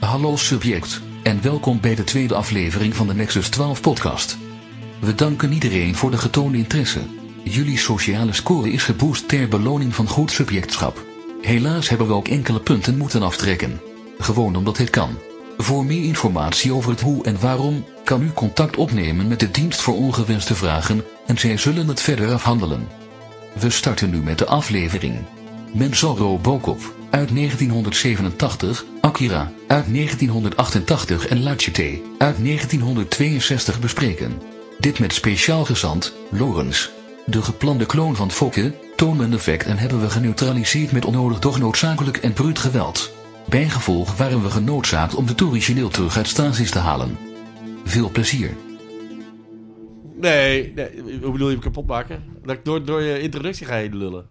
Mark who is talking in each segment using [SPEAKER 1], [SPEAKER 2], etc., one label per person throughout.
[SPEAKER 1] Hallo subject, en welkom bij de tweede aflevering van de Nexus 12 podcast. We danken iedereen voor de getoonde interesse. Jullie sociale score is geboost ter beloning van goed subjectschap. Helaas hebben we ook enkele punten moeten aftrekken. Gewoon omdat het kan. Voor meer informatie over het hoe en waarom, kan u contact opnemen met de dienst voor ongewenste vragen, en zij zullen het verder afhandelen. We starten nu met de aflevering. Menzal Robocop uit 1987, Akira uit 1988 en Lachete uit 1962 bespreken. Dit met speciaal gezant, Lawrence. De geplande kloon van Fokke, toon en effect en hebben we geneutraliseerd met onnodig doch noodzakelijk en bruut geweld. Bijgevolg waren we genoodzaakt om de origineel terug uit stasis te halen. Veel plezier.
[SPEAKER 2] Nee, nee, hoe bedoel je hem kapot maken? Dat ik door, door je introductie ga heen lullen.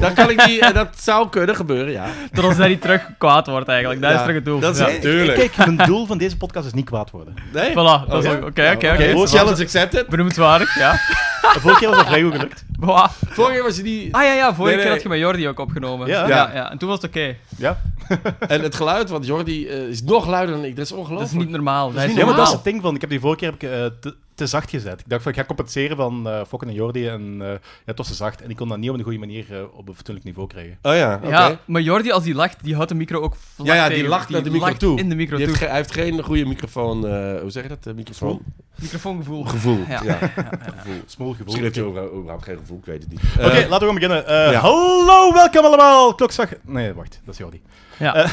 [SPEAKER 2] Dan kan ik niet, eh, dat zou kunnen gebeuren, ja.
[SPEAKER 3] Totdat hij niet terug kwaad wordt eigenlijk. Dat
[SPEAKER 2] Ja,
[SPEAKER 3] is terug het doel.
[SPEAKER 2] dat is
[SPEAKER 3] Ja.
[SPEAKER 2] het. Tuurlijk.
[SPEAKER 4] Kijk, mijn doel van deze podcast is niet kwaad worden.
[SPEAKER 2] Nee?
[SPEAKER 3] Voilà, dat is
[SPEAKER 2] Oké.
[SPEAKER 3] ook- oké, oké,
[SPEAKER 2] Oké,
[SPEAKER 3] oké.
[SPEAKER 2] challenge accepted.
[SPEAKER 3] Benoemenswaardig, ja.
[SPEAKER 4] De vorige keer was dat vrij goed gelukt.
[SPEAKER 3] Boah.
[SPEAKER 2] Vorige keer was je niet...
[SPEAKER 3] Ah ja, ja, vorige
[SPEAKER 2] Nee, nee.
[SPEAKER 3] keer had je met Jordi ook opgenomen.
[SPEAKER 4] Ja.
[SPEAKER 3] ja. En toen was het oké.
[SPEAKER 4] Ja,
[SPEAKER 2] En het geluid, want Jordi eh, is nog luider dan ik. Dat is
[SPEAKER 3] Dat is
[SPEAKER 2] ongelooflijk.
[SPEAKER 3] niet normaal. Dat is
[SPEAKER 2] niet
[SPEAKER 4] ja Dus maar dat is
[SPEAKER 3] normaal.
[SPEAKER 4] het ding van, ik heb die vorige keer heb ik, eh, te, te zacht gezet. Ik dacht van, ik ga compenseren van eh Fokken en Jordi en eh, ja, het was te zacht. En ik kon dat niet op een goede manier eh, op een fatsoenlijk niveau krijgen.
[SPEAKER 2] Oh ja, oké.
[SPEAKER 3] Ja, maar Jordi, als die lacht, die houdt de micro ook vlak
[SPEAKER 2] Ja, ja, die
[SPEAKER 3] tegen.
[SPEAKER 2] lacht naar de micro
[SPEAKER 3] lacht
[SPEAKER 2] toe.
[SPEAKER 3] in de micro
[SPEAKER 2] Die heeft
[SPEAKER 3] toe.
[SPEAKER 2] ge- hij heeft geen goede microfoon... eh, hoe zeg je dat? eh, microfoon?
[SPEAKER 3] Microfoongevoel.
[SPEAKER 2] Gevoel. Ja.
[SPEAKER 3] Ja.
[SPEAKER 2] Gevoel.
[SPEAKER 4] Smoel gevoel.
[SPEAKER 2] Misschien heeft
[SPEAKER 4] Oké,
[SPEAKER 2] hij overhaupt overhaupt geen gevoel, ik weet het niet. Eh,
[SPEAKER 4] laten we gaan beginnen. Eh,
[SPEAKER 2] ja.
[SPEAKER 4] Hallo, welkom allemaal. Klokslag... Nee, wacht, dat is Jordi.
[SPEAKER 3] Ja.
[SPEAKER 4] Eh,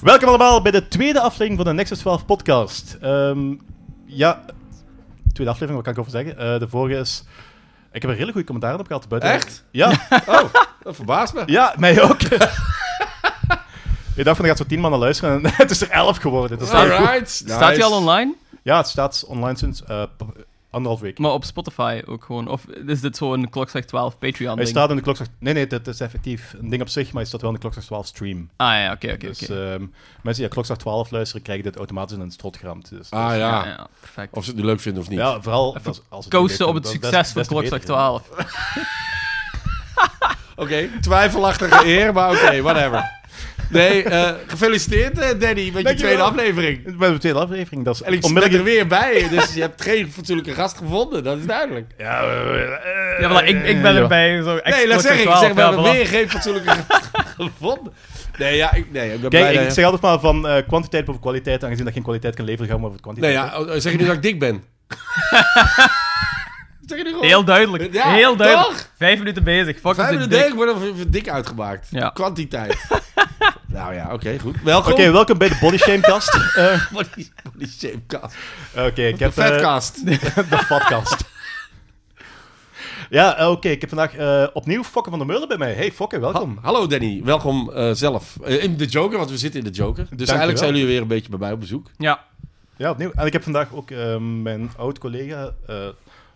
[SPEAKER 4] welkom allemaal bij de tweede aflevering van de Nexus 12 podcast. Ehm, ja, tweede aflevering, wat kan ik over zeggen? Eh, de vorige is... Ik heb een hele goede commentaar op gehad. Buiten...
[SPEAKER 2] Echt?
[SPEAKER 4] Ja.
[SPEAKER 2] Oh, dat verbaast me.
[SPEAKER 4] Ja, mij ook. Je dacht van, er gaat zo tien man naar luisteren en het is er elf geworden. Dat is
[SPEAKER 3] Staat-
[SPEAKER 4] heel goed.
[SPEAKER 2] Alright.
[SPEAKER 3] Staat die
[SPEAKER 2] nice.
[SPEAKER 3] al online?
[SPEAKER 4] Ja, het staat online sinds eh, p- anderhalf week.
[SPEAKER 3] Maar op Spotify ook gewoon. Of is dit zo'n klokslag 12 Patreon
[SPEAKER 4] Hij
[SPEAKER 3] ding?
[SPEAKER 4] staat in de klokslag... Nee, nee, dat is effectief een ding op zich, maar hij staat wel in de klokslag 12 stream.
[SPEAKER 3] Ah ja, oké, oké.
[SPEAKER 4] dus
[SPEAKER 2] eh,
[SPEAKER 3] oké.
[SPEAKER 4] ehm, mensen die naar klokslag 12 luisteren, krijgen dit automatisch in een strot geramd. Dus,
[SPEAKER 2] Ah
[SPEAKER 3] Ja,
[SPEAKER 2] ja.
[SPEAKER 3] ja, perfect.
[SPEAKER 2] Of ze het nu leuk vinden of niet.
[SPEAKER 4] ja, vooral... dat is- als het
[SPEAKER 3] Coasten
[SPEAKER 4] niet
[SPEAKER 3] op het
[SPEAKER 4] lukt, dan-
[SPEAKER 3] succes
[SPEAKER 4] dat
[SPEAKER 3] van
[SPEAKER 4] is- dat is te
[SPEAKER 3] klokslag
[SPEAKER 4] beter.
[SPEAKER 3] 12.
[SPEAKER 2] Oké, twijfelachtige eer, maar oké, whatever. Nee, eh, gefeliciteerd eh, Danny met je
[SPEAKER 4] Dankjewel.
[SPEAKER 2] tweede aflevering.
[SPEAKER 4] We hebben de tweede aflevering, dat is
[SPEAKER 2] En ik ben er
[SPEAKER 4] onmiddellijk...
[SPEAKER 2] weer bij, dus je hebt geen fatsoenlijke gast gevonden, dat is duidelijk.
[SPEAKER 4] Ja, eh,
[SPEAKER 3] Ja, voilà, ik, ik ben
[SPEAKER 4] ja.
[SPEAKER 3] erbij. Zo,
[SPEAKER 2] Nee, laat zeggen, ik
[SPEAKER 3] klokslag
[SPEAKER 2] zeg, we
[SPEAKER 3] 12,
[SPEAKER 2] hebben
[SPEAKER 3] ja, voilà.
[SPEAKER 2] weer geen fatsoenlijke gast gevonden. Nee, ja, ik, nee, ik ben
[SPEAKER 4] Kijk,
[SPEAKER 2] blij
[SPEAKER 4] ik
[SPEAKER 2] dat-
[SPEAKER 4] zeg altijd maar van eh, kwantiteit boven kwaliteit. Aangezien dat geen kwaliteit kan leveren, gaan we over het kwantiteit.
[SPEAKER 2] Nee, ja, oh, zeg je nu dat ik dik ben? zeg je nu gewoon?
[SPEAKER 3] Heel duidelijk.
[SPEAKER 2] Ja,
[SPEAKER 3] heel duidelijk.
[SPEAKER 2] toch?
[SPEAKER 3] Vijf minuten bezig. Fuck,
[SPEAKER 2] Vijf
[SPEAKER 3] is
[SPEAKER 2] minuten
[SPEAKER 3] dit
[SPEAKER 2] dik,
[SPEAKER 3] dik.
[SPEAKER 2] ik word dan even dik uitgemaakt.
[SPEAKER 3] Ja.
[SPEAKER 2] Kwantiteit. nou ja, oké, goed. Welkom.
[SPEAKER 4] Oké, welkom bij de Body Shamecast. Eh,
[SPEAKER 2] Body, body shape cast.
[SPEAKER 4] Oké, ik heb... eh,
[SPEAKER 2] Vetcast.
[SPEAKER 4] de fatcast. ja, eh, oké, ik heb vandaag eh, opnieuw Fokke van der Meulen bij mij. Hey Fokke, welkom.
[SPEAKER 2] Ha- hallo Danny, welkom eh, zelf. Eh, in de Joker, want we zitten in de Joker. Dus
[SPEAKER 4] je
[SPEAKER 2] eigenlijk
[SPEAKER 4] wel.
[SPEAKER 2] zijn jullie weer een beetje bij mij op bezoek.
[SPEAKER 3] Ja.
[SPEAKER 4] Ja, opnieuw. En ik heb vandaag ook eh, mijn oud-collega eh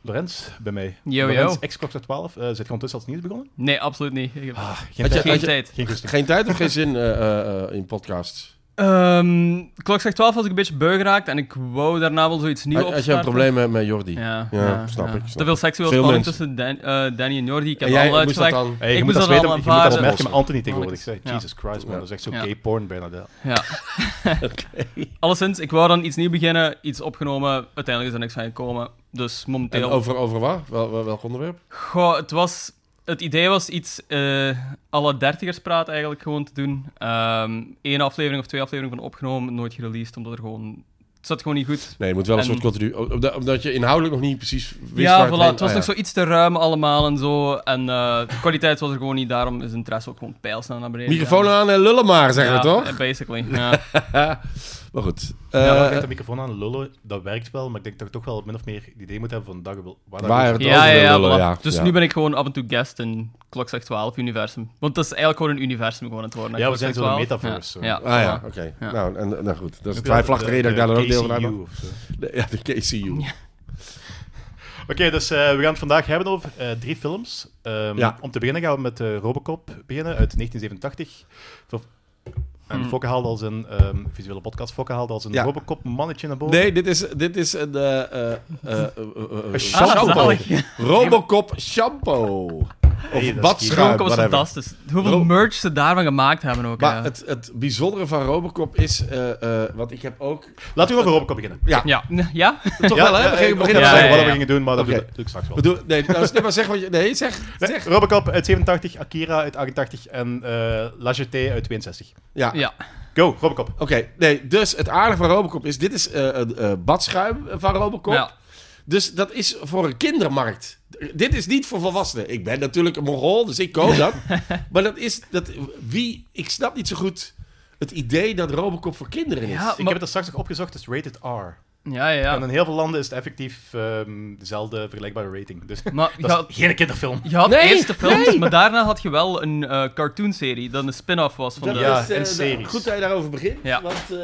[SPEAKER 4] Lorenz bij mij.
[SPEAKER 3] Yo,
[SPEAKER 4] Lorenz,
[SPEAKER 3] yo.
[SPEAKER 4] ex-klokster 12. eh, zit gewoon tussen als nieuws begonnen?
[SPEAKER 3] Nee, absoluut niet. Ik heb
[SPEAKER 4] Ah, geen
[SPEAKER 2] Had je-
[SPEAKER 4] tijd.
[SPEAKER 3] geen
[SPEAKER 2] had je-
[SPEAKER 3] tijd.
[SPEAKER 4] Geen goesting.
[SPEAKER 2] Geen tijd of geen zin eh, eh, eh, in podcasts?
[SPEAKER 3] Ehm, klokslag 12 was ik een beetje beu geraakt en ik wou daarna wel zoiets nieuws
[SPEAKER 2] Als
[SPEAKER 3] op.
[SPEAKER 2] als je een probleem hebt met Jordi.
[SPEAKER 3] Ja,
[SPEAKER 2] Ja, snap ik, snap
[SPEAKER 3] Te veel seksueel
[SPEAKER 2] Veel
[SPEAKER 3] spanning
[SPEAKER 2] mensen.
[SPEAKER 3] tussen Dan- eh, Danny en Jordi. Ik heb
[SPEAKER 2] en jij
[SPEAKER 3] al
[SPEAKER 2] moest dat
[SPEAKER 3] uitgelegd.
[SPEAKER 2] dan...
[SPEAKER 4] Hey, je,
[SPEAKER 3] Ik
[SPEAKER 4] moet
[SPEAKER 3] moest
[SPEAKER 4] dat
[SPEAKER 3] dat
[SPEAKER 4] weten,
[SPEAKER 3] allemaal
[SPEAKER 4] je moet dat als
[SPEAKER 3] aanvaarden.
[SPEAKER 4] merk met Anthony tegenwoordig. Ik zei,
[SPEAKER 3] Ja.
[SPEAKER 4] Jesus Christ, man. Dat is echt zo
[SPEAKER 3] Ja.
[SPEAKER 4] gay porn bijna. dat.
[SPEAKER 3] Ja. Alleszins, ik wou dan iets nieuws beginnen, iets opgenomen. Uiteindelijk is er niks van gekomen. Dus
[SPEAKER 2] En
[SPEAKER 3] momenteel.
[SPEAKER 2] over, over wat? Wel, wel- welk onderwerp?
[SPEAKER 3] Goh, het was... Het idee was iets eh alle dertigerspraat eigenlijk gewoon te doen. Eén aflevering of twee afleveringen van opgenomen, nooit gereleased, omdat er gewoon... Het zat gewoon niet goed.
[SPEAKER 2] Nee, je moet wel een
[SPEAKER 3] En-
[SPEAKER 2] soort continu... Omdat, omdat je inhoudelijk nog niet precies wist waar
[SPEAKER 3] ja, voilà,
[SPEAKER 2] heen-
[SPEAKER 3] het was
[SPEAKER 2] ah,
[SPEAKER 3] nog
[SPEAKER 2] ja.
[SPEAKER 3] zoiets te ruim allemaal en zo. En eh, de kwaliteit was er gewoon niet, daarom is de interesse ook gewoon pijlsnel naar beneden.
[SPEAKER 2] Microfoon aan en lullen maar, zeggen
[SPEAKER 3] ja,
[SPEAKER 2] we toch?
[SPEAKER 3] eh, Basically, ja.
[SPEAKER 2] maar goed.
[SPEAKER 4] ja,
[SPEAKER 2] Eh,
[SPEAKER 4] dan krijgt de microfoon aan lullen. Dat werkt wel, maar ik denk dat ik toch wel min of meer het idee moet hebben van dag, waar dat
[SPEAKER 2] Waar-
[SPEAKER 4] over-
[SPEAKER 2] Het
[SPEAKER 3] ja, ja,
[SPEAKER 2] over de
[SPEAKER 3] ja,
[SPEAKER 2] lullen,
[SPEAKER 3] voilà.
[SPEAKER 2] ja,
[SPEAKER 3] Dus
[SPEAKER 2] ja.
[SPEAKER 3] nu ben ik gewoon af en toe guest in Klokslag 12 universum. Want dat is eigenlijk gewoon een universum gewoon aan het worden. hè,
[SPEAKER 4] Ja, we zijn
[SPEAKER 3] Klokslag
[SPEAKER 4] zo'n
[SPEAKER 3] 12.
[SPEAKER 4] metaverse,
[SPEAKER 3] Ja,
[SPEAKER 2] ah ja,
[SPEAKER 3] voilà.
[SPEAKER 2] oké.
[SPEAKER 3] Ja. eh,
[SPEAKER 2] Nou, en, nou goed. Dat is
[SPEAKER 4] Heb
[SPEAKER 2] een
[SPEAKER 4] je wel
[SPEAKER 2] twijfelachtige
[SPEAKER 4] de-
[SPEAKER 2] reden dat ik daar dan ook deel van
[SPEAKER 4] KCU
[SPEAKER 2] heb.
[SPEAKER 4] of zo.
[SPEAKER 2] De- Ja, de KCU.
[SPEAKER 4] Oké, dus eh, we gaan het vandaag hebben over eh, drie films. Ehm,
[SPEAKER 2] Ja.
[SPEAKER 4] Om te beginnen gaan we met eh, Robocop beginnen uit 1987. Voor- En
[SPEAKER 3] Hmm.
[SPEAKER 4] Fokke haalde als een ehm, visuele podcast. Fokke haalde als een
[SPEAKER 2] Ja.
[SPEAKER 4] Robocop-mannetje naar boven.
[SPEAKER 2] Nee, dit is, dit is een... eh, eh, eh, eh, eh, eh,
[SPEAKER 4] Een shampoo.
[SPEAKER 3] zalig.
[SPEAKER 2] Robocop shampoo.
[SPEAKER 4] Hey, dat
[SPEAKER 2] of
[SPEAKER 4] is
[SPEAKER 2] badschuim,
[SPEAKER 3] Dronken was
[SPEAKER 2] whatever.
[SPEAKER 3] fantastisch. Hoeveel
[SPEAKER 2] Dro-
[SPEAKER 3] merch ze daarvan gemaakt hebben ook. eh.
[SPEAKER 2] Maar
[SPEAKER 3] ja.
[SPEAKER 2] het, het bijzondere van Robocop is, eh, eh, want ik heb ook...
[SPEAKER 4] Laten we over Robocop beginnen.
[SPEAKER 3] ja. ja?
[SPEAKER 2] Toch wel, hè? We gingen
[SPEAKER 4] ik wou
[SPEAKER 2] beginnen
[SPEAKER 3] ja,
[SPEAKER 4] net
[SPEAKER 2] met-
[SPEAKER 4] zeggen
[SPEAKER 3] ja,
[SPEAKER 4] wat we
[SPEAKER 3] ja.
[SPEAKER 4] gingen doen, maar dat
[SPEAKER 2] Oké.
[SPEAKER 4] doe ik- doe ik straks wel.
[SPEAKER 2] Bedoel, nee, nou, nee, maar zeg wat je... Nee, zeg,
[SPEAKER 4] Nee,
[SPEAKER 2] zeg.
[SPEAKER 4] Robocop uit 87, Akira uit 88 en eh La Jetée uit 62.
[SPEAKER 2] Ja,
[SPEAKER 3] ja.
[SPEAKER 4] Go, Robocop.
[SPEAKER 2] oké. Nee, dus het aardige van Robocop is, dit is eh, een eh, badschuim van Robocop.
[SPEAKER 3] Ja.
[SPEAKER 2] Dus dat is voor een kindermarkt. Dit is niet voor volwassenen. Ik ben natuurlijk een Mongool, dus ik koop dat. maar dat is... Dat, wie, ik snap niet zo goed het idee dat Robocop voor kinderen is.
[SPEAKER 3] Ja, maar-
[SPEAKER 4] ik heb het er straks nog opgezocht, het is rated R.
[SPEAKER 3] Ja, ja, ja.
[SPEAKER 4] En in heel veel landen is het effectief ehm, dezelfde vergelijkbare rating. Dus
[SPEAKER 3] Maar je
[SPEAKER 4] dat is
[SPEAKER 3] had,
[SPEAKER 4] geen kinderfilm.
[SPEAKER 3] je had
[SPEAKER 2] Nee,
[SPEAKER 3] eerst de films,
[SPEAKER 2] nee.
[SPEAKER 3] maar daarna had je wel een eh, cartoonserie dat een spin-off was van
[SPEAKER 2] Dat
[SPEAKER 3] de...
[SPEAKER 4] Ja,
[SPEAKER 2] is, eh,
[SPEAKER 4] en
[SPEAKER 2] nou,
[SPEAKER 4] series.
[SPEAKER 2] Goed dat je daarover begint,
[SPEAKER 3] Ja.
[SPEAKER 2] want eh,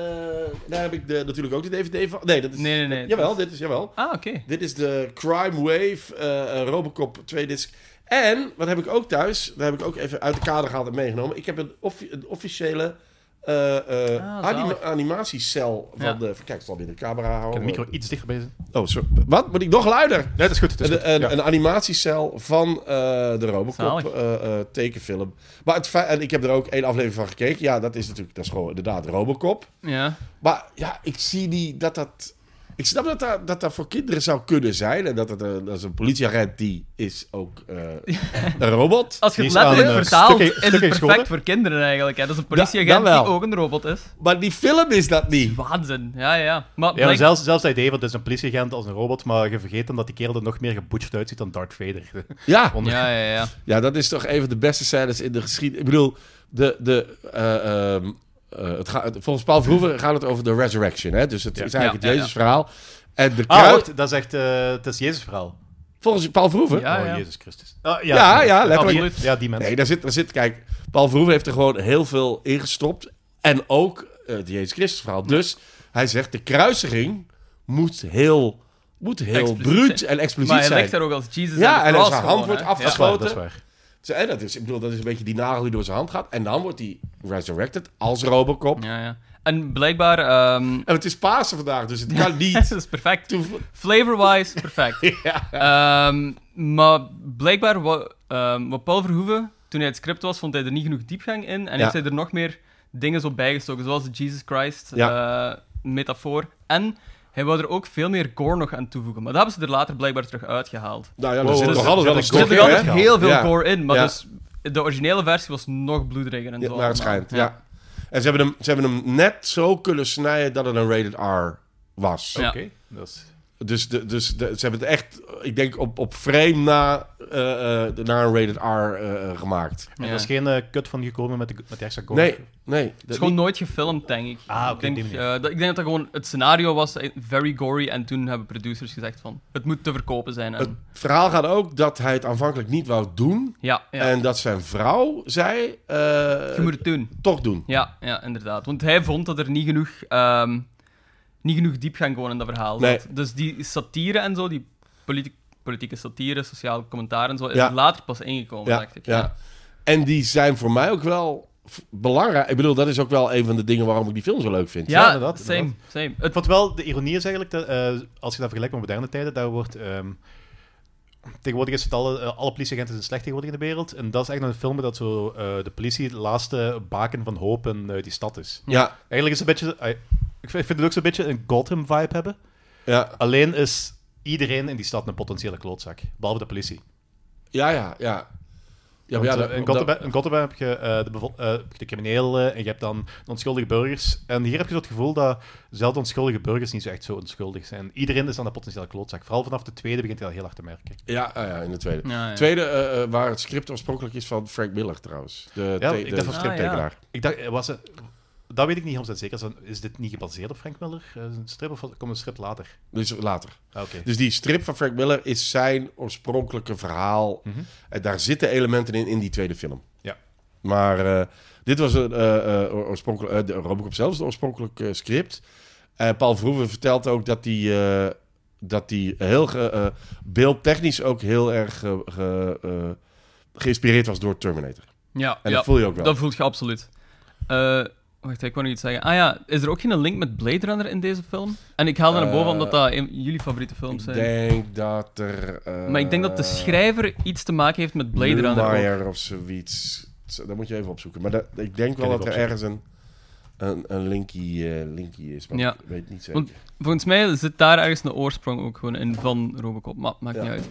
[SPEAKER 2] daar heb ik de, natuurlijk ook de DVD van. Nee, dat is...
[SPEAKER 3] Nee, nee, nee.
[SPEAKER 2] Jawel, dit is... Jawel.
[SPEAKER 3] Ah, oké.
[SPEAKER 2] Dit is de Crime Wave eh, eh, Robocop 2 disc. En, wat heb ik ook thuis? Daar heb ik ook even uit de kader gehaald en meegenomen. Ik heb een, offi- een officiële eh, eh,
[SPEAKER 3] Ah,
[SPEAKER 2] anima-
[SPEAKER 3] zalig.
[SPEAKER 2] animatiecel van
[SPEAKER 3] Ja.
[SPEAKER 2] de... Kijk, ik zal binnen de camera
[SPEAKER 4] Ik heb
[SPEAKER 2] houden.
[SPEAKER 4] de micro iets dichter bezig. Nee,
[SPEAKER 2] Oh, sorry. Wat? Moet ik nog luider?
[SPEAKER 4] dat is goed. dat is goed.
[SPEAKER 2] een, een,
[SPEAKER 4] Dus Ja.
[SPEAKER 2] een animatiecel van eh, de Robocop
[SPEAKER 3] Zalig.
[SPEAKER 2] eh, eh, tekenfilm. Maar het feit, en ik heb er ook één aflevering van gekeken. Ja, dat is natuurlijk, dat is gewoon inderdaad Robocop.
[SPEAKER 3] Ja.
[SPEAKER 2] Maar ja, ik zie niet dat dat... Ik snap dat dat, dat, dat voor kinderen zou kunnen zijn. En dat, het, een- dat is een politieagent, die is ook eh, een robot.
[SPEAKER 3] Als je
[SPEAKER 4] Die
[SPEAKER 3] het
[SPEAKER 4] is aan,
[SPEAKER 3] letterlijk
[SPEAKER 4] eh,
[SPEAKER 3] vertaalt,
[SPEAKER 4] stukken-
[SPEAKER 3] is het
[SPEAKER 4] stukken geschoten.
[SPEAKER 3] perfect voor kinderen eigenlijk. Hè. Dat is een
[SPEAKER 2] dat
[SPEAKER 3] politieagent
[SPEAKER 2] wel.
[SPEAKER 3] die ook een robot is.
[SPEAKER 2] Maar die film is dat niet.
[SPEAKER 3] Waanzin. Ja, ja, ja. Maar
[SPEAKER 4] Ja, maar
[SPEAKER 3] blijk-
[SPEAKER 4] zelfs, zelfs het idee van het is een politieagent als een robot, maar je vergeet dan dat die kerel er nog meer gebutcht uitziet dan Darth Vader.
[SPEAKER 2] Ja,
[SPEAKER 4] Onder-
[SPEAKER 3] ja, ja, ja.
[SPEAKER 2] ja dat is toch een van de beste scènes in de geschiedenis. Ik bedoel, de, de, eh, ehm, eh, het gaat- volgens Paul Verhoeven gaat het over de resurrection. Hè? Dus het
[SPEAKER 4] Ja.
[SPEAKER 2] is eigenlijk
[SPEAKER 3] Ja,
[SPEAKER 2] het
[SPEAKER 3] ja,
[SPEAKER 2] Jezus-verhaal. En de
[SPEAKER 4] Ah,
[SPEAKER 2] kruid,
[SPEAKER 4] wacht, dat is echt eh, het is Jezus verhaal.
[SPEAKER 2] volgens Paul Verhoeven...
[SPEAKER 3] Ja,
[SPEAKER 4] oh,
[SPEAKER 3] ja.
[SPEAKER 4] Jezus Christus. Ah,
[SPEAKER 2] Ja, ja, letterlijk.
[SPEAKER 4] Absoluut. Ja, die mensen.
[SPEAKER 2] Nee, daar zit, daar zit, kijk, Paul Verhoeven heeft er gewoon heel veel ingestopt. En ook eh, het Jezus Christus verhaal. Dus hij zegt, de kruisiging moet heel, moet heel
[SPEAKER 3] Expliciet
[SPEAKER 2] bruut
[SPEAKER 3] zijn.
[SPEAKER 2] en expliciet
[SPEAKER 3] Maar hij
[SPEAKER 2] zijn.
[SPEAKER 3] ligt daar ook als Jesus
[SPEAKER 2] Ja,
[SPEAKER 3] aan de
[SPEAKER 2] en
[SPEAKER 3] cross
[SPEAKER 2] als haar hand
[SPEAKER 3] gewoon,
[SPEAKER 2] wordt
[SPEAKER 3] hè.
[SPEAKER 4] dat, is waar, dat is
[SPEAKER 2] afgesloten.
[SPEAKER 4] waar.
[SPEAKER 2] Zo, En dat is, ik bedoel, dat is een beetje die nagel die door zijn hand gaat. En dan wordt hij resurrected als Robocop.
[SPEAKER 3] Ja. ja, ja. En blijkbaar... ehm,
[SPEAKER 2] En het is Pasen vandaag, dus het kan
[SPEAKER 3] dat
[SPEAKER 2] niet.
[SPEAKER 3] is perfect.
[SPEAKER 2] toe-
[SPEAKER 3] Flavor-wise, perfect.
[SPEAKER 2] ja.
[SPEAKER 3] Ehm, maar blijkbaar, wat, ehm, wat Paul Verhoeven, toen hij het script was, vond hij er niet genoeg diepgang in. En heeft hij er nog meer dingen zo bijgestoken, zoals de Jesus Christ eh, metafoor. En hij wou er ook veel meer gore nog aan toevoegen. Maar dat hebben ze er later blijkbaar terug uitgehaald.
[SPEAKER 2] Nou ja, er
[SPEAKER 4] Wow,
[SPEAKER 2] zit
[SPEAKER 4] dus
[SPEAKER 2] nog
[SPEAKER 4] er
[SPEAKER 2] altijd wel een
[SPEAKER 4] zit
[SPEAKER 3] Er
[SPEAKER 4] Gore
[SPEAKER 3] zit nog
[SPEAKER 2] stok in,
[SPEAKER 3] altijd
[SPEAKER 2] hè?
[SPEAKER 3] heel veel
[SPEAKER 2] Ja.
[SPEAKER 3] gore in, maar
[SPEAKER 2] Ja.
[SPEAKER 3] dus de originele versie was nog bloederiger en
[SPEAKER 2] Ja,
[SPEAKER 3] zo.
[SPEAKER 2] naar het
[SPEAKER 3] allemaal.
[SPEAKER 2] schijnt, ja. En ze hebben, hem, ze hebben hem net zo kunnen snijden dat het een rated R was.
[SPEAKER 3] Ja.
[SPEAKER 4] Oké. dat is-
[SPEAKER 2] Dus, de, dus de- ze hebben het echt, ik denk, op, op frame na, eh, eh, naar een rated R eh, eh, gemaakt.
[SPEAKER 4] En
[SPEAKER 3] Ja.
[SPEAKER 4] er is geen eh, kut van gekomen met de, met de extra gore.
[SPEAKER 2] Nee, nee.
[SPEAKER 3] Het
[SPEAKER 2] dat
[SPEAKER 3] is gewoon
[SPEAKER 2] niet.
[SPEAKER 3] nooit gefilmd, denk ik.
[SPEAKER 4] Ah, oké,
[SPEAKER 3] ik, denk,
[SPEAKER 4] op die
[SPEAKER 3] eh, dat, ik denk dat dat gewoon het scenario was, eh, very gory, en toen hebben producers gezegd van, het moet te verkopen zijn. En,
[SPEAKER 2] Het verhaal gaat ook dat hij het aanvankelijk niet wou doen.
[SPEAKER 3] ja, ja.
[SPEAKER 2] En dat zijn vrouw zei, eh,
[SPEAKER 3] je moet het doen.
[SPEAKER 2] toch doen.
[SPEAKER 3] Ja, ja, inderdaad. Want hij vond dat er niet genoeg, ehm, niet genoeg diepgang gewoon in dat verhaal zat. Dus die satire en zo, die politi- politieke satire, sociaal commentaar en zo, is
[SPEAKER 2] Ja.
[SPEAKER 3] later pas ingekomen,
[SPEAKER 2] Ja,
[SPEAKER 3] dacht ik.
[SPEAKER 2] ja. En die zijn voor mij ook wel f- belangrijk. Ik bedoel, dat is ook wel een van de dingen waarom ik die film zo leuk vind.
[SPEAKER 3] Ja,
[SPEAKER 4] inderdaad,
[SPEAKER 3] same,
[SPEAKER 4] inderdaad.
[SPEAKER 3] same.
[SPEAKER 4] Het,
[SPEAKER 3] Het,
[SPEAKER 4] wat wel, de ironie is eigenlijk, dat, eh, als je dat vergelijkt met moderne tijden, daar wordt... ehm, tegenwoordig is het alle, eh, alle politieagenten zijn slecht tegenwoordig in de wereld. En dat is eigenlijk een film dat zo eh, de politie de laatste baken van hoop in eh, die stad is.
[SPEAKER 2] Ja,
[SPEAKER 4] Eigenlijk is het een beetje... eh, ik vind het ook zo'n beetje een Gotham-vibe hebben.
[SPEAKER 2] ja,
[SPEAKER 4] Alleen is iedereen in die stad een potentiële klootzak. Behalve de politie.
[SPEAKER 2] ja, ja. ja. Ja, maar
[SPEAKER 4] Want,
[SPEAKER 2] ja,
[SPEAKER 4] eh,
[SPEAKER 2] dat-
[SPEAKER 4] in,
[SPEAKER 2] dat-
[SPEAKER 4] Gotham, in Gotham heb je eh, de, bevo- eh, heb je de criminelen en je hebt dan de onschuldige burgers. En hier heb je zo het gevoel dat zelfs onschuldige burgers niet zo echt zo onschuldig zijn. Iedereen is dan een potentiële klootzak. Vooral vanaf de tweede begint hij dat heel hard te merken.
[SPEAKER 2] ja, ah ja, in de tweede.
[SPEAKER 3] ja, ja.
[SPEAKER 2] Tweede, eh, eh, waar het script oorspronkelijk is van Frank Miller trouwens. De,
[SPEAKER 4] Ja,
[SPEAKER 2] te-
[SPEAKER 4] ik
[SPEAKER 2] de
[SPEAKER 4] dacht van-
[SPEAKER 3] Ah,
[SPEAKER 2] striptekenaar.
[SPEAKER 4] Ik dacht, eh, was het, dat weet ik niet 100% zeker. Is dat- Is dit niet gebaseerd op Frank Miller? eh, Een strip of was- komt een strip later?
[SPEAKER 2] Dus later.
[SPEAKER 4] Ah, Oké.
[SPEAKER 2] Dus die strip van Frank Miller is zijn oorspronkelijke verhaal.
[SPEAKER 4] Mhm.
[SPEAKER 2] En daar zitten elementen in, in die tweede film.
[SPEAKER 4] Ja.
[SPEAKER 2] Maar eh, dit was een, eh, eh, oorspronkelijk, eh, de Robocop zelfs, de oorspronkelijke script. Eh, Paul Verhoeven vertelt ook dat die, eh, dat die heel ge- eh, beeldtechnisch ook heel erg ge- ge- eh, geïnspireerd was door Terminator.
[SPEAKER 3] ja,
[SPEAKER 2] En
[SPEAKER 3] ja.
[SPEAKER 2] dat voel je ook wel.
[SPEAKER 3] Dat voelt je absoluut. Eh, Wacht, ik wou nog iets zeggen. Ah ja, is er ook geen link met Blade Runner in deze film? En ik haal er naar boven
[SPEAKER 2] Eh,
[SPEAKER 3] omdat dat een- jullie favoriete films
[SPEAKER 2] Ik
[SPEAKER 3] zijn.
[SPEAKER 2] denk dat er... eh,
[SPEAKER 3] Maar ik denk dat de schrijver iets te maken heeft met Blade Runner. ook.
[SPEAKER 2] Neumeier of zoiets. Zo, Dat moet je even opzoeken. Maar dat- ik denk
[SPEAKER 4] Kan
[SPEAKER 2] wel
[SPEAKER 4] ik
[SPEAKER 2] dat er
[SPEAKER 4] opzoeken.
[SPEAKER 2] ergens een, een, een linkie, eh, linkie is. Maar
[SPEAKER 3] Ja.
[SPEAKER 2] ik weet niet zeker.
[SPEAKER 3] Want- eh, Volgens mij zit daar ergens een oorsprong ook gewoon in van Robocop. Maar maakt
[SPEAKER 2] Ja.
[SPEAKER 3] niet uit.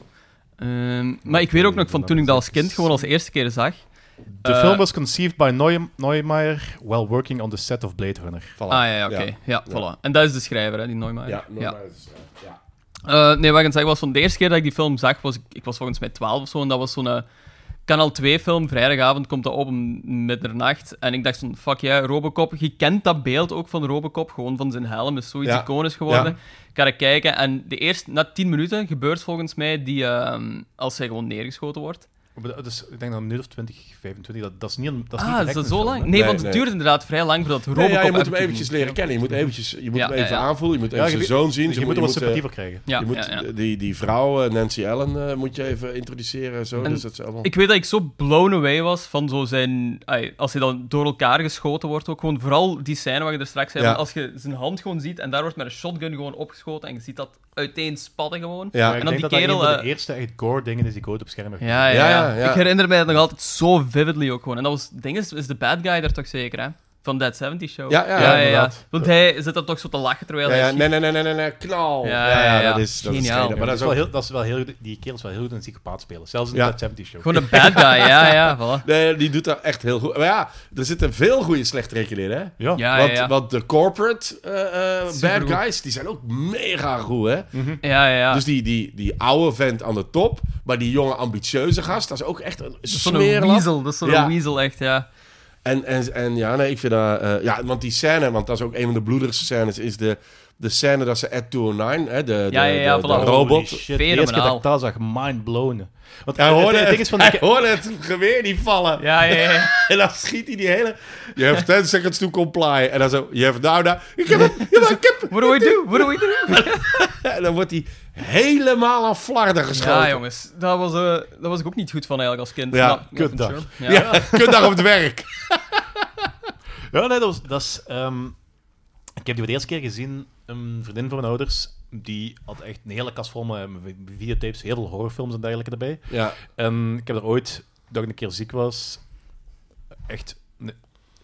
[SPEAKER 3] Ehm, maar ik weet ook nog van toen ik dat als kind gewoon als eerste keer zag.
[SPEAKER 4] The
[SPEAKER 3] Eh,
[SPEAKER 4] film was conceived by Neu- Neumeier while working on the set of Blade Runner.
[SPEAKER 2] Voilà.
[SPEAKER 3] Ah ja, ja, oké. Ja. voilà. En dat is de schrijver, hè, die Neumeier.
[SPEAKER 2] Ja,
[SPEAKER 3] ja.
[SPEAKER 2] Neumeier is, eh, ja.
[SPEAKER 3] Eh, nee, wat ik aan het zeggen was, van de eerste keer dat ik die film zag, was ik, ik was volgens mij 12 of zo, en dat was zo'n eh, Kanaal 2-film, vrijdagavond komt dat op om middernacht, en ik dacht van, fuck ja, Robocop, je kent dat beeld ook van Robocop, gewoon van zijn helm, is zoiets
[SPEAKER 2] Ja.
[SPEAKER 3] iconisch geworden. Ik ga er kijken, en de eerste, na 10 minuten gebeurt volgens mij die, ehm, als hij gewoon neergeschoten wordt.
[SPEAKER 4] Ah, Maar dat is- ik denk dat een minuut of 20, 25, dat, dat is niet een dat is niet
[SPEAKER 3] ah, is
[SPEAKER 4] direct
[SPEAKER 3] dat
[SPEAKER 4] een
[SPEAKER 3] zo
[SPEAKER 4] film,
[SPEAKER 3] lang?
[SPEAKER 4] hè.
[SPEAKER 3] Nee,
[SPEAKER 2] Nee,
[SPEAKER 3] want het
[SPEAKER 2] nee.
[SPEAKER 3] duurt inderdaad vrij lang voordat Robocop...
[SPEAKER 2] Nee, ja, je moet hem
[SPEAKER 3] effectief
[SPEAKER 2] eventjes leren kennen. Je moet, eventjes, je moet
[SPEAKER 3] Ja,
[SPEAKER 2] hem
[SPEAKER 3] ja,
[SPEAKER 2] even
[SPEAKER 3] ja.
[SPEAKER 2] aanvoelen. Je moet
[SPEAKER 4] Ja,
[SPEAKER 2] even zijn zoon zien.
[SPEAKER 4] Dus je moet er
[SPEAKER 2] je
[SPEAKER 4] wat
[SPEAKER 2] moet,
[SPEAKER 4] sympathie
[SPEAKER 2] eh,
[SPEAKER 4] voor krijgen.
[SPEAKER 3] Ja,
[SPEAKER 2] je moet,
[SPEAKER 3] ja, ja.
[SPEAKER 2] Die, die vrouw, eh, Nancy Allen, eh, moet je even introduceren. en Zo.
[SPEAKER 3] En
[SPEAKER 2] dus dat is allemaal...
[SPEAKER 3] Ik weet dat ik zo blown away was van zo zijn... ai, als hij dan door elkaar geschoten wordt ook. Gewoon vooral die scène waar je er straks zei.
[SPEAKER 2] Ja.
[SPEAKER 3] van Als je zijn hand gewoon ziet en daar wordt met een shotgun gewoon opgeschoten en je ziet dat uiteenspatten gewoon.
[SPEAKER 2] Ja,
[SPEAKER 4] Maar ik
[SPEAKER 3] en dan die
[SPEAKER 4] denk dat dat
[SPEAKER 3] kerel...
[SPEAKER 4] een van de
[SPEAKER 3] eh,
[SPEAKER 4] eerste echt gore dingen is die ik ooit op scherm heb
[SPEAKER 3] ja, ja, ja,
[SPEAKER 2] Ja, ja, ja.
[SPEAKER 3] Ik herinner mij dat nog altijd zo vividly ook gewoon. En dat was... ding is, is de bad guy daar toch zeker, hè? Van Dead 70 Show.
[SPEAKER 2] Ja, ja, ja, inderdaad.
[SPEAKER 3] Want hij zit dan toch zo te lachen terwijl
[SPEAKER 2] Ja,
[SPEAKER 3] hij
[SPEAKER 2] ja,
[SPEAKER 3] schiet.
[SPEAKER 2] nee, nee, nee, nee, nee, nee, knal.
[SPEAKER 3] Ja, ja, ja.
[SPEAKER 2] dat is dat is
[SPEAKER 3] Geniaal.
[SPEAKER 2] geen- Maar dat is ook...
[SPEAKER 4] Dus wel heel, dat is wel heel, goed- die kerel is wel heel goed een psychopaat spelen. Zelfs in
[SPEAKER 2] Ja.
[SPEAKER 4] de 70 show.
[SPEAKER 3] Gewoon een bad guy, ja, ja, voilà.
[SPEAKER 2] Nee, die doet dat echt heel goed. Maar ja, er zitten veel goede slechterikken in, hè?
[SPEAKER 4] Ja.
[SPEAKER 3] Ja, ja,
[SPEAKER 2] want,
[SPEAKER 3] ja.
[SPEAKER 2] want de corporate eh, eh,
[SPEAKER 3] Supergoed.
[SPEAKER 2] bad guys, die zijn ook mega goed, hè?
[SPEAKER 3] Ja, ja, ja.
[SPEAKER 2] Dus die, die, die oude vent aan de top, maar die jonge ambitieuze gast, dat is ook echt een
[SPEAKER 3] Zo'n
[SPEAKER 2] smerelap.
[SPEAKER 3] weasel, dat is zo'n
[SPEAKER 2] Ja.
[SPEAKER 3] weasel echt, ja.
[SPEAKER 2] En, en, en ja, nee, ik vind dat... eh, ja, want die scène, want dat is ook een van de bloedigste scènes, is de, de scène dat ze Ed 209, hè, de, de,
[SPEAKER 3] Ja, ja, ja,
[SPEAKER 2] de- de
[SPEAKER 3] voilà.
[SPEAKER 4] Holy
[SPEAKER 2] robot...
[SPEAKER 4] shit, de eerste keer dat
[SPEAKER 3] Fenomenaal.
[SPEAKER 4] ik dat zag, mind blown. Want
[SPEAKER 2] Hij
[SPEAKER 4] het-
[SPEAKER 2] hoorde
[SPEAKER 4] het
[SPEAKER 2] het,
[SPEAKER 4] ding is van die
[SPEAKER 2] hij
[SPEAKER 4] ke-
[SPEAKER 2] hoorde het geweer niet vallen.
[SPEAKER 3] Ja, ja, ja.
[SPEAKER 2] En dan schiet hij die hele... Je hebt 10 seconds to comply. En dan zo, je hebt nou daar... Ik heb het, ja, maar ik heb het.
[SPEAKER 3] What do we do? What do we do?
[SPEAKER 2] En dan wordt hij helemaal aan flarden geschoten.
[SPEAKER 3] Ja, jongens, daar was, eh, daar was ik ook niet goed van eigenlijk als kind.
[SPEAKER 2] Ja,
[SPEAKER 3] Maar-
[SPEAKER 4] kutdag.
[SPEAKER 3] sure. Ja.
[SPEAKER 2] Ja, kutdag op het werk.
[SPEAKER 4] Ja, nee, dat was... Dat is, ehm, ik heb die voor de eerste keer gezien, een vriendin van mijn ouders, die had echt een hele kast vol met met videotapes, heel veel horrorfilms en dergelijke erbij.
[SPEAKER 2] Ja,
[SPEAKER 4] En ik heb er ooit, dat ik een keer ziek was, echt, ne-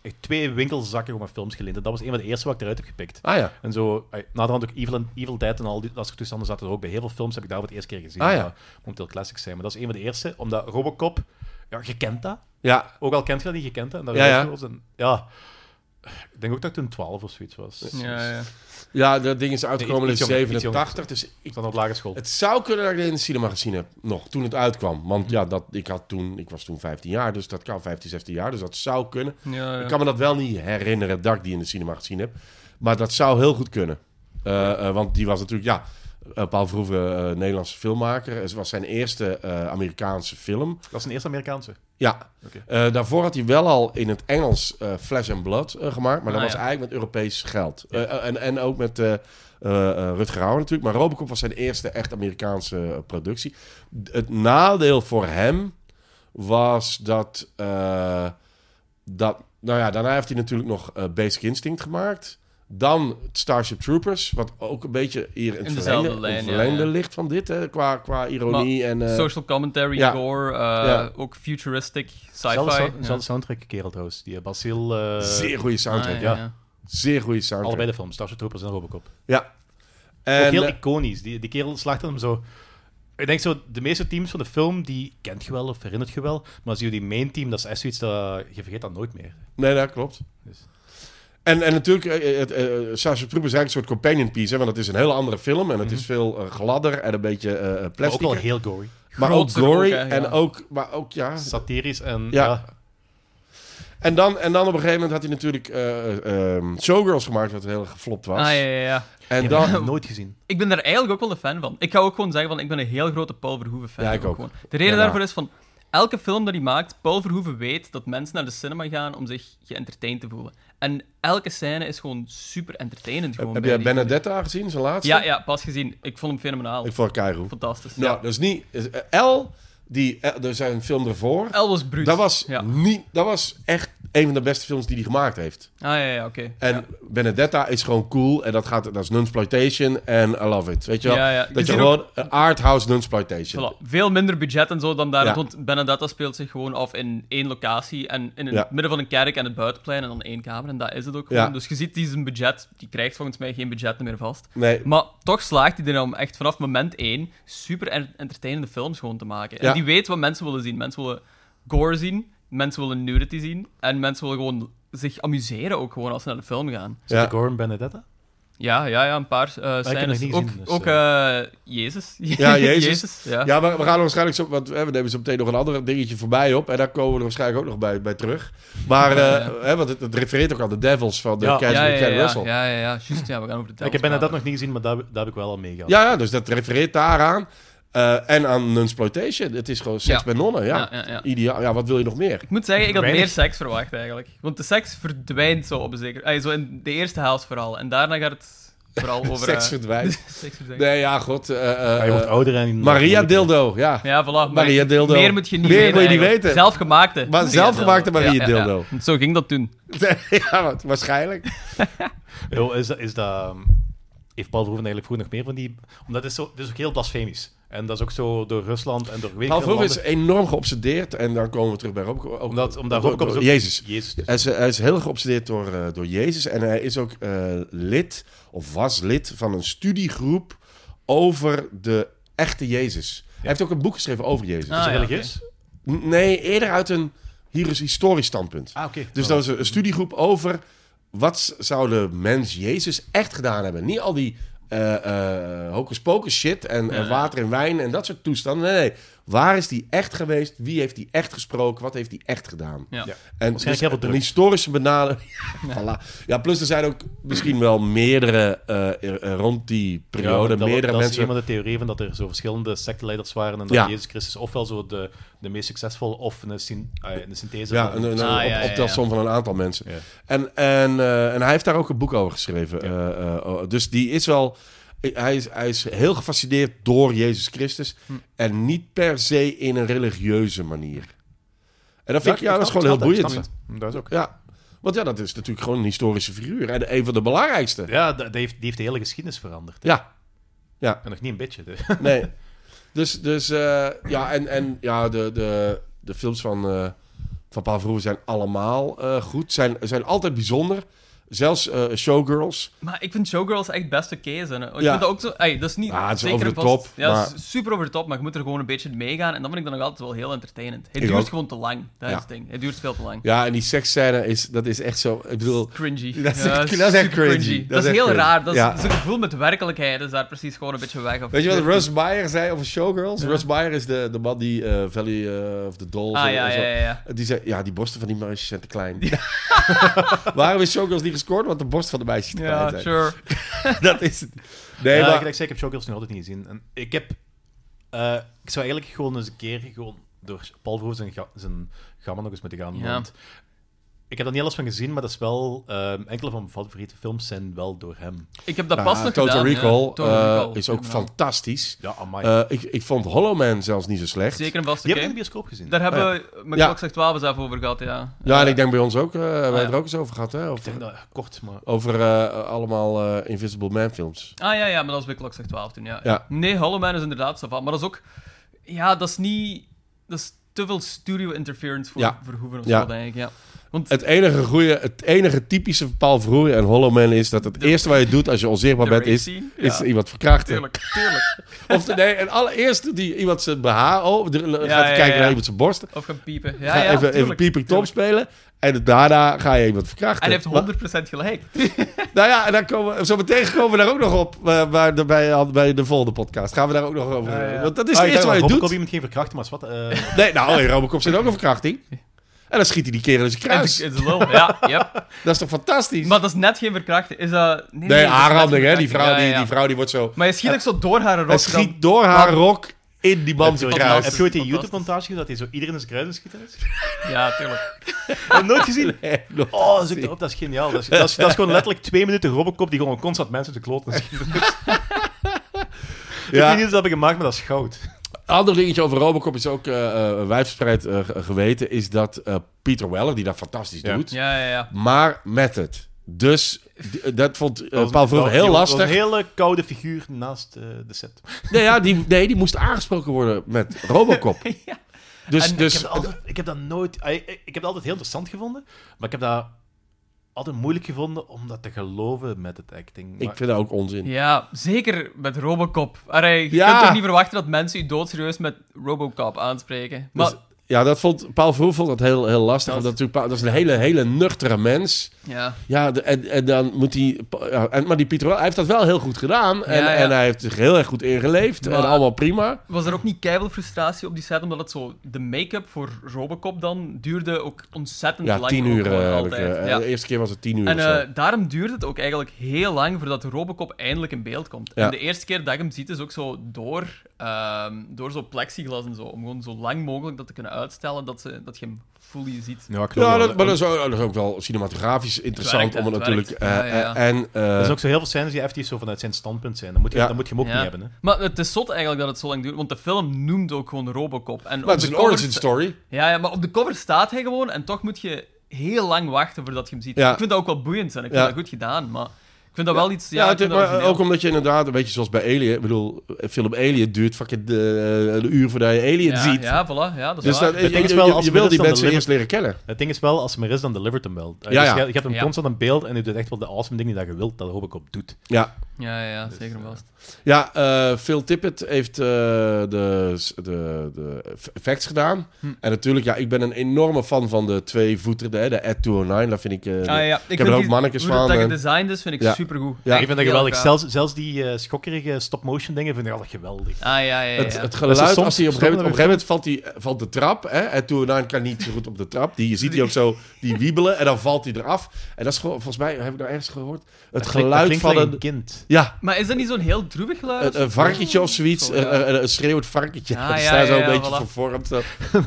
[SPEAKER 4] echt twee winkelzakken gewoon met films geleend. En dat was een van de eerste wat ik eruit heb gepikt.
[SPEAKER 2] ah ja.
[SPEAKER 4] En zo, ey, naderhand ook Evil, en- Evil Dead en al die, dat soort toestanden zaten er ook bij. Heel veel films heb ik daar voor het eerste keer gezien.
[SPEAKER 2] Ah, ja.
[SPEAKER 4] Dat momenteel classics zijn. Maar dat is een van de eerste, omdat Robocop, ja, je kent dat.
[SPEAKER 2] Ja,
[SPEAKER 4] Ook al kent je dat niet, je kent dat. En dat
[SPEAKER 2] Ja,
[SPEAKER 4] weet
[SPEAKER 2] ja.
[SPEAKER 4] je wel. En, ja. Ik denk ook dat ik toen 12 of zoiets was. Dus
[SPEAKER 3] Ja, ja.
[SPEAKER 2] ja dat ding is uitgekomen
[SPEAKER 4] Nee,
[SPEAKER 2] in
[SPEAKER 4] iets jonger, iets
[SPEAKER 2] 87. Dus ik,
[SPEAKER 4] dan op lagere school.
[SPEAKER 2] het zou kunnen dat ik dit in de cinema gezien heb, nog, toen het uitkwam. Want ja, dat, ik, had toen, ik was toen 15 jaar, dus dat kan 15, 16 jaar. Dus dat zou kunnen.
[SPEAKER 3] ja, ja.
[SPEAKER 2] Ik kan me dat wel niet herinneren dat ik die in de cinema gezien heb. Maar dat zou heel goed kunnen. Eh, eh, want die was natuurlijk, ja, eh, Paul Verhoeven, eh, Nederlandse filmmaker. Het was zijn eerste eh, Amerikaanse film.
[SPEAKER 4] Dat is een eerste Amerikaanse.
[SPEAKER 2] Ja.
[SPEAKER 4] Oké.
[SPEAKER 2] Eh, daarvoor had hij wel al in het Engels eh, Flash and Blood eh, gemaakt. Maar dat
[SPEAKER 3] Ah,
[SPEAKER 2] was
[SPEAKER 3] ja.
[SPEAKER 2] eigenlijk met Europees geld. Eh, eh, en, en ook met eh eh, eh, Rutger Hauer natuurlijk. Maar Robocop was zijn eerste echt Amerikaanse eh, productie. D- Het nadeel voor hem was dat... eh, dat nou ja, daarna heeft hij natuurlijk nog eh, Basic Instinct gemaakt. Dan Starship Troopers, wat ook een beetje hier in het
[SPEAKER 3] In dezelfde
[SPEAKER 2] verlengde, in het
[SPEAKER 3] lijn, ja,
[SPEAKER 2] verlengde
[SPEAKER 3] ja.
[SPEAKER 2] ligt van dit. Hè, qua, qua ironie en... eh,
[SPEAKER 3] Social commentary,
[SPEAKER 2] ja.
[SPEAKER 3] gore, eh,
[SPEAKER 2] Ja.
[SPEAKER 3] ook futuristic,
[SPEAKER 4] Zelfde,
[SPEAKER 3] sci-fi.
[SPEAKER 4] sound-
[SPEAKER 3] Ja.
[SPEAKER 4] zelfde soundtrack kerel trouwens. Die eh, Basil... eh,
[SPEAKER 2] zeer goede soundtrack.
[SPEAKER 3] Ah,
[SPEAKER 4] ja.
[SPEAKER 2] Zeer goede soundtrack.
[SPEAKER 4] Allebei de films, Starship Troopers en Robocop.
[SPEAKER 2] Ja.
[SPEAKER 4] ook
[SPEAKER 2] En,
[SPEAKER 4] heel
[SPEAKER 2] eh,
[SPEAKER 4] iconisch. Die, die kerel slaagt hem zo... Ik denk zo, de meeste teams van de film, die kent je wel of herinnert je wel. Maar als jullie main team, dat is echt zoiets dat... Je vergeet dat nooit meer.
[SPEAKER 2] nee, dat klopt.
[SPEAKER 4] Dus-
[SPEAKER 2] En, en natuurlijk, eh, het, eh, Starship Troopers is eigenlijk een soort companion piece, hè, want het is een hele andere film en het
[SPEAKER 3] Mhm.
[SPEAKER 2] is veel eh, gladder en een beetje eh
[SPEAKER 4] Maar ook
[SPEAKER 2] plastic.
[SPEAKER 4] wel heel gory.
[SPEAKER 2] Maar ook
[SPEAKER 3] groter ook,
[SPEAKER 2] glory
[SPEAKER 3] hè, ja.
[SPEAKER 2] en ook, maar ook ja.
[SPEAKER 4] Satirisch en...
[SPEAKER 2] Ja.
[SPEAKER 4] Ja.
[SPEAKER 2] En dan, en dan op een gegeven moment had hij natuurlijk eh, eh, Showgirls gemaakt, wat heel geflopt was.
[SPEAKER 3] Ah, ja, ja, ja.
[SPEAKER 2] En
[SPEAKER 4] Die
[SPEAKER 2] dan,
[SPEAKER 4] heb ik nooit gezien.
[SPEAKER 3] Ik ben daar eigenlijk ook wel een fan van. Ik ga ook gewoon zeggen, van, ik ben een heel grote Paul Verhoeven fan.
[SPEAKER 2] Ja, ik ook.
[SPEAKER 3] Gewoon. De reden
[SPEAKER 2] Ja,
[SPEAKER 3] daarvoor
[SPEAKER 2] ja.
[SPEAKER 3] is van... Elke film dat hij maakt, Paul Verhoeven weet dat mensen naar de cinema gaan om zich geëntertained te voelen. En elke scène is gewoon super entertainend. Gewoon
[SPEAKER 2] heb
[SPEAKER 3] bij
[SPEAKER 2] jij
[SPEAKER 3] die-
[SPEAKER 2] Benedetta gezien, zijn laatste?
[SPEAKER 3] Ja, ja, pas gezien. Ik vond hem fenomenaal.
[SPEAKER 2] Ik vond het keigoed.
[SPEAKER 3] Fantastisch.
[SPEAKER 2] Nou, dat is niet... is- eh, L, die, eh, er zijn een film ervoor.
[SPEAKER 3] ja. El was bruut.
[SPEAKER 2] Dat was,
[SPEAKER 3] Ja.
[SPEAKER 2] niet, dat was echt een van de beste films die hij gemaakt heeft.
[SPEAKER 3] Ah ja, ja oké.
[SPEAKER 2] En
[SPEAKER 3] ja.
[SPEAKER 2] Benedetta is gewoon cool. En dat, gaat, dat is nunsploitation. En I love it. Weet je wel?
[SPEAKER 3] Ja, ja. Je
[SPEAKER 2] Dat je
[SPEAKER 3] ziet
[SPEAKER 2] gewoon een arthouse nunsploitation.
[SPEAKER 3] Voilà. Veel minder budget en zo dan daar.
[SPEAKER 2] Ja.
[SPEAKER 3] Want Benedetta speelt zich gewoon af in één locatie. En in het
[SPEAKER 2] Ja.
[SPEAKER 3] midden van een kerk en het buitenplein. En dan één kamer. En dat is het ook
[SPEAKER 2] Ja.
[SPEAKER 3] gewoon. Dus je ziet, die zijn budget. Die krijgt volgens mij geen budget meer vast.
[SPEAKER 2] Nee,
[SPEAKER 3] Maar toch slaagt hij er om echt vanaf moment één super en- entertainende films gewoon te maken.
[SPEAKER 2] Ja.
[SPEAKER 3] En die weet wat mensen willen zien. Mensen willen gore zien. Mensen willen nudity zien. En mensen willen gewoon zich amuseren ook gewoon als ze naar de film gaan.
[SPEAKER 4] Is dat
[SPEAKER 2] Ja.
[SPEAKER 4] de Gordon Benedetta?
[SPEAKER 3] Ja, ja, ja, een paar eh
[SPEAKER 4] heb
[SPEAKER 3] scènes.
[SPEAKER 4] nog niet
[SPEAKER 3] ook
[SPEAKER 4] gezien, dus,
[SPEAKER 3] ook eh, Jezus.
[SPEAKER 2] Ja, Jezus.
[SPEAKER 3] ja.
[SPEAKER 2] Ja, maar we gaan er waarschijnlijk zo... Want hè, we nemen zo meteen nog een ander dingetje voorbij op. En daar komen we er waarschijnlijk ook nog bij, bij terug. Maar, eh
[SPEAKER 3] Ja, ja.
[SPEAKER 2] hè, want het, het refereert ook aan de Devils van de
[SPEAKER 4] Ja.
[SPEAKER 2] Keizer
[SPEAKER 3] ja,
[SPEAKER 2] van
[SPEAKER 3] ja,
[SPEAKER 2] Ken
[SPEAKER 3] ja,
[SPEAKER 2] Russell. Ja.
[SPEAKER 3] ja, ja, ja, juist, ja, we gaan over de
[SPEAKER 4] ik heb Benedetta nog niet gezien, maar daar, daar heb ik wel al mee gehad.
[SPEAKER 2] Ja, dus dat refereert daaraan. Eh, en aan Nunsploitation. Het is gewoon seks
[SPEAKER 3] Ja.
[SPEAKER 2] met nonnen, ja.
[SPEAKER 3] Ja, ja, ja.
[SPEAKER 2] Ideaal. Ja, wat wil je nog meer?
[SPEAKER 3] Ik moet zeggen, ik had
[SPEAKER 4] Weinig.
[SPEAKER 3] meer seks verwacht eigenlijk. Want de seks verdwijnt zo op een zeker... ay, zo in de eerste helft vooral. En daarna gaat het vooral over...
[SPEAKER 2] Seks
[SPEAKER 3] eh,
[SPEAKER 2] verdwijnt.
[SPEAKER 3] seks verdwijnt.
[SPEAKER 2] Nee, ja, god. eh, eh,
[SPEAKER 4] Hij wordt
[SPEAKER 2] eh,
[SPEAKER 4] ouder en...
[SPEAKER 2] Maria Dildo, ja.
[SPEAKER 3] Ja, voilà. maar
[SPEAKER 2] Maria Dildo.
[SPEAKER 3] Meer moet je niet
[SPEAKER 2] Meer
[SPEAKER 3] weten.
[SPEAKER 2] wil je niet
[SPEAKER 3] eigenlijk.
[SPEAKER 2] weten.
[SPEAKER 3] Zelfgemaakte.
[SPEAKER 2] Maar
[SPEAKER 3] Maria
[SPEAKER 2] zelfgemaakte
[SPEAKER 3] Dildo.
[SPEAKER 2] Maria
[SPEAKER 3] Ja, ja, ja.
[SPEAKER 2] Dildo.
[SPEAKER 3] Want Zo ging dat toen.
[SPEAKER 2] ja, wat- waarschijnlijk.
[SPEAKER 4] Yo, is dat, is dat, ehm, heeft Paul Verhoeven eigenlijk vroeger nog meer van die... Omdat het is, zo, het is ook heel blasfemisch. En dat is ook zo door Rusland en door weet ik
[SPEAKER 2] Paul
[SPEAKER 4] veel
[SPEAKER 2] Verhoeven is
[SPEAKER 4] landen.
[SPEAKER 2] enorm geobsedeerd. En dan komen we terug bij Rob. Ook,
[SPEAKER 4] Omdat, omdat
[SPEAKER 2] door-
[SPEAKER 4] Rob Cobbs
[SPEAKER 2] door-
[SPEAKER 4] ook-
[SPEAKER 2] Jezus.
[SPEAKER 4] Jezus.
[SPEAKER 2] Hij is, hij is heel geobsedeerd door, eh, door Jezus. En hij is ook eh, lid, of was lid, van een studiegroep over de echte Jezus. Hij heeft ook een boek geschreven over Jezus.
[SPEAKER 3] Ah,
[SPEAKER 4] is
[SPEAKER 3] ja,
[SPEAKER 4] het religieus?
[SPEAKER 2] N- Nee, eerder uit een hier is historisch standpunt.
[SPEAKER 4] Ah, oké.
[SPEAKER 2] Dus dat was een, een studiegroep over wat s- zou de mens Jezus echt gedaan hebben. Niet al die eh eh hocus pocus shit en eh,
[SPEAKER 3] Ja.
[SPEAKER 2] water en wijn en dat soort toestanden. Nee, nee. Waar is die echt geweest? Wie heeft die echt gesproken? Wat heeft die echt gedaan?
[SPEAKER 3] Ja.
[SPEAKER 4] Ja.
[SPEAKER 2] En dus
[SPEAKER 4] Waarschijnlijk heel veel
[SPEAKER 2] een
[SPEAKER 4] drugs.
[SPEAKER 2] historische benadering. voilà. Ja, plus er zijn ook misschien wel meerdere eh, er- er rond die periode,
[SPEAKER 4] dat,
[SPEAKER 2] meerdere
[SPEAKER 4] dat is
[SPEAKER 2] mensen.
[SPEAKER 4] een van de theorieën van dat er zo verschillende secteleiders waren en dat
[SPEAKER 2] Ja.
[SPEAKER 4] Jezus Christus ofwel zo de, de meest succesvolle of een, syn, ah, een synthese
[SPEAKER 2] Ja,
[SPEAKER 4] van-
[SPEAKER 2] een, een,
[SPEAKER 3] Ah, ja, ja,
[SPEAKER 2] op,
[SPEAKER 3] ja.
[SPEAKER 2] optelsom van een aantal mensen.
[SPEAKER 4] Ja.
[SPEAKER 2] En, en, eh, en hij heeft daar ook een boek over geschreven.
[SPEAKER 4] Ja.
[SPEAKER 2] Eh, eh, oh, dus die is wel. Hij is, hij is heel gefascineerd door Jezus Christus.
[SPEAKER 4] Hm.
[SPEAKER 2] En niet per se in een religieuze manier. En dat vind ik, ja, dat is gewoon heel
[SPEAKER 4] snap dat, ik
[SPEAKER 2] boeiend.
[SPEAKER 4] snap dat. Dat is ook.
[SPEAKER 2] Ja. Want ja, dat is natuurlijk gewoon een historische figuur. En een van de belangrijkste.
[SPEAKER 4] Ja, dat, die, heeft, die heeft de hele geschiedenis veranderd.
[SPEAKER 2] Ja,
[SPEAKER 4] En nog niet een beetje. de-
[SPEAKER 2] nee. Dus, dus eh, ja, en, en ja, de, de, de films van, eh van Paul Verhoeven zijn allemaal eh, goed. Zijn, zijn altijd bijzonder. Zelfs eh, Showgirls.
[SPEAKER 3] Maar ik vind Showgirls echt best oké zijn. hè. Ik
[SPEAKER 2] Ja.
[SPEAKER 3] vind dat ook zo... ay, dat is niet...
[SPEAKER 2] Ja, het is
[SPEAKER 3] zeker
[SPEAKER 2] over de
[SPEAKER 3] en vast-
[SPEAKER 2] top,
[SPEAKER 3] Ja,
[SPEAKER 2] maar-
[SPEAKER 3] het is super over de top, maar je moet er gewoon een beetje meegaan. En dan vind ik dat nog altijd wel heel entertainend. Het
[SPEAKER 2] Ik
[SPEAKER 3] duurt
[SPEAKER 2] ook.
[SPEAKER 3] gewoon te lang. Dat
[SPEAKER 2] Ja.
[SPEAKER 3] is het ding. Het duurt veel te lang.
[SPEAKER 2] Ja, en die seksscène is, dat is echt zo... Ik bedoel,
[SPEAKER 3] Cringy.
[SPEAKER 2] Dat is
[SPEAKER 3] Ja,
[SPEAKER 2] echt- dat is echt
[SPEAKER 3] super
[SPEAKER 2] cringy.
[SPEAKER 3] Dat,
[SPEAKER 2] Dat is
[SPEAKER 3] is
[SPEAKER 2] echt
[SPEAKER 3] heel
[SPEAKER 2] cringy.
[SPEAKER 3] raar. Dat is,
[SPEAKER 2] Ja.
[SPEAKER 3] het gevoel met werkelijkheid is daar precies gewoon een beetje weg. Of
[SPEAKER 2] weet je wat Russ Meyer zei over Showgirls?
[SPEAKER 3] Ja.
[SPEAKER 2] Russ Meyer is de, de man die eh, Valley eh, of the Dolls...
[SPEAKER 3] Ah
[SPEAKER 2] en-
[SPEAKER 3] ja,
[SPEAKER 2] en zo.
[SPEAKER 3] ja, ja. ja.
[SPEAKER 2] Die zei, ja, die borsten van die meisjes zijn te klein. Waarom is Showgirls niet gescoord? Want de borst van de meisjes te klein
[SPEAKER 3] Ja,
[SPEAKER 2] zijn.
[SPEAKER 3] sure.
[SPEAKER 2] Dat is het. Nee,
[SPEAKER 4] ja,
[SPEAKER 2] maar...
[SPEAKER 4] ik, ik, zei, ik heb Showgirls nog altijd niet gezien. En ik heb... eh, ik zou eigenlijk gewoon eens een keer gewoon door Paul Verhoeven zijn, ga, zijn gamma nog eens moeten gaan.
[SPEAKER 3] Ja.
[SPEAKER 4] Want ik heb er niet alles van gezien, maar dat is wel... ehm, enkele van mijn favoriete films zijn wel door hem.
[SPEAKER 3] Ik heb dat
[SPEAKER 2] Ja,
[SPEAKER 3] pas nog
[SPEAKER 2] Nou, Total
[SPEAKER 3] gedaan. ja.
[SPEAKER 2] Recall,
[SPEAKER 3] Total
[SPEAKER 2] eh,
[SPEAKER 3] Recall,
[SPEAKER 2] is ook
[SPEAKER 3] fenomenaal.
[SPEAKER 2] fantastisch.
[SPEAKER 4] Ja, amai.
[SPEAKER 2] Eh, ik, ik vond Hollow Man zelfs niet zo slecht.
[SPEAKER 3] Zeker en vast
[SPEAKER 4] die
[SPEAKER 3] oké.
[SPEAKER 4] heb ik in de bioscoop gezien.
[SPEAKER 3] Daar hebben
[SPEAKER 2] Oh
[SPEAKER 3] we mijn
[SPEAKER 2] Ja.
[SPEAKER 3] klok zegt 12 zelf over gehad, ja.
[SPEAKER 2] Ja, en
[SPEAKER 3] Eh,
[SPEAKER 2] ik denk bij ons ook. eh hebben we
[SPEAKER 3] ja.
[SPEAKER 2] het er ook eens over gehad, hè?
[SPEAKER 4] Ik
[SPEAKER 2] Over,
[SPEAKER 4] denk dat- kort, maar...
[SPEAKER 2] over eh, allemaal eh, Invisible Man films.
[SPEAKER 3] Ah ja, ja, maar dat was bij klok zegt 12 toen, ja.
[SPEAKER 2] Ja.
[SPEAKER 3] Nee, Hollow Man is inderdaad zo van. Maar dat is ook... Ja, dat is niet... Dat is te veel studio interference voor
[SPEAKER 2] Ja.
[SPEAKER 3] Verhoeven of
[SPEAKER 2] Ja.
[SPEAKER 3] zo, denk ik, ja. Want
[SPEAKER 2] Het enige goede, het enige typische van Paul Verhoeven en Hollow Man is dat het
[SPEAKER 3] De-
[SPEAKER 2] eerste wat je doet als je onzichtbaar
[SPEAKER 3] de
[SPEAKER 2] bent
[SPEAKER 3] race
[SPEAKER 2] is,
[SPEAKER 3] scene,
[SPEAKER 2] is
[SPEAKER 3] ja.
[SPEAKER 2] iemand verkrachten.
[SPEAKER 3] Tuurlijk, tuurlijk.
[SPEAKER 2] Of nee, en allereerst doet hij iemand zijn BH open, er- gaat
[SPEAKER 3] ja,
[SPEAKER 2] kijken
[SPEAKER 3] ja.
[SPEAKER 2] naar iemand zijn borsten.
[SPEAKER 3] Of gaan piepen. Ja,
[SPEAKER 2] Ga
[SPEAKER 3] ja,
[SPEAKER 2] even, even
[SPEAKER 3] tuurlijk,
[SPEAKER 2] Peeping Tom
[SPEAKER 3] tuurlijk.
[SPEAKER 2] spelen. En daarna ga je iemand verkrachten.
[SPEAKER 3] En hij
[SPEAKER 2] Maar-
[SPEAKER 3] heeft 100% gelijk.
[SPEAKER 2] Nou ja, en dan komen, we- zo meteen komen we daar ook nog op. Maar, maar de- bij, bij de volgende podcast gaan we daar ook nog over.
[SPEAKER 4] Ja, ja.
[SPEAKER 2] Want dat is het
[SPEAKER 3] Oh,
[SPEAKER 4] Ah, ik
[SPEAKER 2] eerste wat
[SPEAKER 4] dacht
[SPEAKER 2] je
[SPEAKER 4] dat
[SPEAKER 2] doet.
[SPEAKER 4] Robocop iemand geen verkrachten, maar is wat... eh,
[SPEAKER 2] Nee, nou, in Robocop zit ook een verkrachting. En dan schiet hij die kerel in zijn
[SPEAKER 3] En het
[SPEAKER 2] kruis.
[SPEAKER 3] is lul, ja, yep.
[SPEAKER 2] Dat is toch fantastisch?
[SPEAKER 3] Maar dat is net geen verkrachting. Is dat... Nee,
[SPEAKER 2] nee,
[SPEAKER 3] dat is net
[SPEAKER 2] aanranding,
[SPEAKER 3] geen
[SPEAKER 2] hè. Die vrouw,
[SPEAKER 3] verkrachting. Ja,
[SPEAKER 2] die,
[SPEAKER 3] ja,
[SPEAKER 2] die
[SPEAKER 3] ja.
[SPEAKER 2] vrouw die wordt zo...
[SPEAKER 3] Maar je schiet ook zo door haar rok.
[SPEAKER 2] Hij
[SPEAKER 3] dan-
[SPEAKER 2] schiet door haar
[SPEAKER 3] Wat?
[SPEAKER 2] rok in die man zijn
[SPEAKER 4] heb je
[SPEAKER 2] kruis.
[SPEAKER 4] ooit die
[SPEAKER 3] Fantastisch.
[SPEAKER 4] YouTube-montage gezien dat hij zo iedereen in zijn kruis schiet?
[SPEAKER 3] Ja, tuurlijk.
[SPEAKER 4] Heb je nooit gezien?
[SPEAKER 2] Nee, nog-
[SPEAKER 4] Oh, zoek dat op, dat is geniaal. Dat is, dat, is, dat is gewoon letterlijk twee minuten Robocop die gewoon constant mensen te kloten schiet. Ik weet
[SPEAKER 2] Ja,
[SPEAKER 4] niet of ze dat hebben gemaakt, maar dat is goud.
[SPEAKER 2] ander dingetje over Robocop is ook eh, eh, wijdverspreid eh, ge- geweten... is dat eh, Peter Weller, die dat fantastisch
[SPEAKER 4] Ja.
[SPEAKER 2] doet...
[SPEAKER 3] Ja, ja, ja.
[SPEAKER 2] maar met het. Dus d- dat vond eh,
[SPEAKER 4] Dat was-
[SPEAKER 2] Paul Verhoeven
[SPEAKER 4] dat-
[SPEAKER 2] heel
[SPEAKER 4] dat was
[SPEAKER 2] lastig.
[SPEAKER 4] Een hele koude figuur naast eh, de set.
[SPEAKER 2] Nee, ja, die, nee, die moest aangesproken worden met Robocop.
[SPEAKER 3] Ja.
[SPEAKER 2] Dus,
[SPEAKER 3] En
[SPEAKER 2] dus
[SPEAKER 4] ik, heb dat altijd, ik heb dat nooit... ah, Ik, ik heb dat altijd heel interessant gevonden, maar ik heb dat altijd moeilijk gevonden om dat te geloven met het acting.
[SPEAKER 2] ik
[SPEAKER 4] Maar-
[SPEAKER 2] vind dat ook onzin.
[SPEAKER 3] Ja, zeker met Robocop. Arre, je
[SPEAKER 2] Ja.
[SPEAKER 3] kunt toch niet verwachten dat mensen je doodserieus met Robocop aanspreken. Maar,
[SPEAKER 2] Dus- Ja, dat vond Paul Verhoeven vond dat heel, heel lastig. want
[SPEAKER 3] Dat-
[SPEAKER 2] dat, natuurlijk, Paul- dat is een hele, hele nuchtere mens.
[SPEAKER 3] ja.
[SPEAKER 2] Ja, de- en, en dan moet hij... ja, en, maar die Pieter Wel, hij heeft dat wel heel goed gedaan. En,
[SPEAKER 3] Ja, ja.
[SPEAKER 2] en hij heeft zich heel erg goed ingeleefd.
[SPEAKER 3] Maar-
[SPEAKER 2] En allemaal prima.
[SPEAKER 3] Was er ook niet keiveel frustratie op die set, omdat het zo... De make-up voor Robocop dan duurde ook ontzettend
[SPEAKER 2] Ja,
[SPEAKER 3] lang.
[SPEAKER 2] tien
[SPEAKER 3] ook
[SPEAKER 2] uur.
[SPEAKER 3] gewoon
[SPEAKER 2] eh, heb ik,
[SPEAKER 3] altijd.
[SPEAKER 2] eh,
[SPEAKER 3] ja.
[SPEAKER 2] De eerste keer was het tien uur
[SPEAKER 3] En
[SPEAKER 2] of zo.
[SPEAKER 3] eh, daarom duurde het ook eigenlijk heel lang voordat Robocop eindelijk in beeld komt.
[SPEAKER 2] Ja.
[SPEAKER 3] En de eerste keer dat je hem ziet is ook zo door, ehm, door zo'n plexiglas en zo. Om gewoon zo lang mogelijk dat te kunnen uitstellen dat, ze, dat je hem fully ziet.
[SPEAKER 4] Ja, ik geloof
[SPEAKER 2] ja,
[SPEAKER 4] wel.
[SPEAKER 2] dat, maar dat is, ook, dat is ook wel cinematografisch interessant.
[SPEAKER 3] werkt,
[SPEAKER 2] om het
[SPEAKER 3] het
[SPEAKER 2] natuurlijk...
[SPEAKER 3] werkt.
[SPEAKER 2] eh,
[SPEAKER 3] Ja, ja.
[SPEAKER 2] eh, En... eh,
[SPEAKER 4] Er zijn ook zo heel veel scènes die effectief zo vanuit zijn standpunt zijn. Dat moet je,
[SPEAKER 2] Ja.
[SPEAKER 4] dat moet je hem ook
[SPEAKER 3] Ja.
[SPEAKER 4] niet hebben, hè.
[SPEAKER 3] Maar het is zot eigenlijk dat het zo lang duurt, want de film noemt ook gewoon Robocop. En op
[SPEAKER 2] maar het is
[SPEAKER 3] de
[SPEAKER 2] een
[SPEAKER 3] cover
[SPEAKER 2] origin
[SPEAKER 3] sta-
[SPEAKER 2] story.
[SPEAKER 3] Ja, ja, maar op de cover staat hij gewoon en toch moet je heel lang wachten voordat je hem ziet.
[SPEAKER 2] Ja.
[SPEAKER 3] Ik vind dat ook wel boeiend zijn. Ik
[SPEAKER 2] Ja.
[SPEAKER 3] vind dat goed gedaan, maar ik vind dat wel iets... Ja,
[SPEAKER 2] Ja, het
[SPEAKER 3] ik
[SPEAKER 2] is,
[SPEAKER 3] vind dat
[SPEAKER 2] maar
[SPEAKER 3] origineel.
[SPEAKER 2] ook omdat je inderdaad, een beetje zoals bij Alien, ik bedoel, een film Alien duurt fucking eh, een uur voordat je Alien
[SPEAKER 3] ja,
[SPEAKER 2] ziet.
[SPEAKER 3] Ja, voilà, ja, dat is
[SPEAKER 2] Dus
[SPEAKER 3] waar.
[SPEAKER 2] dat, je,
[SPEAKER 4] Het ding is
[SPEAKER 2] je-
[SPEAKER 4] wel,
[SPEAKER 2] je-
[SPEAKER 4] als
[SPEAKER 2] je
[SPEAKER 4] we
[SPEAKER 2] wil
[SPEAKER 4] dit
[SPEAKER 2] die
[SPEAKER 4] dan
[SPEAKER 2] mensen
[SPEAKER 4] de
[SPEAKER 2] eerst leren kennen.
[SPEAKER 4] Het ding is wel, als er maar is, dan delivert hem wel. Eh,
[SPEAKER 2] Ja,
[SPEAKER 4] dus
[SPEAKER 2] ja.
[SPEAKER 4] Je, je hebt hem
[SPEAKER 3] Ja.
[SPEAKER 4] constant een beeld en hij doet echt wel de awesome dingen die dat je wilt dat Robocop doet.
[SPEAKER 2] Ja,
[SPEAKER 3] Ja, ja, ja, zeker wel.
[SPEAKER 2] ja eh, Phil Tippett heeft eh, de, de, de effects gedaan.
[SPEAKER 3] Hm.
[SPEAKER 2] En natuurlijk, ja, ik ben een enorme fan van de twee voeten, de, de Ad 209. Dat vind ik... eh,
[SPEAKER 3] Ah, ja. Ik,
[SPEAKER 2] heb
[SPEAKER 3] vind
[SPEAKER 2] er ook
[SPEAKER 3] die-
[SPEAKER 2] mannetjes
[SPEAKER 3] hoe dat
[SPEAKER 2] van
[SPEAKER 3] dat
[SPEAKER 2] en-
[SPEAKER 3] gedesigned is, vind ik
[SPEAKER 2] Ja.
[SPEAKER 3] supergoed.
[SPEAKER 2] Ja.
[SPEAKER 3] Echt
[SPEAKER 4] ik vind dat
[SPEAKER 3] heel
[SPEAKER 4] geweldig.
[SPEAKER 3] gaaf.
[SPEAKER 4] Zelfs, zelfs die eh, schokkerige stop-motion dingen vind ik altijd geweldig.
[SPEAKER 3] Ah, ja, ja, ja.
[SPEAKER 2] Het,
[SPEAKER 3] ja.
[SPEAKER 2] het
[SPEAKER 4] Dat
[SPEAKER 2] geluid,
[SPEAKER 4] is soms-
[SPEAKER 2] als hij op een
[SPEAKER 4] soms
[SPEAKER 2] gegeven moment, op een gegeven moment valt, hij, eh, valt de trap. Hè? En Tournaan kan niet zo goed op de trap. Die, je ziet die ook zo die wiebelen en dan valt hij eraf. En dat is gewoon, volgens mij, heb ik nou ergens gehoord, het
[SPEAKER 4] Dat klinkt- dat
[SPEAKER 2] geluid
[SPEAKER 4] klinkt
[SPEAKER 2] van
[SPEAKER 4] like
[SPEAKER 2] een...
[SPEAKER 4] kind.
[SPEAKER 2] Ja,
[SPEAKER 3] Maar is dat niet zo'n heel droevig geluid?
[SPEAKER 2] een, een varkentje of zoiets.
[SPEAKER 3] Zo,
[SPEAKER 2] Een,
[SPEAKER 3] ja.
[SPEAKER 2] een- een schreeuwend varkentje.
[SPEAKER 3] Ah,
[SPEAKER 2] dat
[SPEAKER 3] ja,
[SPEAKER 2] staat zo
[SPEAKER 3] ja,
[SPEAKER 2] een
[SPEAKER 3] ja,
[SPEAKER 2] beetje
[SPEAKER 3] voilà.
[SPEAKER 2] vervormd. eh.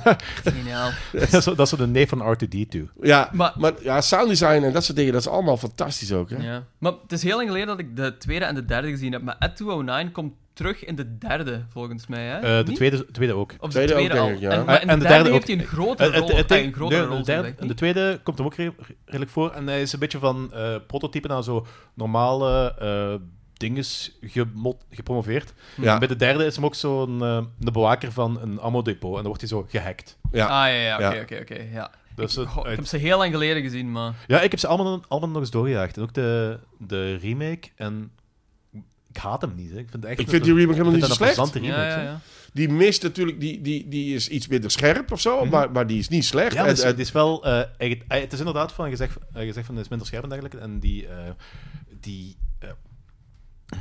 [SPEAKER 2] Dat-
[SPEAKER 3] Geniaal.
[SPEAKER 4] dat, is zo, dat is zo de neef van R2-D2.
[SPEAKER 2] Ja, maar,
[SPEAKER 3] Maar-
[SPEAKER 2] ja, sound design en dat soort dingen, dat is allemaal fantastisch ook. Hè?
[SPEAKER 3] Ja. Maar het is heel lang geleden dat ik de tweede en de derde gezien heb. Maar Ed 209 komt terug in de derde, volgens mij. Hè?
[SPEAKER 4] Eh, de
[SPEAKER 3] Niet?
[SPEAKER 4] tweede, de tweede ook.
[SPEAKER 3] Of de
[SPEAKER 2] Tweede
[SPEAKER 3] tweede,
[SPEAKER 2] ook,
[SPEAKER 3] al.
[SPEAKER 2] denk ik, ja.
[SPEAKER 3] en, maar in de, derde, heeft hij een grote
[SPEAKER 4] Eh,
[SPEAKER 3] rol.
[SPEAKER 4] het- het- het-
[SPEAKER 3] eh, een grotere
[SPEAKER 4] nee,
[SPEAKER 3] rol,
[SPEAKER 4] de, derde,
[SPEAKER 3] zeg ik
[SPEAKER 4] de
[SPEAKER 3] niet.
[SPEAKER 4] tweede komt hem ook re- redelijk voor. En hij is een beetje van eh, prototype naar zo normale eh dinges gemot- gepromoveerd.
[SPEAKER 2] Ja,
[SPEAKER 4] Bij de derde is hem ook zo'n eh, de bewaker van een ammo-depot. En dan wordt hij zo gehackt.
[SPEAKER 2] ja.
[SPEAKER 3] Ah, ja, ja, oké,
[SPEAKER 2] Ja.
[SPEAKER 3] oké, oké, ja.
[SPEAKER 4] Dus
[SPEAKER 3] ik,
[SPEAKER 4] het-
[SPEAKER 3] goh, ik
[SPEAKER 4] het-
[SPEAKER 3] heb ze heel lang geleden gezien, maar...
[SPEAKER 4] Ja, ik heb ze allemaal, allemaal nog eens doorgejaagd. En ook de, de remake. En ik haat hem niet. Hè. Ik vind, echt
[SPEAKER 2] Ik vind die remake helemaal niet zo slecht.
[SPEAKER 4] plezante
[SPEAKER 3] Ja,
[SPEAKER 4] remake.
[SPEAKER 3] ja,
[SPEAKER 4] hè.
[SPEAKER 3] ja.
[SPEAKER 2] Die mist natuurlijk, die, die, die is iets minder scherp of zo, maar, Mhm. maar die is niet slecht.
[SPEAKER 4] Ja,
[SPEAKER 2] En-
[SPEAKER 4] het is,
[SPEAKER 2] en-
[SPEAKER 4] het is wel... eh, eigenlijk- eh, het is inderdaad van gezegd, eh, gezegd van, het is minder scherp en dergelijke. En die... eh, die eh,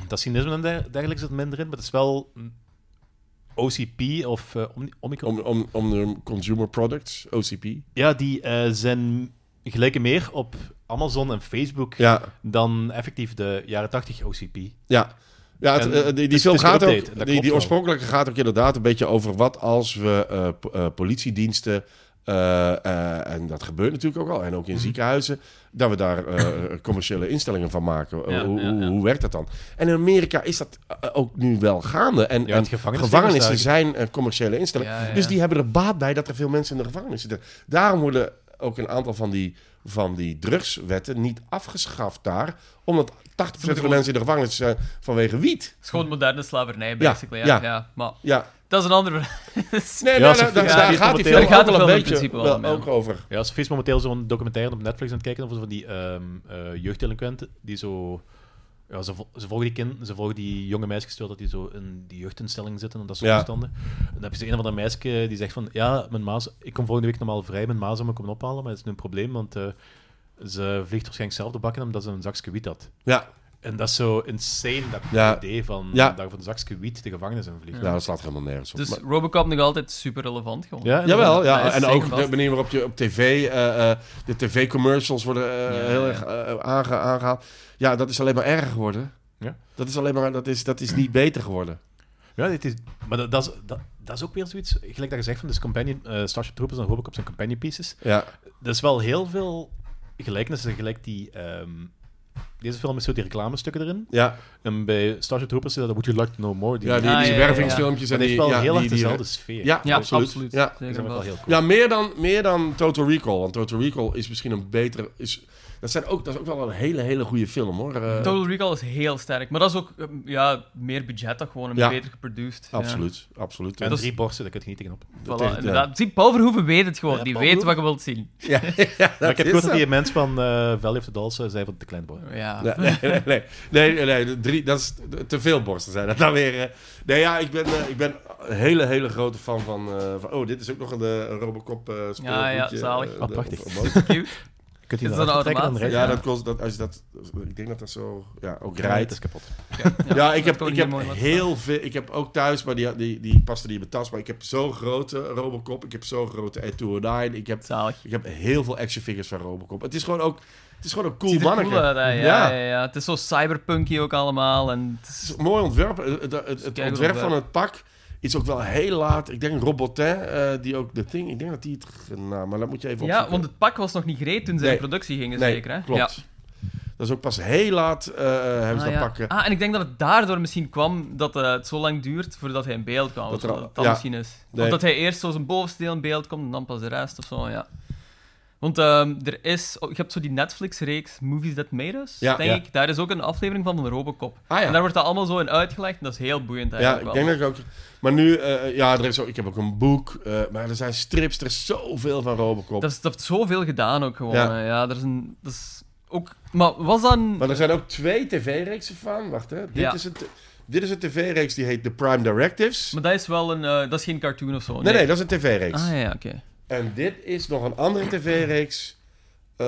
[SPEAKER 4] dat cynisme en der- dergelijke zit minder in, maar het is wel mm, OCP of eh, Omni- Omicron.
[SPEAKER 2] om, om, om de consumer products, OCP.
[SPEAKER 4] Ja, die eh, zijn gelijken meer op Amazon en Facebook
[SPEAKER 2] Ja,
[SPEAKER 4] dan effectief de jaren 80 OCP.
[SPEAKER 2] Ja, ja het-
[SPEAKER 4] En
[SPEAKER 2] eh, die, die
[SPEAKER 4] is-
[SPEAKER 2] film
[SPEAKER 4] het is
[SPEAKER 2] gaat
[SPEAKER 4] geüpdate, dat
[SPEAKER 2] ook, die,
[SPEAKER 4] klopt
[SPEAKER 2] die
[SPEAKER 4] wel.
[SPEAKER 2] oorspronkelijke gaat ook inderdaad een beetje over wat als we eh, po- eh, politiediensten, eh, eh, en dat gebeurt natuurlijk ook al, en ook
[SPEAKER 4] Mhm.
[SPEAKER 2] in ziekenhuizen, dat we daar eh, commerciële instellingen van maken. Eh,
[SPEAKER 3] Ja,
[SPEAKER 2] hoe,
[SPEAKER 3] ja,
[SPEAKER 2] hoe-
[SPEAKER 3] ja.
[SPEAKER 2] hoe werkt dat dan? En in Amerika is dat eh, ook nu wel gaande. En,
[SPEAKER 4] Ja,
[SPEAKER 2] en
[SPEAKER 4] het gevangenissysteem
[SPEAKER 2] gevangenissen
[SPEAKER 4] is
[SPEAKER 2] zijn eh, commerciële instellingen.
[SPEAKER 3] Ja, ja,
[SPEAKER 2] Dus
[SPEAKER 3] ja.
[SPEAKER 2] die hebben er baat bij dat er veel mensen in de gevangenis zitten. Daarom worden ook een aantal van die, van die drugswetten niet afgeschaft daar, omdat 80% van de mensen in de gevangenis zijn vanwege wiet.
[SPEAKER 3] Het is gewoon moderne slavernij,
[SPEAKER 2] Ja,
[SPEAKER 3] basically. Ja,
[SPEAKER 2] ja.
[SPEAKER 3] ja. maar
[SPEAKER 2] Ja,
[SPEAKER 3] dat is een andere... verhaal.
[SPEAKER 2] nee,
[SPEAKER 4] Ja,
[SPEAKER 2] nee,
[SPEAKER 4] ze-
[SPEAKER 2] nee, daar,
[SPEAKER 3] ja,
[SPEAKER 2] daar
[SPEAKER 4] ze-
[SPEAKER 2] gaat die
[SPEAKER 4] ze-
[SPEAKER 2] film
[SPEAKER 3] daar gaat
[SPEAKER 2] ook wel een
[SPEAKER 3] de film in
[SPEAKER 2] beetje
[SPEAKER 3] principe wel
[SPEAKER 2] wel
[SPEAKER 3] om, ja.
[SPEAKER 2] ook over.
[SPEAKER 4] Ja, Sophie is momenteel zo'n documentaire op Netflix aan het kijken over zo van die ehm eh, jeugddelinquenten die zo... Ja, ze, vol- ze volgen die kind, ze volgen die jonge meisjes terwijl dat die zo in die jeugdinstelling zitten en dat soort
[SPEAKER 2] Ja.
[SPEAKER 4] toestanden. En dan heb je zo een of andere meisje die zegt van, ja, mijn maas, ik kom volgende week normaal vrij, mijn ma zou me komen ophalen, maar dat is nu een probleem, want eh, ze vliegt waarschijnlijk zelf de bakken omdat ze een zakje wiet had.
[SPEAKER 2] Ja,
[SPEAKER 4] En dat is zo insane, dat
[SPEAKER 2] Ja.
[SPEAKER 4] idee van
[SPEAKER 2] Ja.
[SPEAKER 4] daar van een zakje wiet de gevangenis in vliegt.
[SPEAKER 2] nou, dat slaat helemaal nergens op.
[SPEAKER 3] Dus
[SPEAKER 2] Maar-
[SPEAKER 3] Robocop nog altijd super relevant, gewoon.
[SPEAKER 2] Jawel, ja.
[SPEAKER 3] Ja, is
[SPEAKER 2] en
[SPEAKER 3] zeker
[SPEAKER 2] ook de
[SPEAKER 3] vast.
[SPEAKER 2] manier waarop je op tv, eh, eh, de tv-commercials worden eh,
[SPEAKER 3] Ja,
[SPEAKER 2] heel
[SPEAKER 3] ja.
[SPEAKER 2] erg eh, aange- aangehaald. Ja, dat is alleen maar erger geworden.
[SPEAKER 4] Ja.
[SPEAKER 2] Dat is alleen maar, dat is, dat is niet beter geworden.
[SPEAKER 4] Ja, dit is, maar dat, dat, is, dat, dat is ook weer zoiets, gelijk dat je zegt van dus companion, eh, Starship Troopers en Robocop zijn companion pieces.
[SPEAKER 2] Ja,
[SPEAKER 4] Er is wel heel veel gelijkenissen, gelijk die ehm, deze film is zo die reclamestukken erin.
[SPEAKER 2] Ja,
[SPEAKER 4] En bij Starship Troopers is dat Would You Like to Know More. Die,
[SPEAKER 2] ja die,
[SPEAKER 3] Ah,
[SPEAKER 2] die
[SPEAKER 3] ja, ja,
[SPEAKER 2] wervingsfilmpjes.
[SPEAKER 4] dat
[SPEAKER 2] en
[SPEAKER 4] heeft wel
[SPEAKER 2] die, ja,
[SPEAKER 4] heel
[SPEAKER 2] die-
[SPEAKER 4] erg
[SPEAKER 2] die-
[SPEAKER 4] dezelfde sfeer.
[SPEAKER 2] Ja,
[SPEAKER 3] Ja,
[SPEAKER 2] absoluut.
[SPEAKER 3] absoluut.
[SPEAKER 2] Ja.
[SPEAKER 4] dat is
[SPEAKER 3] Zeker
[SPEAKER 4] wel
[SPEAKER 3] wel.
[SPEAKER 4] heel cool.
[SPEAKER 2] Ja, meer dan, meer dan Total Recall. Want Total Recall is misschien een betere... Is, dat, zijn ook, dat is ook wel een hele, hele goede film, hoor. Eh,
[SPEAKER 3] Total Recall is heel sterk. Maar dat is ook eh, ja, meer budget dan gewoon en
[SPEAKER 2] Ja.
[SPEAKER 3] beter geproduceerd.
[SPEAKER 2] Absoluut, absoluut.
[SPEAKER 4] En
[SPEAKER 2] Dat-
[SPEAKER 4] drie borsten, daar kun je niet tegenop.
[SPEAKER 3] Ja.
[SPEAKER 2] dat
[SPEAKER 3] Voilà,
[SPEAKER 2] tegen-
[SPEAKER 3] inderdaad. Zie, Paul Verhoeven weet het gewoon.
[SPEAKER 4] Ja,
[SPEAKER 3] Die
[SPEAKER 4] Paul
[SPEAKER 3] weet wat je wilt zien.
[SPEAKER 2] Ja, ja,
[SPEAKER 4] Maar ik heb
[SPEAKER 2] is
[SPEAKER 4] gehoord dat
[SPEAKER 2] het.
[SPEAKER 4] die mens van eh Valley of the Dolls eh, zei van de Klein Boy.
[SPEAKER 3] Ja.
[SPEAKER 2] Nee, nee, nee, nee, nee, nee, de drie, dat is te veel borsten zijn dat dan weer. eh. nee, ja, ik ben, eh, ik ben een hele, hele grote fan van, eh, van oh, dit is ook nog een, eh, een Robocop eh speelgoedje,
[SPEAKER 3] ja, zalig.
[SPEAKER 2] eh,
[SPEAKER 4] Wat
[SPEAKER 2] de-
[SPEAKER 4] prachtig.
[SPEAKER 2] of- of-
[SPEAKER 3] Cute.
[SPEAKER 4] Kunt je
[SPEAKER 3] Is
[SPEAKER 4] die
[SPEAKER 3] dat
[SPEAKER 4] nou
[SPEAKER 3] een
[SPEAKER 4] trekken dan
[SPEAKER 3] automaat?
[SPEAKER 4] rijdt?
[SPEAKER 2] ja, dat kost, dat, als je dat, ik denk dat dat zo, ja, ook
[SPEAKER 4] Ja, het
[SPEAKER 2] rijdt.
[SPEAKER 4] is kapot.
[SPEAKER 2] Ja, ik heb,
[SPEAKER 3] dat
[SPEAKER 2] ik
[SPEAKER 3] is
[SPEAKER 2] heb
[SPEAKER 3] mooi wat-
[SPEAKER 2] heel veel, ik heb ook thuis, maar die, die, die paste niet in mijn tas, maar ik heb zo'n grote Robocop, ik heb zo'n grote Ed209, ik heb,
[SPEAKER 3] Zalig.
[SPEAKER 2] ik heb heel veel action figures van Robocop. Het is gewoon ook, het is gewoon een cool
[SPEAKER 3] Het ziet er
[SPEAKER 2] manneke.
[SPEAKER 3] cool uit, hè.
[SPEAKER 2] Ja.
[SPEAKER 3] ja, ja. ja. Het is zo cyberpunky ook allemaal. En het is-
[SPEAKER 2] Het is een mooi ontwerp. Het, het- het
[SPEAKER 3] Kijk,
[SPEAKER 2] ontwerp van
[SPEAKER 3] Robert.
[SPEAKER 2] het pak is ook wel heel laat. Ik denk Robotin, eh, die ook de thing. Ik denk dat die het genaamd, maar dat moet je even
[SPEAKER 3] Ja,
[SPEAKER 2] opzoeken.
[SPEAKER 3] want het pak was nog niet gereed toen ze
[SPEAKER 2] Nee.
[SPEAKER 3] in productie gingen,
[SPEAKER 2] nee,
[SPEAKER 3] zeker. Hè? Ja.
[SPEAKER 2] klopt. Dat is ook pas heel laat eh, hebben ze
[SPEAKER 3] Ah,
[SPEAKER 2] dat
[SPEAKER 3] ja.
[SPEAKER 2] pakken.
[SPEAKER 3] Ah, en ik denk dat het daardoor misschien kwam dat eh, het zo lang duurt voordat hij in beeld kwam.
[SPEAKER 2] Dat
[SPEAKER 3] Dat,
[SPEAKER 2] er al-
[SPEAKER 3] dat, dat
[SPEAKER 2] ja.
[SPEAKER 3] misschien is.
[SPEAKER 2] Nee.
[SPEAKER 3] Of dat hij eerst zo zijn bovenste deel in beeld komt en dan pas de rest of zo, ja. Want ehm, er is... oh, je hebt zo die Netflix-reeks Movies That Made Us,
[SPEAKER 2] Ja.
[SPEAKER 3] denk
[SPEAKER 4] Ja.
[SPEAKER 3] ik. Daar is ook een aflevering van van Robocop.
[SPEAKER 2] Ah
[SPEAKER 3] En daar wordt dat allemaal zo in uitgelegd en dat is heel boeiend
[SPEAKER 2] Ja,
[SPEAKER 3] eigenlijk
[SPEAKER 2] ik
[SPEAKER 3] wel.
[SPEAKER 2] denk dat ik ook. Maar nu, eh, ja, er is ook, ik heb ook een boek. eh, maar er zijn strips, er is zoveel van Robocop.
[SPEAKER 3] Dat, is, dat heeft zoveel gedaan ook gewoon.
[SPEAKER 2] Ja.
[SPEAKER 3] Ja, ja dat, is een, dat is ook... Maar was dat een...
[SPEAKER 2] Maar er zijn ook twee tv-reeksen van. Wacht, hè. Dit,
[SPEAKER 3] Ja.
[SPEAKER 2] is een t- dit is een tv-reeks die heet The Prime Directives.
[SPEAKER 3] Maar dat is wel een... eh, dat is geen cartoon of zo.
[SPEAKER 2] Nee, nee, dat is een tv-reeks.
[SPEAKER 3] Ah ja, oké.
[SPEAKER 2] En dit is nog een andere tv-reeks. eh,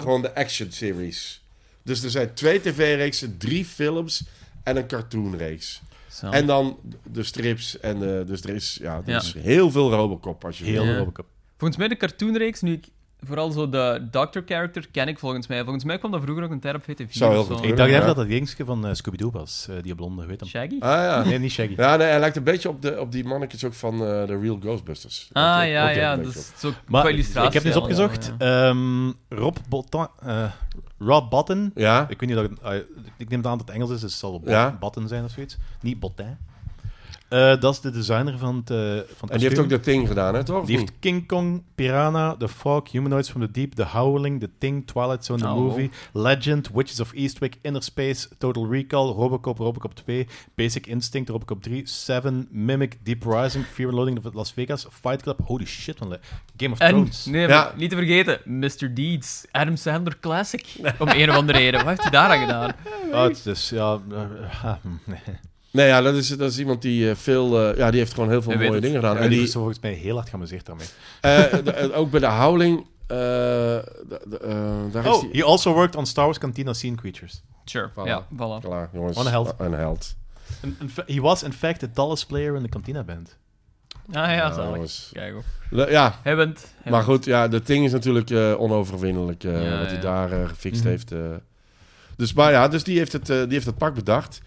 [SPEAKER 2] gewoon de action series. Dus er zijn twee tv-reeksen, drie films en een cartoonreeks.
[SPEAKER 3] Zo.
[SPEAKER 2] En dan de strips. En de, dus er is, ja, er
[SPEAKER 3] Ja.
[SPEAKER 2] is heel veel Robocop als je
[SPEAKER 4] Heel
[SPEAKER 3] Ja. Oh,
[SPEAKER 4] Robocop.
[SPEAKER 3] Volgens mij de cartoonreeks, nu ik vooral zo de doctor character ken ik volgens mij. Volgens mij kwam dat vroeger ook een term op VTV.
[SPEAKER 2] Zou heel
[SPEAKER 3] of
[SPEAKER 2] goed
[SPEAKER 4] Ik
[SPEAKER 2] kunnen.
[SPEAKER 4] dacht
[SPEAKER 2] Ja.
[SPEAKER 4] even dat dat jongetje van eh, Scooby-Doo was, eh, die blonde, weet hem.
[SPEAKER 3] Shaggy?
[SPEAKER 2] wil. Ah ja.
[SPEAKER 4] Nee, niet Shaggy.
[SPEAKER 2] Ja, nee, hij lijkt een beetje op, de, op die mannetjes ook van eh The Real Ghostbusters. Lijkt
[SPEAKER 3] Ah
[SPEAKER 2] ook-
[SPEAKER 3] ja,
[SPEAKER 2] ook
[SPEAKER 3] ja,
[SPEAKER 2] een
[SPEAKER 3] dat
[SPEAKER 2] beetje op.
[SPEAKER 3] is zo
[SPEAKER 4] Maar
[SPEAKER 3] qua illustratie.
[SPEAKER 4] ik heb dus
[SPEAKER 3] wel,
[SPEAKER 4] opgezocht,
[SPEAKER 3] ja.
[SPEAKER 4] ehm, Rob Bottin, eh, Rob Button,
[SPEAKER 2] Ja?
[SPEAKER 4] ik weet niet of dat, ah, ik neem het aan dat het Engels is, dus het zal Bot,
[SPEAKER 2] Ja.
[SPEAKER 4] Button zijn of zoiets, niet Bottin. Eh, dat is de designer van het, eh, van het
[SPEAKER 2] En die heeft
[SPEAKER 4] kostuum.
[SPEAKER 2] ook de Thing gedaan, hè, toch? Of
[SPEAKER 4] Die
[SPEAKER 2] niet?
[SPEAKER 4] heeft King Kong, Piranha, The Fog, Humanoids from the Deep, The Howling, The Thing, Twilight Zone, The
[SPEAKER 3] Oh.
[SPEAKER 4] Movie, Legend, Witches of Eastwick, Inner Space, Total Recall, Robocop, Robocop 2, Basic Instinct, Robocop 3, Seven, Mimic, Deep Rising, Fear and Loathing of Las Vegas, Fight Club, holy shit, man. Game of
[SPEAKER 3] En,
[SPEAKER 4] Thrones.
[SPEAKER 3] nee,
[SPEAKER 2] Ja.
[SPEAKER 3] niet te vergeten, Mr. Deeds, Adam Sandler Classic. Om een of andere reden. Wat heeft hij daar aan gedaan?
[SPEAKER 4] Ah, het is, ja, eh, ah, hm, nee.
[SPEAKER 2] Nee, ja, dat is, dat is iemand die eh, veel... eh, ja, die heeft gewoon heel veel
[SPEAKER 3] Hij weet
[SPEAKER 2] mooie
[SPEAKER 3] het.
[SPEAKER 2] dingen gedaan.
[SPEAKER 4] Ja,
[SPEAKER 2] en
[SPEAKER 4] die
[SPEAKER 2] die,
[SPEAKER 4] is volgens mij heel hard geamuseerd daarmee.
[SPEAKER 2] Eh, de- eh, ook bij de Howling. eh, de- de- eh, daar is
[SPEAKER 4] Oh,
[SPEAKER 2] die...
[SPEAKER 4] he also worked on Star Wars Cantina Scene Creatures.
[SPEAKER 3] Sure,
[SPEAKER 2] Voilà.
[SPEAKER 3] ja, voilà.
[SPEAKER 2] Klaar, jongens.
[SPEAKER 4] Wat een held.
[SPEAKER 2] Een held.
[SPEAKER 4] In- in fa- He was in fact the tallest player in the Cantina band.
[SPEAKER 3] Ah ja, zalig.
[SPEAKER 2] jongens.
[SPEAKER 3] Kijk hoor.
[SPEAKER 2] Le- ja,
[SPEAKER 3] Hij wint. hij
[SPEAKER 2] maar
[SPEAKER 3] wint.
[SPEAKER 2] goed. Ja, de ding is natuurlijk eh, onoverwinnelijk. eh,
[SPEAKER 3] Ja,
[SPEAKER 2] wat hij
[SPEAKER 3] ja.
[SPEAKER 2] daar eh, gefixt
[SPEAKER 4] Mhm.
[SPEAKER 2] heeft. eh. Dus, maar ja, dus die heeft het, eh, die heeft het pak bedacht.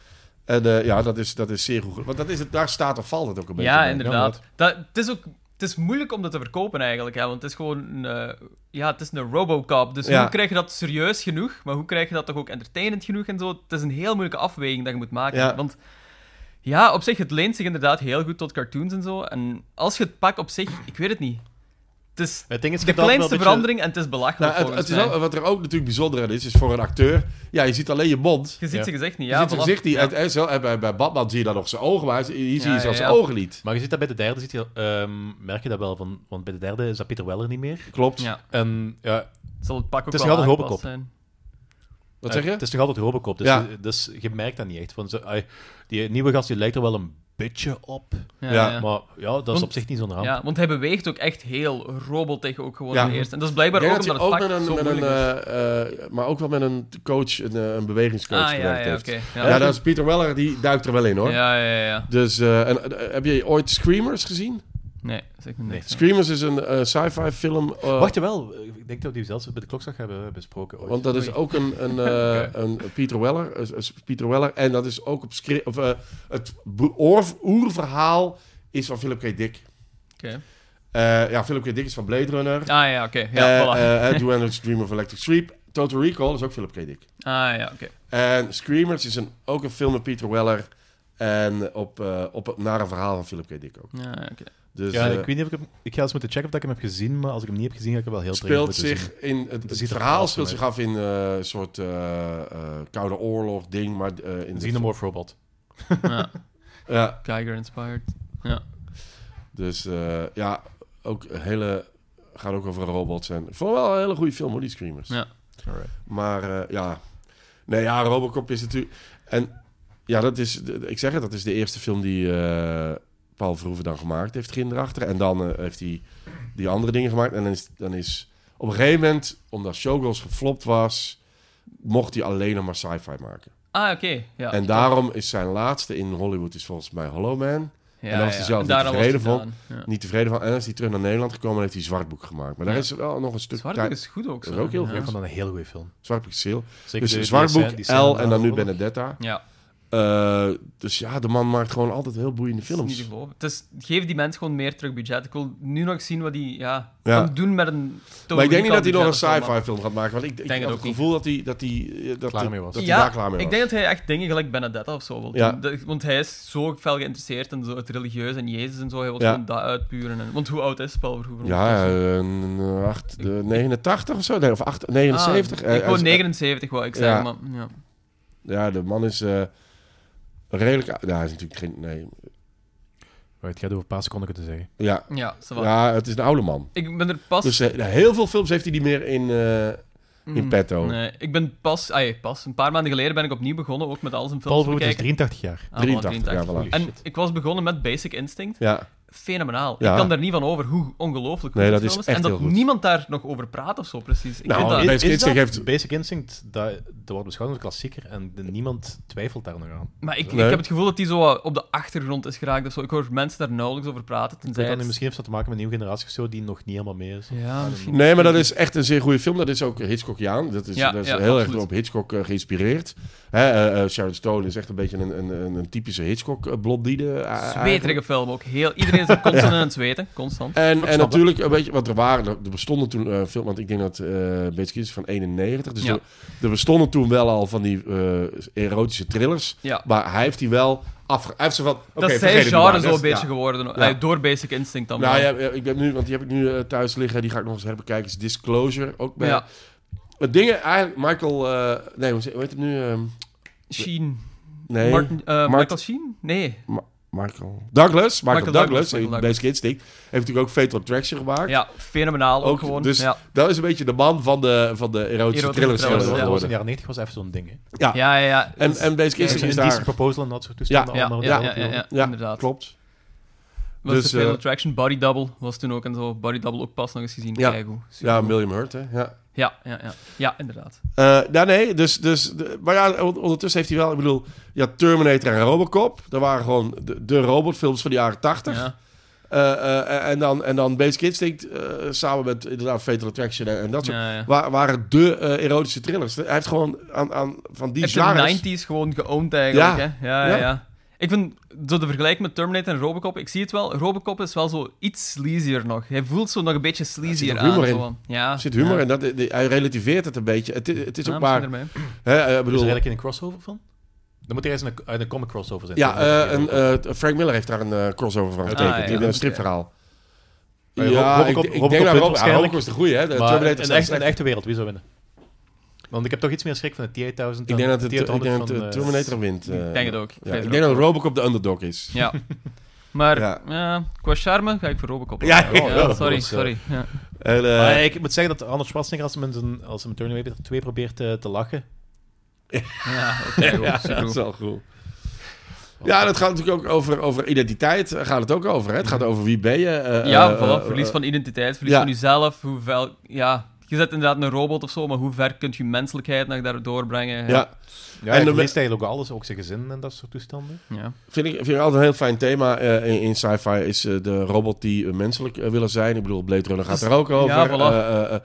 [SPEAKER 2] En eh, ja, dat is, dat is zeer goed. Want dat is het, daar staat of valt het ook een beetje
[SPEAKER 3] Ja,
[SPEAKER 2] mee.
[SPEAKER 3] inderdaad. Dat, het is ook... Het is moeilijk om dat te verkopen eigenlijk, hè, want het is gewoon een, eh, ja, het is een Robocop. Dus
[SPEAKER 2] Ja.
[SPEAKER 3] hoe krijg je dat serieus genoeg, maar hoe krijg je dat toch ook entertainend genoeg en zo? Het is een heel moeilijke afweging dat je moet maken.
[SPEAKER 2] Ja.
[SPEAKER 3] Want ja, op zich, het leent zich inderdaad heel goed tot cartoons en zo. En als je het pakt op zich, ik weet het niet. Het is
[SPEAKER 4] Het ding is, je
[SPEAKER 3] de
[SPEAKER 4] hebt altijd wel
[SPEAKER 3] kleinste
[SPEAKER 4] een beetje-
[SPEAKER 3] verandering en het is belachelijk
[SPEAKER 2] Nou, het,
[SPEAKER 3] volgens
[SPEAKER 2] het is
[SPEAKER 3] mij.
[SPEAKER 2] wel- wat er ook natuurlijk bijzonder aan is, is voor een acteur... Ja, je ziet alleen je mond.
[SPEAKER 3] Je ziet
[SPEAKER 4] Ja.
[SPEAKER 3] zijn gezicht niet,
[SPEAKER 2] Je
[SPEAKER 3] ja.
[SPEAKER 2] ziet zijn
[SPEAKER 3] voilà.
[SPEAKER 2] gezicht niet.
[SPEAKER 3] Ja.
[SPEAKER 2] En- en zo- en bij, bij Batman zie je dan nog zijn ogen, maar hij- hier zie je
[SPEAKER 3] Ja,
[SPEAKER 2] zelfs
[SPEAKER 3] ja,
[SPEAKER 2] zijn
[SPEAKER 3] ja.
[SPEAKER 2] ogen niet.
[SPEAKER 4] Maar je ziet dat bij de derde, ziet je, ehm, merk je dat wel, van, want bij de derde is dat Peter Weller niet meer.
[SPEAKER 2] Klopt.
[SPEAKER 3] Ja,
[SPEAKER 4] En ja,
[SPEAKER 3] zal het pak ook
[SPEAKER 4] Het is
[SPEAKER 3] wel
[SPEAKER 4] nog
[SPEAKER 3] aangepast
[SPEAKER 4] altijd Robocop.
[SPEAKER 3] zijn.
[SPEAKER 2] Wat zeg je?
[SPEAKER 4] het is nog altijd Robocop, dus,
[SPEAKER 2] Ja.
[SPEAKER 4] dus je merkt dat niet echt. Want ze- ai, die nieuwe gast die lijkt er wel een beetje op,
[SPEAKER 2] Ja,
[SPEAKER 4] maar ja, dat is
[SPEAKER 3] Want-
[SPEAKER 4] op zich niet zo'n ramp.
[SPEAKER 3] Ja, want hij beweegt ook echt heel robotig ook gewoon
[SPEAKER 2] Ja.
[SPEAKER 3] in de eerste. En dat
[SPEAKER 2] Ik
[SPEAKER 3] is blijkbaar
[SPEAKER 2] denk
[SPEAKER 3] ook
[SPEAKER 2] dat
[SPEAKER 3] omdat
[SPEAKER 2] hij
[SPEAKER 3] het
[SPEAKER 2] ook
[SPEAKER 3] pak
[SPEAKER 2] met een,
[SPEAKER 3] zo
[SPEAKER 2] met een
[SPEAKER 3] moeilijk is.
[SPEAKER 2] eh, eh, maar ook wel met een coach, een, eh, een bewegingscoach
[SPEAKER 3] Ah, ja,
[SPEAKER 2] gewerkt
[SPEAKER 3] ja,
[SPEAKER 2] heeft.
[SPEAKER 3] oké.
[SPEAKER 2] Ja,
[SPEAKER 3] Ja.
[SPEAKER 2] dat is Pieter Weller, die duikt er wel in hoor.
[SPEAKER 3] Ja, ja, ja.
[SPEAKER 2] Dus, eh, en, eh, heb je ooit Screamers gezien?
[SPEAKER 3] Nee, zeg me niks.
[SPEAKER 2] Screamers is een eh, sci-fi film. eh,
[SPEAKER 4] Wacht wel, ik denk dat we die zelfs bij de klokslag hebben eh, besproken. ooit.
[SPEAKER 2] want dat is
[SPEAKER 3] Oei.
[SPEAKER 2] ook een, een, eh, een Pieter Weller. eh, eh, Pieter Weller. En dat is ook op Scre- of, eh, het be- oor- oerverhaal is van Philip K. Dick.
[SPEAKER 3] Oké.
[SPEAKER 2] Eh, ja, Philip K. Dick is van Blade Runner.
[SPEAKER 3] Ah ja, oké. Ja,
[SPEAKER 2] Eh,
[SPEAKER 3] voilà.
[SPEAKER 2] eh, eh, Do Androids Dream of Electric Sleep. Total Recall is ook Philip K. Dick.
[SPEAKER 3] Ah ja, oké.
[SPEAKER 2] En Screamers is een, ook een film met Peter Weller. En op, eh, op het nare verhaal van Philip K. Dick ook.
[SPEAKER 3] Ja, oké.
[SPEAKER 2] Dus,
[SPEAKER 4] ja,
[SPEAKER 2] eh,
[SPEAKER 4] ik weet niet of ik hem... Ik ga eens moeten checken of ik hem heb gezien, maar als ik hem niet heb gezien, ga ik hem wel heel dringend
[SPEAKER 2] speelt
[SPEAKER 4] moeten zien.
[SPEAKER 2] zich in het, het
[SPEAKER 4] ziet er
[SPEAKER 2] verhaal
[SPEAKER 4] awesome
[SPEAKER 2] speelt zich af in eh, een soort eh, eh, koude oorlog ding, maar eh, in de-
[SPEAKER 4] Xenomorph Robot.
[SPEAKER 3] ja,
[SPEAKER 2] ja,
[SPEAKER 3] Geiger inspired.
[SPEAKER 2] dus eh, ja, ook een hele gaat ook over robots en voor wel een hele goede film hoor die screamers.
[SPEAKER 3] Ja.
[SPEAKER 4] Alright.
[SPEAKER 2] Maar eh, ja, nee ja, Robocop is natuurlijk en ja dat is, de- ik zeg het, dat is de eerste film die eh, Paul Verhoeven dan gemaakt heeft erachter en dan eh, heeft hij die andere dingen gemaakt en dan is, dan is op een gegeven moment omdat Showgirls geflopt was, mocht hij alleen nog maar sci-fi maken.
[SPEAKER 3] Ah, oké. Ja,
[SPEAKER 2] en daarom is zijn laatste in Hollywood is volgens mij Hollow Man.
[SPEAKER 3] ja,
[SPEAKER 2] en daar was hij zelf niet
[SPEAKER 3] Daarom was
[SPEAKER 2] tevreden
[SPEAKER 3] hij
[SPEAKER 2] van.
[SPEAKER 3] gedaan, Ja.
[SPEAKER 2] Niet tevreden van. En is hij terug naar Nederland gekomen en heeft hij Zwartboek gemaakt. Maar daar
[SPEAKER 3] Ja.
[SPEAKER 2] is wel nog een stuk
[SPEAKER 3] Zwartboek is goed ook.
[SPEAKER 2] Dat Dus is
[SPEAKER 3] zo.
[SPEAKER 2] ook heel
[SPEAKER 3] ja.
[SPEAKER 2] goed.
[SPEAKER 4] Ik vond dat een heel goede film.
[SPEAKER 2] Zwartboek is heel.
[SPEAKER 4] Zeker
[SPEAKER 2] Dus
[SPEAKER 4] de- die
[SPEAKER 2] Zwartboek,
[SPEAKER 4] scène- die scène
[SPEAKER 2] L en dan nu
[SPEAKER 4] daarvoor.
[SPEAKER 2] Benedetta.
[SPEAKER 3] Ja,
[SPEAKER 2] Eh, dus ja, de man maakt gewoon altijd heel boeiende
[SPEAKER 3] dat is niet te
[SPEAKER 2] films.
[SPEAKER 3] geloven. Het is, geef die mensen gewoon meer terug budget. Ik wil nu nog zien wat die ja,
[SPEAKER 2] Ja.
[SPEAKER 3] kan doen met een...
[SPEAKER 2] Maar ik denk niet dat hij nog een
[SPEAKER 3] budget of zo, maar-
[SPEAKER 2] sci-fi film gaat maken. Want ik, ik
[SPEAKER 3] Denk het
[SPEAKER 2] had
[SPEAKER 3] ook
[SPEAKER 2] het gevoel dat hij, dat hij, eh, dat
[SPEAKER 4] Klaar
[SPEAKER 2] hij-
[SPEAKER 4] mee was.
[SPEAKER 2] Dat hij
[SPEAKER 3] ja,
[SPEAKER 2] daar klaar mee was.
[SPEAKER 3] ik denk dat hij echt dingen gelijk Benedetta of zo wil doen.
[SPEAKER 2] Ja.
[SPEAKER 3] Dat- want hij is zo fel geïnteresseerd in zo het religieus en Jezus en zo. Hij wil
[SPEAKER 2] Ja.
[SPEAKER 3] gewoon dat uitpuren. En, want hoe oud is Ah, Paul Verhoeven?
[SPEAKER 2] ja, eh, een, acht, de 89 of zo. Nee, of acht- 79.
[SPEAKER 3] Ah,
[SPEAKER 2] Eh,
[SPEAKER 3] ik wou
[SPEAKER 2] hij is-
[SPEAKER 3] 79, wou ik
[SPEAKER 2] Ja.
[SPEAKER 3] zeggen, maar... Ja.
[SPEAKER 2] Ja, de man is eh, redelijk... ou- Ja, hij is natuurlijk geen... Nee.
[SPEAKER 4] Right, ik ga het over een paar seconden kunnen zeggen.
[SPEAKER 2] Ja,
[SPEAKER 3] Ja, ça va.
[SPEAKER 2] ja het is een oude man.
[SPEAKER 3] Ik ben er pas...
[SPEAKER 2] Dus eh, heel veel films heeft hij niet meer in, eh, in
[SPEAKER 3] Mm,
[SPEAKER 2] petto.
[SPEAKER 3] Nee, ik ben pas... Ah, ja, pas. Een paar maanden geleden ben ik opnieuw begonnen, ook met alles in films
[SPEAKER 4] Paul Verhoeven is
[SPEAKER 3] bekijken.
[SPEAKER 4] 83 jaar.
[SPEAKER 3] Ah, voilà,
[SPEAKER 2] 83, ja, voilà.
[SPEAKER 3] En ik was begonnen met Basic Instinct.
[SPEAKER 2] Ja,
[SPEAKER 3] Fenomenaal.
[SPEAKER 2] Ja.
[SPEAKER 3] Ik kan daar niet van over hoe ongelooflijk goed
[SPEAKER 2] Nee,
[SPEAKER 3] die
[SPEAKER 2] dat
[SPEAKER 3] film
[SPEAKER 2] is echt
[SPEAKER 3] En dat
[SPEAKER 2] heel goed.
[SPEAKER 3] niemand daar nog over praat of zo, precies. Ik
[SPEAKER 2] Nou,
[SPEAKER 3] vind dat...
[SPEAKER 2] Basic Instinct
[SPEAKER 4] dat-
[SPEAKER 2] heeft-
[SPEAKER 4] Basic Instinct, dat, dat wordt beschouwd als een klassieker en de- niemand twijfelt daar nog aan.
[SPEAKER 3] Maar ik,
[SPEAKER 2] Nee.
[SPEAKER 3] ik heb het gevoel dat die zo wat op de achtergrond is geraakt. of zo. Ik hoor mensen daar nauwelijks over praten.
[SPEAKER 4] Ik weet
[SPEAKER 3] Tenzij
[SPEAKER 4] dat nu
[SPEAKER 3] het-
[SPEAKER 4] misschien heeft dat te maken met een nieuwe generatie of zo, die nog niet helemaal mee is.
[SPEAKER 3] Ja, misschien.
[SPEAKER 2] nee, maar dat is echt een zeer goede film. Dat is ook Hitchcockiaan. Dat is,
[SPEAKER 3] Ja,
[SPEAKER 2] dat is
[SPEAKER 3] ja,
[SPEAKER 2] heel erg
[SPEAKER 3] absoluut.
[SPEAKER 2] op Hitchcock eh, geïnspireerd. Hè, eh, eh, Sharon Stone is echt een beetje een, een, een, een typische eh, Hitchcock-blondine.
[SPEAKER 3] Zweterige film ook. Heel, iedereen is er constant aan het zweten. Constant.
[SPEAKER 2] En, en
[SPEAKER 4] snap het.
[SPEAKER 2] natuurlijk, een beetje, want er waren, er er bestonden toen eh film, want ik denk dat eh Basic is van 91. Dus
[SPEAKER 3] Ja.
[SPEAKER 2] er, er bestonden toen wel al van die eh, erotische thrillers.
[SPEAKER 3] Ja.
[SPEAKER 2] Maar hij heeft die wel afge... Hij heeft ze van... oké,
[SPEAKER 3] dat is
[SPEAKER 2] vergeet
[SPEAKER 3] zijn
[SPEAKER 2] het maar.
[SPEAKER 3] genre
[SPEAKER 2] Dat
[SPEAKER 3] zo'n
[SPEAKER 2] is-
[SPEAKER 3] beetje
[SPEAKER 2] ja.
[SPEAKER 3] geworden.
[SPEAKER 2] Ja.
[SPEAKER 3] Eh, door Basic Instinct dan.
[SPEAKER 2] Nou
[SPEAKER 3] wel.
[SPEAKER 2] ja, ja, ik ben nu, want die heb ik nu eh, thuis liggen. Die ga ik nog eens herbekijken. Is Disclosure ook bij.
[SPEAKER 3] ja.
[SPEAKER 2] Het ding eigenlijk, Michael... eh, nee, hoe ze- hoe heet het nu? ehm,
[SPEAKER 3] Sheen.
[SPEAKER 2] nee,
[SPEAKER 3] Martin, eh,
[SPEAKER 2] Mart-
[SPEAKER 3] Michael Sheen? Nee.
[SPEAKER 2] Michael... Douglas. Michael,
[SPEAKER 3] Michael
[SPEAKER 2] Douglas.
[SPEAKER 3] Douglas,
[SPEAKER 2] Bij Basic
[SPEAKER 3] Michael Douglas.
[SPEAKER 2] Instinct. Heeft natuurlijk ook Fatal Attraction gemaakt.
[SPEAKER 3] Ja, fenomenaal ook,
[SPEAKER 2] Ook,
[SPEAKER 3] gewoon.
[SPEAKER 2] dus-
[SPEAKER 3] ja.
[SPEAKER 2] Dat is een beetje de man van de, van de erotische
[SPEAKER 3] Erotische
[SPEAKER 2] thrillers
[SPEAKER 3] thrillers,
[SPEAKER 4] Ja, dat was in
[SPEAKER 2] geworden.
[SPEAKER 4] de jaren 90 was even zo'n ding. Hè.
[SPEAKER 2] Ja.
[SPEAKER 3] ja, ja, ja.
[SPEAKER 2] En, en Basic Instinct
[SPEAKER 3] Ja,
[SPEAKER 4] Is
[SPEAKER 2] is
[SPEAKER 4] een decent
[SPEAKER 2] daar...
[SPEAKER 4] proposal en dat soort toestanden.
[SPEAKER 3] Ja,
[SPEAKER 4] allemaal,
[SPEAKER 3] ja, ja,
[SPEAKER 4] dat
[SPEAKER 3] ja,
[SPEAKER 4] ook wel.
[SPEAKER 3] ja,
[SPEAKER 2] Ja,
[SPEAKER 3] inderdaad.
[SPEAKER 2] Klopt.
[SPEAKER 3] Was
[SPEAKER 2] Dus,
[SPEAKER 3] de Fatal
[SPEAKER 2] eh,
[SPEAKER 3] Attraction, Body Double was toen ook en zo. Body Double ook pas nog eens gezien.
[SPEAKER 2] Ja.
[SPEAKER 3] Kijk hoe.
[SPEAKER 2] Ja, William Hurt, hè. Ja.
[SPEAKER 3] ja, ja, ja. Ja, inderdaad.
[SPEAKER 2] Eh, nou, nee, dus, dus, de- maar ja, on- ondertussen heeft hij wel, ik bedoel, ja, Terminator en Robocop, dat waren gewoon de, de robotfilms van de jaren 80.
[SPEAKER 3] Ja.
[SPEAKER 2] Eh, eh, en, dan, en dan Basic Instinct eh, samen met inderdaad Fatal Attraction en, en dat soort.
[SPEAKER 3] Ja, ja.
[SPEAKER 2] wa- waren de eh, erotische thrillers. Hij heeft gewoon aan, aan, van die
[SPEAKER 3] Heb
[SPEAKER 2] genres...
[SPEAKER 3] de 90s gewoon geowned eigenlijk.
[SPEAKER 2] Ja.
[SPEAKER 3] Hè? Ja, ja,
[SPEAKER 2] Ja.
[SPEAKER 3] ja. Ik vind zo de vergelijking met Terminator en Robocop. Ik zie het wel. Robocop is wel zo iets sleazier nog. Hij voelt zo nog een beetje sleazier
[SPEAKER 2] ook humor
[SPEAKER 3] aan.
[SPEAKER 2] in.
[SPEAKER 3] Zo. Ja.
[SPEAKER 2] Er zit humor
[SPEAKER 3] ja.
[SPEAKER 2] in, dat, die- hij relativeert het een beetje. Het, i- het is
[SPEAKER 3] Ja,
[SPEAKER 2] ook
[SPEAKER 3] misschien
[SPEAKER 2] maar...
[SPEAKER 3] ermee.
[SPEAKER 2] Hè, eh, ik
[SPEAKER 4] Is Dus er
[SPEAKER 2] bedoel,
[SPEAKER 4] eigenlijk een crossover van? Dan moet er eens een, uit een comic crossover zijn.
[SPEAKER 2] ja,
[SPEAKER 4] Dat is
[SPEAKER 2] eh, een, eh, Frank Miller heeft daar een eh, crossover van getekend,
[SPEAKER 3] Ah, ja,
[SPEAKER 2] die-
[SPEAKER 3] oké.
[SPEAKER 2] een stripverhaal.
[SPEAKER 4] Maar
[SPEAKER 2] ja, ik,
[SPEAKER 4] Robocop-
[SPEAKER 2] ik
[SPEAKER 4] Robocop
[SPEAKER 2] denk dat
[SPEAKER 4] wint
[SPEAKER 2] Rob- ja,
[SPEAKER 4] waarschijnlijk.
[SPEAKER 2] Robocop is de goeie, hè. De
[SPEAKER 4] maar
[SPEAKER 2] Eh, Terminator
[SPEAKER 4] een,
[SPEAKER 2] staat
[SPEAKER 4] echt, een
[SPEAKER 2] slecht.
[SPEAKER 4] echte wereld, wie zou winnen? Want ik heb toch iets meer schrik van de T-8000 dan
[SPEAKER 2] Ik denk dat het,
[SPEAKER 4] de
[SPEAKER 2] ik
[SPEAKER 4] T-800
[SPEAKER 2] denk dat
[SPEAKER 4] van,
[SPEAKER 2] de
[SPEAKER 4] eh,
[SPEAKER 2] Terminator wint. eh.
[SPEAKER 3] Ik denk het ook. Ik,
[SPEAKER 2] Ja,
[SPEAKER 3] geef
[SPEAKER 2] ik
[SPEAKER 3] het
[SPEAKER 2] denk
[SPEAKER 3] ook.
[SPEAKER 2] dat Robocop de underdog is.
[SPEAKER 3] Ja. Maar
[SPEAKER 2] Ja.
[SPEAKER 3] ja, qua charme ga ik voor Robocop.
[SPEAKER 2] Ja, ik wel.
[SPEAKER 3] sorry,
[SPEAKER 4] Dat is, eh,
[SPEAKER 3] sorry. Ja.
[SPEAKER 2] En, eh,
[SPEAKER 4] Maar ik moet zeggen dat Arnold Schwarzenegger, als hij met, zijn- als hij met Terminator 2 probeert eh, te lachen...
[SPEAKER 3] Ja, oké, goed, super
[SPEAKER 2] dat is
[SPEAKER 3] goed.
[SPEAKER 2] wel cool. Ja, en het gaat natuurlijk ook over, over identiteit. Daar gaat het ook over. Hè? Het gaat over wie ben je. eh,
[SPEAKER 3] Mhm. Ja,
[SPEAKER 2] eh,
[SPEAKER 3] voilà,
[SPEAKER 2] eh,
[SPEAKER 3] verlies
[SPEAKER 2] eh,
[SPEAKER 3] van identiteit, verlies
[SPEAKER 2] ja.
[SPEAKER 3] van jezelf. Hoe vel, ja, je zet inderdaad een robot of zo, maar hoe ver kunt je menselijkheid nog daardoor brengen?
[SPEAKER 2] eh, ja,
[SPEAKER 4] Ja,
[SPEAKER 2] En
[SPEAKER 4] en
[SPEAKER 2] de-
[SPEAKER 4] hij verliest eigenlijk ook alles, ook zijn gezin en dat soort toestanden.
[SPEAKER 3] ja.
[SPEAKER 2] vind ik, vind ik altijd een heel fijn thema eh, in, in sci-fi. Is eh, de robot die eh, menselijk eh, willen zijn. Ik bedoel, Blade Runner gaat
[SPEAKER 3] Dus-
[SPEAKER 2] er ook over.
[SPEAKER 3] ja, voilà.
[SPEAKER 2] Eh, eh, eh,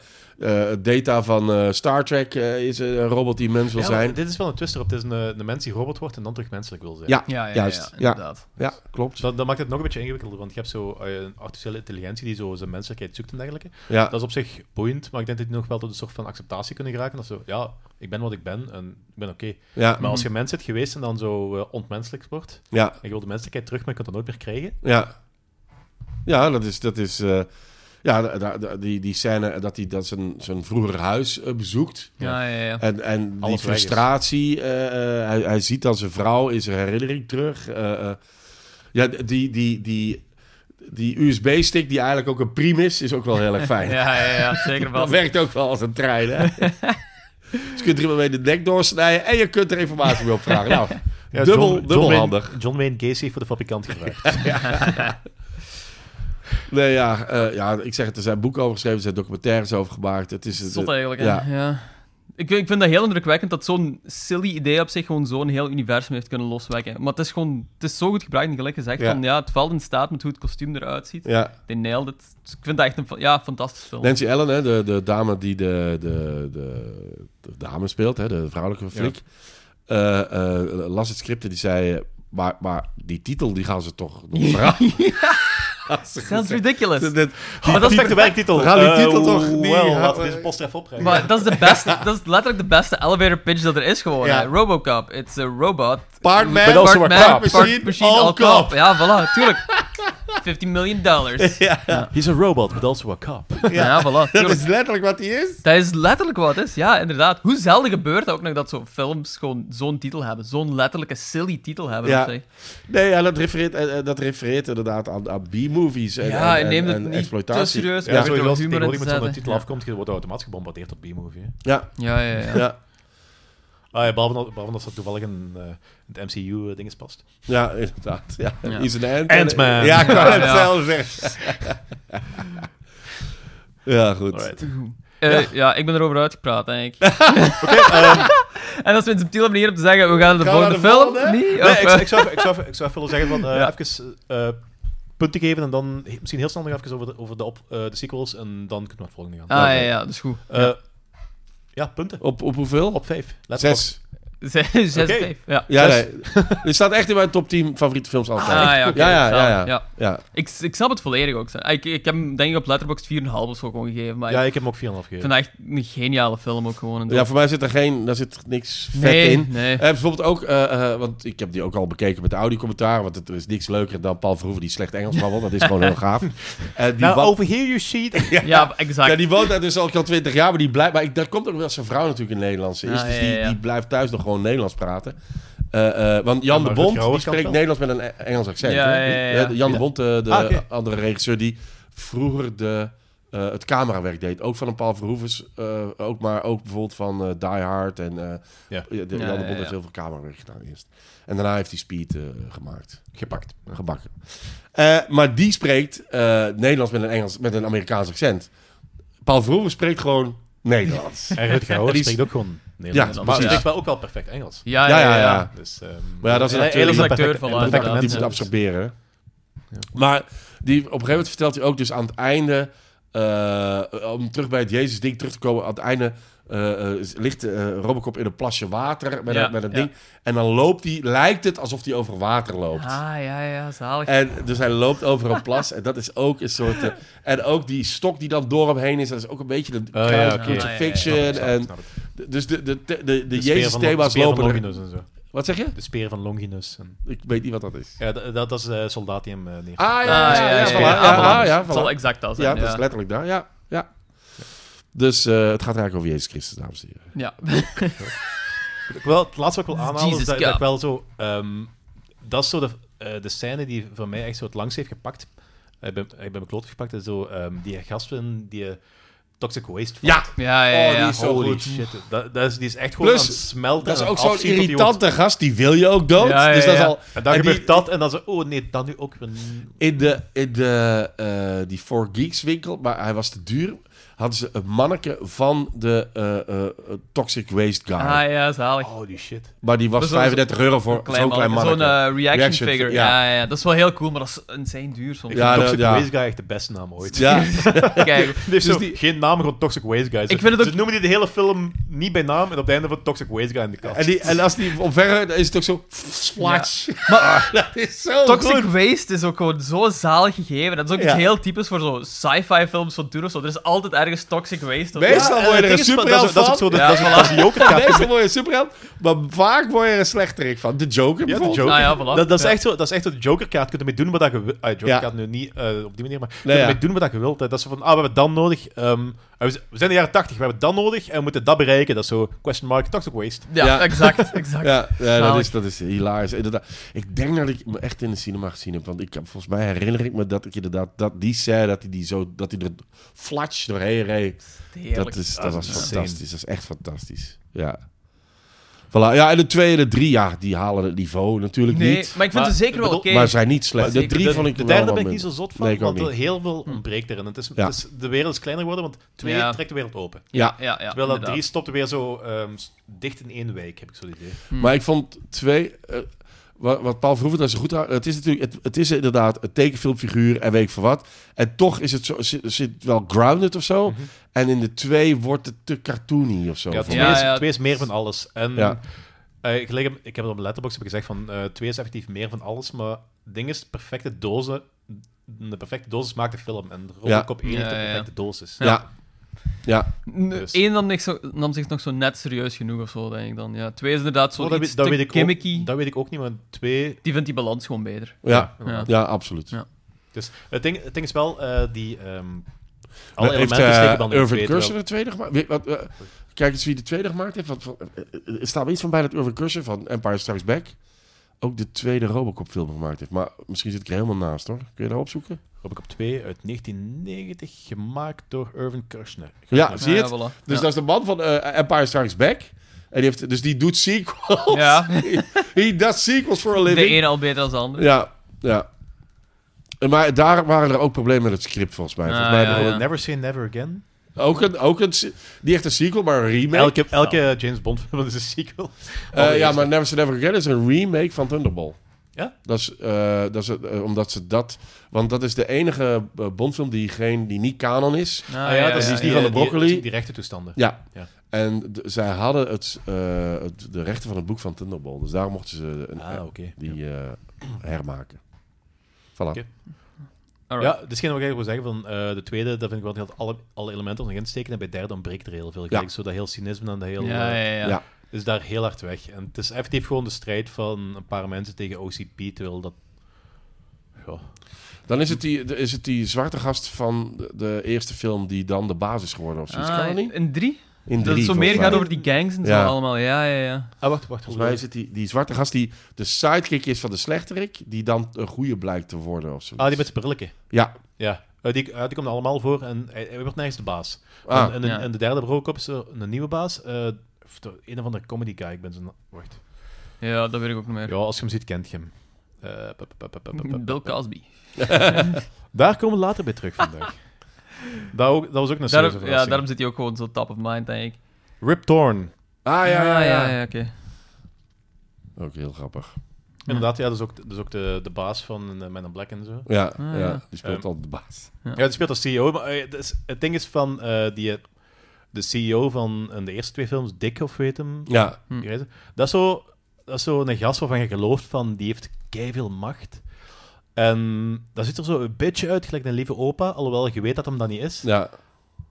[SPEAKER 2] eh, data van eh, Star Trek eh, is eh, een robot die mens wil
[SPEAKER 4] Ja,
[SPEAKER 2] zijn.
[SPEAKER 4] maar Dit is wel een twist erop. Het is een, eh, een mens die robot wordt en dan terug menselijk wil zijn.
[SPEAKER 2] Ja,
[SPEAKER 3] Ja, ja, ja,
[SPEAKER 2] Juist, ja.
[SPEAKER 3] ja, inderdaad.
[SPEAKER 2] ja, klopt.
[SPEAKER 4] Dat, dat maakt het nog een beetje ingewikkelder, want je hebt zo eh, een artificiële intelligentie die zo zijn menselijkheid zoekt en dergelijke.
[SPEAKER 2] Ja.
[SPEAKER 4] Dat is op zich boeiend, maar ik denk denk dat die nog wel tot een soort van acceptatie kunnen geraken. Of zo, ja, ik ben wat ik ben en ik ben oké.
[SPEAKER 2] Ja,
[SPEAKER 4] Maar als je mens bent geweest en dan zo eh, ontmenselijk wordt,
[SPEAKER 2] ja,
[SPEAKER 4] en je wil de menselijkheid terug, maar je kunt dat nooit meer krijgen.
[SPEAKER 2] ja. Ja, dat is... Dat is eh, ja, da- da- da- die, die scène dat hij dat zijn, zijn vroeger huis eh, bezoekt.
[SPEAKER 4] Ja.
[SPEAKER 3] Ja, ja, ja.
[SPEAKER 2] En, en die
[SPEAKER 4] Alles weg is.
[SPEAKER 2] frustratie, eh, eh, hij, hij ziet dan zijn vrouw in zijn herinnering terug. eh, eh. ja, die, die, die, die USB-stick, die eigenlijk ook een priem is, is ook wel heel erg fijn.
[SPEAKER 3] Ja, ja, ja, zeker wel.
[SPEAKER 2] Dat Eh, werkt ook wel als een trein, hè? dus je kunt er iemand mee de nek doorsnijden en je kunt er informatie mee opvragen. Nou,
[SPEAKER 4] Ja,
[SPEAKER 2] dubbel,
[SPEAKER 4] John- John
[SPEAKER 2] dubbel
[SPEAKER 4] Wayne-
[SPEAKER 2] handig.
[SPEAKER 4] John Wayne Gacy voor de fabrikant gevraagd.
[SPEAKER 2] Nee, ja, eh, ja, ik zeg het, er zijn boeken over geschreven, er zijn documentaires over gemaakt. Het is...
[SPEAKER 3] Zot eigenlijk, hè?
[SPEAKER 2] Ja.
[SPEAKER 3] Ja. Ik, ik vind dat heel indrukwekkend dat zo'n silly idee op zich gewoon zo'n heel universum heeft kunnen loswekken. Maar het is gewoon, het is zo goed gebruikt en gelijk gezegd
[SPEAKER 2] Ja.
[SPEAKER 3] van ja, het valt in staat met hoe het kostuum eruit ziet.
[SPEAKER 2] ja,
[SPEAKER 3] They nailed it. Dus ik vind dat echt een fa- ja, fantastisch film.
[SPEAKER 2] Nancy Allen, hè, de, de dame die de, de, de, de dame speelt, hè, de vrouwelijke flik, eh, eh, las het script en die zei... eh, Maar, maar die titel, die gaan ze toch nog veranderen.
[SPEAKER 3] That's ridiculous.
[SPEAKER 2] Dit- dit-
[SPEAKER 3] Maar Oh, dat is
[SPEAKER 4] de werktitel.
[SPEAKER 2] We gaan die titel toch- die
[SPEAKER 4] Eh, Wel,
[SPEAKER 2] had-
[SPEAKER 4] laten we deze post er even oprijden.
[SPEAKER 3] Maar dat is, de beste, dat is letterlijk de beste elevator pitch dat er is gewoon.
[SPEAKER 2] Ja.
[SPEAKER 3] hè. Robocop, it's a robot.
[SPEAKER 2] Part man,
[SPEAKER 4] But also
[SPEAKER 2] part
[SPEAKER 4] a
[SPEAKER 2] man,
[SPEAKER 4] cop.
[SPEAKER 2] part machine, all cop.
[SPEAKER 3] Ja, voilà, tuurlijk. 15 miljoen dollars. Ja,
[SPEAKER 4] He's a robot, but also a cop.
[SPEAKER 3] voilà,
[SPEAKER 2] Dat
[SPEAKER 3] tuurlijk.
[SPEAKER 2] is letterlijk wat hij is.
[SPEAKER 3] Dat is letterlijk wat het is, ja, inderdaad. Hoe zelden gebeurt dat ook nog dat zo'n films gewoon zo'n titel hebben. Zo'n letterlijke silly titel hebben.
[SPEAKER 2] Ja.
[SPEAKER 3] op zich.
[SPEAKER 2] Nee, ja, dat, refereert, eh, eh, dat refereert inderdaad aan, aan B-movies en,
[SPEAKER 3] Ja,
[SPEAKER 2] en,
[SPEAKER 3] en neem
[SPEAKER 2] en-
[SPEAKER 3] het
[SPEAKER 2] en
[SPEAKER 3] niet te
[SPEAKER 2] exploitatie.
[SPEAKER 3] serieus.
[SPEAKER 4] Ja,
[SPEAKER 3] maar
[SPEAKER 4] sowieso
[SPEAKER 3] er
[SPEAKER 4] als je
[SPEAKER 3] humor in
[SPEAKER 4] tegenwoordig
[SPEAKER 3] te
[SPEAKER 4] met zo'n
[SPEAKER 3] zetten.
[SPEAKER 4] titel afkomt, je wordt automatisch gebombardeerd op B-movie. hè.
[SPEAKER 2] Ja,
[SPEAKER 3] Ja, ja, ja.
[SPEAKER 2] ja,
[SPEAKER 4] Ah, ja, behalve, dat- behalve dat dat toevallig in het MCU-dinges eh, past.
[SPEAKER 2] ja, inderdaad. Ja.
[SPEAKER 3] Ja.
[SPEAKER 2] Is een ant.
[SPEAKER 4] Ant-Man.
[SPEAKER 2] Ja, ik kan
[SPEAKER 3] Ja,
[SPEAKER 2] het
[SPEAKER 3] ja.
[SPEAKER 2] zelf zeggen. ja, goed.
[SPEAKER 4] Alright.
[SPEAKER 3] Eh, ja. ik ben erover uitgepraat, denk ik. en als we een subtiele manier om te zeggen, we gaan naar de
[SPEAKER 2] ehm, Gaan we
[SPEAKER 3] volgende
[SPEAKER 2] naar de
[SPEAKER 3] film.
[SPEAKER 2] volgende?
[SPEAKER 3] Nee,
[SPEAKER 4] Nee,
[SPEAKER 3] Of,
[SPEAKER 4] ik,
[SPEAKER 3] eh,
[SPEAKER 4] ik, zou, ik, zou, ik zou even willen zeggen van eh,
[SPEAKER 3] Ja.
[SPEAKER 4] even eh, punten geven en dan he- misschien heel snel nog even over de, over de, op, eh, de sequels en dan kunnen we naar het volgende gaan.
[SPEAKER 3] Ah, ja, ja, dat is goed.
[SPEAKER 4] Eh, ja, punten.
[SPEAKER 2] Op, op hoeveel?
[SPEAKER 4] Op vijf. Letterboxd.
[SPEAKER 2] Zes.
[SPEAKER 3] Zes, zes,
[SPEAKER 4] Oké.
[SPEAKER 3] vijf, Ja.
[SPEAKER 2] Ja,
[SPEAKER 4] Zes.
[SPEAKER 2] nee. Dit staat echt in mijn top 10 favoriete films
[SPEAKER 3] Ah,
[SPEAKER 2] altijd.
[SPEAKER 3] ja, oké,
[SPEAKER 2] ja, ja, ja,
[SPEAKER 3] zalig.
[SPEAKER 2] ja.
[SPEAKER 3] ja.
[SPEAKER 2] Ja.
[SPEAKER 3] Ik, ik snap het volledig ook. zeg. Ik, ik heb hem denk ik op Letterboxd 4,5 of zo gewoon gegeven, maar
[SPEAKER 4] Ja,
[SPEAKER 3] ik
[SPEAKER 4] ik heb hem ook 4,5 gegeven.
[SPEAKER 3] vind dat echt een geniale film ook gewoon. en
[SPEAKER 2] Ja, voor mij zit er geen, daar zit niks vet
[SPEAKER 3] nee,
[SPEAKER 2] in.
[SPEAKER 3] nee.
[SPEAKER 2] Eh, bijvoorbeeld ook, eh, eh, want ik heb die ook al bekeken met de Audi-commentaar, want het, er is niks leuker dan Paul Verhoeven die slecht Engels babbelt. Dat is gewoon heel gaaf. Eh, die,
[SPEAKER 4] Nou,
[SPEAKER 2] wa-
[SPEAKER 4] over here you see it.
[SPEAKER 3] Ja, exact.
[SPEAKER 2] ja, die woont daar dus al al 20 jaar, maar die blijft. Maar ik, daar komt ook wel zijn vrouw natuurlijk in Nederlands is.
[SPEAKER 3] Ah,
[SPEAKER 2] dus
[SPEAKER 3] ja,
[SPEAKER 2] die,
[SPEAKER 3] ja, ja.
[SPEAKER 2] die blijft thuis nog gewoon Nederlands praten. Eh, eh, want Jan
[SPEAKER 4] Ja, maar
[SPEAKER 2] de Bond
[SPEAKER 4] Rutger Hauer
[SPEAKER 2] die
[SPEAKER 4] kan
[SPEAKER 2] spreekt
[SPEAKER 4] wel.
[SPEAKER 2] Nederlands met een E- Engels accent.
[SPEAKER 3] Ja,
[SPEAKER 2] hè?
[SPEAKER 3] ja, ja, ja.
[SPEAKER 2] Eh, Jan de
[SPEAKER 4] Ja.
[SPEAKER 2] Bond, eh, de
[SPEAKER 4] Ah, oké.
[SPEAKER 2] andere regisseur, die vroeger de, eh, het camerawerk deed. Ook van een Paul Verhoeven's, eh, ook, maar ook bijvoorbeeld van eh, Die Hard. En, eh,
[SPEAKER 4] Ja.
[SPEAKER 2] de- Jan
[SPEAKER 3] Ja,
[SPEAKER 2] de
[SPEAKER 3] ja,
[SPEAKER 2] Bond
[SPEAKER 3] ja.
[SPEAKER 2] heeft heel veel camerawerk gedaan eerst. En daarna heeft hij Speed eh, gemaakt.
[SPEAKER 4] Gepakt.
[SPEAKER 2] Gebakken. Eh, maar die spreekt eh, Nederlands met een, Engels, met een Amerikaans accent. Paul Verhoeven spreekt gewoon Nederlands.
[SPEAKER 4] En Rutger Hauer
[SPEAKER 2] Die is-
[SPEAKER 4] spreekt ook gewoon Nederlands.
[SPEAKER 2] Ja,
[SPEAKER 4] maar
[SPEAKER 2] precies.
[SPEAKER 4] hij spreekt wel ook wel perfect Engels.
[SPEAKER 3] Ja, ja, ja.
[SPEAKER 2] ja.
[SPEAKER 4] Dus, ehm,
[SPEAKER 2] Maar ja, dat is
[SPEAKER 4] en hij-
[SPEAKER 2] natuurlijk-
[SPEAKER 4] hij is een
[SPEAKER 3] acteur
[SPEAKER 4] perfecte-
[SPEAKER 3] van
[SPEAKER 4] een
[SPEAKER 3] Laat
[SPEAKER 2] dat
[SPEAKER 4] perfecte
[SPEAKER 2] kan die
[SPEAKER 4] mens,
[SPEAKER 2] moet
[SPEAKER 3] mensen.
[SPEAKER 2] absorberen.
[SPEAKER 4] Ja.
[SPEAKER 2] Maar die, op een gegeven moment vertelt hij ook dus aan het einde... eh, om terug bij het Jezus-ding terug te komen... aan het einde eh, eh, ligt eh, Robocop in een plasje water met,
[SPEAKER 3] Ja,
[SPEAKER 2] een, met een
[SPEAKER 3] ja.
[SPEAKER 2] ding. En dan loopt hij, lijkt het alsof hij over water loopt.
[SPEAKER 3] Ah, ja, ja, zalig.
[SPEAKER 2] En dus hij loopt over een plas en dat is ook een soort... eh, en ook die stok die dan door hem heen is, dat is ook een beetje de
[SPEAKER 4] Oh, ja,
[SPEAKER 2] kruis-
[SPEAKER 4] oké.
[SPEAKER 2] Crucifixion
[SPEAKER 3] Ah, ja, ja, ja.
[SPEAKER 4] Snap ik, snap ik,
[SPEAKER 2] En
[SPEAKER 4] snap ik.
[SPEAKER 2] dus de, de, de, de, de
[SPEAKER 4] De speer van Lo- de
[SPEAKER 2] Jezus-thema's
[SPEAKER 4] speer van
[SPEAKER 2] lopen er-
[SPEAKER 4] Longinus en zo.
[SPEAKER 2] Wat zeg je?
[SPEAKER 4] De speer van Longinus. En...
[SPEAKER 2] Ik weet niet wat dat is.
[SPEAKER 4] Ja, dat, dat is eh soldaat die hem eh, neer.
[SPEAKER 2] Ah, ja,
[SPEAKER 3] Ah,
[SPEAKER 2] ja, ja,
[SPEAKER 3] ja,
[SPEAKER 2] voilà.
[SPEAKER 3] ja,
[SPEAKER 2] Ja,
[SPEAKER 3] ja,
[SPEAKER 2] ah, ja,
[SPEAKER 3] Het zal
[SPEAKER 2] voilà.
[SPEAKER 3] exact dat
[SPEAKER 2] Ja, dus
[SPEAKER 3] zijn.
[SPEAKER 2] dat is
[SPEAKER 3] Ja,
[SPEAKER 2] letterlijk daar, ja. ja. Dus eh, het gaat eigenlijk over Jezus Christus, dames en heren.
[SPEAKER 3] ja.
[SPEAKER 4] Ik wil, het laatste wat ik wil aanhalen
[SPEAKER 3] Jesus
[SPEAKER 4] is dat, dat ik
[SPEAKER 3] God.
[SPEAKER 4] wel zo... ehm, dat is zo de, eh, de scène die voor mij echt zo het langst heeft gepakt. Ik ben, ik ben mijn kloot gepakt. is zo ehm, die gasten die eh, Toxic Waste valt.
[SPEAKER 2] Ja,
[SPEAKER 3] Ja, ja, ja.
[SPEAKER 2] Oh, die
[SPEAKER 3] ja.
[SPEAKER 2] is- zo
[SPEAKER 4] Holy
[SPEAKER 2] goed.
[SPEAKER 4] shit. Dat, dat is, die is echt gewoon
[SPEAKER 2] Plus,
[SPEAKER 4] aan het smelten.
[SPEAKER 2] dat is
[SPEAKER 4] en
[SPEAKER 2] ook zo'n
[SPEAKER 4] afzien tot die
[SPEAKER 2] irritante gast, die wil je ook dood.
[SPEAKER 3] Ja, ja,
[SPEAKER 2] Dus dat is
[SPEAKER 3] ja.
[SPEAKER 2] al...
[SPEAKER 4] wordt- En dan
[SPEAKER 2] en die-
[SPEAKER 4] gebeurt dat en dan zo... Oh nee, dan nu ook weer... niet.
[SPEAKER 2] In de, in de eh, die Four Geeks winkel, maar hij was te duur, hadden ze een manneke van de eh, eh, Toxic Waste Guy.
[SPEAKER 3] Ah, ja, zalig.
[SPEAKER 4] Holy shit.
[SPEAKER 2] Maar die was
[SPEAKER 3] Dat is wel
[SPEAKER 2] 35 euro voor
[SPEAKER 3] Een
[SPEAKER 2] Oh, zo'n klein
[SPEAKER 3] man-
[SPEAKER 2] manneke.
[SPEAKER 3] Zo'n eh, reaction,
[SPEAKER 2] Reaction
[SPEAKER 3] figure.
[SPEAKER 2] fi- ja.
[SPEAKER 3] Ja. Ja, dat is wel heel cool, maar dat is insane duur soms.
[SPEAKER 2] Ja,
[SPEAKER 4] Toxic
[SPEAKER 2] ja.
[SPEAKER 3] eh,
[SPEAKER 4] Waste Guy echt de beste naam ooit.
[SPEAKER 2] ja,
[SPEAKER 3] Kijk,
[SPEAKER 4] Die heeft
[SPEAKER 2] Dus
[SPEAKER 4] zo
[SPEAKER 2] die-
[SPEAKER 4] geen naam, naam gewoon Toxic Waste Guy. Ze,
[SPEAKER 3] Ik vind het ook-
[SPEAKER 4] ze noemen die de hele film niet bij naam en op het einde van Toxic Waste Guy in de kast.
[SPEAKER 2] En, die, en als die omver dan is het ook zo... Splash.
[SPEAKER 3] Maar
[SPEAKER 2] Dat is zo
[SPEAKER 3] Toxic
[SPEAKER 2] goed.
[SPEAKER 3] Waste is ook gewoon zo zalig gegeven. Dat is ook iets
[SPEAKER 2] Ja.
[SPEAKER 3] heel typisch voor zo sci-fi films van toen of zo. Er is altijd ergens Toxic Waste. of zo.
[SPEAKER 2] Meestal
[SPEAKER 4] en
[SPEAKER 2] word je er
[SPEAKER 4] eh, het ding
[SPEAKER 2] een
[SPEAKER 4] is van-
[SPEAKER 2] superheld
[SPEAKER 4] dat is- Dat is ook zo de,
[SPEAKER 3] Ja,
[SPEAKER 4] dat is, dat is de jokerkaart.
[SPEAKER 2] Meestal word je een superheld, maar vaak word je er een slechterik van. De Joker
[SPEAKER 4] Ja, de
[SPEAKER 2] bijvoorbeeld.
[SPEAKER 4] Joker.
[SPEAKER 3] Ah ja, voilà.
[SPEAKER 4] dat, dat, is
[SPEAKER 3] Ja.
[SPEAKER 4] echt zo, dat is echt zo de Jokerkaart. Je kunt ermee doen wat je wilt. Ah, Jokerkaart nu niet eh, op die manier, maar je kunt
[SPEAKER 2] Nee, ja.
[SPEAKER 4] ermee doen wat je wilt. hè. Dat is zo van, ah, we hebben dan nodig. ehm, we z- we zijn in de jaren 80, we hebben dan nodig en we moeten dat bereiken. Dat is zo, question mark, toxic waste.
[SPEAKER 3] Ja,
[SPEAKER 2] Ja.
[SPEAKER 3] exact. exact.
[SPEAKER 2] Ja, ja dat,
[SPEAKER 3] Zalig.
[SPEAKER 2] is, dat is hilarisch. Inderdaad. Ik denk dat ik me echt in de cinema gezien heb. Want ik, heb- volgens mij herinner ik me dat ik inderdaad dat die zei dat hij die zo dat hij er flats doorheen reed.
[SPEAKER 3] Heerlijk.
[SPEAKER 2] Dat, is, dat,
[SPEAKER 4] Dat is
[SPEAKER 2] was
[SPEAKER 4] insane.
[SPEAKER 2] fantastisch. Dat is echt fantastisch. Ja. Voilà. Ja, en de twee en de drie, ja, die halen het niveau natuurlijk
[SPEAKER 3] nee,
[SPEAKER 2] niet.
[SPEAKER 3] maar ik vind
[SPEAKER 4] Maar-
[SPEAKER 3] ze zeker wel
[SPEAKER 4] bedoel-
[SPEAKER 3] oké.
[SPEAKER 2] Maar zijn niet slecht.
[SPEAKER 3] Maar
[SPEAKER 2] De drie
[SPEAKER 3] zeker-
[SPEAKER 2] vond ik
[SPEAKER 4] De
[SPEAKER 2] er wel
[SPEAKER 4] derde
[SPEAKER 2] wat
[SPEAKER 4] ben ik niet zo
[SPEAKER 2] minder.
[SPEAKER 4] zot van,
[SPEAKER 2] Nee, ik ook
[SPEAKER 4] want er
[SPEAKER 2] niet. Hm.
[SPEAKER 4] heel veel ontbreekt erin. Het is, het
[SPEAKER 2] Ja.
[SPEAKER 4] is- de wereld is kleiner geworden, want twee
[SPEAKER 3] Ja.
[SPEAKER 4] trekt de wereld open.
[SPEAKER 2] Ja,
[SPEAKER 3] Ja, ja,
[SPEAKER 4] Terwijl dat
[SPEAKER 3] inderdaad.
[SPEAKER 4] drie stopt weer zo ehm, s- dicht in één wijk, heb ik zo'n idee.
[SPEAKER 3] Hm.
[SPEAKER 2] Mm. Maar ik vond twee. eh, wat, wat Paul Verhoeven daar zo goed aan. Het is natuurlijk. Het, het is inderdaad een tekenfilmfiguur en weet ik van wat. En toch is het zo, zit, zit wel grounded of zo. En in de twee wordt het te cartoony of zo.
[SPEAKER 4] Ja,
[SPEAKER 2] vond
[SPEAKER 4] twee,
[SPEAKER 2] ik.
[SPEAKER 3] Ja,
[SPEAKER 4] is,
[SPEAKER 3] ja.
[SPEAKER 4] twee is meer van alles. En
[SPEAKER 2] Ja.
[SPEAKER 4] eh, ik, leg hem- ik heb het op mijn letterbox gezegd van eh, twee is effectief meer van alles, maar het ding is, de perfecte dozen. De perfecte dosis maakt de film. En Robocop 1 heeft de
[SPEAKER 3] Ja, ja, ja.
[SPEAKER 4] perfecte dosis. Oh,
[SPEAKER 2] Ja. Ja.
[SPEAKER 3] N-
[SPEAKER 4] Dus.
[SPEAKER 3] Eén nam, zich zo- nam zich nog zo net serieus genoeg of zo, denk ik dan. Ja, twee is inderdaad zo
[SPEAKER 4] Oh, dat,
[SPEAKER 3] iets
[SPEAKER 4] weet, dat,
[SPEAKER 3] te
[SPEAKER 4] weet ik
[SPEAKER 3] gimmicky.
[SPEAKER 4] ook, dat weet ik ook niet, maar twee...
[SPEAKER 3] Die vindt die balans gewoon beter.
[SPEAKER 2] Ja.
[SPEAKER 3] Ja.
[SPEAKER 2] Ja, absoluut.
[SPEAKER 3] Ja.
[SPEAKER 4] Dus het ding, het ding is wel, eh, die... ehm, alle
[SPEAKER 2] Maar
[SPEAKER 4] elementen steken dan
[SPEAKER 2] eh,
[SPEAKER 4] in
[SPEAKER 2] Irvin Kershner
[SPEAKER 4] twee, terwijl-
[SPEAKER 2] de tweede gemaakt? Weet- wat, eh, kijk eens wie de tweede gemaakt heeft. Wat, wat- eh, er staat wel iets van bij dat Irvin Kershner van Empire Strikes Back... ook de tweede Robocop film gemaakt heeft. Maar misschien zit ik er helemaal naast, hoor. Kun je daar opzoeken?
[SPEAKER 4] Robocop 2 uit 1990, gemaakt door Irvin Kershner.
[SPEAKER 2] Ja, zie je het?
[SPEAKER 3] Ja, voilà.
[SPEAKER 2] Dus
[SPEAKER 3] Ja.
[SPEAKER 2] dat is de man van eh, Empire Strikes Back. En die heeft, dus die doet sequels.
[SPEAKER 3] Ja.
[SPEAKER 2] he, he does sequels for a
[SPEAKER 3] De
[SPEAKER 2] living.
[SPEAKER 3] ene al beter dan de andere.
[SPEAKER 2] Ja, ja. En Maar daar waren er ook problemen met het script, volgens mij.
[SPEAKER 3] Ah,
[SPEAKER 2] volgens mij
[SPEAKER 3] ja,
[SPEAKER 2] hebben
[SPEAKER 3] ja.
[SPEAKER 4] Never Say Never Again.
[SPEAKER 2] we ook een, ook een... se- Die echt een sequel, maar een remake.
[SPEAKER 4] Elke, elke James Bond film is een sequel.
[SPEAKER 3] oh,
[SPEAKER 2] Eh, ja,
[SPEAKER 4] Allereerst.
[SPEAKER 2] maar Never Say Never Again is een remake van Thunderball.
[SPEAKER 4] Ja?
[SPEAKER 2] Dat is, eh, dat is het, eh, omdat ze dat... Want dat is de enige eh, Bondfilm die, geen, die niet canon is.
[SPEAKER 3] Ah,
[SPEAKER 4] Ah ja, dat is
[SPEAKER 2] ja,
[SPEAKER 4] die,
[SPEAKER 2] ja. van de
[SPEAKER 4] die-
[SPEAKER 2] broccoli.
[SPEAKER 4] Die, die rechte toestanden.
[SPEAKER 2] Ja.
[SPEAKER 4] Ja.
[SPEAKER 2] En d- zij hadden het, eh, het- de rechten van het boek van Thunderball. Dus daar mochten ze een,
[SPEAKER 4] Ah, oké.
[SPEAKER 2] die eh, hermaken. Voilà.
[SPEAKER 4] Oké. Ja, dus hetgeen wat ik eigenlijk wil zeggen van eh, de tweede, dat vind ik wel dat alle, alle elementen nog insteken. En bij de derde ontbreekt er heel veel. Ik
[SPEAKER 2] Ja.
[SPEAKER 4] denk zo dat heel cynisme en dat heel,
[SPEAKER 3] Ja, ja,
[SPEAKER 4] eh,
[SPEAKER 3] ja.
[SPEAKER 2] Ja.
[SPEAKER 4] is daar heel hard weg. En het is effectief gewoon de strijd van een paar mensen tegen OCP, terwijl dat... Ja.
[SPEAKER 2] Dan is het, die, de- is het die zwarte gast van de, de eerste film die dan de basis geworden of zoiets. kan
[SPEAKER 3] Ah,
[SPEAKER 2] dat niet?
[SPEAKER 3] in drie?
[SPEAKER 2] In
[SPEAKER 3] dat het zo
[SPEAKER 2] volgens
[SPEAKER 3] meer
[SPEAKER 2] mij.
[SPEAKER 3] gaat over die gangs en zo
[SPEAKER 2] Ja.
[SPEAKER 3] allemaal. Ja, ja, ja.
[SPEAKER 4] Ah, wacht, wacht.
[SPEAKER 2] Volgens mij is het die, die zwarte gast die de sidekick is van de slechterik, die dan een goede blijkt te worden of zoiets.
[SPEAKER 4] Ah, die met zijn brilletje.
[SPEAKER 2] Ja.
[SPEAKER 4] Ja. Eh, die, eh, die komt allemaal voor en hij, hij wordt nergens de baas.
[SPEAKER 2] Ah.
[SPEAKER 4] en, en, de-
[SPEAKER 3] Ja.
[SPEAKER 4] en de derde brokop is eh, een nieuwe baas. eh, of de, een of andere comedy guy. Ik ben zijn... Wacht.
[SPEAKER 3] Ja, dat weet ik ook niet meer.
[SPEAKER 4] Ja, als je hem ziet, kent je hem. Eh, pa, pa, pa, pa, pa, pa, pa,
[SPEAKER 3] Bill
[SPEAKER 4] pa.
[SPEAKER 3] Cosby.
[SPEAKER 4] Daar komen we later bij terug vandaag. dat, ook, dat was ook een serieuze
[SPEAKER 3] Daarom, ja,
[SPEAKER 4] verrassing.
[SPEAKER 3] daarom zit hij ook gewoon zo top of mind, denk ik.
[SPEAKER 4] Rip Torn.
[SPEAKER 2] Ah, ja, ja, ja.
[SPEAKER 3] Ah, ja, ja, oké.
[SPEAKER 2] Ook heel grappig.
[SPEAKER 4] Inderdaad, ja, dat is ook, dat is ook de, de baas van eh, Men in Black en zo.
[SPEAKER 2] Ja,
[SPEAKER 3] Ah,
[SPEAKER 2] ja.
[SPEAKER 3] ja.
[SPEAKER 2] die speelt
[SPEAKER 4] Ehm.
[SPEAKER 2] altijd de baas.
[SPEAKER 4] Ja, die speelt als CEO. Maar, eh, het is- het ding is van eh, die, eh, de CEO van eh, de eerste twee films, Dick of weet hem.
[SPEAKER 2] Ja,
[SPEAKER 3] Hm.
[SPEAKER 4] die reizen. Dat is zo, dat is zo een gast waarvan je gelooft van, die heeft veel macht. En dat ziet er zo een beetje uit, gelijk een lieve opa, alhoewel je weet dat hem dat niet is.
[SPEAKER 2] ja,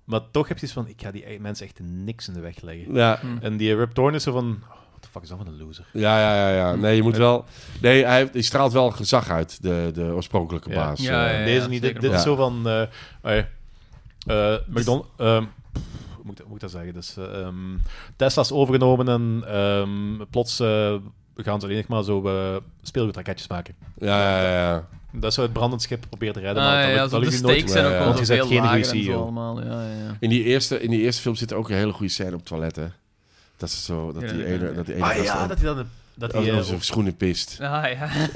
[SPEAKER 4] Maar toch heb je iets van, ik ga die mensen echt niks in de weg leggen.
[SPEAKER 2] ja.
[SPEAKER 3] Hm.
[SPEAKER 4] En die Rip Torn is zo van... Oh, what the fuck is dat van een loser?
[SPEAKER 2] Ja, ja, ja, ja. Nee, je moet wel. Nee, hij, heeft- die straalt wel gezag uit, de, de oorspronkelijke
[SPEAKER 4] Ja.
[SPEAKER 2] baas.
[SPEAKER 3] Ja,
[SPEAKER 2] eh.
[SPEAKER 3] ja.
[SPEAKER 4] Deze niet. Dit,
[SPEAKER 3] zeker.
[SPEAKER 4] dit is
[SPEAKER 2] Ja.
[SPEAKER 4] zo van... eh ai, eh, McDonald... ehm, pff, hoe, moet ik dat, hoe moet ik dat zeggen? Dus, eh, ehm, Tesla's overgenomen en ehm, plots eh, gaan ze alleen nog maar zo eh, speelgoedraketjes maken.
[SPEAKER 2] Ja, ja, ja.
[SPEAKER 4] Dat is zo het brandend schip proberen te redden.
[SPEAKER 3] Ah,
[SPEAKER 4] maar
[SPEAKER 3] ja,
[SPEAKER 4] dat,
[SPEAKER 3] ja,
[SPEAKER 4] lukt-
[SPEAKER 3] zo
[SPEAKER 4] dat
[SPEAKER 3] de
[SPEAKER 4] lukt je nooit.
[SPEAKER 3] stakes zijn ook
[SPEAKER 2] eh,
[SPEAKER 3] wel
[SPEAKER 2] want
[SPEAKER 3] zo
[SPEAKER 4] je zet
[SPEAKER 3] veel
[SPEAKER 4] geen
[SPEAKER 3] lager en
[SPEAKER 4] goeie
[SPEAKER 3] zo
[SPEAKER 4] CEO.
[SPEAKER 3] allemaal. Ja, ja, ja.
[SPEAKER 2] In, die eerste, in die eerste film zit ook een hele goede scène op toiletten. Dat is zo. Dat
[SPEAKER 3] Ja,
[SPEAKER 2] die
[SPEAKER 3] ja,
[SPEAKER 2] ene.
[SPEAKER 3] ja.
[SPEAKER 2] Dat die ene
[SPEAKER 4] Ah
[SPEAKER 2] gast
[SPEAKER 4] ja,
[SPEAKER 2] ook-
[SPEAKER 4] dat hij dan... Dat
[SPEAKER 2] als,
[SPEAKER 4] hij, eh,
[SPEAKER 2] als een schoenen pist.
[SPEAKER 3] Ah,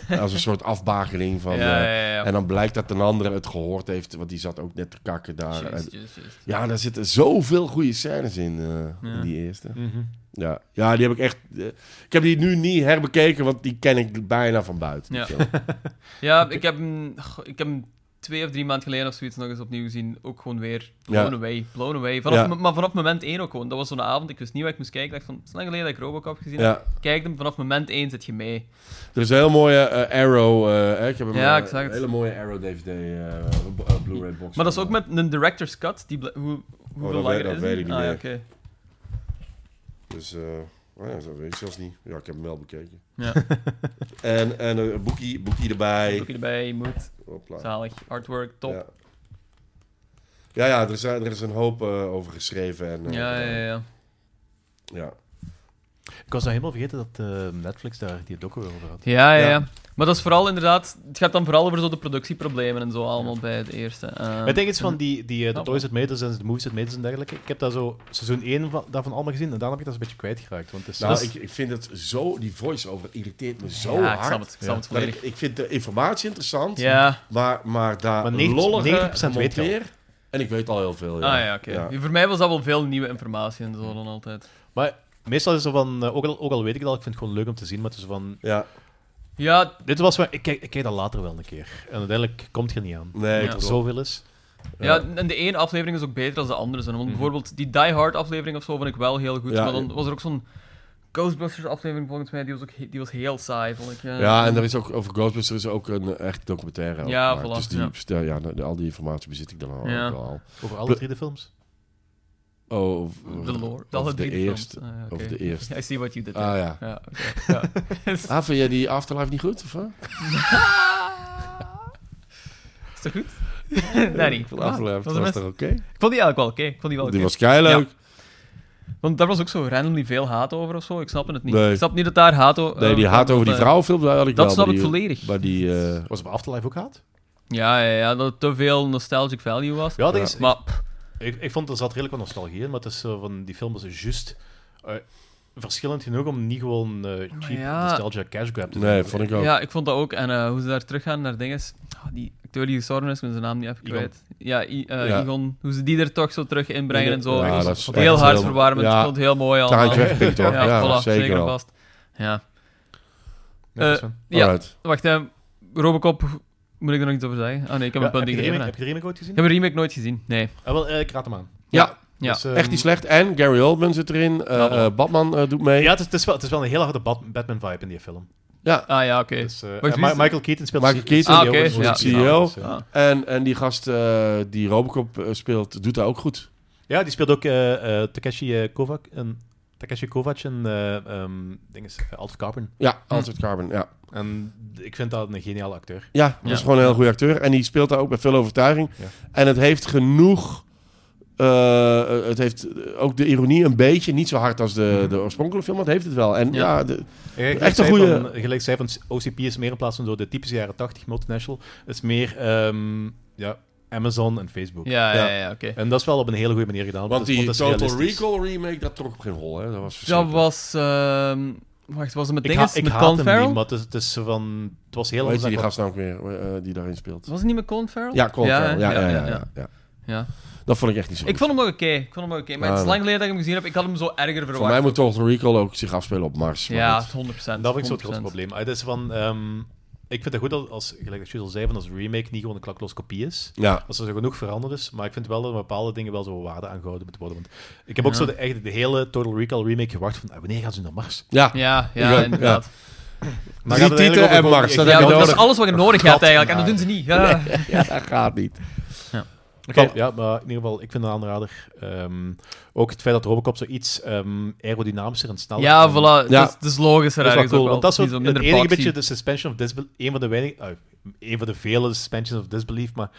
[SPEAKER 3] ja.
[SPEAKER 2] Als een soort afbakening van.
[SPEAKER 3] ja,
[SPEAKER 2] eh,
[SPEAKER 3] ja, ja.
[SPEAKER 2] En dan blijkt dat een andere het gehoord heeft, want die zat ook net te kakken daar. En-
[SPEAKER 3] Juist, juist, juist.
[SPEAKER 2] ja, daar zitten zoveel goede scènes in, eh,
[SPEAKER 3] Ja.
[SPEAKER 2] in die eerste.
[SPEAKER 4] mhm.
[SPEAKER 2] Ja. ja, die heb ik echt. eh, ik heb die nu niet herbekeken, want die ken ik bijna van buiten. die
[SPEAKER 3] Ja.
[SPEAKER 2] film.
[SPEAKER 3] Ja, ik heb, hem, goh, ik heb hem twee of drie maanden geleden of zoiets nog eens opnieuw zien. Ook gewoon weer
[SPEAKER 2] Ja.
[SPEAKER 3] blown away, blown away. Vanaf,
[SPEAKER 2] Ja.
[SPEAKER 3] m- Maar vanaf moment één ook gewoon. Dat was zo'n avond, ik wist niet waar ik moest kijken. Ik dacht van, het is lang geleden dat ik Robocop gezien heb.
[SPEAKER 2] Ja.
[SPEAKER 3] Kijk hem, vanaf moment één zit je mee.
[SPEAKER 2] Er is een heel mooie eh, Arrow. eh, hè, ik heb hem,
[SPEAKER 3] Ja,
[SPEAKER 2] eh,
[SPEAKER 3] ik zag het.
[SPEAKER 2] Een hele mooie Arrow DVD eh, b- eh, Blu-ray box.
[SPEAKER 3] Maar dat is ook met een director's cut. Die bl- hoe, hoeveel
[SPEAKER 2] Oh, dat
[SPEAKER 3] langer
[SPEAKER 2] weet- dat
[SPEAKER 3] is
[SPEAKER 2] weet
[SPEAKER 3] die?
[SPEAKER 2] ik niet
[SPEAKER 3] ah, ja,
[SPEAKER 2] meer.
[SPEAKER 3] oké.
[SPEAKER 2] Dus, eh, oh ja, dat weet ik zelfs niet. Ja, ik heb hem wel bekeken.
[SPEAKER 3] Ja.
[SPEAKER 2] En, en een boekie, boekie erbij.
[SPEAKER 3] Boekje erbij, moet.
[SPEAKER 2] Hopla.
[SPEAKER 3] Zalig. Artwork, top.
[SPEAKER 2] Ja. Ja, ja, er is, er is een hoop eh, over geschreven. En, eh,
[SPEAKER 3] Ja, ja, ja.
[SPEAKER 2] ja.
[SPEAKER 4] Ik was nou helemaal vergeten dat eh, Netflix daar die docu over had.
[SPEAKER 3] Ja, ja,
[SPEAKER 2] Ja.
[SPEAKER 3] ja. Maar dat is vooral inderdaad... Het gaat dan vooral over zo de productieproblemen en zo allemaal bij het eerste. Ehm,
[SPEAKER 4] Maar tegen iets van die, die eh, de
[SPEAKER 3] Oh.
[SPEAKER 4] Toys That Made Us en de Movies That Made Us en dergelijke. Ik heb daar zo seizoen 1 van, daarvan allemaal gezien en daarna heb ik dat een beetje kwijtgeraakt. Want het is
[SPEAKER 2] Nou,
[SPEAKER 4] dus-
[SPEAKER 2] ik, ik vind het zo... Die voice-over irriteert me zo
[SPEAKER 3] ja, ik
[SPEAKER 2] hard.
[SPEAKER 3] snap het. Ik snap
[SPEAKER 4] Ja.
[SPEAKER 3] het
[SPEAKER 2] dat
[SPEAKER 3] volledig.
[SPEAKER 2] ik, ik vind de informatie interessant,
[SPEAKER 3] Ja.
[SPEAKER 2] maar, maar daar
[SPEAKER 4] Maar 90
[SPEAKER 2] lollige
[SPEAKER 4] 90% weet je al.
[SPEAKER 2] monteer... En ik weet al heel veel, ja.
[SPEAKER 3] Ah ja, oké. Voor mij was dat wel veel nieuwe informatie en zo dan altijd.
[SPEAKER 4] Maar meestal is het zo van, eh, ook, al, ook al weet ik dat, ik vind het gewoon leuk om te zien, maar het is zo van...
[SPEAKER 2] Ja,
[SPEAKER 3] Ja,
[SPEAKER 4] Dit was waar, ik, kijk, ik kijk dat later wel een keer. En uiteindelijk komt je niet aan.
[SPEAKER 2] nee,
[SPEAKER 3] Ja.
[SPEAKER 4] Dat
[SPEAKER 2] klopt.
[SPEAKER 4] er zoveel is.
[SPEAKER 3] ja, en de ene aflevering is ook beter dan de andere. Zo. Want bijvoorbeeld die Die Hard aflevering of zo vond ik wel heel goed.
[SPEAKER 2] Mhm. Ja,
[SPEAKER 3] maar dan was er ook zo'n Ghostbusters aflevering volgens mij, die was, ook he- die was heel saai, vond ik. eh.
[SPEAKER 2] Ja, en er is ook over Ghostbusters is ook een eh, echt documentaire. over
[SPEAKER 3] Ja,
[SPEAKER 2] gemaakt.
[SPEAKER 3] voilà,
[SPEAKER 2] Dus die,
[SPEAKER 3] ja.
[SPEAKER 2] stel- ja. de- de- al die informatie bezit ik dan al.
[SPEAKER 3] Ja.
[SPEAKER 2] ook al.
[SPEAKER 4] Over alle drie de films.
[SPEAKER 2] Oh, of,
[SPEAKER 3] De lore.
[SPEAKER 2] Of
[SPEAKER 3] alle
[SPEAKER 2] de
[SPEAKER 3] drie
[SPEAKER 2] eerste.
[SPEAKER 3] films. Ah, ja,
[SPEAKER 2] of
[SPEAKER 3] oké.
[SPEAKER 2] de eerste.
[SPEAKER 3] I see what you did there.
[SPEAKER 2] Ah ja.
[SPEAKER 3] Ja, oké. ja.
[SPEAKER 2] Ah, vind jij die Afterlife niet goed? Of, wat?
[SPEAKER 3] Is dat goed? nee, niet.
[SPEAKER 2] Ik vond Afterlife
[SPEAKER 3] Ah, was
[SPEAKER 2] was
[SPEAKER 3] best-
[SPEAKER 2] toch oké?
[SPEAKER 3] Ik vond die eigenlijk wel oké. Ik vond die wel
[SPEAKER 2] Die
[SPEAKER 3] oké.
[SPEAKER 2] was kei leuk.
[SPEAKER 3] Want daar was ook zo randomly veel haat over of zo. Ik snap het niet.
[SPEAKER 2] Nee.
[SPEAKER 3] Ik snap niet dat daar haat eh, over...
[SPEAKER 2] Nee, die haat over die vrouwenfilm, daar had ik
[SPEAKER 3] dat
[SPEAKER 2] wel.
[SPEAKER 3] snap
[SPEAKER 2] maar
[SPEAKER 3] ik
[SPEAKER 2] die-
[SPEAKER 3] volledig.
[SPEAKER 2] Maar die... eh,
[SPEAKER 4] Was het bij Afterlife ook gehad?
[SPEAKER 3] Ja, ja, ja, dat het te veel nostalgic value was.
[SPEAKER 4] Ja, dat
[SPEAKER 2] Ja.
[SPEAKER 4] Is, ik,
[SPEAKER 3] Maar
[SPEAKER 4] ik, ik vond er zat redelijk wat nostalgie in, maar het is zo van, die film was juist eh, verschillend genoeg om niet gewoon eh, cheap
[SPEAKER 3] ja.
[SPEAKER 4] nostalgia cash grab te
[SPEAKER 2] nee,
[SPEAKER 4] doen.
[SPEAKER 2] vond ik ook.
[SPEAKER 3] ja, ik vond dat ook. En eh, hoe ze daar teruggaan naar dingen. Ah, die acteur die gestorven is, ik ben zijn naam niet even
[SPEAKER 4] Igon.
[SPEAKER 3] kwijt. Ja, I, eh,
[SPEAKER 2] Ja.
[SPEAKER 3] Igon. Hoe ze die er toch zo terug inbrengen en zo.
[SPEAKER 2] Ja,
[SPEAKER 4] Echt,
[SPEAKER 2] dat is
[SPEAKER 4] heel
[SPEAKER 2] echt
[SPEAKER 3] heel hard
[SPEAKER 2] heel-
[SPEAKER 3] verwarmend.
[SPEAKER 2] Ja,
[SPEAKER 3] Ik vond het heel mooi allemaal.
[SPEAKER 2] taartje weggepikt toch? Ja,
[SPEAKER 3] voilà,
[SPEAKER 2] zeker
[SPEAKER 3] zeker
[SPEAKER 2] wel.
[SPEAKER 3] vast. Ja.
[SPEAKER 4] Ja, dat is
[SPEAKER 3] Eh,
[SPEAKER 4] wel-
[SPEAKER 3] Ja,
[SPEAKER 2] Alright.
[SPEAKER 3] wacht. eh, Robocop, moet ik er nog iets over zeggen? Ah nee, ik heb
[SPEAKER 4] Ja,
[SPEAKER 3] een punt
[SPEAKER 4] heb, je de
[SPEAKER 3] gegeven.
[SPEAKER 4] remake,
[SPEAKER 3] hè.
[SPEAKER 4] heb
[SPEAKER 3] Ik
[SPEAKER 4] je de remake ooit gezien?
[SPEAKER 3] heb een remake nooit gezien. Nee.
[SPEAKER 4] Ah, wel, eh, ik raad hem aan.
[SPEAKER 2] Ja,
[SPEAKER 3] Ja.
[SPEAKER 4] Dus, ehm,
[SPEAKER 2] echt niet slecht. En Gary Oldman zit erin. eh,
[SPEAKER 3] Ja.
[SPEAKER 2] eh, Batman eh, doet mee.
[SPEAKER 4] Ja, het is, het, is wel, het is wel een heel harde Bat- Batman-vibe in die film.
[SPEAKER 2] Ja.
[SPEAKER 3] Ah ja, oké.
[SPEAKER 4] Dus, eh,
[SPEAKER 3] wie
[SPEAKER 4] en Ma-
[SPEAKER 3] is-
[SPEAKER 4] Michael Keaton speelt
[SPEAKER 2] Michael
[SPEAKER 4] de
[SPEAKER 2] Keaton.
[SPEAKER 4] CEO,
[SPEAKER 3] Ah, oké,
[SPEAKER 4] dus
[SPEAKER 3] ja.
[SPEAKER 4] de CEO, dus, eh,
[SPEAKER 3] Ah.
[SPEAKER 2] En, en die gast eh, die Robocop eh, speelt, doet dat ook goed.
[SPEAKER 4] Ja, die speelt ook eh, eh, Takeshi eh, Kovac en Takeshi Kovac en eh ehm ding is, eh, Alf Carbon.
[SPEAKER 2] Ja,
[SPEAKER 3] Hm.
[SPEAKER 2] Altered Carbon, ja.
[SPEAKER 4] En ik vind dat een geniale acteur.
[SPEAKER 2] Ja, dat
[SPEAKER 3] Ja.
[SPEAKER 2] is gewoon een heel goede acteur. En die speelt daar ook met veel overtuiging.
[SPEAKER 4] Ja.
[SPEAKER 2] En het heeft genoeg... eh, het heeft ook de ironie een beetje, niet zo hard als de, de oorspronkelijke film, maar het heeft het wel. En
[SPEAKER 3] Ja.
[SPEAKER 2] ja, de-
[SPEAKER 4] Gelijk
[SPEAKER 2] Echt een
[SPEAKER 4] zei
[SPEAKER 2] goeie-
[SPEAKER 4] van- Gelijk zei van OCP is meer in plaats van zo de typische jaren 80 multinational, is meer ehm, ja, Amazon en Facebook.
[SPEAKER 3] Ja, ja,
[SPEAKER 2] Ja.
[SPEAKER 3] ja, ja, oké.
[SPEAKER 4] En dat is wel op een hele goede manier gedaan.
[SPEAKER 2] want
[SPEAKER 4] het is-
[SPEAKER 2] die
[SPEAKER 4] het is
[SPEAKER 2] Total
[SPEAKER 4] realistisch.
[SPEAKER 2] Recall remake, dat trok op geen hol. Hè? Dat was
[SPEAKER 3] Dat
[SPEAKER 2] verschrikkelijk.
[SPEAKER 3] was... ehm, wacht, was het met
[SPEAKER 4] Ik, ha
[SPEAKER 3] dinges?
[SPEAKER 4] ik
[SPEAKER 3] met
[SPEAKER 4] haat
[SPEAKER 3] Colin
[SPEAKER 4] hem
[SPEAKER 3] Farrell?
[SPEAKER 4] niet, maar het is, het is zo van... Het was heel
[SPEAKER 2] Hoe heet die, die
[SPEAKER 4] erg-
[SPEAKER 2] gast nou ook weer eh, die daarin speelt?
[SPEAKER 3] Was het niet met Colin Farrell?
[SPEAKER 2] Ja, Colin
[SPEAKER 3] Ja,
[SPEAKER 2] Farrell. ja,
[SPEAKER 3] hè?
[SPEAKER 2] ja, ja,
[SPEAKER 3] Ja, ja.
[SPEAKER 2] ja, ja.
[SPEAKER 3] Ja.
[SPEAKER 2] Dat vond ik echt niet zo
[SPEAKER 3] Ik vond hem wel oké. Ik vond hem wel oké. Maar
[SPEAKER 2] Ja,
[SPEAKER 3] het is
[SPEAKER 2] nee.
[SPEAKER 3] lang geleden dat ik hem gezien heb. Ik had hem zo erger verwacht.
[SPEAKER 2] Voor mij moet Total Recall ook zich afspelen op Mars. maar
[SPEAKER 3] Ja,
[SPEAKER 2] goed.
[SPEAKER 3] 100%.
[SPEAKER 4] En dat vind ik zo
[SPEAKER 3] 100%.
[SPEAKER 4] het grootste probleem. Ah, Het is van... ehm, ik vind het goed als, als gelijk dat je al zei, van als een remake niet gewoon een klakloos kopie is.
[SPEAKER 2] Ja.
[SPEAKER 4] Als er zo genoeg veranderd is. Maar ik vind wel dat er bepaalde dingen wel zo waarde aan gehouden moeten worden. Want ik heb ook
[SPEAKER 3] Ja.
[SPEAKER 4] zo de, echt de hele Total Recall remake gewacht van, ah, wanneer gaan ze naar Mars?
[SPEAKER 2] Ja.
[SPEAKER 3] Ja,
[SPEAKER 2] Ik
[SPEAKER 3] ja,
[SPEAKER 2] ook,
[SPEAKER 3] inderdaad.
[SPEAKER 4] Maar
[SPEAKER 2] Drie
[SPEAKER 4] gaat het eigenlijk
[SPEAKER 2] tieten en
[SPEAKER 4] over-
[SPEAKER 2] Mars, dat
[SPEAKER 4] Ja,
[SPEAKER 3] Ja,
[SPEAKER 2] heb je
[SPEAKER 3] want dat is
[SPEAKER 2] nodig.
[SPEAKER 3] alles wat je nodig hebt eigenlijk. En dat doen ze niet. Ja.
[SPEAKER 2] ja, dat gaat niet.
[SPEAKER 4] Oké, ja, maar in ieder geval, ik vind het een aanrader. Ehm, ook het feit dat Robocop zoiets ehm aerodynamischer en sneller...
[SPEAKER 3] Ja,
[SPEAKER 4] en-
[SPEAKER 3] voilà.
[SPEAKER 2] Ja.
[SPEAKER 3] Dat, is, dat is logisch.
[SPEAKER 4] Dat is wel cool, want dat is
[SPEAKER 3] zo
[SPEAKER 4] ook het enige beetje de suspension of disbelief. Een van de weinig, ah, een van de vele suspensions of disbelief, maar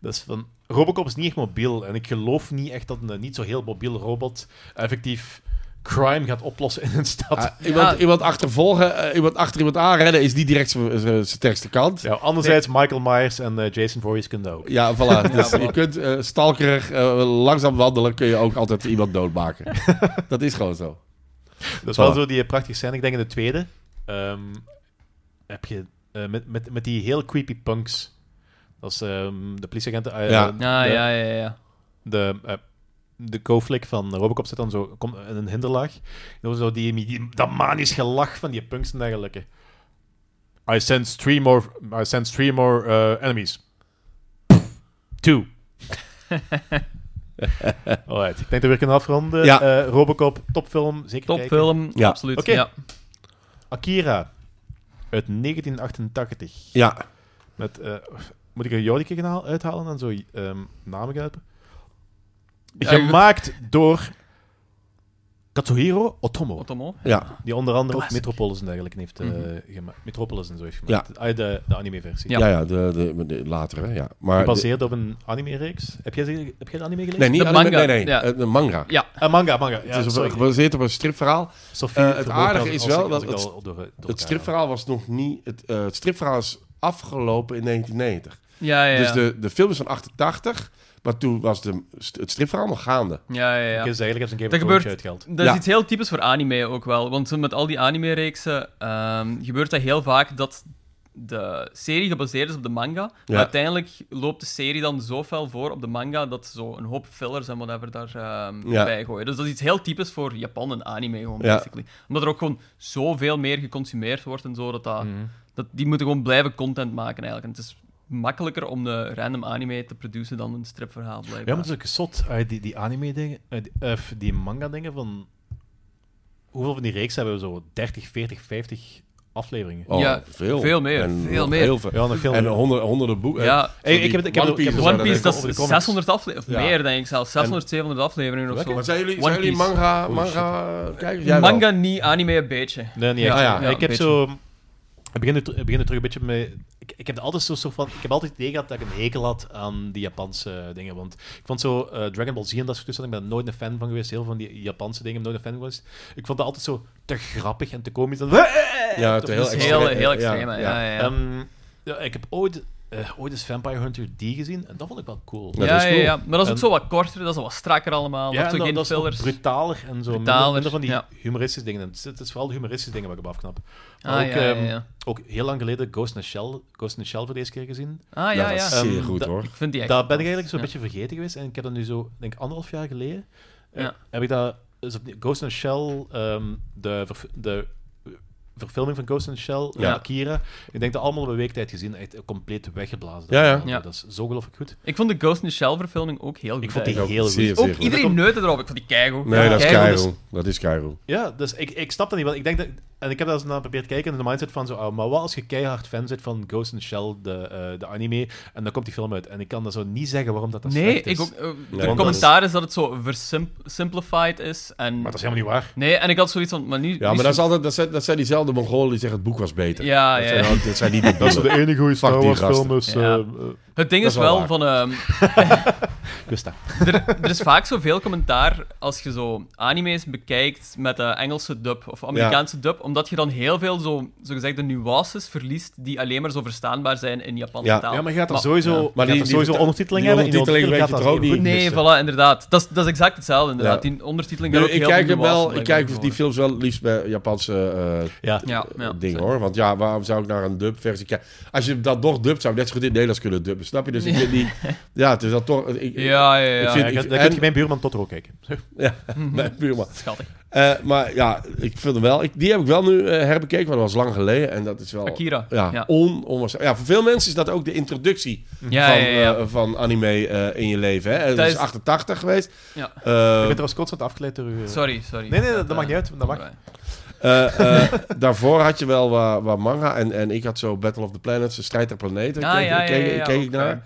[SPEAKER 4] dat is van... Robocop is niet echt mobiel en ik geloof niet echt dat een eh, niet zo heel mobiel robot effectief crime gaat oplossen in een stad.
[SPEAKER 2] Ah, iemand, iemand achtervolgen, eh, iemand achter iemand aanrennen is niet direct zijn sterkste kant. Ja,
[SPEAKER 4] ja, anderzijds, Michael Myers en eh, Jason Voorhees kunnen dat ook.
[SPEAKER 2] voilà. Dus
[SPEAKER 3] voilà.
[SPEAKER 2] je kunt eh, stalkerig, eh, langzaam wandelen, kun je ook altijd iemand doodmaken. dat is gewoon zo.
[SPEAKER 4] Dat is wel
[SPEAKER 2] Voilà.
[SPEAKER 4] zo die eh, prachtige scène. Ik denk in de tweede ehm, heb je eh, met, met, met die heel creepy punks. Dat is ehm, de politieagenten. eh,
[SPEAKER 2] Ja.
[SPEAKER 4] de-
[SPEAKER 3] Ja, ja, ja, ja.
[SPEAKER 4] de, eh de co-flick van Robocop zit dan zo komt in een hinderlaag. En dan zo die, die, dat manisch gelach van die punks en dergelijke. I sense three more, I sense three more eh, enemies. 2. Alright, ik denk dat we weer kunnen afronden.
[SPEAKER 2] Ja.
[SPEAKER 4] Eh, Robocop, topfilm, zeker kijken.
[SPEAKER 3] Topfilm,
[SPEAKER 2] Ja.
[SPEAKER 3] absoluut.
[SPEAKER 4] Oké.
[SPEAKER 3] Ja.
[SPEAKER 4] Akira, uit 1988.
[SPEAKER 2] Ja,
[SPEAKER 4] Met, eh, moet ik er Jodike gaan haal- uithalen en zo ehm, namen gaan uit-
[SPEAKER 3] Ja,
[SPEAKER 4] Gemaakt door Katsuhiro Otomo.
[SPEAKER 3] Otomo.
[SPEAKER 2] ja,
[SPEAKER 4] Die onder andere ook
[SPEAKER 3] Classic.
[SPEAKER 4] Metropolis en dergelijke heeft eh,
[SPEAKER 3] Mhm.
[SPEAKER 4] gemaakt. Metropolis en zo heeft gemaakt. Ah, de, de anime-versie.
[SPEAKER 2] ja. ja, de, de, de- later, hè, ja. Maar
[SPEAKER 4] Gebaseerd op een anime-reeks. Heb jij, ze- heb jij de anime
[SPEAKER 2] de-
[SPEAKER 4] gelezen?
[SPEAKER 2] nee, niet
[SPEAKER 3] De
[SPEAKER 2] anime,
[SPEAKER 3] manga,
[SPEAKER 2] nee, nee,
[SPEAKER 3] ja.
[SPEAKER 2] eh, de manga.
[SPEAKER 3] Ja,
[SPEAKER 4] Eh, manga, manga. Ja,
[SPEAKER 2] het is op-
[SPEAKER 4] sorry.
[SPEAKER 2] gebaseerd op een stripverhaal. eh,
[SPEAKER 4] Sophie
[SPEAKER 2] het
[SPEAKER 4] verwoordt me
[SPEAKER 2] aardige
[SPEAKER 4] als-
[SPEAKER 2] is
[SPEAKER 4] als ik-
[SPEAKER 2] wel
[SPEAKER 4] als
[SPEAKER 2] dat
[SPEAKER 4] ik
[SPEAKER 2] het-
[SPEAKER 4] al door- door elkaar
[SPEAKER 2] Het stripverhaal was nog niet... Het, eh, het stripverhaal is afgelopen in 1990.
[SPEAKER 3] ja, ja. ja.
[SPEAKER 2] Dus de, de film is van 88, maar toen was de, het stripverhaal nog gaande.
[SPEAKER 3] ja, ja,
[SPEAKER 4] haal.
[SPEAKER 3] ja.
[SPEAKER 4] Ik is eigenlijk heb ze
[SPEAKER 3] Dat
[SPEAKER 4] een keer gebeurd.
[SPEAKER 3] gebeurt-
[SPEAKER 4] uitgehaald.
[SPEAKER 3] Dat is
[SPEAKER 2] Ja.
[SPEAKER 3] iets heel typisch voor anime ook wel. Want zo met al die anime-reeksen ehm, gebeurt dat heel vaak dat de serie gebaseerd is op de manga. Maar uiteindelijk loopt de serie dan zo fel voor op de manga dat ze zo een hoop fillers en whatever daar ehm
[SPEAKER 2] Ja.
[SPEAKER 3] bij gooien. Dus dat is iets heel typisch voor Japan en anime gewoon,
[SPEAKER 2] Ja.
[SPEAKER 3] basically. Omdat er ook gewoon zoveel meer geconsumeerd wordt en zo, dat, dat,
[SPEAKER 4] Mhm.
[SPEAKER 3] dat die moeten gewoon blijven content maken eigenlijk. En het is makkelijker om een random anime te produceren dan een stripverhaal, blijkbaar.
[SPEAKER 4] Ja, maar het is ook zot. eh, die, die anime-dingen, eh, die, of die manga-dingen van... Hoeveel van die reeks hebben we zo? 30, 40, 50 afleveringen?
[SPEAKER 2] Oh,
[SPEAKER 3] Ja,
[SPEAKER 2] veel.
[SPEAKER 3] veel meer, veel
[SPEAKER 2] nog
[SPEAKER 3] meer.
[SPEAKER 2] Heel veel.
[SPEAKER 4] Ja, nog veel
[SPEAKER 2] En
[SPEAKER 4] meer.
[SPEAKER 2] honder- honderden boeken.
[SPEAKER 3] Ja.
[SPEAKER 4] Hey, ik heb het- ik heb het- ik heb het-
[SPEAKER 3] One Piece,
[SPEAKER 4] dat
[SPEAKER 3] dat
[SPEAKER 4] over de
[SPEAKER 3] is
[SPEAKER 4] comics.
[SPEAKER 3] 600 afleveringen, of
[SPEAKER 2] Ja.
[SPEAKER 3] meer denk ik zelfs, 600, 700 afleveringen of zo.
[SPEAKER 2] Maar zijn jullie,
[SPEAKER 3] One
[SPEAKER 2] zijn jullie
[SPEAKER 3] Piece.
[SPEAKER 2] manga,
[SPEAKER 4] Oh,
[SPEAKER 2] manga kijkers? Jij wel.
[SPEAKER 3] Manga niet, anime een beetje.
[SPEAKER 4] Nee, niet
[SPEAKER 3] Ja,
[SPEAKER 4] echt.
[SPEAKER 2] ja,
[SPEAKER 4] Eh,
[SPEAKER 3] ja,
[SPEAKER 4] ik heb
[SPEAKER 3] een
[SPEAKER 4] zo... Ik begin, nu ter- ik begin nu terug een beetje mee... Ik, ik heb er altijd zo'n soort van... Ik heb altijd het idee gehad dat ik een hekel had aan die Japanse dingen. Want ik vond zo eh, Dragon Ball Z en dat soort toestanden, ik ben daar nooit een fan van geweest. Heel veel van die Japanse dingen, ben ik nooit een fan van geweest. Ik vond dat altijd zo te grappig en te komisch. En-
[SPEAKER 2] Ja,
[SPEAKER 4] Dat
[SPEAKER 2] te
[SPEAKER 4] is
[SPEAKER 3] Dat is
[SPEAKER 2] extreem.
[SPEAKER 3] heel, heel
[SPEAKER 2] Ja,
[SPEAKER 3] extreem, hè. ja, ja, ja.
[SPEAKER 4] Ehm, ja, ik heb ooit, eh, ooit eens Vampire Hunter D gezien en dat vond ik wel cool.
[SPEAKER 2] Ja,
[SPEAKER 3] ja,
[SPEAKER 2] dat is
[SPEAKER 3] ja,
[SPEAKER 2] cool.
[SPEAKER 3] ja. maar dat is ook
[SPEAKER 4] En-
[SPEAKER 3] zo wat korter, dat is wat strakker allemaal. dat
[SPEAKER 4] Ja, en
[SPEAKER 3] is ook
[SPEAKER 4] dat,
[SPEAKER 3] geen
[SPEAKER 4] dat is ook
[SPEAKER 3] fillers.
[SPEAKER 4] brutaler en zo. Minder,
[SPEAKER 3] Brutaler,
[SPEAKER 4] minder van die
[SPEAKER 3] ja.
[SPEAKER 4] humoristische dingen. Het is, het is vooral de humoristische dingen waar ik op afknap. Maar
[SPEAKER 3] Ah,
[SPEAKER 4] ook,
[SPEAKER 3] ja, ja,
[SPEAKER 4] ehm,
[SPEAKER 3] ja.
[SPEAKER 4] ook heel lang geleden Ghost in the Shell, Ghost in the Shell voor deze keer gezien.
[SPEAKER 3] Ah,
[SPEAKER 2] Ja,
[SPEAKER 3] ja,
[SPEAKER 2] Nou, dat is
[SPEAKER 3] ja.
[SPEAKER 4] eh,
[SPEAKER 2] zeer
[SPEAKER 4] Ehm,
[SPEAKER 2] goed
[SPEAKER 4] dat-
[SPEAKER 2] hoor.
[SPEAKER 3] Ik vind die echt...
[SPEAKER 4] Daar ben ik eigenlijk zo'n
[SPEAKER 3] Ja.
[SPEAKER 4] beetje vergeten geweest. En ik heb dat nu zo, denk ik, anderhalf jaar geleden. eh,
[SPEAKER 3] Ja.
[SPEAKER 4] Heb ik dat, is opnieuw- Ghost in the Shell, ehm, de, verf- de verfilming van Ghost in the Shell,
[SPEAKER 2] Ja.
[SPEAKER 4] Akira. Ik denk dat allemaal op een week tijd gezien. Echt compleet weggeblazen.
[SPEAKER 2] Ja, ja.
[SPEAKER 3] Ja.
[SPEAKER 4] Dat is zo gelooflijk goed.
[SPEAKER 3] Ik vond de Ghost in the Shell-verfilming ook heel goed.
[SPEAKER 4] Ik vond die
[SPEAKER 2] Ja,
[SPEAKER 4] heel goed.
[SPEAKER 2] zeer,
[SPEAKER 3] eigenlijk.
[SPEAKER 2] zeer
[SPEAKER 3] Ook
[SPEAKER 2] goed.
[SPEAKER 3] iedereen neutte erop. Ik vond die keigoed.
[SPEAKER 2] Nee,
[SPEAKER 3] Ja.
[SPEAKER 2] dat is
[SPEAKER 3] Keigoed,
[SPEAKER 2] Cairo. Dat is Cairo.
[SPEAKER 4] Ja, dus ik, ik snap dat niet. Want ik denk dat, en ik heb daar eens naar geprobeerd te kijken. En de mindset van zo, ah, maar wat als je keihard fan bent van Ghost in the Shell, de, eh, de anime. En dan komt die film uit. En ik kan dat zo niet zeggen waarom dat, dat
[SPEAKER 3] Nee,
[SPEAKER 4] slecht is.
[SPEAKER 3] ik ook, eh, de
[SPEAKER 2] dat is-
[SPEAKER 3] commentaar is dat het zo versimplified is. En...
[SPEAKER 4] Maar dat is helemaal niet waar.
[SPEAKER 3] Nee, en ik had zoiets van... Maar nu,
[SPEAKER 2] Ja,
[SPEAKER 3] nu
[SPEAKER 2] maar dat,
[SPEAKER 3] is-
[SPEAKER 2] is altijd, dat, zijn, dat zijn diezelfde Mongolen die zeggen het boek was beter.
[SPEAKER 3] Ja,
[SPEAKER 2] dat,
[SPEAKER 3] ja,
[SPEAKER 2] zijn,
[SPEAKER 3] ja.
[SPEAKER 2] al- dat zijn niet de
[SPEAKER 4] Dat is de enige goede Star
[SPEAKER 2] Fuck die
[SPEAKER 4] Wars
[SPEAKER 2] gasten.
[SPEAKER 4] film. Is,
[SPEAKER 3] Ja.
[SPEAKER 4] eh, eh,
[SPEAKER 3] Het ding
[SPEAKER 2] dat
[SPEAKER 3] is
[SPEAKER 2] is wel
[SPEAKER 3] wel
[SPEAKER 2] waar.
[SPEAKER 3] van... ehm,
[SPEAKER 4] ik wist dat.
[SPEAKER 3] er, er is vaak zoveel commentaar als je zo anime's bekijkt met de Engelse dub of Amerikaanse dub, omdat je dan heel veel zo, zogezegd de nuances verliest die alleen maar zo verstaanbaar zijn in Japanse
[SPEAKER 2] Ja.
[SPEAKER 3] taal.
[SPEAKER 4] Ja, maar je gaat er
[SPEAKER 3] Maar-
[SPEAKER 4] sowieso,
[SPEAKER 2] Maar
[SPEAKER 4] je
[SPEAKER 2] die-
[SPEAKER 4] gaat er
[SPEAKER 2] die
[SPEAKER 4] sowieso
[SPEAKER 2] verta-
[SPEAKER 4] ondertiteling
[SPEAKER 2] die
[SPEAKER 4] hebben. en die
[SPEAKER 2] ondertiteling weet
[SPEAKER 4] ondertiteling
[SPEAKER 2] je
[SPEAKER 4] gaat
[SPEAKER 2] toch
[SPEAKER 4] dat
[SPEAKER 3] Nee,
[SPEAKER 4] even
[SPEAKER 3] voilà, inderdaad. Dat is, dat is exact hetzelfde, inderdaad.
[SPEAKER 2] Ja.
[SPEAKER 3] Die ondertiteling
[SPEAKER 2] Nu,
[SPEAKER 3] gaat ook
[SPEAKER 2] ik
[SPEAKER 3] heel
[SPEAKER 2] kijk,
[SPEAKER 3] veel
[SPEAKER 2] er wel,
[SPEAKER 3] nuances
[SPEAKER 2] ik kijk dus
[SPEAKER 3] blijkbaar
[SPEAKER 2] die films wel het liefst bij Japanse eh,
[SPEAKER 4] missen. Ja.
[SPEAKER 3] Ja, ja,
[SPEAKER 2] dingen
[SPEAKER 3] zeker.
[SPEAKER 2] hoor. Want ja, waarom zou ik naar een dubversie kijken? Als je dat nog dubt, zou ik net zo goed in het Nederlands kunnen dubben. Snap je? Dus ik vind die... Ja, het is dat toch... Ik,
[SPEAKER 3] Ja, ja, ja.
[SPEAKER 2] Ik
[SPEAKER 3] Ik
[SPEAKER 2] vind-
[SPEAKER 4] Ja,
[SPEAKER 2] ik-
[SPEAKER 4] dan kun
[SPEAKER 2] en-
[SPEAKER 4] je mijn buurman tot er ook kijken.
[SPEAKER 2] Nee, prima.
[SPEAKER 3] Schattig.
[SPEAKER 2] Eh, maar ja, ik vind hem wel... Ik, die heb ik wel nu eh, herbekeken, want dat was lang geleden. En dat is wel...
[SPEAKER 3] Akira.
[SPEAKER 2] Ja,
[SPEAKER 3] Ja.
[SPEAKER 2] On, onwaarschijnlijk. ja, voor veel mensen is dat ook de introductie
[SPEAKER 3] Ja,
[SPEAKER 2] van,
[SPEAKER 3] ja, ja, ja.
[SPEAKER 2] eh, van anime eh, in je leven. Hè? Dat
[SPEAKER 3] Dat
[SPEAKER 2] is
[SPEAKER 3] is-
[SPEAKER 2] 88 geweest.
[SPEAKER 3] Ja.
[SPEAKER 2] Eh,
[SPEAKER 4] Ik ben trouwens constant afgeleid door u.
[SPEAKER 3] Sorry, sorry.
[SPEAKER 4] Nee, nee, dat mag niet uit, dat mag.
[SPEAKER 2] eh, eh, daarvoor had je wel wat, wat manga. En, en ik had zo Battle of the Planets, de strijd der planeten.
[SPEAKER 3] Ah,
[SPEAKER 2] keek,
[SPEAKER 3] ja, ja,
[SPEAKER 2] keek-
[SPEAKER 3] ja, ja,
[SPEAKER 2] keek ik
[SPEAKER 3] ook,
[SPEAKER 2] naar.
[SPEAKER 3] ja.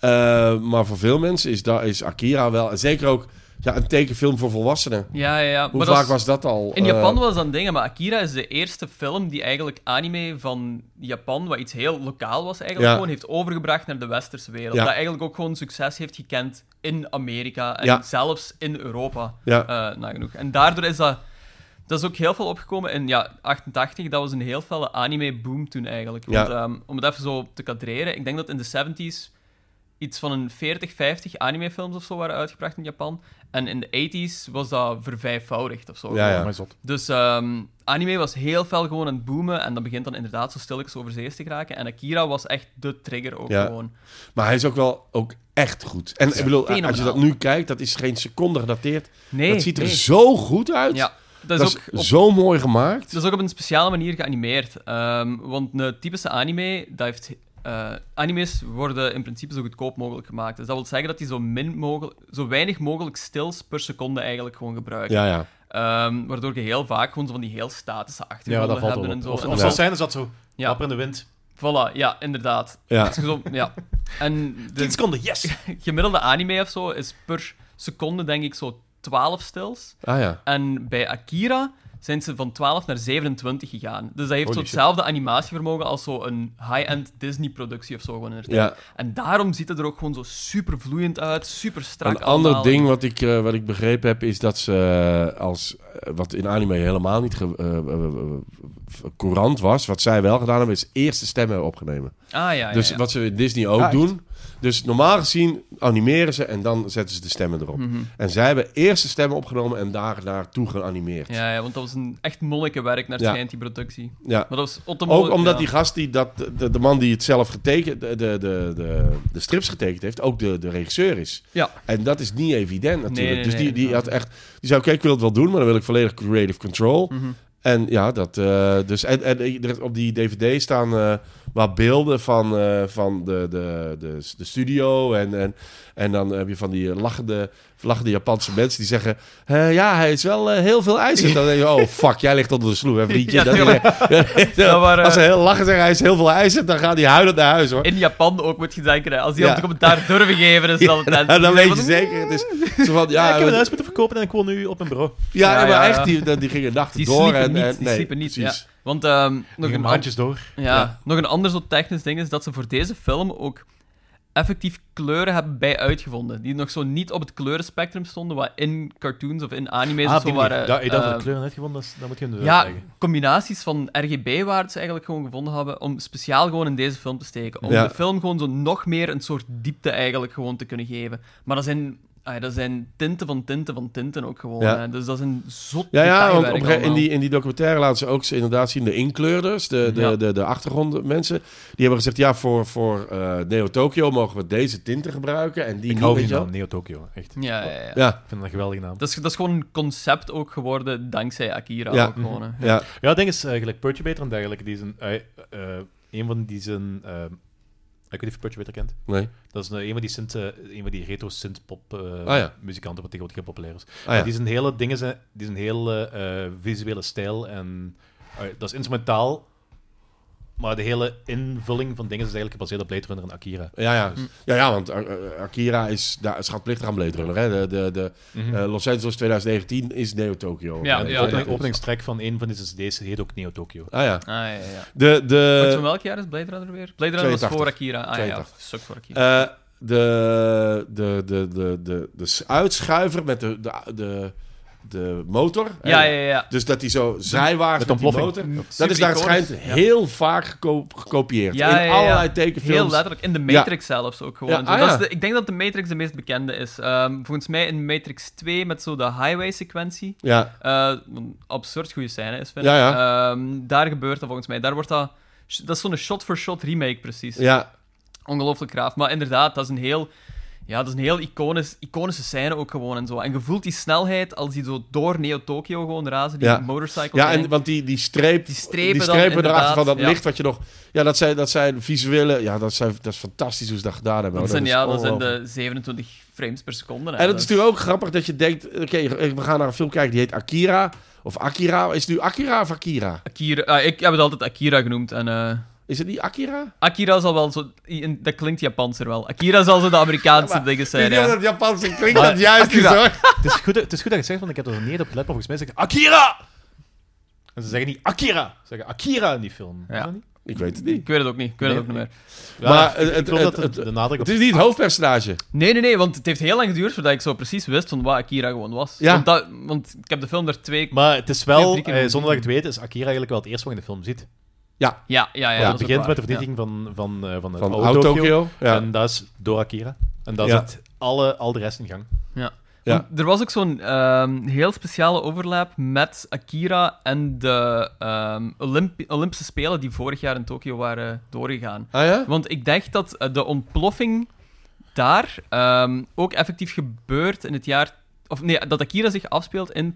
[SPEAKER 2] Eh, maar voor veel mensen is, da, is Akira wel... En zeker ook ja, een tekenfilm voor volwassenen.
[SPEAKER 3] Ja, ja, ja.
[SPEAKER 2] Hoe
[SPEAKER 3] Maar dat
[SPEAKER 2] vaak
[SPEAKER 3] is-
[SPEAKER 2] was dat al?
[SPEAKER 3] In
[SPEAKER 2] Eh,
[SPEAKER 3] Japan was dat een ding, maar Akira is de eerste film die eigenlijk anime van Japan, wat iets heel lokaal was eigenlijk,
[SPEAKER 2] Ja.
[SPEAKER 3] gewoon heeft overgebracht naar de westerse wereld.
[SPEAKER 2] Ja.
[SPEAKER 3] Dat eigenlijk ook gewoon succes heeft gekend in Amerika en
[SPEAKER 2] Ja.
[SPEAKER 3] zelfs in Europa,
[SPEAKER 2] Ja.
[SPEAKER 3] eh, nagenoeg. En daardoor is dat... Dat is ook heel veel opgekomen in ja, 88. Dat was een heel felle anime-boom toen eigenlijk. Want,
[SPEAKER 2] Ja.
[SPEAKER 3] ehm, om het even zo te kadreren, ik denk dat in de 70s iets van een 40, 50 animefilms of zo waren uitgebracht in Japan. En in de 80s was dat vervijfvoudigd of zo.
[SPEAKER 2] Ja, ja.
[SPEAKER 4] Maar Oh, zot.
[SPEAKER 3] Dus ehm, anime was heel fel gewoon aan het boomen en dat begint dan inderdaad zo stilletjes over zees te geraken. En Akira was echt de trigger ook
[SPEAKER 2] Ja.
[SPEAKER 3] gewoon.
[SPEAKER 2] Maar hij is ook wel ook echt goed. En ik bedoel, eh, als je
[SPEAKER 3] fenomenaal.
[SPEAKER 2] dat nu kijkt, dat is geen seconde gedateerd.
[SPEAKER 3] Nee,
[SPEAKER 2] dat ziet er
[SPEAKER 3] nee.
[SPEAKER 2] zo goed uit.
[SPEAKER 3] Ja, dat
[SPEAKER 2] dat
[SPEAKER 3] is,
[SPEAKER 2] is,
[SPEAKER 3] ook op,
[SPEAKER 2] zo mooi gemaakt.
[SPEAKER 3] dat is ook op een speciale manier geanimeerd. Ehm, want een typische anime, dat heeft eh, animes worden in principe zo goedkoop mogelijk gemaakt. Dus dat wil zeggen dat die zo, min mogelijk, zo weinig mogelijk stils per seconde eigenlijk gewoon gebruiken.
[SPEAKER 2] Ja, ja.
[SPEAKER 3] Ehm, waardoor je heel vaak gewoon zo van die heel statische
[SPEAKER 4] Ja,
[SPEAKER 3] achtergronden
[SPEAKER 4] dat valt
[SPEAKER 3] hebt.
[SPEAKER 4] wel
[SPEAKER 3] En
[SPEAKER 4] op.
[SPEAKER 3] zo.
[SPEAKER 4] Of,
[SPEAKER 3] En
[SPEAKER 4] of
[SPEAKER 3] dat
[SPEAKER 2] Ja.
[SPEAKER 4] zoals zijn er zat zo,
[SPEAKER 3] Ja.
[SPEAKER 4] ja. in de wind.
[SPEAKER 3] Voilà, ja, inderdaad.
[SPEAKER 2] ja.
[SPEAKER 3] Als je zo, ja. En
[SPEAKER 4] 10
[SPEAKER 3] de
[SPEAKER 4] seconden, yes!
[SPEAKER 3] gemiddelde anime of zo is per seconde denk ik zo 12 stils.
[SPEAKER 2] Ah ja.
[SPEAKER 3] En bij Akira zijn ze van 12 naar 27 gegaan. Dus dat heeft
[SPEAKER 2] Holy
[SPEAKER 3] zo
[SPEAKER 2] shit.
[SPEAKER 3] hetzelfde animatievermogen als zo'n high-end Disney-productie of zo gewoon in haar tijd.
[SPEAKER 2] Ja.
[SPEAKER 3] En daarom ziet het er ook gewoon zo super vloeiend uit, super strak
[SPEAKER 2] Een ander
[SPEAKER 3] allemaal.
[SPEAKER 2] ding wat ik, eh, wat ik begrepen heb, is dat ze eh, als eh, wat in anime helemaal niet ge- eh, eh, eh, eh, courant was, wat zij wel gedaan hebben, is eerste stemmen hebben opgenomen.
[SPEAKER 3] Ah ja,
[SPEAKER 2] dus
[SPEAKER 3] ja, ja.
[SPEAKER 2] wat ze in Disney ook
[SPEAKER 4] Ja, echt?
[SPEAKER 2] doen. Dus normaal gezien animeren ze en dan zetten ze de stemmen erop.
[SPEAKER 3] Mhm.
[SPEAKER 2] En zij hebben eerst de stemmen opgenomen en daar naartoe geanimeerd. Ja.
[SPEAKER 3] Ja, ja, want dat was een echt monnikenwerk naar
[SPEAKER 2] Ja.
[SPEAKER 3] schijnt, die productie. Maar dat was Otomo-
[SPEAKER 2] Ook omdat
[SPEAKER 3] ja.
[SPEAKER 2] die gast, die dat, de, de man die het zelf getekend, de, de, de, de, de strips getekend heeft, ook de, de regisseur is.
[SPEAKER 3] Ja.
[SPEAKER 2] En dat is niet evident natuurlijk.
[SPEAKER 3] Nee, nee,
[SPEAKER 2] dus die,
[SPEAKER 3] nee,
[SPEAKER 2] die had
[SPEAKER 3] inderdaad.
[SPEAKER 2] echt, die zei oké, ik wil het wel doen, maar dan wil ik volledig creative control.
[SPEAKER 3] Mhm.
[SPEAKER 2] En ja, dat. eh, dus, en, en er- op die DVD staan eh wat beelden van, eh, van de, de, de, de studio. En, en, en dan heb je van die lachende, lachende Japanse mensen die zeggen: eh, Ja, hij is wel eh, heel veel ijs. En dan denk je: Oh, fuck, jij ligt onder de sloe, hè, vriendje.
[SPEAKER 3] Ja,
[SPEAKER 2] Dat is-
[SPEAKER 3] tuurlijk. Dat waren-
[SPEAKER 2] Als ze heel lachen zeggen: Hij is heel veel ijs, dan gaan die huilend naar huis hoor.
[SPEAKER 3] In Japan ook moet je denken, hè. als die
[SPEAKER 2] Ja.
[SPEAKER 3] al de commentaar durven geven, is dat het
[SPEAKER 2] En
[SPEAKER 3] eind.
[SPEAKER 2] dan, dan
[SPEAKER 3] Die
[SPEAKER 2] weet je
[SPEAKER 3] zeggen
[SPEAKER 2] zeker, het is zo van, ja,
[SPEAKER 4] Ja, Eh, ik heb
[SPEAKER 2] ja,
[SPEAKER 4] een huis moeten verkopen en ik woon nu op een bureau.
[SPEAKER 3] Ja,
[SPEAKER 2] maar
[SPEAKER 3] ja,
[SPEAKER 2] echt,
[SPEAKER 3] ja.
[SPEAKER 2] die, die gingen nachten
[SPEAKER 3] Die
[SPEAKER 2] door.
[SPEAKER 3] sliepen
[SPEAKER 2] en,
[SPEAKER 3] niet,
[SPEAKER 2] en-
[SPEAKER 3] die
[SPEAKER 2] nee,
[SPEAKER 3] sliepen niet,
[SPEAKER 2] precies.
[SPEAKER 3] ja. Want ehm, nog,
[SPEAKER 4] Nog
[SPEAKER 3] een
[SPEAKER 4] een
[SPEAKER 3] an-
[SPEAKER 4] handjes door.
[SPEAKER 3] ja,
[SPEAKER 2] ja.
[SPEAKER 3] nog een ander zo technisch ding is dat ze voor deze film ook effectief kleuren hebben bij uitgevonden. Die nog zo niet op het kleurenspectrum stonden, wat in cartoons of in anime's
[SPEAKER 4] Ah,
[SPEAKER 3] of
[SPEAKER 4] op
[SPEAKER 3] zo
[SPEAKER 4] die manier.
[SPEAKER 3] waren.
[SPEAKER 4] Ja, ik dacht dat
[SPEAKER 2] eh,
[SPEAKER 3] ehm,
[SPEAKER 4] de kleuren uitgevonden is, dat moet je hem de
[SPEAKER 3] ja,
[SPEAKER 4] uitleggen.
[SPEAKER 3] combinaties van RGB-waardes eigenlijk gewoon gevonden hebben om speciaal gewoon in deze film te steken. Om
[SPEAKER 2] Ja.
[SPEAKER 3] de film gewoon zo nog meer een soort diepte eigenlijk gewoon te kunnen geven. Maar dat zijn, ah ja, dat zijn tinten van tinten van tinten ook gewoon.
[SPEAKER 2] Ja.
[SPEAKER 3] hè. Dus dat is een zot
[SPEAKER 2] Ja, ja want
[SPEAKER 3] detailwerk
[SPEAKER 2] op een gege- in,
[SPEAKER 3] allemaal.
[SPEAKER 2] die, in die documentaire laten ze ook ze inderdaad zien de inkleurders, de, de,
[SPEAKER 3] Ja.
[SPEAKER 2] de, de achtergrondmensen. Die hebben gezegd, ja, voor, voor eh, Neo Tokyo mogen we deze tinten gebruiken en die
[SPEAKER 4] Ik
[SPEAKER 2] niet,
[SPEAKER 4] hou van
[SPEAKER 2] weet
[SPEAKER 4] die
[SPEAKER 2] je wel.
[SPEAKER 4] naam, Neo Tokyo. Echt.
[SPEAKER 3] Ja, ja, ja.
[SPEAKER 2] Ja,
[SPEAKER 4] Ik vind dat een geweldige naam.
[SPEAKER 3] Dat, is, dat is gewoon een concept ook geworden dankzij Akira.
[SPEAKER 2] Ja.
[SPEAKER 3] Ook gewoon, hè. Ah,
[SPEAKER 2] ja,
[SPEAKER 4] Ja, het ding is, eh, gelijk Perturbator en dergelijke, die zijn, eh, eh, een van die zijn, eh, ik weet niet of je Perturbator kent,
[SPEAKER 2] nee.
[SPEAKER 4] dat is een, een van die, synth, eh, een van die retro synth-pop eh,
[SPEAKER 2] Ah, ja.
[SPEAKER 4] muzikanten, wat tegenwoordig heel populair is.
[SPEAKER 2] Ah, ja.
[SPEAKER 4] Die zijn hele dingen, zijn, die zijn hele eh, visuele stijl en eh, dat is instrumentaal, maar de hele invulling van dingen is eigenlijk gebaseerd op Blade Runner en Akira.
[SPEAKER 2] Ja, ja.
[SPEAKER 3] Hm.
[SPEAKER 2] ja, ja, want eh, eh, Akira is daar schatplichtig aan Blade Runner. Hè? De, de, de, eh, Los Angeles 2019 is Neo Tokyo.
[SPEAKER 3] Hm. Ja,
[SPEAKER 2] En
[SPEAKER 4] De
[SPEAKER 3] ja,
[SPEAKER 4] opening,
[SPEAKER 2] dat is-
[SPEAKER 4] openingstrack van een van die CD's heet ook Neo Tokyo.
[SPEAKER 2] Ah ja.
[SPEAKER 3] Ah, ja, ja.
[SPEAKER 2] De,
[SPEAKER 3] Want van
[SPEAKER 2] de,
[SPEAKER 3] welk jaar is Blade Runner weer? Blade Runner was
[SPEAKER 2] 82.
[SPEAKER 3] voor Akira. Ah ja,
[SPEAKER 2] 82.
[SPEAKER 3] stuk voor Akira.
[SPEAKER 2] eh, de, de, de, de, de, de s- uitschuiver met de, de, de, de motor. hè?
[SPEAKER 3] ja, ja, ja.
[SPEAKER 2] Dus dat hij zo zijwaarts
[SPEAKER 4] Met
[SPEAKER 2] met die
[SPEAKER 4] ontploffing.
[SPEAKER 2] motor... Dat
[SPEAKER 3] Super
[SPEAKER 2] is daar
[SPEAKER 3] iconisch.
[SPEAKER 2] schijnt heel vaak geko- gekopieerd.
[SPEAKER 3] Ja, ja,
[SPEAKER 2] in
[SPEAKER 3] ja.
[SPEAKER 2] allerlei tekenfilms.
[SPEAKER 3] Heel letterlijk. In de Matrix zelfs ook gewoon.
[SPEAKER 2] Ja,
[SPEAKER 3] en zo.
[SPEAKER 2] ah,
[SPEAKER 3] dat is
[SPEAKER 2] ja.
[SPEAKER 3] de, ik denk dat de Matrix de meest bekende is. Ehm, volgens mij in Matrix 2 met zo de highway-sequentie.
[SPEAKER 2] Ja,
[SPEAKER 3] Eh, een absurd goede scène is, vind
[SPEAKER 2] Ja,
[SPEAKER 3] ik. Ehm, daar gebeurt dat volgens mij. Daar wordt dat... Dat is zo'n shot-for-shot remake, precies.
[SPEAKER 2] ja,
[SPEAKER 3] Ongelooflijk graaf. Maar inderdaad, dat is een heel... Ja, dat is een heel iconisch, iconische scène ook gewoon en zo. En je voelt die snelheid als die zo door Neo-Tokyo gewoon razen, die
[SPEAKER 2] Ja.
[SPEAKER 3] motorcycle.
[SPEAKER 2] ja en,
[SPEAKER 3] gang.
[SPEAKER 2] want die, die streep...
[SPEAKER 3] Die strepen dan,
[SPEAKER 2] erachter van dat
[SPEAKER 3] inderdaad,
[SPEAKER 2] licht wat je nog... Ja, dat zijn, dat zijn visuele... Ja, dat, zijn, dat is fantastisch hoe ze Nou, dat gedaan hebben.
[SPEAKER 3] dat
[SPEAKER 2] hoor.
[SPEAKER 3] zijn, ja, dat zijn
[SPEAKER 2] ongelooflijk.
[SPEAKER 3] de 27 frames per seconde. hè.
[SPEAKER 2] En het is natuurlijk ook grappig dat je denkt... Oké, we gaan naar een film kijken die heet Akira. Of Akira. Is het nu Akira of Akira?
[SPEAKER 3] Akira, ah, ik heb het altijd Akira genoemd. En, eh,
[SPEAKER 2] Is het niet Akira?
[SPEAKER 3] Akira zal wel zo. in- Dat klinkt Japanser wel. Akira zal zo de Amerikaanse dingen
[SPEAKER 2] Ik weet
[SPEAKER 3] zijn.
[SPEAKER 2] niet of
[SPEAKER 3] Ja.
[SPEAKER 2] dat Japanse klinkt dat
[SPEAKER 4] Maar
[SPEAKER 2] juist is,
[SPEAKER 4] Akira.
[SPEAKER 2] hoor.
[SPEAKER 4] het, is goed, het is goed dat je het zegt, want ik heb er niet op gelet, maar volgens mij zeggen Akira! En ze zeggen niet Akira, ze zeggen Akira in die film.
[SPEAKER 3] Ja.
[SPEAKER 4] Is dat niet?
[SPEAKER 2] Ik weet het niet.
[SPEAKER 3] Ik weet het ook niet. Ik weet het ook
[SPEAKER 4] Nee.
[SPEAKER 3] niet meer.
[SPEAKER 4] Ja,
[SPEAKER 2] Maar
[SPEAKER 4] ik- ik
[SPEAKER 2] het-
[SPEAKER 4] geloof
[SPEAKER 2] het-
[SPEAKER 4] dat de-
[SPEAKER 2] het-
[SPEAKER 4] de nadruk op
[SPEAKER 2] Het is niet het hoofdpersonage.
[SPEAKER 3] Nee, nee, nee, want het heeft heel lang geduurd voordat ik zo precies wist van wat Akira gewoon was.
[SPEAKER 2] Ja.
[SPEAKER 3] Want, dat, want ik heb de film er twee.
[SPEAKER 4] Maar het is
[SPEAKER 3] Twee of
[SPEAKER 4] wel,
[SPEAKER 3] drie keer
[SPEAKER 4] eh,
[SPEAKER 3] moet
[SPEAKER 4] zonder dat ik het weet, is Akira eigenlijk wel het eerste wat je in de film ziet.
[SPEAKER 3] Ja, ja,
[SPEAKER 2] Ja,
[SPEAKER 3] ja. dat
[SPEAKER 4] het
[SPEAKER 3] is ook
[SPEAKER 4] begint
[SPEAKER 3] waar.
[SPEAKER 4] met de vernietiging van, van, eh, van het
[SPEAKER 2] Van
[SPEAKER 4] oude
[SPEAKER 2] Oud
[SPEAKER 4] Tokyo.
[SPEAKER 2] Tokyo. Ja.
[SPEAKER 4] En dat is door Akira. En dat
[SPEAKER 2] Ja.
[SPEAKER 4] zit alle, al de rest in gang.
[SPEAKER 3] Ja.
[SPEAKER 2] Ja.
[SPEAKER 3] Want Er was ook zo'n ehm, heel speciale overlap met Akira en de ehm, Olympi- Olympische Spelen die vorig jaar in Tokio waren doorgegaan.
[SPEAKER 2] Ah ja?
[SPEAKER 3] Want ik dacht dat eh, de ontploffing daar ehm, ook effectief gebeurt in het jaar. Of nee, dat Akira zich afspeelt in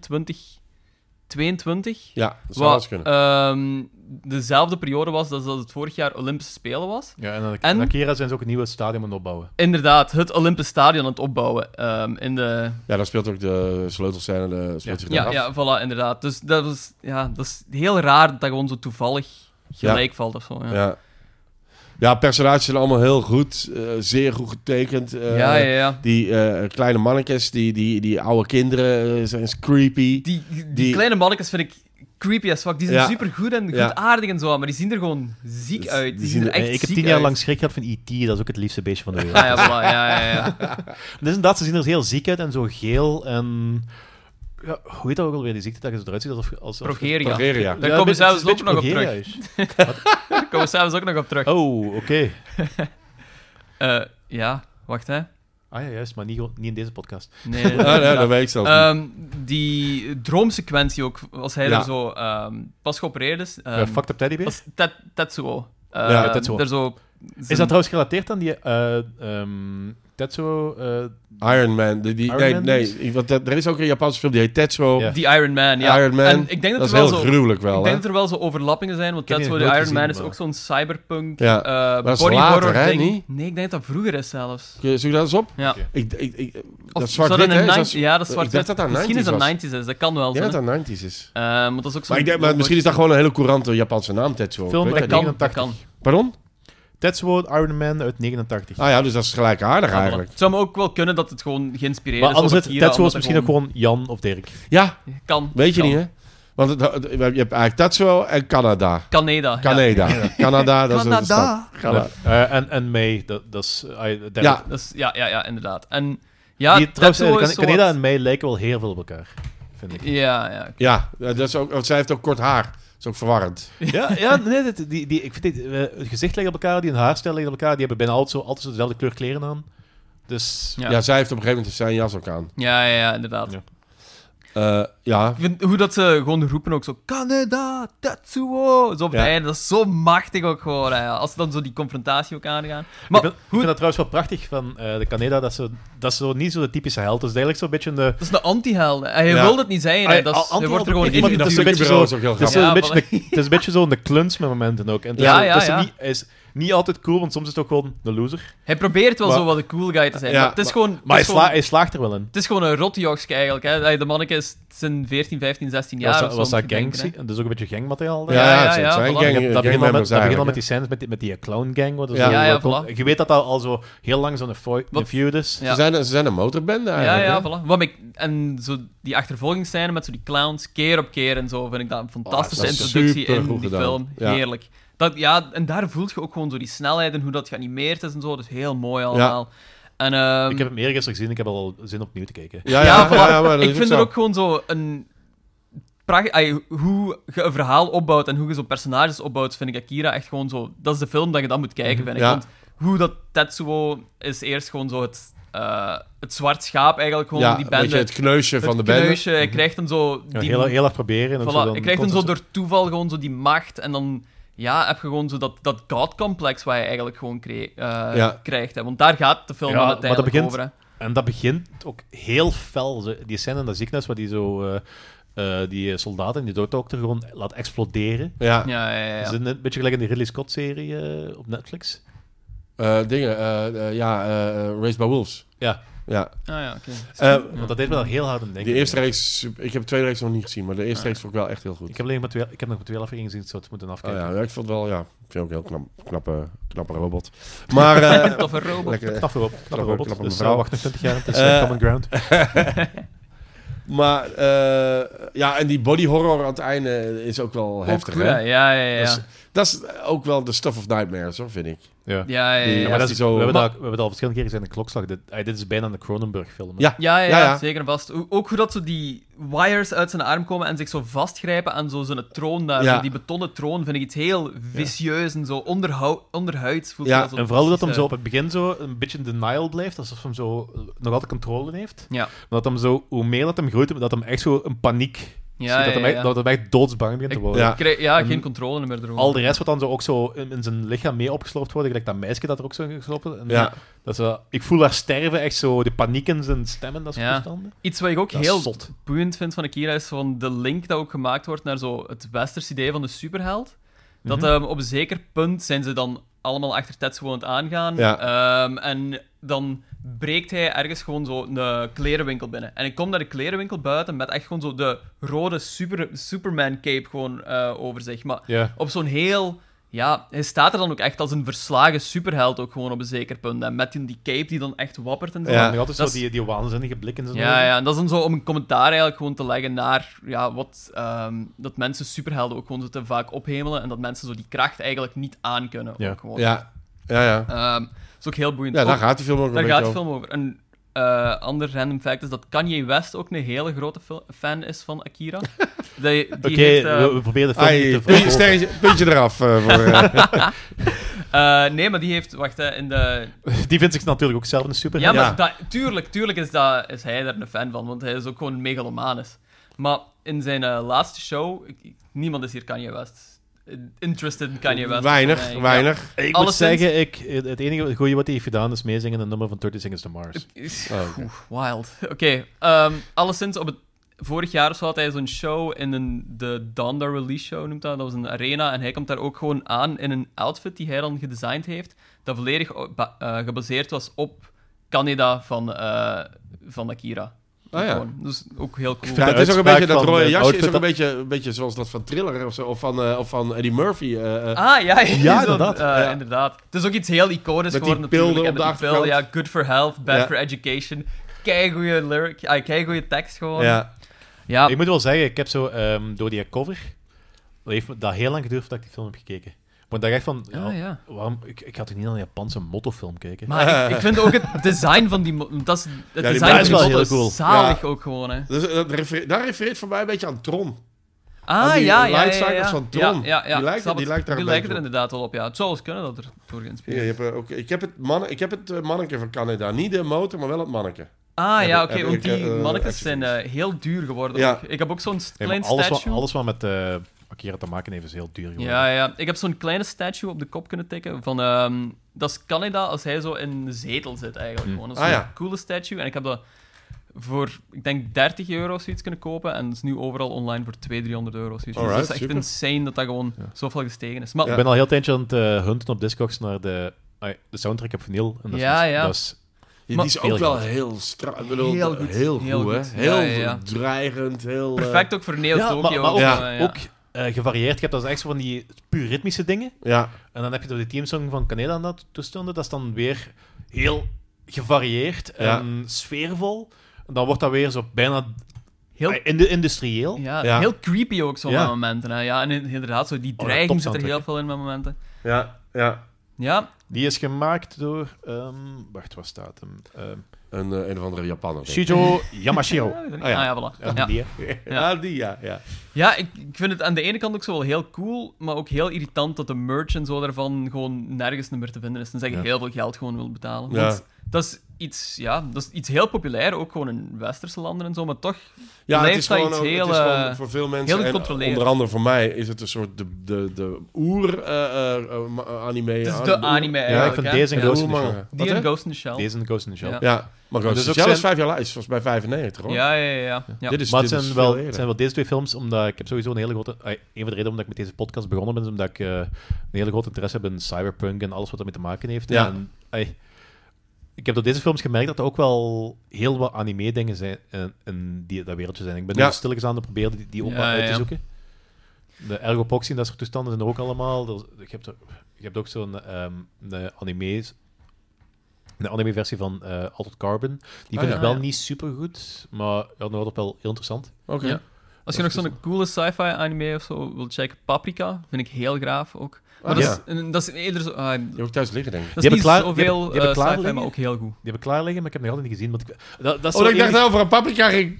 [SPEAKER 3] 2022.
[SPEAKER 2] Ja, dat zou
[SPEAKER 3] Wat,
[SPEAKER 2] wel eens kunnen.
[SPEAKER 3] ehm, dezelfde periode was als dat het vorig jaar Olympische Spelen was.
[SPEAKER 4] Ja, en, dan,
[SPEAKER 3] En-
[SPEAKER 4] en Akira zijn ze ook een nieuw stadion aan het opbouwen.
[SPEAKER 3] Inderdaad, het Olympisch Stadion aan het opbouwen. ehm, in de...
[SPEAKER 2] Ja, dan speelt ook de sleutelscène de, speelt zich daar
[SPEAKER 3] Ja,
[SPEAKER 2] af.
[SPEAKER 3] ja, voilà, inderdaad. Dus dat, was, ja, dat is heel raar dat dat gewoon zo toevallig gelijk valt of zo. Ja, ja,
[SPEAKER 2] Ja. Ja, personages zijn allemaal heel goed. eh, zeer goed getekend. eh,
[SPEAKER 3] ja. ja.
[SPEAKER 2] Die eh, kleine mannetjes, die, die, die oude kinderen eh, zijn creepy.
[SPEAKER 3] Die, die,
[SPEAKER 2] Die-
[SPEAKER 3] kleine mannetjes vind ik creepy as fuck. Die zijn
[SPEAKER 2] Ja.
[SPEAKER 3] super goed en goed
[SPEAKER 2] Ja.
[SPEAKER 3] aardig en zo, maar die zien er gewoon ziek
[SPEAKER 2] Dus
[SPEAKER 3] uit. Die,
[SPEAKER 2] die
[SPEAKER 3] zien er
[SPEAKER 2] zien
[SPEAKER 3] echt
[SPEAKER 4] Eh, ik heb
[SPEAKER 3] ziek
[SPEAKER 4] tien jaar
[SPEAKER 3] uit.
[SPEAKER 4] lang schrik gehad van E.T., dat is ook het liefste beestje van de wereld.
[SPEAKER 3] Ah, ja, voilà, ja, ja, ja.
[SPEAKER 4] Dus inderdaad, ze zien er heel ziek uit en zo geel en... Ja, hoe heet dat ook alweer, die ziekte dat je zo eruit ziet? Alsof, als als-
[SPEAKER 3] Progeria.
[SPEAKER 2] Progeria.
[SPEAKER 3] Daar komen we
[SPEAKER 4] een beetje-
[SPEAKER 3] zelfs ook
[SPEAKER 4] een
[SPEAKER 3] nog op
[SPEAKER 4] beetje
[SPEAKER 3] terug.
[SPEAKER 4] Progeria is.
[SPEAKER 3] Daar komen we zelfs ook nog op terug.
[SPEAKER 4] Oh, oké.
[SPEAKER 3] Eh, ja, wacht hè.
[SPEAKER 4] Ah ja, juist, maar niet, gewoon- niet in deze podcast.
[SPEAKER 3] Nee,
[SPEAKER 2] Ah, nee,
[SPEAKER 3] inderdaad.
[SPEAKER 2] dat weet ik zelf niet.
[SPEAKER 3] Ehm, die droomsequentie ook, als hij
[SPEAKER 2] Ja.
[SPEAKER 3] er zo ehm, pas geopereerd is. ehm,
[SPEAKER 4] Eh, fucked up teddybeer.
[SPEAKER 3] als Tet, Tetsuo. Ehm,
[SPEAKER 4] Ja, Tetsuo.
[SPEAKER 3] daar zo
[SPEAKER 4] Is dat trouwens gerelateerd aan die... eh ehm Tetsuo... eh,
[SPEAKER 2] Iron Man. Die, die-
[SPEAKER 4] Iron
[SPEAKER 2] nee,
[SPEAKER 4] Man
[SPEAKER 2] nee. Want dat- er is ook een Japanse film die heet Tetsuo.
[SPEAKER 4] Ja.
[SPEAKER 3] Die Iron Man, ja.
[SPEAKER 2] Iron Man.
[SPEAKER 3] En ik denk dat,
[SPEAKER 2] dat is
[SPEAKER 3] er wel
[SPEAKER 2] heel
[SPEAKER 3] zo...
[SPEAKER 2] gruwelijk wel.
[SPEAKER 3] ik
[SPEAKER 2] hè?
[SPEAKER 3] denk dat er wel zo overlappingen zijn, want
[SPEAKER 4] Ik heb
[SPEAKER 3] dat
[SPEAKER 4] die
[SPEAKER 3] zo, de
[SPEAKER 4] nog
[SPEAKER 3] Iron
[SPEAKER 4] nooit
[SPEAKER 3] Man
[SPEAKER 4] gezien,
[SPEAKER 3] is
[SPEAKER 4] maar-
[SPEAKER 3] ook zo'n cyberpunk
[SPEAKER 2] Ja.
[SPEAKER 3] eh,
[SPEAKER 2] dat is
[SPEAKER 3] body
[SPEAKER 2] later,
[SPEAKER 3] horror
[SPEAKER 2] hè,
[SPEAKER 3] ding.
[SPEAKER 2] niet?
[SPEAKER 3] Nee, ik denk dat dat vroeger is zelfs.
[SPEAKER 2] Kun je- Zoek dat eens op.
[SPEAKER 3] Ja.
[SPEAKER 4] Oké.
[SPEAKER 2] Ik, ik, ik,
[SPEAKER 3] Of
[SPEAKER 2] dat zwart
[SPEAKER 3] zou
[SPEAKER 2] wit
[SPEAKER 3] dat
[SPEAKER 2] hè?
[SPEAKER 3] een
[SPEAKER 2] Is dat-
[SPEAKER 3] 90 Ja, dat is
[SPEAKER 2] ik
[SPEAKER 3] zwart
[SPEAKER 2] dacht dat dat
[SPEAKER 3] Misschien is
[SPEAKER 2] 90s
[SPEAKER 3] dat
[SPEAKER 2] was.
[SPEAKER 3] 90s, is, dat kan wel
[SPEAKER 2] Ik denk
[SPEAKER 3] zijn.
[SPEAKER 2] dat dat 90s is.
[SPEAKER 3] Eh, want dat is ook zo
[SPEAKER 2] Maar, ik denk, maar misschien is dat gewoon een hele courante Japanse naam, Tetsuo. Ik
[SPEAKER 4] Film
[SPEAKER 2] weet
[SPEAKER 4] met
[SPEAKER 2] dat niet.
[SPEAKER 3] kan, dat
[SPEAKER 4] 89.
[SPEAKER 3] eh, kan.
[SPEAKER 2] Pardon?
[SPEAKER 4] Tetsuo, Iron Man uit 89.
[SPEAKER 2] Ah ja, dus dat is gelijkaardig
[SPEAKER 3] Ja,
[SPEAKER 2] eigenlijk.
[SPEAKER 3] voilà. Het zou me ook wel kunnen dat het gewoon geïnspireerd
[SPEAKER 4] maar
[SPEAKER 3] is. op
[SPEAKER 4] anders is
[SPEAKER 3] Akira,
[SPEAKER 4] Tetsuo
[SPEAKER 3] omdat
[SPEAKER 4] is misschien
[SPEAKER 3] dat
[SPEAKER 4] ook gewoon Jan of Dirk.
[SPEAKER 2] Ja,
[SPEAKER 3] gewoon- Kan.
[SPEAKER 2] weet je
[SPEAKER 3] kan.
[SPEAKER 2] niet hè? Want het- het- je hebt eigenlijk Tetsuo en Canada.
[SPEAKER 3] Canada. ja.
[SPEAKER 2] Canada. Canada, dat is een stad. Canada.
[SPEAKER 4] Eh, en, en May, dat, dat is... ah, Dirk.
[SPEAKER 2] Ja.
[SPEAKER 3] Dat is- ja, ja, ja, inderdaad. En ja,
[SPEAKER 4] die, trouwens,
[SPEAKER 3] Tetsuo
[SPEAKER 4] eh,
[SPEAKER 3] is
[SPEAKER 4] Can-
[SPEAKER 3] zo wat-
[SPEAKER 4] Canada en May lijken wel heel veel op elkaar, vind ik.
[SPEAKER 3] Ja, ja.
[SPEAKER 2] Ja, dat is ook, want zij heeft ook kort haar. Dat is ook verwarrend.
[SPEAKER 4] Ja, ja nee, dat- die, die, ik vind dit, eh, het gezicht ligt op elkaar, die hun haarstijl ligt op elkaar, die hebben bijna altijd, zo, altijd zo dezelfde kleur kleren aan. Dus
[SPEAKER 3] Ja.
[SPEAKER 2] Ja. zij heeft op een gegeven moment zijn jas ook aan.
[SPEAKER 3] Ja, ja, ja, inderdaad.
[SPEAKER 4] Ja.
[SPEAKER 2] Eh, ja.
[SPEAKER 3] Ik vind hoe dat ze gewoon roepen ook zo, Canada, Tetsuo, zo op het
[SPEAKER 2] Ja.
[SPEAKER 3] einde, dat is zo machtig ook gewoon, hè. als ze dan zo die confrontatie ook aangaan.
[SPEAKER 4] ik,
[SPEAKER 3] Maar
[SPEAKER 4] vind, ik vind dat trouwens wel prachtig van eh, de Canada, dat ze, dat ze zo niet zo de typische held is. Eigenlijk zo'n beetje de...
[SPEAKER 3] dat is een anti-held, hè. hij
[SPEAKER 2] Ja.
[SPEAKER 3] wil het niet zijn, hè.
[SPEAKER 4] Ah,
[SPEAKER 3] dat is, hij
[SPEAKER 4] anti-held
[SPEAKER 3] wordt er
[SPEAKER 4] ook
[SPEAKER 3] gewoon
[SPEAKER 4] niet,
[SPEAKER 3] in
[SPEAKER 4] maar dat is een beetje
[SPEAKER 2] bureau
[SPEAKER 4] zo-
[SPEAKER 2] is ook heel
[SPEAKER 4] Het is,
[SPEAKER 2] grappig.
[SPEAKER 4] zo
[SPEAKER 3] Ja,
[SPEAKER 4] een beetje de, het is een beetje zo'n de kluns met momenten ook. En het is
[SPEAKER 3] Ja,
[SPEAKER 4] zo-
[SPEAKER 3] ja,
[SPEAKER 4] dat is,
[SPEAKER 3] ja.
[SPEAKER 4] Niet, hij is niet altijd cool, want soms is het ook gewoon de loser.
[SPEAKER 3] Hij probeert wel
[SPEAKER 4] Maar-
[SPEAKER 3] zo wat de cool guy te zijn,
[SPEAKER 2] Ja,
[SPEAKER 3] maar het is
[SPEAKER 2] maar-
[SPEAKER 3] gewoon... het
[SPEAKER 4] Maar hij,
[SPEAKER 3] is gewoon-
[SPEAKER 4] sla, hij slaagt er wel in.
[SPEAKER 3] Het is gewoon een rotjochske eigenlijk. Hè. Dat je De manneke is zijn 14, 15, 16 jaar.
[SPEAKER 4] was,
[SPEAKER 3] of
[SPEAKER 4] dat-
[SPEAKER 3] zo,
[SPEAKER 4] was dat
[SPEAKER 3] moet je
[SPEAKER 4] gangs?
[SPEAKER 3] denken, hè.
[SPEAKER 4] Dat is ook een beetje gangmateriaal.
[SPEAKER 2] Ja, ja,
[SPEAKER 4] daar.
[SPEAKER 3] Ja, ja,
[SPEAKER 2] het
[SPEAKER 3] ja,
[SPEAKER 2] zijn
[SPEAKER 3] voilà.
[SPEAKER 2] gang,
[SPEAKER 4] dat begint al
[SPEAKER 2] gang
[SPEAKER 4] met,
[SPEAKER 2] members
[SPEAKER 4] dat begint al
[SPEAKER 2] eigenlijk.
[SPEAKER 4] met die scènes met die, met die eh, clown gang. Wat
[SPEAKER 2] Ja.
[SPEAKER 3] Ja, ja, voilà.
[SPEAKER 4] Je weet dat dat al zo heel lang zo'n feu- een
[SPEAKER 3] Wat-
[SPEAKER 4] feud is.
[SPEAKER 3] Ja.
[SPEAKER 2] Ze, zijn, ze zijn een motorbende
[SPEAKER 3] Ja,
[SPEAKER 2] eigenlijk.
[SPEAKER 3] ja,
[SPEAKER 2] hè?
[SPEAKER 3] voilà. Wat ik, en zo die achtervolgingsscène met zo die clowns, keer op keer en zo, vind ik dat een fantastische
[SPEAKER 2] Oh, dat is
[SPEAKER 3] introductie in
[SPEAKER 2] supergoed
[SPEAKER 3] die
[SPEAKER 2] gedaan.
[SPEAKER 3] film.
[SPEAKER 2] Ja.
[SPEAKER 3] Heerlijk. Dat, ja, en daar voelt je ook gewoon zo die snelheid en hoe dat geanimeerd is en zo. Dat is heel mooi allemaal. En, ehm,
[SPEAKER 4] Ik heb hem eergisteren gezien, ik heb al zin opnieuw te kijken.
[SPEAKER 2] Ja,
[SPEAKER 3] Ja,
[SPEAKER 2] ja,
[SPEAKER 3] voilà.
[SPEAKER 2] ja, ja, maar dat
[SPEAKER 3] ik
[SPEAKER 2] is
[SPEAKER 3] vind
[SPEAKER 2] zo.
[SPEAKER 3] er ook gewoon zo een... Pracht, ai, hoe je een verhaal opbouwt en hoe je zo personages opbouwt, vind ik Akira echt gewoon zo... Dat is de film dat je dan moet kijken, vind
[SPEAKER 2] Mhm.
[SPEAKER 3] ik.
[SPEAKER 2] Ja.
[SPEAKER 3] Want hoe dat Tetsuo is eerst gewoon zo het, eh, het zwart schaap eigenlijk, gewoon
[SPEAKER 2] ja,
[SPEAKER 3] die
[SPEAKER 2] weet
[SPEAKER 3] bende.
[SPEAKER 2] je, het kneusje van de Mhm.
[SPEAKER 3] het
[SPEAKER 2] bende.
[SPEAKER 3] kneusje, hij krijgt dan zo...
[SPEAKER 4] Ja,
[SPEAKER 3] die,
[SPEAKER 4] heel, heel hard proberen. En ook zo
[SPEAKER 3] voilà,
[SPEAKER 4] dan
[SPEAKER 3] hij krijgt dan zo
[SPEAKER 4] constant
[SPEAKER 3] door toeval gewoon zo die macht en dan... Ja, heb je gewoon zo dat, dat god-complex wat je eigenlijk gewoon cre- eh,
[SPEAKER 2] Ja.
[SPEAKER 3] krijgt. Hè? Want daar gaat de film
[SPEAKER 4] Ja,
[SPEAKER 3] dan
[SPEAKER 4] maar dat
[SPEAKER 3] uiteindelijk
[SPEAKER 4] begint-
[SPEAKER 3] over. Hè?
[SPEAKER 4] En dat begint ook heel fel. Ze- Die scène in dat ziekenhuis waar die zo... eh, eh, die soldaten, die doodokter gewoon laat exploderen.
[SPEAKER 2] Ja,
[SPEAKER 3] Ja, ja, ja. ja.
[SPEAKER 4] Dat is een, een beetje gelijk in die Ridley Scott-serie eh, op Netflix.
[SPEAKER 2] eh, dingen. eh, eh, ja, eh Race by Wolves.
[SPEAKER 4] Ja.
[SPEAKER 2] Ja,
[SPEAKER 3] Ah, ja, oké.
[SPEAKER 2] Eh,
[SPEAKER 4] Want dat deed me dan heel hard aan denken.
[SPEAKER 2] die eerste reeks... Ik heb de tweede reeks nog niet gezien, maar de eerste reeks vond ik wel echt heel goed.
[SPEAKER 4] Ik heb, alleen maar twee, ik heb nog maar twee afleveringen gezien, dus ik zou het moeten
[SPEAKER 2] Oh,
[SPEAKER 4] afkijken.
[SPEAKER 2] ja, ja, ik vond het wel, ja, ik vind ook een heel knap, knappe, knappe robot. Maar, eh
[SPEAKER 3] Toffe robot.
[SPEAKER 2] lekker,
[SPEAKER 4] Knappe robot. Knappe
[SPEAKER 2] Knappe-
[SPEAKER 4] robot.
[SPEAKER 2] knappe
[SPEAKER 4] dus
[SPEAKER 2] mevrouw.
[SPEAKER 4] eh, wacht nog 20 jaar, het is
[SPEAKER 2] Eh,
[SPEAKER 4] eh, common ground.
[SPEAKER 2] maar eh, ja, en die body horror aan het einde is ook wel heftig.
[SPEAKER 3] Ook,
[SPEAKER 2] hè?
[SPEAKER 3] ja, ja, ja. ja.
[SPEAKER 2] Dat, is, dat is ook wel de stuff of nightmares, hoor, vind ik.
[SPEAKER 4] Ja.
[SPEAKER 3] Ja, ja,
[SPEAKER 2] Die-
[SPEAKER 3] ja.
[SPEAKER 4] Ja,
[SPEAKER 3] Ja,
[SPEAKER 4] maar dat
[SPEAKER 2] die
[SPEAKER 4] is,
[SPEAKER 2] zo-
[SPEAKER 4] we, hebben
[SPEAKER 2] Maar-
[SPEAKER 4] dat, we hebben dat al verschillende keren gezegd in de klokslag. Dit, ah, dit is bijna een Cronenberg-film. hè.
[SPEAKER 2] Ja.
[SPEAKER 3] ja, ja,
[SPEAKER 2] Ja, ja.
[SPEAKER 3] zeker en vast. O- Ook hoe dat zo die wires uit zijn arm komen en zich zo vastgrijpen aan zo zijn troon daar.
[SPEAKER 2] Ja.
[SPEAKER 3] Zo die betonnen troon vind ik iets heel vicieus en zo onderhou- onderhuids. Voelt
[SPEAKER 2] Ja,
[SPEAKER 3] dat eh, zo
[SPEAKER 4] En vooral dat hem zo
[SPEAKER 3] precies,
[SPEAKER 4] op het begin zo een beetje in denial blijft, alsof hem zo eh, nog altijd controle heeft.
[SPEAKER 3] eh, Ja,
[SPEAKER 4] Maar dat hem zo, hoe meer dat hem groeit, dat hem echt zo een paniek...
[SPEAKER 3] ja,
[SPEAKER 4] ziet, dat,
[SPEAKER 3] ja,
[SPEAKER 4] hem
[SPEAKER 3] ja,
[SPEAKER 4] echt, dat hem echt doodsbang begint te
[SPEAKER 3] Ik-
[SPEAKER 4] worden.
[SPEAKER 2] ja.
[SPEAKER 3] Ik krijg- ja,
[SPEAKER 4] En
[SPEAKER 3] geen controle meer erover.
[SPEAKER 4] Al de rest wordt dan zo ook zo in, in zijn lichaam mee opgesloopt worden, gelijk dat meisje dat er ook zo in gesloopt wordt. En
[SPEAKER 2] Ja.
[SPEAKER 4] Dat is, wel- ik voel haar sterven, echt zo de paniek in zijn stemmen, dat soort
[SPEAKER 3] Ja.
[SPEAKER 4] toestanden.
[SPEAKER 3] Iets wat ik ook
[SPEAKER 4] Dat is
[SPEAKER 3] heel
[SPEAKER 4] zot.
[SPEAKER 3] boeiend vind van Akira is van de link dat ook gemaakt wordt naar zo het westerse idee van de superheld. Dat
[SPEAKER 4] Mhm.
[SPEAKER 3] ehm, op een zeker punt zijn ze dan allemaal achter Tetsuo aan het aangaan. Ehm, en dan breekt hij ergens gewoon zo een klerenwinkel binnen. En ik kom naar de klerenwinkel buiten met echt gewoon zo de rode super, Superman-cape gewoon eh, over zich. Maar
[SPEAKER 4] Ja.
[SPEAKER 3] op zo'n heel... Ja, hij staat er dan ook echt als een verslagen superheld ook gewoon op een zeker punt. En met die, die cape die dan echt wappert en zo.
[SPEAKER 2] Ja.
[SPEAKER 4] Ja, nu altijd zo
[SPEAKER 3] Dat is-
[SPEAKER 4] die, die waanzinnige blik in zijn
[SPEAKER 3] Ja,
[SPEAKER 4] ogen.
[SPEAKER 3] ja, en dat is dan zo om een commentaar eigenlijk gewoon te leggen naar ja, wat, ehm, dat mensen superhelden ook gewoon zo te vaak ophemelen en dat mensen zo die kracht eigenlijk niet aankunnen.
[SPEAKER 4] Ja.
[SPEAKER 3] ook gewoon.
[SPEAKER 2] Ja, ja, ja.
[SPEAKER 3] Ehm, dat is ook heel boeiend.
[SPEAKER 2] Ja, daar
[SPEAKER 3] Ook-
[SPEAKER 2] gaat die film ook een
[SPEAKER 3] daar
[SPEAKER 2] beetje
[SPEAKER 3] gaat de
[SPEAKER 2] over.
[SPEAKER 3] film over. Een eh, ander random fact is dat Kanye West ook een hele grote fil- fan is van Akira. Die, die
[SPEAKER 4] Oké,
[SPEAKER 3] heeft, eh,
[SPEAKER 4] we, we proberen de film niet
[SPEAKER 2] Ai,
[SPEAKER 4] te
[SPEAKER 2] puntje,
[SPEAKER 4] verkopen.
[SPEAKER 2] sterretje- puntje eraf. eh, voor, eh.
[SPEAKER 3] eh, nee, maar die heeft, wacht, hè, in de
[SPEAKER 4] Die vindt zich natuurlijk ook zelf een super.
[SPEAKER 3] Ja, maar
[SPEAKER 2] Ja.
[SPEAKER 3] dat- tuurlijk, tuurlijk is, dat, is hij daar een fan van, want hij is ook gewoon megalomaan. is. Maar in zijn eh, laatste show, ik- ik- niemand is hier Kanye West. eh, Interested in Kanye West. volgens
[SPEAKER 2] weinig,
[SPEAKER 3] mij.
[SPEAKER 2] weinig.
[SPEAKER 4] ik moet
[SPEAKER 3] alleszins-
[SPEAKER 4] zeggen, ik, het enige goede wat hij heeft gedaan is meezingen in een nummer van 30 Seconds to Mars.
[SPEAKER 3] Ja.
[SPEAKER 2] Oh, oké.
[SPEAKER 3] Oeh, wild. Oké, ehm, alleszins, op het, vorig jaar of zo had hij zo'n show in een, de Donda Release Show, noemt dat. Dat was een arena. En hij komt daar ook gewoon aan in een outfit die hij dan gedesigned heeft, dat volledig op- ba- eh, gebaseerd was op Canada van, eh, van Akira.
[SPEAKER 2] Oh ja.
[SPEAKER 3] Gewoon. Dus ook heel cool.
[SPEAKER 4] vraag-
[SPEAKER 2] Ja, het is ook een
[SPEAKER 4] uitspraak
[SPEAKER 2] beetje, dat
[SPEAKER 4] van,
[SPEAKER 2] rode
[SPEAKER 4] eh,
[SPEAKER 2] jasje oh, is ook
[SPEAKER 4] outfit
[SPEAKER 2] een
[SPEAKER 4] dat-
[SPEAKER 2] beetje, een beetje zoals dat van Thriller of zo, of van, eh, of van Eddie Murphy. eh, eh.
[SPEAKER 3] Ah, ja, ja
[SPEAKER 4] inderdaad.
[SPEAKER 3] inderdaad. inderdaad. Het is ook iets heel iconisch
[SPEAKER 2] die
[SPEAKER 3] geworden
[SPEAKER 2] pilden
[SPEAKER 3] natuurlijk. en
[SPEAKER 2] op de
[SPEAKER 3] met die
[SPEAKER 2] achtergrond.
[SPEAKER 3] ja, good for health, bad
[SPEAKER 2] Ja.
[SPEAKER 3] for education. Kei goede lyric, ah, kei goede tekst gewoon.
[SPEAKER 2] ja.
[SPEAKER 3] Ja,
[SPEAKER 4] Ik moet wel zeggen, ik heb zo ehm, door die cover. Dat heeft me- dat heel lang geduurd voordat ik die film heb gekeken. Want ik dacht van, ja,
[SPEAKER 3] Ah, ja.
[SPEAKER 4] waarom, ik, ik ga toch niet naar een Japanse mottofilm kijken?
[SPEAKER 3] Maar ik, ik vind ook het design van die... mo- want Dat is, het
[SPEAKER 2] die
[SPEAKER 3] design
[SPEAKER 2] baas
[SPEAKER 3] van
[SPEAKER 2] is
[SPEAKER 3] die
[SPEAKER 4] wel
[SPEAKER 3] motto
[SPEAKER 4] heel
[SPEAKER 3] is
[SPEAKER 4] cool.
[SPEAKER 3] zalig
[SPEAKER 2] Ja.
[SPEAKER 3] ook gewoon, hè.
[SPEAKER 2] Dus, eh, dat refereert- daar refereert voor mij een beetje aan Tron.
[SPEAKER 3] Ah,
[SPEAKER 2] die
[SPEAKER 3] ja, ja, ja, ja,
[SPEAKER 2] lightsabers
[SPEAKER 3] ja.
[SPEAKER 2] van Tron.
[SPEAKER 3] Ja, ja, ja.
[SPEAKER 2] Die lijken-
[SPEAKER 3] Ik snap
[SPEAKER 2] die
[SPEAKER 3] het.
[SPEAKER 2] lijkt daar
[SPEAKER 3] die
[SPEAKER 2] een
[SPEAKER 3] lijken
[SPEAKER 2] beetje
[SPEAKER 3] er inderdaad wel op, ja. Het zou eens kunnen dat er door
[SPEAKER 2] Ja,
[SPEAKER 3] geïnspireerd
[SPEAKER 2] je
[SPEAKER 3] is.
[SPEAKER 2] hebt, eh, ook, ik, heb het mannen, ik heb het eh, manneke van Canada. Niet de motor, maar wel het manneke.
[SPEAKER 3] Ah,
[SPEAKER 2] Heb
[SPEAKER 3] ja,
[SPEAKER 2] ik-
[SPEAKER 3] oké,
[SPEAKER 2] heb ik,
[SPEAKER 3] want die
[SPEAKER 2] eh,
[SPEAKER 3] mannetjes
[SPEAKER 2] actie
[SPEAKER 3] zijn eh, heel duur geworden
[SPEAKER 2] Ja.
[SPEAKER 3] ook. Ik heb ook zo'n st-
[SPEAKER 4] Nee, maar
[SPEAKER 3] klein
[SPEAKER 4] alles, wat,
[SPEAKER 3] statue.
[SPEAKER 4] alles wat met eh Akira te maken heeft is heel duur geworden.
[SPEAKER 3] Ja, ja. Ik heb zo'n kleine statue op de kop kunnen tikken van... ehm, dat is Canada als hij zo in de zetel zit, eigenlijk. Gewoon. Dat is
[SPEAKER 2] Ah,
[SPEAKER 3] een
[SPEAKER 2] ja.
[SPEAKER 3] coole statue. En ik heb dat voor, ik denk, 30 euro of zoiets kunnen kopen. En dat is nu overal online voor 200, 300 euro of zoiets. Dus
[SPEAKER 2] Alright,
[SPEAKER 3] dat is echt
[SPEAKER 2] super.
[SPEAKER 3] insane dat dat gewoon zoveel gestegen is. Maar
[SPEAKER 4] Ik ben al heel tijdje aan het eh, hunten op Discogs naar de, ah, de soundtrack op vinyl. En dat is, dus-
[SPEAKER 3] Ja, ja.
[SPEAKER 4] Dat is,
[SPEAKER 2] Ja,
[SPEAKER 3] Maar-
[SPEAKER 2] die is ook
[SPEAKER 4] Heel
[SPEAKER 2] wel
[SPEAKER 4] goed.
[SPEAKER 2] heel strak. Ik bedoel,
[SPEAKER 3] Heel
[SPEAKER 2] heel
[SPEAKER 3] goed.
[SPEAKER 2] goed, heel,
[SPEAKER 3] Heel
[SPEAKER 2] goed, hè?
[SPEAKER 3] goed.
[SPEAKER 2] heel
[SPEAKER 3] Ja, ja, ja.
[SPEAKER 2] dreigend. Heel, eh,
[SPEAKER 3] perfect ook voor Neo
[SPEAKER 4] ja,
[SPEAKER 3] Tokyo.
[SPEAKER 4] maar, maar ook,
[SPEAKER 3] eh,
[SPEAKER 2] Ja.
[SPEAKER 3] ja.
[SPEAKER 4] ook eh, gevarieerd. Je hebt dat echt zo van die puur ritmische dingen.
[SPEAKER 2] ja.
[SPEAKER 4] En dan heb je door die teamsong van Canada aan dat toestanden. Dat is dan weer heel gevarieerd en sfeervol. En dan wordt dat weer zo bijna
[SPEAKER 3] Heel,
[SPEAKER 4] eh, in de industrieel.
[SPEAKER 3] ja,
[SPEAKER 2] Ja.
[SPEAKER 3] heel creepy ook zo
[SPEAKER 4] Ja.
[SPEAKER 3] met momenten. Hè. Ja, en in- inderdaad, zo die
[SPEAKER 4] ja,
[SPEAKER 3] dreiging zit er
[SPEAKER 4] topsoundtrack,
[SPEAKER 3] heel veel in met momenten.
[SPEAKER 2] Ja, ja.
[SPEAKER 3] Ja,
[SPEAKER 4] Die is gemaakt door... ehm, wacht, waar staat hem? Ehm,
[SPEAKER 2] Een, eh, een of andere Japaner. denk ik.
[SPEAKER 4] Shijo Yamashiro.
[SPEAKER 3] ah, ja. voilà.
[SPEAKER 4] Ja, Ah,
[SPEAKER 3] Ja.
[SPEAKER 4] die, hè.
[SPEAKER 2] Ja, die, ja. ja.
[SPEAKER 3] Ja, ik, ik vind het aan de ene kant ook zo wel heel cool, maar ook heel irritant dat de merch en zo daarvan gewoon nergens meer te vinden is. En zeggen
[SPEAKER 4] Ja.
[SPEAKER 3] heel veel geld gewoon wil betalen.
[SPEAKER 2] Ja.
[SPEAKER 3] Want dat is iets, ja, dat is iets heel populair, ook gewoon in westerse landen en zo, maar toch
[SPEAKER 2] Ja, het
[SPEAKER 3] Blijft
[SPEAKER 2] is
[SPEAKER 3] dat
[SPEAKER 2] gewoon
[SPEAKER 3] iets
[SPEAKER 2] ook- het
[SPEAKER 3] heel,
[SPEAKER 2] is gewoon
[SPEAKER 3] eh,
[SPEAKER 2] voor veel
[SPEAKER 3] heel
[SPEAKER 2] mensen, en
[SPEAKER 3] gecontroleerd.
[SPEAKER 2] onder andere voor mij, is het een soort de, de, de eh, oer-anime.
[SPEAKER 3] het is de anime
[SPEAKER 4] Ja, ik
[SPEAKER 3] eigenlijk.
[SPEAKER 4] vind
[SPEAKER 3] hè.
[SPEAKER 4] deze en
[SPEAKER 3] Ja.
[SPEAKER 4] Ghost in the Shell.
[SPEAKER 2] oer-manga.
[SPEAKER 3] Die en Ghost in the Shell.
[SPEAKER 4] Deze en Ghost in the Shell.
[SPEAKER 3] Ja.
[SPEAKER 2] Ja, maar Ghost
[SPEAKER 4] Dus
[SPEAKER 2] in
[SPEAKER 4] ook
[SPEAKER 2] the Shell is
[SPEAKER 4] zijn-
[SPEAKER 2] vijf jaar laat, is volgens mij 95, hoor.
[SPEAKER 3] Ja, ja, ja. ja. ja.
[SPEAKER 2] Dit is,
[SPEAKER 4] maar
[SPEAKER 2] Dus dit
[SPEAKER 4] het zijn,
[SPEAKER 2] is
[SPEAKER 4] wel,
[SPEAKER 2] veel
[SPEAKER 4] het
[SPEAKER 2] eerder.
[SPEAKER 4] zijn wel deze twee films, omdat ik heb sowieso een hele grote... ah, Een van de redenen omdat ik met deze podcast begonnen ben, is omdat ik eh, een hele grote interesse heb in cyberpunk en alles wat ermee te maken heeft.
[SPEAKER 2] Ja.
[SPEAKER 4] En, ai, ik heb door deze films gemerkt dat er ook wel heel wat anime-dingen zijn in, in die, dat wereldje zijn. Ik ben
[SPEAKER 2] Ja.
[SPEAKER 4] nu stilletjes aan het proberen die, die ook
[SPEAKER 3] Ja,
[SPEAKER 4] maar uit te
[SPEAKER 3] ja.
[SPEAKER 4] zoeken. De ergopoxy en dat soort toestanden zijn er ook allemaal. Er, je, hebt er- je hebt ook zo'n ehm een anime... Een anime-versie van eh Altered Carbon.
[SPEAKER 2] Ah,
[SPEAKER 4] Die vind
[SPEAKER 2] ja.
[SPEAKER 4] ik wel
[SPEAKER 3] Ah, ja.
[SPEAKER 4] niet super goed, maar ja, dat wordt wel heel interessant.
[SPEAKER 2] Oké.
[SPEAKER 3] Ja. Als je nog zo'n coole sci-fi anime of zo wilt checken, Paprika vind ik heel graaf ook. Maar
[SPEAKER 2] Ah,
[SPEAKER 3] dat,
[SPEAKER 2] ja.
[SPEAKER 3] is, en dat is eerder zo... ah,
[SPEAKER 2] Je hebt ook thuis liggen, denk ik.
[SPEAKER 3] dat
[SPEAKER 4] Die
[SPEAKER 3] is
[SPEAKER 4] hebben
[SPEAKER 3] niet
[SPEAKER 4] klaar- die hebben-
[SPEAKER 3] zoveel
[SPEAKER 4] die hebben
[SPEAKER 3] eh,
[SPEAKER 4] klaar
[SPEAKER 3] sci-fi, maar
[SPEAKER 4] liggen?
[SPEAKER 3] ook heel goed.
[SPEAKER 4] Die heb ik klaar liggen, maar ik heb hem nog altijd niet gezien. Want ik, dat, dat is
[SPEAKER 2] Oh,
[SPEAKER 4] zo
[SPEAKER 2] ik dacht
[SPEAKER 4] enig-
[SPEAKER 2] dat over een paprika ging.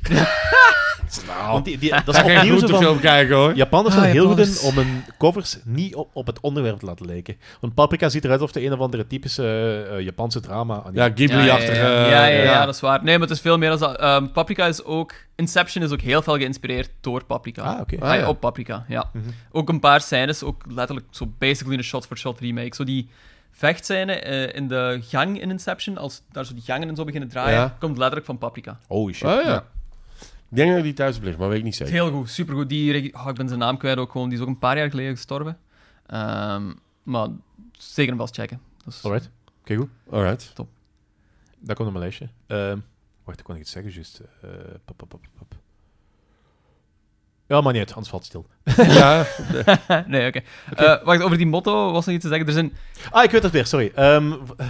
[SPEAKER 4] want die, die,
[SPEAKER 2] Ik
[SPEAKER 4] dat is
[SPEAKER 2] ga geen
[SPEAKER 4] opnieuw zo
[SPEAKER 2] goed
[SPEAKER 4] van...
[SPEAKER 2] film kijken, hoor.
[SPEAKER 4] Japanners
[SPEAKER 3] Ah,
[SPEAKER 4] zijn heel goed in
[SPEAKER 3] Japanners.
[SPEAKER 4] om hun covers niet op, op het onderwerp te laten lijken. Want Paprika ziet eruit of de een of andere typische eh, eh, Japanse drama. anime.
[SPEAKER 2] Ja, Ghibli-achtige...
[SPEAKER 3] Ja, ja, ja. Ja, ja,
[SPEAKER 2] eh,
[SPEAKER 3] ja, dat is waar. Nee, maar het is veel meer dan dat. Ehm, Paprika is ook... Inception is ook heel veel geïnspireerd door Paprika.
[SPEAKER 4] Ah, oké.
[SPEAKER 3] Ah, ja.
[SPEAKER 2] ja.
[SPEAKER 3] Op Paprika, ja. Ook een paar scènes, ook letterlijk zo basically een shot-for-shot remake. Zo die vechtscène eh, in de gang in Inception, als daar zo die gangen en zo beginnen draaien,
[SPEAKER 2] Ja.
[SPEAKER 3] komt letterlijk van Paprika.
[SPEAKER 4] Oh shit.
[SPEAKER 2] Oh, ja. Ik denk dat die thuis ligt, maar weet ik niet
[SPEAKER 3] Het
[SPEAKER 2] zeker.
[SPEAKER 3] is heel goed, supergoed. Die, regi- oh, ik ben zijn naam kwijt ook gewoon. Die is ook een paar jaar geleden gestorven. Ehm, Ehm, maar zeker en vast checken. Dus,
[SPEAKER 4] Alright. Oké, goed.
[SPEAKER 2] Alright.
[SPEAKER 4] Daar komt op mijn lijstje. Ehm, wacht, ik kon nog iets zeggen, juist. Eh, pop, pop, pop, pop. Ja, maar niet, uit, anders valt het stil.
[SPEAKER 2] ja.
[SPEAKER 3] nee, oké. Eh, wacht, over die motto was nog iets te zeggen. Er zijn,
[SPEAKER 4] Ah, ik weet het weer, sorry. Ehm, v-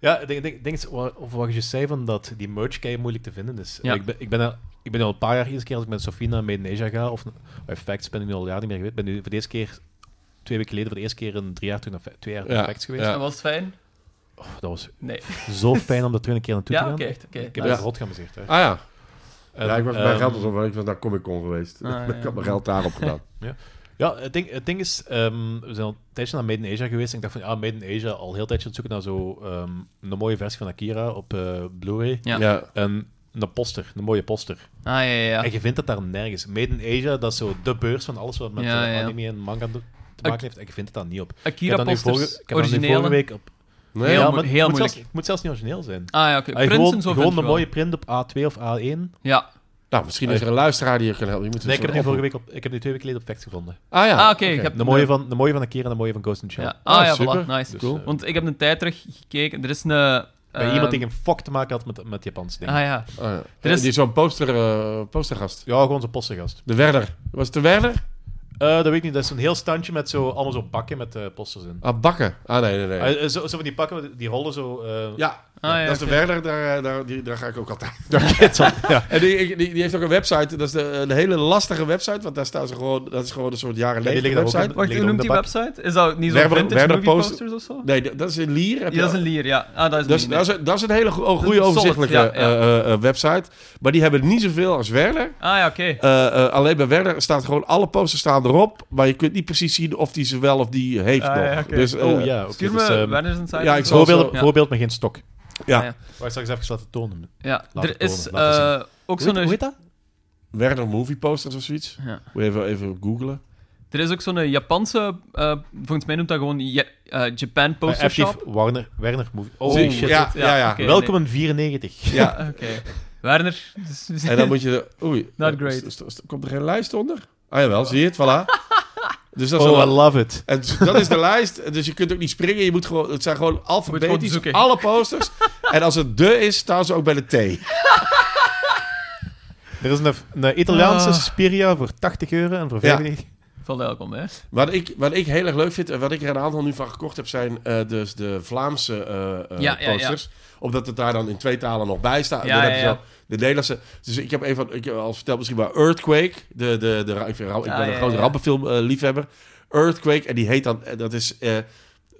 [SPEAKER 4] ja, ik denk, denk, denk eens wa- over wat je juist zei, van dat die merch kei moeilijk te vinden is.
[SPEAKER 3] Ja.
[SPEAKER 4] Ik, ben, ik, ben al, ik ben al een paar jaar, iedere keer als ik met Sofie naar Made in Asia ga, of bij Facts ben ik nu al jaren niet meer geweest, ben nu voor de eerste keer, twee weken geleden, voor de eerste keer in drie jaar terug naar, Fa- twee jaar naar
[SPEAKER 2] Ja,
[SPEAKER 4] Facts geweest.
[SPEAKER 2] ja.
[SPEAKER 3] was het fijn?
[SPEAKER 4] Oh, dat was
[SPEAKER 3] Nee.
[SPEAKER 4] zo fijn om dat twee keer naartoe
[SPEAKER 3] Ja,
[SPEAKER 4] te gaan.
[SPEAKER 3] oké,
[SPEAKER 4] Echt,
[SPEAKER 3] oké,
[SPEAKER 4] ik heb
[SPEAKER 2] nice.
[SPEAKER 4] het rot geamuseerd. Hè.
[SPEAKER 2] Ah ja.
[SPEAKER 4] En,
[SPEAKER 2] ja, ik was bij
[SPEAKER 4] ehm,
[SPEAKER 2] geld alsof ik was naar Comic Con geweest.
[SPEAKER 3] Ah, ja.
[SPEAKER 2] ik had mijn geld daarop gedaan.
[SPEAKER 4] Ja, het ding, het ding is, ehm, we zijn al een tijdje naar Made in Asia geweest. En ik dacht van, ja, Made in Asia al heel tijdje aan het zoeken naar zo ehm, een mooie versie van Akira op eh, Blu-ray.
[SPEAKER 3] Ja.
[SPEAKER 2] ja.
[SPEAKER 4] En een poster, een mooie poster.
[SPEAKER 3] Ah, ja, ja, ja.
[SPEAKER 4] En je vindt dat daar nergens. Made in Asia, dat is zo de beurs van alles wat met
[SPEAKER 3] Ja,
[SPEAKER 4] eh,
[SPEAKER 3] ja.
[SPEAKER 4] anime en manga do- te maken heeft. En je vindt het daar niet op. Ik heb
[SPEAKER 3] Akira
[SPEAKER 4] dat nu vorige,
[SPEAKER 3] posters,
[SPEAKER 4] ik heb dat nu vorige
[SPEAKER 3] originele.
[SPEAKER 4] week op...
[SPEAKER 2] Nee,
[SPEAKER 3] Heel
[SPEAKER 4] ja,
[SPEAKER 2] ja.
[SPEAKER 3] mo-
[SPEAKER 4] maar het
[SPEAKER 3] heel
[SPEAKER 4] moet zelfs-
[SPEAKER 3] moeilijk.
[SPEAKER 4] het moet zelfs niet origineel zijn.
[SPEAKER 3] Ah, ja, oké.
[SPEAKER 4] Ah,
[SPEAKER 3] Prinsen
[SPEAKER 4] gewoon
[SPEAKER 3] zo
[SPEAKER 4] gewoon
[SPEAKER 3] vind
[SPEAKER 4] een
[SPEAKER 3] ik wel.
[SPEAKER 4] mooie print op A2 of A1.
[SPEAKER 3] Ja.
[SPEAKER 2] Nou, misschien is er een luisteraar die je kan helpen. Je moet het
[SPEAKER 4] Nee, ik heb
[SPEAKER 2] zo
[SPEAKER 4] die vorige
[SPEAKER 2] opzoeken.
[SPEAKER 4] week op... Ik heb die twee weken geleden op Facts gevonden.
[SPEAKER 2] Ah ja.
[SPEAKER 3] Ah, oké, ik heb-
[SPEAKER 4] De mooie van, de mooie van Akira en de mooie van Ghost in the Shell.
[SPEAKER 3] ja. Ah,
[SPEAKER 2] Ah,
[SPEAKER 3] ja,
[SPEAKER 2] super.
[SPEAKER 3] voilà, nice.
[SPEAKER 4] Dus,
[SPEAKER 2] Cool.
[SPEAKER 4] eh,
[SPEAKER 3] Want ik heb een tijd terug gekeken. Er is een...
[SPEAKER 4] Bij
[SPEAKER 3] eh,
[SPEAKER 4] iemand die een fok te maken had met, met Japanse dingen.
[SPEAKER 3] Ah, ja.
[SPEAKER 2] Ah, ja.
[SPEAKER 3] Er is-
[SPEAKER 2] Die is zo'n poster, eh, postergast.
[SPEAKER 4] Ja, gewoon zo'n postengast.
[SPEAKER 2] De Werder. Was het de Werder?
[SPEAKER 4] Eh, dat weet ik niet. Dat is een heel standje met zo, allemaal zo bakken met eh, posters in.
[SPEAKER 2] Ah, Bakken. Ah, nee, nee, nee.
[SPEAKER 4] Eh, eh, zo, zo van die pakken, die rollen zo... eh,
[SPEAKER 2] ja,
[SPEAKER 3] Ah, ja,
[SPEAKER 2] dat is de
[SPEAKER 3] oké.
[SPEAKER 2] Werder. Daar, eh, daar, die, daar ga ik ook altijd.
[SPEAKER 4] ja.
[SPEAKER 2] En die, die, die heeft ook een website. Dat is de, een hele lastige website. Want daar staan ze gewoon... Dat is gewoon een soort jaren
[SPEAKER 4] Ja, die
[SPEAKER 2] negentig
[SPEAKER 4] liggen daar ook
[SPEAKER 2] website.
[SPEAKER 3] Wacht,
[SPEAKER 4] Ligt
[SPEAKER 3] hoe
[SPEAKER 4] om
[SPEAKER 3] noemt
[SPEAKER 4] de
[SPEAKER 3] die
[SPEAKER 4] bak.
[SPEAKER 3] website? Is dat niet zo'n
[SPEAKER 2] Werber-
[SPEAKER 3] vintage
[SPEAKER 2] Werber
[SPEAKER 3] movie
[SPEAKER 2] poster-
[SPEAKER 3] posters of zo?
[SPEAKER 2] Nee, dat- dat is in Lier. Heb
[SPEAKER 3] Ja, dat is
[SPEAKER 2] je-
[SPEAKER 3] een lier, ja. Ah, dat is
[SPEAKER 4] Dus-
[SPEAKER 2] dat is,
[SPEAKER 3] een
[SPEAKER 2] dat
[SPEAKER 3] lier.
[SPEAKER 2] is een, dat is een hele go- goede
[SPEAKER 3] Dat is solid,
[SPEAKER 2] overzichtelijke
[SPEAKER 3] ja, ja.
[SPEAKER 2] eh, eh, eh, website. Maar die hebben niet zoveel als Werder.
[SPEAKER 3] Ah, ja, oké.
[SPEAKER 2] Eh, eh, alleen bij Werder staat gewoon alle posters staan erop. Maar je kunt niet precies zien of die ze wel of die heeft
[SPEAKER 3] Ah,
[SPEAKER 2] nog.
[SPEAKER 3] ja, oké.
[SPEAKER 2] Dus, eh,
[SPEAKER 4] Oh ja, oké.
[SPEAKER 3] Stuur
[SPEAKER 4] dus,
[SPEAKER 3] me
[SPEAKER 4] ehm,
[SPEAKER 3] Werner's Insight.
[SPEAKER 2] ja,
[SPEAKER 3] of
[SPEAKER 2] ik
[SPEAKER 3] zo.
[SPEAKER 2] zal-
[SPEAKER 4] voorbeeld,
[SPEAKER 3] Ja.
[SPEAKER 4] voorbeeld met geen stok.
[SPEAKER 2] ja.
[SPEAKER 3] Ah,
[SPEAKER 4] Waar ik straks even laten tonen.
[SPEAKER 3] Ja,
[SPEAKER 4] Laat
[SPEAKER 3] er
[SPEAKER 4] het
[SPEAKER 3] is
[SPEAKER 4] tonen, laat het
[SPEAKER 3] eh, ook
[SPEAKER 4] Hoe heet- hoe
[SPEAKER 3] zo'n...
[SPEAKER 4] heet dat?
[SPEAKER 2] Werder movie posters of zoiets.
[SPEAKER 3] Ja.
[SPEAKER 2] Moet je even, even googlen.
[SPEAKER 3] Er is ook zo'n Japanse, eh, volgens mij noemt dat gewoon Ja- eh, Japan
[SPEAKER 4] Bij
[SPEAKER 3] Poster
[SPEAKER 4] FD
[SPEAKER 3] Shop.
[SPEAKER 4] Warner, Werner Movie. Oh
[SPEAKER 2] Zie-
[SPEAKER 4] shit.
[SPEAKER 2] Ja, ja, ja.
[SPEAKER 3] oké,
[SPEAKER 4] Welkom in 94.
[SPEAKER 2] Ja.
[SPEAKER 3] nee. Oké. Werner. dus- dus-
[SPEAKER 2] En dan moet je... Oei.
[SPEAKER 3] Not
[SPEAKER 2] eh,
[SPEAKER 3] great.
[SPEAKER 2] st- st- st- komt er geen lijst onder? Ah jawel, zie je het? Voilà. Dus dat is
[SPEAKER 4] Oh, I
[SPEAKER 2] al-
[SPEAKER 4] love it.
[SPEAKER 2] En t- dat is de lijst. Dus je kunt ook niet springen. Je moet gewoon, het zijn gewoon alfabetisch
[SPEAKER 3] zoeken.
[SPEAKER 2] alle posters. en als het de is, staan ze ook bij de T.
[SPEAKER 4] Er is een, een Italiaanse
[SPEAKER 3] Ah.
[SPEAKER 4] Spiria voor 80 euro en voor
[SPEAKER 2] Ja.
[SPEAKER 4] 95.
[SPEAKER 3] Valt welkom, hè?
[SPEAKER 2] Wat ik, wat ik heel erg leuk vind en wat ik er een aantal nu van gekocht heb, zijn eh, dus de Vlaamse eh, eh,
[SPEAKER 3] Ja, ja, ja.
[SPEAKER 2] posters. Omdat het daar dan in twee talen nog bij staat. En
[SPEAKER 3] Ja,
[SPEAKER 2] dan
[SPEAKER 3] ja,
[SPEAKER 2] hebben ze
[SPEAKER 3] ja.
[SPEAKER 2] dan De Nederlandse. Dus ik heb een van, ik heb al verteld misschien maar Earthquake. De, de, de, ik, vind, ra- ik ben
[SPEAKER 3] Ah,
[SPEAKER 2] een
[SPEAKER 3] ja,
[SPEAKER 2] grote
[SPEAKER 3] ja.
[SPEAKER 2] rampenfilm eh, liefhebber. Earthquake, en die heet dan, eh, dat is, eh, eh,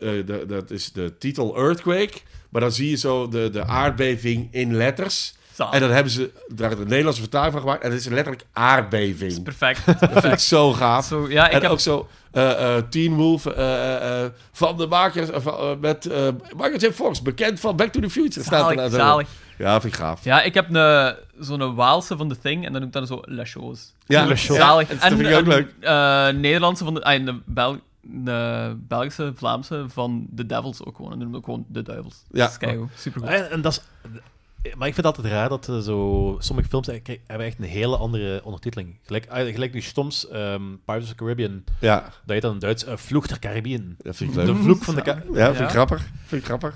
[SPEAKER 2] de, dat is de titel Earthquake. Maar dan zie je zo de, de aardbeving in letters.
[SPEAKER 3] Zalig.
[SPEAKER 2] En dan hebben ze daar de Nederlandse vertaling van gemaakt. En het is letterlijk aardbeving.
[SPEAKER 3] Dat is perfect. dat
[SPEAKER 2] Dat
[SPEAKER 3] is
[SPEAKER 2] vind ik
[SPEAKER 3] perfect.
[SPEAKER 2] zo gaaf.
[SPEAKER 3] Zo, ja, ik
[SPEAKER 2] en
[SPEAKER 3] heb...
[SPEAKER 2] ook zo eh, eh, Teen Wolf eh, eh, eh, van de makers eh, van, eh, met eh Michael J. Fox, bekend van Back to the Future. Staat er
[SPEAKER 3] Zalig,
[SPEAKER 2] nou zo.
[SPEAKER 3] zalig.
[SPEAKER 2] Ja, vind ik gaaf.
[SPEAKER 3] Ja, ik heb een- zo'n Waalse van The Thing en dat noemt dan zo Le Chose.
[SPEAKER 2] Ja,
[SPEAKER 4] Le Chose.
[SPEAKER 3] Zalig.
[SPEAKER 2] dat vind ik ook
[SPEAKER 3] een,
[SPEAKER 2] leuk.
[SPEAKER 3] eh, Nederlandse van de... ah, en de, Bel- de Belgische, Vlaamse van The Devils ook gewoon. En noemen ook gewoon De Duivels.
[SPEAKER 2] Ja.
[SPEAKER 3] Dat is keigoed. Supergoed.
[SPEAKER 4] En, en dat is, maar ik vind het altijd raar dat eh, zo, sommige films eh, kijk, hebben echt een hele andere ondertiteling. Gelijk, eh, gelijk nu soms ehm, Pirates of the Caribbean,
[SPEAKER 2] Ja,
[SPEAKER 4] dat heet dan in Duits eh, Vloeg der Caribbean.
[SPEAKER 2] dat vind ik leuk.
[SPEAKER 4] De vloek van de Caribbean.
[SPEAKER 2] Ja, vind ik
[SPEAKER 3] Ja.
[SPEAKER 2] grappig. Vind ik grappig.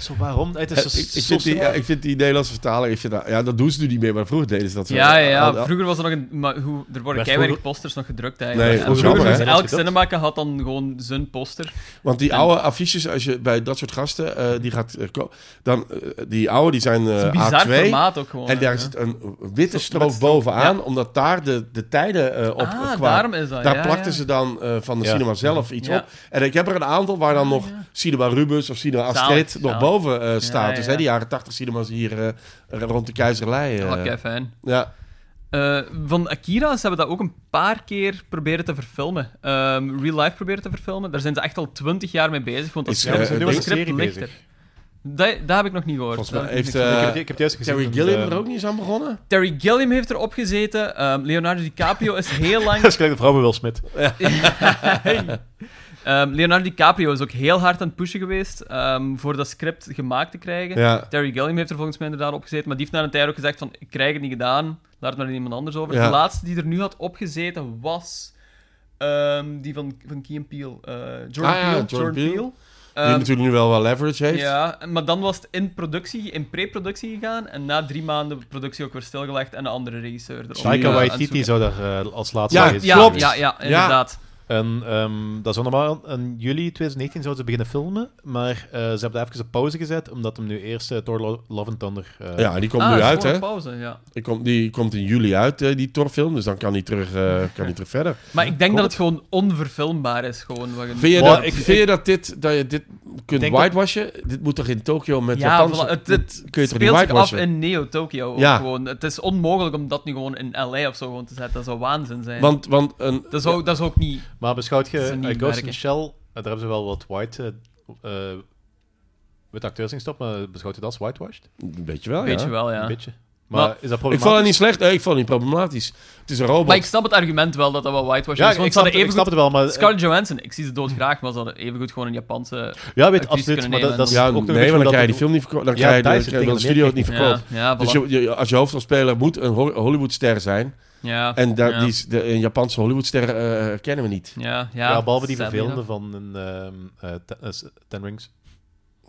[SPEAKER 4] Zo waarom? Het is
[SPEAKER 2] Eh,
[SPEAKER 4] zo,
[SPEAKER 2] ik, ik,
[SPEAKER 4] zo
[SPEAKER 2] vind die, ja,
[SPEAKER 4] snel.
[SPEAKER 2] ik vind die Nederlandse vertaling, ik vind dat, ja, dat doen ze nu niet meer, maar vroeger deden ze dat zo.
[SPEAKER 3] Ja, ja, ja.
[SPEAKER 2] Al- al-
[SPEAKER 3] vroeger was er nog een... Maar hoe, er worden
[SPEAKER 4] Werd
[SPEAKER 3] kei weinig
[SPEAKER 4] vroeger-
[SPEAKER 3] posters nog gedrukt eigenlijk.
[SPEAKER 2] Nee,
[SPEAKER 3] En
[SPEAKER 2] dat is
[SPEAKER 4] vroeger
[SPEAKER 2] jammer,
[SPEAKER 3] dus
[SPEAKER 2] hè?
[SPEAKER 4] was-
[SPEAKER 3] elk
[SPEAKER 4] hè?
[SPEAKER 3] cinemake had dan gewoon zijn poster.
[SPEAKER 2] Want die
[SPEAKER 3] En-
[SPEAKER 2] oude affiches, als je bij dat soort gasten, eh, die gaat, eh, ko- dan, eh, die oude, die zijn eh,
[SPEAKER 3] Het is een bizar
[SPEAKER 2] A2.
[SPEAKER 3] formaat ook gewoon.
[SPEAKER 2] En daar
[SPEAKER 3] hè.
[SPEAKER 2] zit een witte
[SPEAKER 3] met
[SPEAKER 2] strook
[SPEAKER 3] strook,
[SPEAKER 2] bovenaan,
[SPEAKER 3] ja.
[SPEAKER 2] omdat daar de, de tijden eh, op
[SPEAKER 3] ah,
[SPEAKER 2] kwamen.
[SPEAKER 3] daarom is dat.
[SPEAKER 2] Daar
[SPEAKER 3] ja,
[SPEAKER 2] plakten
[SPEAKER 3] ja.
[SPEAKER 2] ze dan eh, van de
[SPEAKER 4] Ja.
[SPEAKER 2] cinema zelf iets
[SPEAKER 3] Ja.
[SPEAKER 2] op. En ik heb er een aantal waar dan
[SPEAKER 3] Ah,
[SPEAKER 2] nog
[SPEAKER 3] ja.
[SPEAKER 2] Cinema Rubens of Cinema
[SPEAKER 3] Zalig,
[SPEAKER 2] Astrid nog
[SPEAKER 3] zalig.
[SPEAKER 2] boven eh, staat.
[SPEAKER 3] Ja,
[SPEAKER 2] Dus
[SPEAKER 3] ja.
[SPEAKER 2] hè, die jaren tachtig cinema's hier eh, rond de Keizerlei. eh.
[SPEAKER 3] Oh, kei fijn.
[SPEAKER 2] ja.
[SPEAKER 3] Eh, van Akira, ze hebben dat ook een paar keer proberen te verfilmen. Ehm, real life proberen te verfilmen. Daar zijn ze echt al twintig jaar mee bezig. Want dat
[SPEAKER 2] Is,
[SPEAKER 4] Ja, maar
[SPEAKER 2] eh,
[SPEAKER 4] ze zijn nu
[SPEAKER 2] een
[SPEAKER 4] met een
[SPEAKER 2] ding-
[SPEAKER 4] serie
[SPEAKER 3] script ligt
[SPEAKER 4] bezig.
[SPEAKER 3] Dat, dat heb ik nog niet gehoord.
[SPEAKER 2] Volgens mij
[SPEAKER 3] Dat heb ik
[SPEAKER 2] heeft,
[SPEAKER 3] nog niet
[SPEAKER 2] eh,
[SPEAKER 4] ik,
[SPEAKER 3] gehoord.
[SPEAKER 4] heb, ik heb juist gezien...
[SPEAKER 2] Terry
[SPEAKER 4] dat,
[SPEAKER 2] Gilliam
[SPEAKER 4] eh,
[SPEAKER 2] er ook niet eens aan begonnen?
[SPEAKER 3] Terry Gilliam heeft erop gezeten. ehm, Leonardo DiCaprio is heel lang...
[SPEAKER 4] Dat is gelijk de vrouw van Will Smith.
[SPEAKER 3] Ehm, Leonardo DiCaprio is ook heel hard aan het pushen geweest ehm, voor dat script gemaakt te krijgen.
[SPEAKER 2] Ja.
[SPEAKER 3] Terry Gilliam heeft er volgens mij inderdaad op gezeten, maar die heeft na een tijd ook gezegd van, ik krijg het niet gedaan, laat het maar aan iemand anders over.
[SPEAKER 2] Ja.
[SPEAKER 3] De laatste die er nu had opgezeten was... Ehm, die van, van Key and Peele. eh, Jordan
[SPEAKER 2] Ah ja,
[SPEAKER 3] Peele.
[SPEAKER 2] Jordan Peele. Die
[SPEAKER 3] Ehm,
[SPEAKER 2] natuurlijk nu wel wat leverage heeft.
[SPEAKER 3] ja, maar dan was het in productie, in pre-productie gegaan. En na drie maanden productie ook weer stilgelegd en een andere regisseur erop.
[SPEAKER 4] Taika
[SPEAKER 3] eh, aan het
[SPEAKER 4] Waititi
[SPEAKER 3] zoeken.
[SPEAKER 4] zou daar eh, als laatste
[SPEAKER 2] Ja,
[SPEAKER 4] bij zijn
[SPEAKER 3] Ja,
[SPEAKER 2] Klopt.
[SPEAKER 3] ja, ja, inderdaad.
[SPEAKER 4] En ehm, dat is wel normaal. In juli 2019 zouden ze beginnen filmen, maar eh, ze hebben daar even een pauze gezet, omdat hem nu eerst eh, Thor Lo- Love and Thunder... eh,
[SPEAKER 2] Ja, die komt
[SPEAKER 3] Ah,
[SPEAKER 2] nu
[SPEAKER 3] dat is
[SPEAKER 2] uit,
[SPEAKER 3] voor
[SPEAKER 2] hè?
[SPEAKER 3] een Pauze, ja.
[SPEAKER 2] Die komt, die komt in juli uit, eh, die Thor-film. Dus dan kan die terug, eh, kan die terug verder.
[SPEAKER 3] Maar ik denk dat het gewoon onverfilmbaar is. Gewoon, wat je-
[SPEAKER 2] Vind je,
[SPEAKER 4] Maar
[SPEAKER 2] dat,
[SPEAKER 4] ik-
[SPEAKER 2] vind je dat, dit, dat je dit kunt
[SPEAKER 4] denk dat-
[SPEAKER 2] whitewashen? Dit moet toch in Tokio met
[SPEAKER 3] ja,
[SPEAKER 2] Japanse...
[SPEAKER 3] voilà, het,
[SPEAKER 2] dit
[SPEAKER 3] het
[SPEAKER 2] kun je toch niet
[SPEAKER 3] speelt zich af
[SPEAKER 2] whitewashen?
[SPEAKER 3] in Neo-Tokyo. ook
[SPEAKER 2] Ja.
[SPEAKER 3] Gewoon. Het is onmogelijk om dat nu gewoon in LA of zo gewoon te zetten. Dat zou waanzin zijn.
[SPEAKER 2] Want, want een...
[SPEAKER 3] dat, zou, dat zou ook niet...
[SPEAKER 4] Maar beschouwt je
[SPEAKER 3] Dat is een
[SPEAKER 4] eh,
[SPEAKER 3] nieuw
[SPEAKER 4] Ghost
[SPEAKER 3] merk,
[SPEAKER 4] in
[SPEAKER 3] hè.
[SPEAKER 4] the Shell, eh, daar hebben ze wel wat white... eh, eh, witte acteurs in gestopt, maar beschouwt je dat als whitewashed?
[SPEAKER 2] Een beetje wel,
[SPEAKER 3] weet
[SPEAKER 2] Oh, ja.
[SPEAKER 3] je wel, ja.
[SPEAKER 4] Een beetje. Maar
[SPEAKER 3] Maar-
[SPEAKER 4] is dat
[SPEAKER 2] Ik vond het niet
[SPEAKER 4] problematisch?
[SPEAKER 2] slecht. Nee, ik vond het niet problematisch. Het is een robot.
[SPEAKER 3] Maar ik snap het argument wel dat dat wel whitewash
[SPEAKER 4] Ja,
[SPEAKER 3] is.
[SPEAKER 4] ik, ik
[SPEAKER 3] Want
[SPEAKER 4] snap,
[SPEAKER 3] ze
[SPEAKER 4] het,
[SPEAKER 3] hadden
[SPEAKER 4] ik
[SPEAKER 3] even
[SPEAKER 4] snap het wel, maar... eh,
[SPEAKER 3] Scarlett Johansson, ik zie ze doodgraag, maar ze hadden evengoed gewoon een Japanse...
[SPEAKER 4] ja, weet
[SPEAKER 3] actrice
[SPEAKER 4] absoluut,
[SPEAKER 3] kunnen
[SPEAKER 4] maar dat,
[SPEAKER 3] nemen
[SPEAKER 4] dat is
[SPEAKER 2] ja,
[SPEAKER 4] ook nog
[SPEAKER 2] nee, want
[SPEAKER 4] een beetje
[SPEAKER 2] dan
[SPEAKER 4] omdat
[SPEAKER 2] krijg je die
[SPEAKER 4] het-
[SPEAKER 2] film niet verkocht. Dan
[SPEAKER 4] Ja,
[SPEAKER 2] krijg je,
[SPEAKER 4] daar is
[SPEAKER 2] dan krijg
[SPEAKER 4] het
[SPEAKER 2] je
[SPEAKER 4] ding,
[SPEAKER 2] de
[SPEAKER 4] dat
[SPEAKER 2] studio het niet
[SPEAKER 4] neerkijkt
[SPEAKER 2] verkoopt.
[SPEAKER 3] Ja, ja, voilà.
[SPEAKER 2] Dus je, je- als je hoofdrolspeler moet een Ho- Hollywoodster zijn.
[SPEAKER 3] ja,
[SPEAKER 2] En daar,
[SPEAKER 3] ja.
[SPEAKER 2] die, is- de, een Japanse Hollywoodster eh kennen we niet.
[SPEAKER 3] Ja, ja, Ehm,
[SPEAKER 4] Ja, behalve die
[SPEAKER 3] sadly
[SPEAKER 4] vervelende
[SPEAKER 3] enough.
[SPEAKER 4] van een, ehm, eh, Ten- eh, Ten Rings.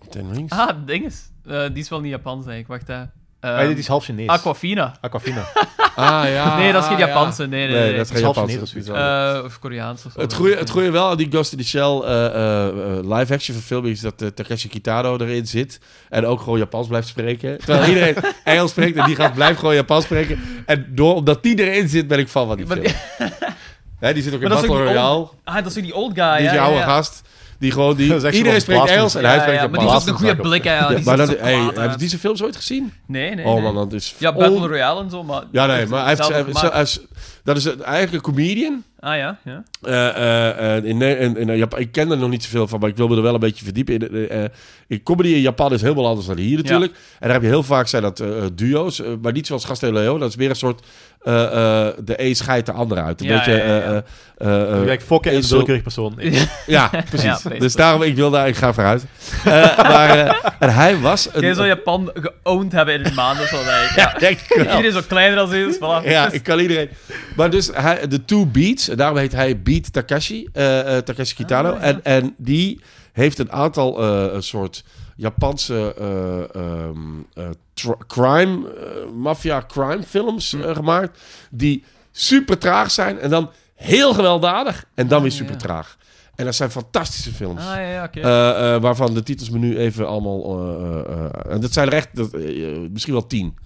[SPEAKER 2] Ten Rings.
[SPEAKER 3] Ah, het ding is. eh, die is wel niet Japans, eigenlijk. Wacht, hè.
[SPEAKER 4] Ah,
[SPEAKER 3] Ehm
[SPEAKER 4] dit is half Chinees.
[SPEAKER 3] Aquafina.
[SPEAKER 4] Aquafina.
[SPEAKER 3] Eh,
[SPEAKER 2] Ah, ja.
[SPEAKER 3] Nee, dat is
[SPEAKER 2] ah,
[SPEAKER 3] geen
[SPEAKER 2] ja.
[SPEAKER 3] Japanse. Nee, nee,
[SPEAKER 2] Nee,
[SPEAKER 3] nee.
[SPEAKER 2] dat is geen
[SPEAKER 4] Zelfs
[SPEAKER 2] Japanse.
[SPEAKER 4] niet, dat is
[SPEAKER 2] dat is wel-
[SPEAKER 3] Eh, of Koreaans of zo.
[SPEAKER 2] Het goeie, het goeie wel aan die Ghost in the Shell eh, eh, eh, live-action verfilming is dat eh, Takeshi Kitano erin zit. En ook gewoon Japans blijft spreken. Terwijl iedereen Engels spreekt en die gaat blijven gewoon Japans spreken. En door, omdat die erin zit, ben ik fan van die
[SPEAKER 3] Maar-
[SPEAKER 2] film. Hè, die zit ook in
[SPEAKER 3] Maar dat is
[SPEAKER 2] Battle
[SPEAKER 3] ook die
[SPEAKER 2] Royale.
[SPEAKER 3] Ah, dat is toch die old
[SPEAKER 2] die
[SPEAKER 3] guy,
[SPEAKER 2] is
[SPEAKER 3] ja,
[SPEAKER 2] die
[SPEAKER 3] ja,
[SPEAKER 2] oude
[SPEAKER 3] ja.
[SPEAKER 2] gast. Die gewoon, die,
[SPEAKER 4] Dat is echt
[SPEAKER 2] iedereen
[SPEAKER 4] zo'n
[SPEAKER 2] spreekt
[SPEAKER 4] blaster.
[SPEAKER 2] Engels en
[SPEAKER 3] Ja,
[SPEAKER 2] hij
[SPEAKER 3] ja,
[SPEAKER 2] spreekt
[SPEAKER 3] maar die heeft
[SPEAKER 2] Japans.
[SPEAKER 3] een goede
[SPEAKER 4] zaak op.
[SPEAKER 3] blik, hè. Ja,
[SPEAKER 2] Ja,
[SPEAKER 3] die
[SPEAKER 2] maar
[SPEAKER 3] ziet er
[SPEAKER 2] dat,
[SPEAKER 3] zo
[SPEAKER 2] hey,
[SPEAKER 3] kwaad
[SPEAKER 2] heb je
[SPEAKER 3] uit.
[SPEAKER 2] deze films ooit gezien?
[SPEAKER 3] Nee, nee,
[SPEAKER 2] Oh
[SPEAKER 3] nee.
[SPEAKER 2] man, dat is...
[SPEAKER 3] Ja, Battle
[SPEAKER 2] on-
[SPEAKER 3] Royale en zo, maar...
[SPEAKER 2] Ja, nee,
[SPEAKER 3] heeft
[SPEAKER 2] maar hij
[SPEAKER 3] het
[SPEAKER 2] heeft,
[SPEAKER 3] zelf
[SPEAKER 2] hij-
[SPEAKER 3] gemaakt.
[SPEAKER 2] hij is- dat is een eigen comedian.
[SPEAKER 3] Ah, ja, ja.
[SPEAKER 2] Eh, eh, eh, in, Ne- in, in Japan, ik ken er nog niet zoveel van, maar ik wil me er wel een beetje verdiepen. In, eh, eh, in comedy in Japan is helemaal anders dan hier natuurlijk. En daar heb je heel vaak zijn dat eh, eh, duo's, eh, maar niet zoals Gast en Leo. Dat is meer een soort eh, eh, de een scheidt de ander uit. Een
[SPEAKER 3] Ja,
[SPEAKER 2] beetje.
[SPEAKER 3] ja, ja, ja.
[SPEAKER 2] eh, eh, eh, eh,
[SPEAKER 4] Kijk, fokken is
[SPEAKER 2] is
[SPEAKER 4] een
[SPEAKER 2] zo-
[SPEAKER 4] willekeurig persoon. Ik-
[SPEAKER 2] ja,
[SPEAKER 3] Ja,
[SPEAKER 2] precies.
[SPEAKER 3] basically.
[SPEAKER 2] dus daarom, ik wil daar, ik ga vooruit. Eh, maar eh, en hij was een.
[SPEAKER 3] Jij zou Japan geowned hebben in een maand of zo, denk ik.
[SPEAKER 2] ja,
[SPEAKER 3] Ja.
[SPEAKER 2] denk ik wel.
[SPEAKER 3] Iedereen is ook kleiner dan ze is, voilà. Dus-
[SPEAKER 2] Ja, ik kan iedereen. Maar dus hij, de Two Beats, en daarom heet hij Beat Takashi, eh, eh, Takashi Kitano.
[SPEAKER 3] Ah, ja.
[SPEAKER 2] en, en die heeft een aantal eh, een soort Japanse eh, ehm, eh, tr- crime, eh, mafia crime films
[SPEAKER 3] Hm.
[SPEAKER 2] eh, gemaakt. Die super traag zijn en dan heel gewelddadig en dan weer
[SPEAKER 3] Ah,
[SPEAKER 2] super
[SPEAKER 3] ja.
[SPEAKER 2] traag. En dat zijn fantastische films.
[SPEAKER 3] Ah, ja, ja, oké.
[SPEAKER 2] Eh, eh, waarvan de titels me nu even allemaal. eh, eh, eh, en dat zijn er echt dat, eh, eh, misschien wel tien.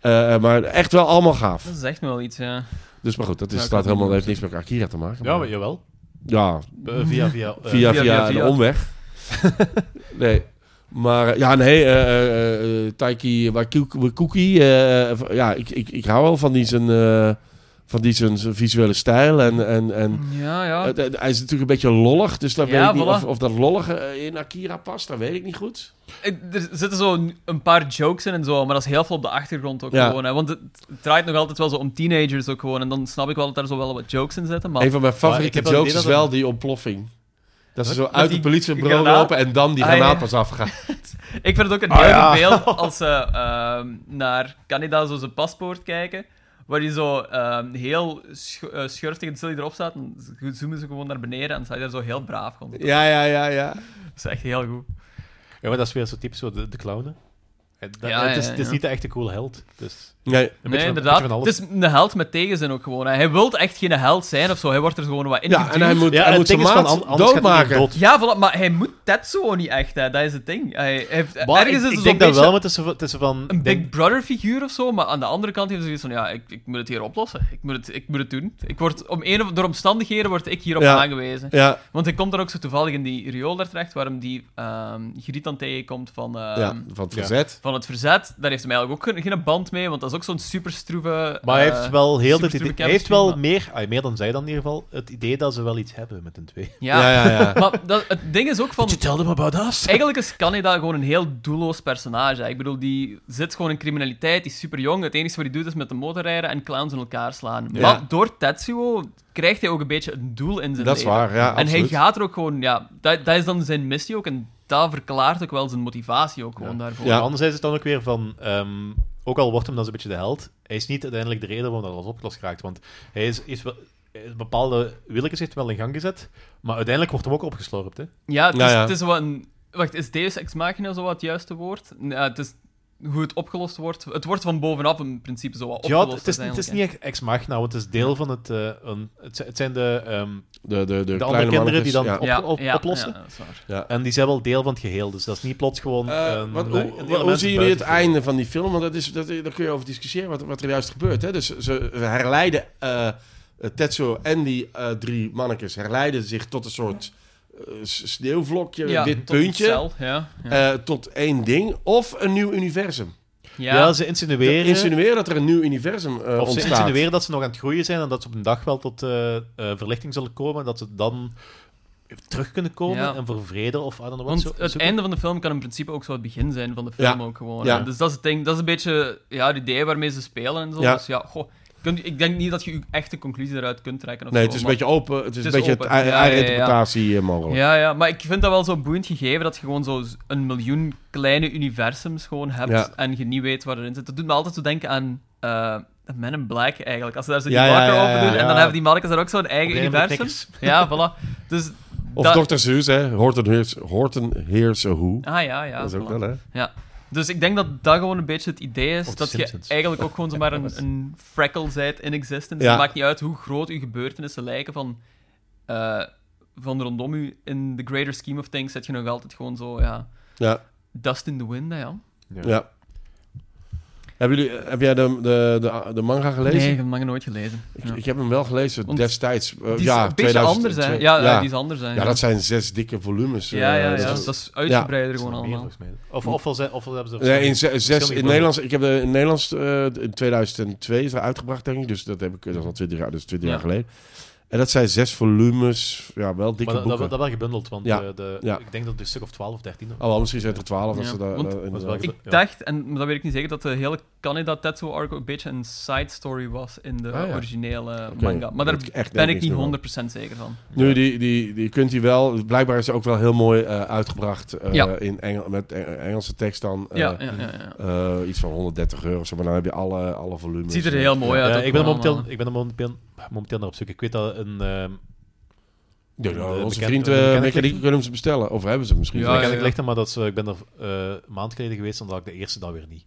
[SPEAKER 2] Eh, eh, maar echt wel allemaal gaaf.
[SPEAKER 3] dat zegt me wel iets, ja.
[SPEAKER 2] Dus maar goed, dat is,
[SPEAKER 3] Ja, ik
[SPEAKER 2] staat
[SPEAKER 3] kan het
[SPEAKER 2] helemaal,
[SPEAKER 3] niet
[SPEAKER 2] heeft niks met Akira te maken.
[SPEAKER 4] Ja,
[SPEAKER 2] maar-
[SPEAKER 4] maar jawel.
[SPEAKER 2] ja,
[SPEAKER 4] Eh, via, via... eh,
[SPEAKER 2] via, via,
[SPEAKER 3] via, via.
[SPEAKER 2] de omweg. nee. Maar eh, ja, nee, eh, eh, eh, Taiki Waku- Wakuki, eh, v- ja, ik, ik, ik hou wel van die zijn, eh, van die zijn, zijn visuele stijl. En, en, en
[SPEAKER 3] Ja, ja.
[SPEAKER 2] Mm. het- het- hij is natuurlijk een beetje lollig, dus daar
[SPEAKER 3] Ja,
[SPEAKER 2] weet ik niet
[SPEAKER 3] voilà.
[SPEAKER 2] of, of dat lollige eh, in Akira past, dat weet ik niet goed.
[SPEAKER 3] Ik- Er zitten zo een- een paar jokes in en zo, maar dat is heel veel op de achtergrond ook
[SPEAKER 2] Ja.
[SPEAKER 3] gewoon. Hè, want het het draait nog altijd wel zo om teenagers ook gewoon. En dan snap ik wel dat daar zo wel wat jokes in zitten, maar...
[SPEAKER 2] een van mijn
[SPEAKER 4] ik
[SPEAKER 2] favoriete
[SPEAKER 4] heb wel het
[SPEAKER 2] jokes
[SPEAKER 4] idee
[SPEAKER 2] is
[SPEAKER 4] dat
[SPEAKER 2] wel die ontploffing. Dat ze zo
[SPEAKER 3] Met
[SPEAKER 2] uit
[SPEAKER 3] die
[SPEAKER 2] het politiebureau
[SPEAKER 3] granaat?
[SPEAKER 2] lopen en dan die
[SPEAKER 3] Ah, ja.
[SPEAKER 2] granaat pas afgaan.
[SPEAKER 3] Ik vind het ook een
[SPEAKER 4] Ah,
[SPEAKER 3] heel
[SPEAKER 4] ja.
[SPEAKER 3] beeld als ze ehm, naar Canada zo zijn paspoort kijken. Waar hij zo ehm, heel sch eh, schurftig en stil erop staat. En ze- zoomen ze gewoon naar beneden en staat hij daar zo heel braaf gewoon. Dat
[SPEAKER 2] Ja, ja, ja, ja.
[SPEAKER 3] is echt heel goed.
[SPEAKER 4] Ja, maar dat is weer zo typisch, zo de, de clownen. Eh, dat-
[SPEAKER 3] Ja,
[SPEAKER 4] het is,
[SPEAKER 3] ja,
[SPEAKER 4] het is
[SPEAKER 3] ja.
[SPEAKER 4] niet de echte coole held. Dus
[SPEAKER 2] Nee,
[SPEAKER 4] een
[SPEAKER 3] nee,
[SPEAKER 4] beetje van-
[SPEAKER 3] inderdaad.
[SPEAKER 4] een beetje van
[SPEAKER 3] Het
[SPEAKER 4] alles.
[SPEAKER 3] is een held met tegenzin ook gewoon. hè. Hij wil echt geen held zijn of zo. Hij wordt er gewoon wat in.
[SPEAKER 2] Ja, en hij moet,
[SPEAKER 4] Ja,
[SPEAKER 2] hij
[SPEAKER 4] het
[SPEAKER 2] moet zijn
[SPEAKER 4] ding is van, an-
[SPEAKER 2] maat
[SPEAKER 4] anders gaat iedereen
[SPEAKER 2] doodmaken.
[SPEAKER 4] dood.
[SPEAKER 3] Ja, voilà, maar hij moet Tetsuo niet echt. Hè. Dat is het ding. Hij hij heeft, ergens
[SPEAKER 4] Maar ik,
[SPEAKER 3] is
[SPEAKER 4] ik
[SPEAKER 3] het zo'n
[SPEAKER 4] denk dat
[SPEAKER 3] beetje
[SPEAKER 4] wel, maar het is zo- het is zo van...
[SPEAKER 3] een
[SPEAKER 4] ik denk-
[SPEAKER 3] Big Brother figuur of zo, maar aan de andere kant heeft ze zoiets van, ja, ik, ik moet het hier oplossen. Ik moet het, ik moet het doen. Ik word, om een, of- door omstandigheden word ik hierop
[SPEAKER 2] Ja.
[SPEAKER 3] aangewezen.
[SPEAKER 2] Ja,
[SPEAKER 3] Want hij komt dan ook zo toevallig in die riool daar terecht, waar hem die ehm griet dan tegenkomt van, ehm,
[SPEAKER 2] ja, van het verzet.
[SPEAKER 3] van het verzet. Daar heeft hij eigenlijk ook geen, geen band mee, want dat is ook zo'n superstroeve...
[SPEAKER 4] Maar hij
[SPEAKER 3] eh,
[SPEAKER 4] heeft wel heel
[SPEAKER 3] super
[SPEAKER 4] het idee,
[SPEAKER 3] stoere
[SPEAKER 4] hij heeft
[SPEAKER 3] chemistry,
[SPEAKER 4] wel
[SPEAKER 3] maar-
[SPEAKER 4] meer, ah, meer dan zij dan in ieder geval, het idee dat ze wel iets hebben met hun twee.
[SPEAKER 3] Ja,
[SPEAKER 2] ja, ja. ja.
[SPEAKER 3] maar dat, het ding is ook van...
[SPEAKER 4] tell them about us?
[SPEAKER 3] Eigenlijk is Canada gewoon een heel doelloos personage. Ik bedoel, die zit gewoon in criminaliteit, die is super jong. Het enige wat hij doet is met de motor rijden en clowns in elkaar slaan.
[SPEAKER 2] Ja.
[SPEAKER 3] Maar door Tetsuo krijgt hij ook een beetje een doel in zijn
[SPEAKER 2] dat is
[SPEAKER 3] leven.
[SPEAKER 2] waar, ja,
[SPEAKER 3] en hij
[SPEAKER 2] absoluut.
[SPEAKER 3] gaat er ook gewoon, ja, dat, dat is dan zijn missie ook. En dat verklaart ook wel zijn motivatie ook gewoon
[SPEAKER 4] Ja.
[SPEAKER 3] daarvoor.
[SPEAKER 2] Ja.
[SPEAKER 4] Maar anderzijds is het dan ook weer van... ehm, ook al wordt hem dan zo'n beetje de held, hij is niet uiteindelijk de reden waarom dat alles opgelost raakt. Want hij is, is wel, eh, bepaalde willekeurs heeft wel in gang gezet, maar uiteindelijk wordt hem ook opgeslorpt. Hè?
[SPEAKER 3] Ja, het is,
[SPEAKER 2] Ja, ja.
[SPEAKER 3] Het is wat een... Wacht, is Deus Ex Machina zo wat het juiste woord? Nee, het is hoe het opgelost wordt. Het wordt van bovenaf in principe zo wat
[SPEAKER 4] Ja,
[SPEAKER 3] opgelost.
[SPEAKER 4] het is, het is niet
[SPEAKER 3] uiteindelijk,
[SPEAKER 4] echt ex machina, want het is deel van het... eh, een, het zijn- het zijn de... ehm,
[SPEAKER 2] De, de, de,
[SPEAKER 4] andere
[SPEAKER 2] kleine
[SPEAKER 4] kinderen
[SPEAKER 2] mannetjes,
[SPEAKER 4] die dan
[SPEAKER 2] ja.
[SPEAKER 4] op-
[SPEAKER 3] hè.
[SPEAKER 4] oplossen.
[SPEAKER 3] Ja, dat is waar.
[SPEAKER 4] en die zijn wel deel van het geheel, dus dat is niet plots gewoon...
[SPEAKER 2] Eh,
[SPEAKER 4] een-
[SPEAKER 2] wat,
[SPEAKER 4] een-
[SPEAKER 2] hoe
[SPEAKER 4] een
[SPEAKER 2] hoe-
[SPEAKER 4] element
[SPEAKER 2] hoe zien jullie het
[SPEAKER 4] buiten.
[SPEAKER 2] einde van die film? Want dat is, dat, daar kun je over discussiëren wat, wat er juist gebeurt. Hè? Dus ze herleiden eh, Tetsuo en die eh, drie mannetjes herleiden zich tot een soort eh, s- sneeuwvlokje,
[SPEAKER 3] Ja,
[SPEAKER 2] dit
[SPEAKER 3] tot
[SPEAKER 2] puntje,
[SPEAKER 3] cel, ja, ja.
[SPEAKER 2] eh, tot één ding. Of een nieuw universum.
[SPEAKER 3] ja.
[SPEAKER 4] Ja, ze insinueren...
[SPEAKER 2] Te Insinueren dat er een nieuw universum eh
[SPEAKER 4] eh? Of ze
[SPEAKER 2] ontstaat.
[SPEAKER 4] insinueren dat ze nog aan het groeien zijn en dat ze op een dag wel tot eh, eh, verlichting zullen komen. Dat ze dan terug kunnen komen
[SPEAKER 3] Ja.
[SPEAKER 4] en voor vrede of I don't know what
[SPEAKER 3] Want
[SPEAKER 4] zo-
[SPEAKER 3] het
[SPEAKER 4] zoeken.
[SPEAKER 3] einde van de film kan in principe ook zo het begin zijn van de film
[SPEAKER 2] Ja.
[SPEAKER 3] ook gewoon.
[SPEAKER 2] Ja.
[SPEAKER 3] hè. Dus dat is het ding. Dat is een beetje ja, het idee waarmee ze spelen en zo.
[SPEAKER 2] Ja.
[SPEAKER 3] Dus ja, goh, kun- ik denk niet dat je je echte conclusie eruit kunt trekken. Of
[SPEAKER 2] Nee,
[SPEAKER 3] zo,
[SPEAKER 2] het is een
[SPEAKER 3] maar-
[SPEAKER 2] beetje open. Het is,
[SPEAKER 3] Het
[SPEAKER 2] een
[SPEAKER 3] is
[SPEAKER 2] beetje
[SPEAKER 3] open.
[SPEAKER 2] het ei-
[SPEAKER 3] Ja, ja, ja, ja.
[SPEAKER 2] interpretatie eh, mogelijk.
[SPEAKER 3] Ja, ja, maar ik vind dat wel zo boeiend gegeven dat je gewoon zo z- een miljoen kleine universums gewoon hebt
[SPEAKER 2] Ja.
[SPEAKER 3] en je niet weet waar erin zit. Dat doet me altijd zo denken aan eh Men in Black eigenlijk. Als ze daar zo die
[SPEAKER 2] Ja, ja,
[SPEAKER 3] bakken
[SPEAKER 2] ja,
[SPEAKER 3] open doen
[SPEAKER 2] ja,
[SPEAKER 3] en
[SPEAKER 2] ja.
[SPEAKER 3] dan hebben die mannetjes daar ook zo'n eigen
[SPEAKER 4] Op een gegeven
[SPEAKER 3] universum. Ja,
[SPEAKER 4] moment
[SPEAKER 3] voilà. Dus
[SPEAKER 2] Of
[SPEAKER 3] dat-
[SPEAKER 2] Dr. Seuss, hè? Horton Hears, Horton Hears a Who.
[SPEAKER 3] Ah ja, ja.
[SPEAKER 2] dat is ook
[SPEAKER 3] voilà.
[SPEAKER 2] wel, hè?
[SPEAKER 3] Dus ik denk dat dat gewoon een beetje het idee is.
[SPEAKER 4] Of de
[SPEAKER 3] dat je
[SPEAKER 4] Simpsons.
[SPEAKER 3] eigenlijk ook gewoon zomaar een, een freckle zijt in existence.
[SPEAKER 2] Ja.
[SPEAKER 3] Het maakt niet uit hoe groot uw gebeurtenissen lijken van, eh, van rondom u. In the greater scheme of things zet je nog altijd gewoon zo, ja...
[SPEAKER 2] Ja.
[SPEAKER 3] Dust in the wind, hè, ja.
[SPEAKER 2] Ja. Hebben jullie, heb jij de, de, de, de manga gelezen?
[SPEAKER 3] Nee, ik heb hem nog nooit gelezen.
[SPEAKER 2] Ik,
[SPEAKER 3] Ja.
[SPEAKER 2] ik heb hem wel gelezen
[SPEAKER 3] Want
[SPEAKER 2] destijds. eh,
[SPEAKER 3] Die is
[SPEAKER 2] ja,
[SPEAKER 3] een beetje anders, hè. Ja, ja,
[SPEAKER 2] ja.
[SPEAKER 3] die is anders, hè.
[SPEAKER 2] Ja, dat zijn zes dikke volumes. eh,
[SPEAKER 3] ja, ja,
[SPEAKER 2] dat
[SPEAKER 3] ja.
[SPEAKER 2] is-
[SPEAKER 3] Dat is uitgebreider gewoon
[SPEAKER 4] Dat is nog
[SPEAKER 3] allemaal.
[SPEAKER 4] meer, volgens mij. Of, ofwel, ze, ofwel hebben ze...
[SPEAKER 2] Nee, Hm. in ze- zes, in
[SPEAKER 4] bronnen.
[SPEAKER 2] Nederlands, ik heb de, in Nederlands eh, in 2002 is er uitgebracht, denk ik. Dus dat, heb ik, dat is al 20 jaar, dus 20
[SPEAKER 3] Ja.
[SPEAKER 2] jaar geleden. En dat zijn zes volumes, ja, wel dikke
[SPEAKER 4] maar dat, dat,
[SPEAKER 2] boeken.
[SPEAKER 4] dat wel gebundeld, want
[SPEAKER 2] Ja.
[SPEAKER 4] eh, de,
[SPEAKER 2] Ja.
[SPEAKER 4] ik denk dat het een stuk of 12 of 13
[SPEAKER 2] oh, wel, misschien zijn het er twaalf. als
[SPEAKER 3] Ja.
[SPEAKER 2] ze daar- eh,
[SPEAKER 3] Want-
[SPEAKER 2] daar-
[SPEAKER 4] Dat is wel
[SPEAKER 2] inderdaad-
[SPEAKER 3] Ik
[SPEAKER 4] Ja.
[SPEAKER 3] dacht, en dat weet ik niet zeker, dat de hele Canada Tattoo Arc ook een beetje een side story was in de
[SPEAKER 2] Ah, ja.
[SPEAKER 3] originele
[SPEAKER 2] Oké,
[SPEAKER 3] manga. Maar daar
[SPEAKER 2] weet ik echt
[SPEAKER 3] ben ik
[SPEAKER 2] niks
[SPEAKER 3] niet
[SPEAKER 2] meer van.
[SPEAKER 3] 100% zeker van.
[SPEAKER 2] Nu, die, die, die kunt hij wel. Blijkbaar is ze ook wel heel mooi eh, uitgebracht eh,
[SPEAKER 3] Ja.
[SPEAKER 2] in Engel, met eh, Engelse tekst dan. eh,
[SPEAKER 3] ja, ja, ja, ja.
[SPEAKER 2] eh, iets van 130 euro of zo, maar dan heb je alle, alle volumes.
[SPEAKER 3] Het ziet er
[SPEAKER 2] eh.
[SPEAKER 3] heel mooi uit.
[SPEAKER 4] Ja,
[SPEAKER 3] ook
[SPEAKER 4] ik ben er
[SPEAKER 3] gewoon
[SPEAKER 4] momenteel,
[SPEAKER 3] allemaal.
[SPEAKER 4] ik ben er momenteel, momenteel naar op zoek. Ik weet dat een... ehm
[SPEAKER 2] Ja, nou,
[SPEAKER 4] de
[SPEAKER 2] onze
[SPEAKER 4] bekende-
[SPEAKER 2] vriend
[SPEAKER 4] de bekende
[SPEAKER 2] eh
[SPEAKER 4] kleding-
[SPEAKER 2] mechanieken kunnen ze bestellen. Of hebben ze misschien.
[SPEAKER 3] Ja,
[SPEAKER 2] zelfs.
[SPEAKER 4] ik heb het licht, maar dat is, eh, ik ben er eh, een maand geleden geweest en dan had ik de eerste dan weer niet.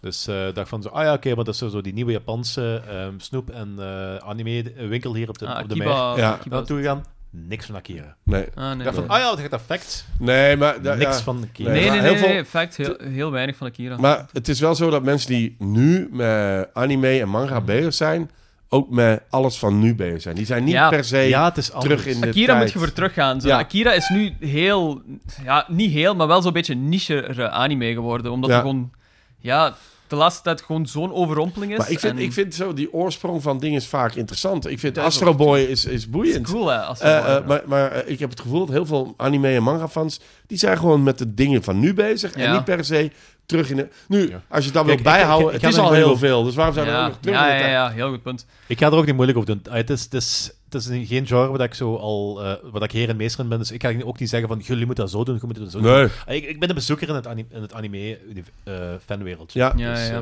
[SPEAKER 4] Dus eh, ik dacht van zo, ah ja, oké, maar dat is zo die nieuwe Japanse ehm, snoep- en eh, anime-winkel hier op de,
[SPEAKER 3] Ah,
[SPEAKER 4] op de
[SPEAKER 3] Akiba-
[SPEAKER 4] meer.
[SPEAKER 2] Ja.
[SPEAKER 3] Akiba-
[SPEAKER 4] Naartoe gegaan, niks van Akira.
[SPEAKER 2] Nee,
[SPEAKER 3] Ah,
[SPEAKER 4] Ik
[SPEAKER 3] nee.
[SPEAKER 4] dacht van, ah ja, dat gaat effect.
[SPEAKER 2] nee maar... da-
[SPEAKER 4] niks
[SPEAKER 2] ja.
[SPEAKER 4] van Akira.
[SPEAKER 3] Nee, nee,
[SPEAKER 2] maar
[SPEAKER 3] nee,
[SPEAKER 2] heel
[SPEAKER 3] nee,
[SPEAKER 2] veel-
[SPEAKER 3] nee, fact, heel, heel weinig van Akira.
[SPEAKER 2] Maar het is wel zo dat mensen die nu met anime en manga bezig zijn... ook met alles van nu bezig zijn. Die zijn niet
[SPEAKER 3] Ja.
[SPEAKER 2] per se
[SPEAKER 4] ja, het is anders.
[SPEAKER 2] terug in de
[SPEAKER 3] Akira moet
[SPEAKER 2] tijd.
[SPEAKER 3] je voor teruggaan. Zo.
[SPEAKER 2] Ja.
[SPEAKER 3] Akira is nu heel, ja, niet heel, maar wel zo'n beetje nichere anime geworden. Omdat
[SPEAKER 2] Ja.
[SPEAKER 3] er gewoon, ja, de laatste tijd gewoon zo'n overrompeling is.
[SPEAKER 2] Maar ik vind,
[SPEAKER 3] en
[SPEAKER 2] ik vind zo die oorsprong van dingen is vaak interessant. Ik vind
[SPEAKER 3] Ja,
[SPEAKER 2] Astro Boy is, is
[SPEAKER 3] het is
[SPEAKER 2] boeiend.
[SPEAKER 3] cool, hè, als je
[SPEAKER 2] Eh,
[SPEAKER 3] hoort.
[SPEAKER 2] eh, maar maar eh, ik heb het gevoel dat heel veel anime en manga fans... die zijn gewoon met de dingen van nu bezig... en
[SPEAKER 3] Ja.
[SPEAKER 2] niet per se terug in de... Nu,
[SPEAKER 4] Ja.
[SPEAKER 2] als je dat
[SPEAKER 4] Kijk,
[SPEAKER 2] wil
[SPEAKER 4] ik-
[SPEAKER 2] bijhouden...
[SPEAKER 4] ik- ik- ik
[SPEAKER 2] het is
[SPEAKER 4] had
[SPEAKER 2] al
[SPEAKER 4] een
[SPEAKER 2] heel
[SPEAKER 4] bedoel-
[SPEAKER 2] veel. Dus waarom zijn we
[SPEAKER 3] ja.
[SPEAKER 2] ook nog terug
[SPEAKER 3] ja,
[SPEAKER 2] in de
[SPEAKER 3] ja,
[SPEAKER 2] tijd?
[SPEAKER 3] ja, heel goed punt.
[SPEAKER 4] Ik ga er ook niet moeilijk over doen. Ah, Het is, het is, het is een- geen genre dat ik zo al, eh, wat ik heer en meester in ben. Dus ik ga ook niet zeggen van, jullie moeten dat zo doen, jullie moeten dat zo doen.
[SPEAKER 2] Nee.
[SPEAKER 4] Ah, Ik, ik ben een bezoeker in het, ani- in het anime-fanwereld.
[SPEAKER 2] Ja.
[SPEAKER 3] Ja, ja.
[SPEAKER 4] eh,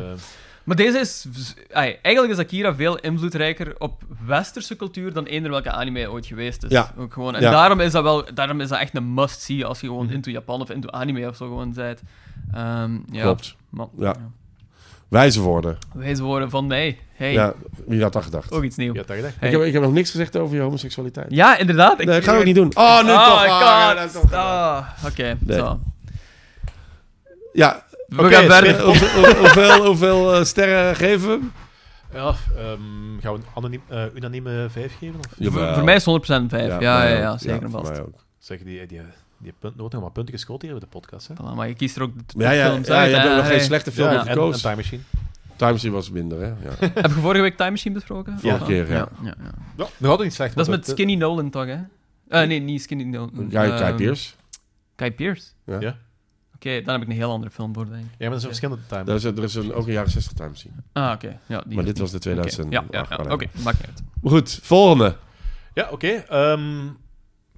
[SPEAKER 3] Maar deze is... z- ai, eigenlijk is Akira veel invloedrijker op westerse cultuur dan eender welke anime ooit geweest is.
[SPEAKER 2] Ja.
[SPEAKER 3] Ook gewoon. En
[SPEAKER 2] Ja.
[SPEAKER 3] daarom, is dat wel, daarom is dat echt een must-see als je gewoon
[SPEAKER 4] Mhm.
[SPEAKER 3] into Japan of into anime of zo gewoon bent. Ehm, ja.
[SPEAKER 2] Klopt.
[SPEAKER 3] Maar-
[SPEAKER 2] Ja. Wijze woorden.
[SPEAKER 3] Wijze woorden van mij. Hey,
[SPEAKER 2] Ja, wie had dat gedacht?
[SPEAKER 3] ook iets nieuws.
[SPEAKER 4] je had dat gedacht.
[SPEAKER 3] Hey.
[SPEAKER 2] Ik, heb, ik heb nog niks gezegd over je homoseksualiteit.
[SPEAKER 3] Ja, inderdaad.
[SPEAKER 2] Nee, dat ga ik ook niet doen. Oh, nu
[SPEAKER 3] oh,
[SPEAKER 2] toch.
[SPEAKER 3] God.
[SPEAKER 2] Ah, ja, dat is toch gedaan.
[SPEAKER 3] Ah, Oké,
[SPEAKER 2] Nee.
[SPEAKER 3] zo.
[SPEAKER 2] Ja,
[SPEAKER 3] We
[SPEAKER 2] oké,
[SPEAKER 3] gaan verder.
[SPEAKER 2] Spin, hoeveel- hoeveel- hoeveel hoeveel eh, sterren geven we hem?
[SPEAKER 4] Ja, ehm, gaan we een anoniem, eh, unanieme 5 geven? Of
[SPEAKER 3] Voor, voor mij is 100% 5. Ja, ja, ja, zeker en
[SPEAKER 2] voor
[SPEAKER 3] vast.
[SPEAKER 2] mij ook.
[SPEAKER 4] zeg die, die, die punt, er wordt nog maar punten gescoord hier bij de podcast. Hè?
[SPEAKER 3] Voilà, maar je kiest er ook de de
[SPEAKER 2] Ja, ja, ja,
[SPEAKER 3] films uit,
[SPEAKER 2] je hebt
[SPEAKER 3] hè.
[SPEAKER 2] ook nog geen
[SPEAKER 3] Hey.
[SPEAKER 2] slechte film
[SPEAKER 3] Ja,
[SPEAKER 2] op
[SPEAKER 4] en, en
[SPEAKER 2] gekozen.
[SPEAKER 4] Time Machine.
[SPEAKER 2] Timesy was minder, hè? Ja.
[SPEAKER 3] Heb je vorige week Time Machine besproken?
[SPEAKER 2] Vorige
[SPEAKER 3] Voilà.
[SPEAKER 2] keer, ja.
[SPEAKER 3] ja, ja.
[SPEAKER 4] Nog altijd niet slecht.
[SPEAKER 3] Dat is
[SPEAKER 4] maar
[SPEAKER 3] met Skinny Nolan toch, hè? Eh, nee, niet Skinny Nolan.
[SPEAKER 2] Guy,
[SPEAKER 3] Ehm,
[SPEAKER 2] Guy Pearce.
[SPEAKER 3] Guy Pearce?
[SPEAKER 2] Ja.
[SPEAKER 4] Ja.
[SPEAKER 3] Oké, dan heb ik een heel andere film voor, denk ik.
[SPEAKER 4] Ja, maar dat zijn verschillende time.
[SPEAKER 2] Daar is, er is een, ook een jaren 60 Timesy.
[SPEAKER 3] Ah, oké. Ja, die
[SPEAKER 2] Maar dit
[SPEAKER 3] niet.
[SPEAKER 2] was de Ah,
[SPEAKER 3] Oké,
[SPEAKER 2] 2000.
[SPEAKER 3] Ja, ja, ja. oké, maakt niet uit.
[SPEAKER 2] Goed, volgende.
[SPEAKER 4] Ja, oké. ehm,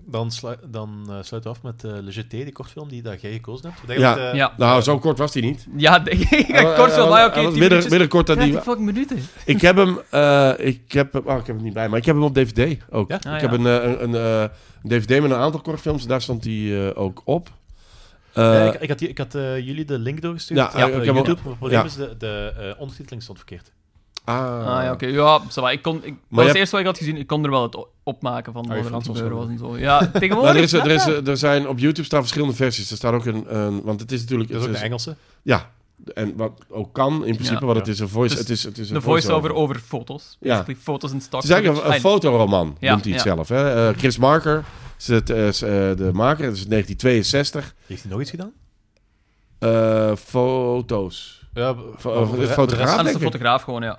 [SPEAKER 4] Dan, slu- dan eh, sluiten we af met eh Le Jeté, die kortfilm die dat jij gekozen hebt. Wat
[SPEAKER 2] Ja.
[SPEAKER 4] eigenlijk, eh,
[SPEAKER 3] Ja,
[SPEAKER 2] Nou, zo kort was hij niet.
[SPEAKER 3] ja denk ik.
[SPEAKER 2] Hij wa-
[SPEAKER 3] kort
[SPEAKER 2] hij
[SPEAKER 3] wel,
[SPEAKER 2] wa-
[SPEAKER 3] maar
[SPEAKER 2] hij was
[SPEAKER 3] oké, 10
[SPEAKER 2] midden-
[SPEAKER 3] minuutjes.
[SPEAKER 2] midden kort dat die.
[SPEAKER 3] 30 fucking minuten.
[SPEAKER 2] Ik heb hem, eh, ik heb hem, oh, ik heb hem niet bij, maar ik heb hem op DVD ook.
[SPEAKER 4] Ja?
[SPEAKER 2] ik
[SPEAKER 3] Ah, ja.
[SPEAKER 2] heb een, eh, een, een, eh, een DVD met een aantal kortfilms en daar stond hij eh, ook op. Eh,
[SPEAKER 4] eh, ik, ik had, die- ik had eh, jullie de link doorgestuurd
[SPEAKER 2] Ja,
[SPEAKER 4] ja,
[SPEAKER 2] ja,
[SPEAKER 4] op eh,
[SPEAKER 2] ik heb ook-
[SPEAKER 4] YouTube, maar het probleem
[SPEAKER 2] ja.
[SPEAKER 4] is de, de eh, ondertiteling stond verkeerd.
[SPEAKER 2] ah,
[SPEAKER 3] Ah ja, oké. Ja, ça va. ik kon, ik, dat
[SPEAKER 2] je
[SPEAKER 3] was het
[SPEAKER 2] hebt- Ah,
[SPEAKER 3] eerste wat ik had gezien. Ik kon er wel het o- opmaken van
[SPEAKER 2] je
[SPEAKER 3] wat er aan
[SPEAKER 2] vond het
[SPEAKER 3] het gebeuren
[SPEAKER 2] wel
[SPEAKER 3] was en zo. Ja,
[SPEAKER 2] Maar
[SPEAKER 3] tegenwoordig...
[SPEAKER 2] er, is, er, is,
[SPEAKER 3] snap
[SPEAKER 2] er zijn op YouTube staan verschillende versies. Er staat ook een, een want het is natuurlijk,
[SPEAKER 4] Dat is ook
[SPEAKER 2] het
[SPEAKER 4] de
[SPEAKER 2] is-
[SPEAKER 4] Engelse.
[SPEAKER 2] ja, en wat ook kan in principe,
[SPEAKER 3] Ja.
[SPEAKER 2] want het is een voice,
[SPEAKER 3] Dus
[SPEAKER 2] het is, het is
[SPEAKER 3] je.
[SPEAKER 2] een
[SPEAKER 3] de voice-over
[SPEAKER 2] voice-over.
[SPEAKER 3] over foto's.
[SPEAKER 2] Ja.
[SPEAKER 3] Basically, foto's en stock.
[SPEAKER 2] Het is eigenlijk een,
[SPEAKER 3] footage.
[SPEAKER 2] een fotoroman,
[SPEAKER 3] Ja,
[SPEAKER 2] noemt hij het
[SPEAKER 3] ja.
[SPEAKER 2] zelf. Hè? Eh, Chris Marker is, het, eh, is, eh, de maker, dat is 1962.
[SPEAKER 4] Heeft hij nog iets gedaan?
[SPEAKER 2] Eh, foto's.
[SPEAKER 4] Ja,
[SPEAKER 2] Fo- eh, fotograaf,
[SPEAKER 3] Ah, dat is
[SPEAKER 2] denk
[SPEAKER 3] de
[SPEAKER 2] ik.
[SPEAKER 3] fotograaf gewoon, ja.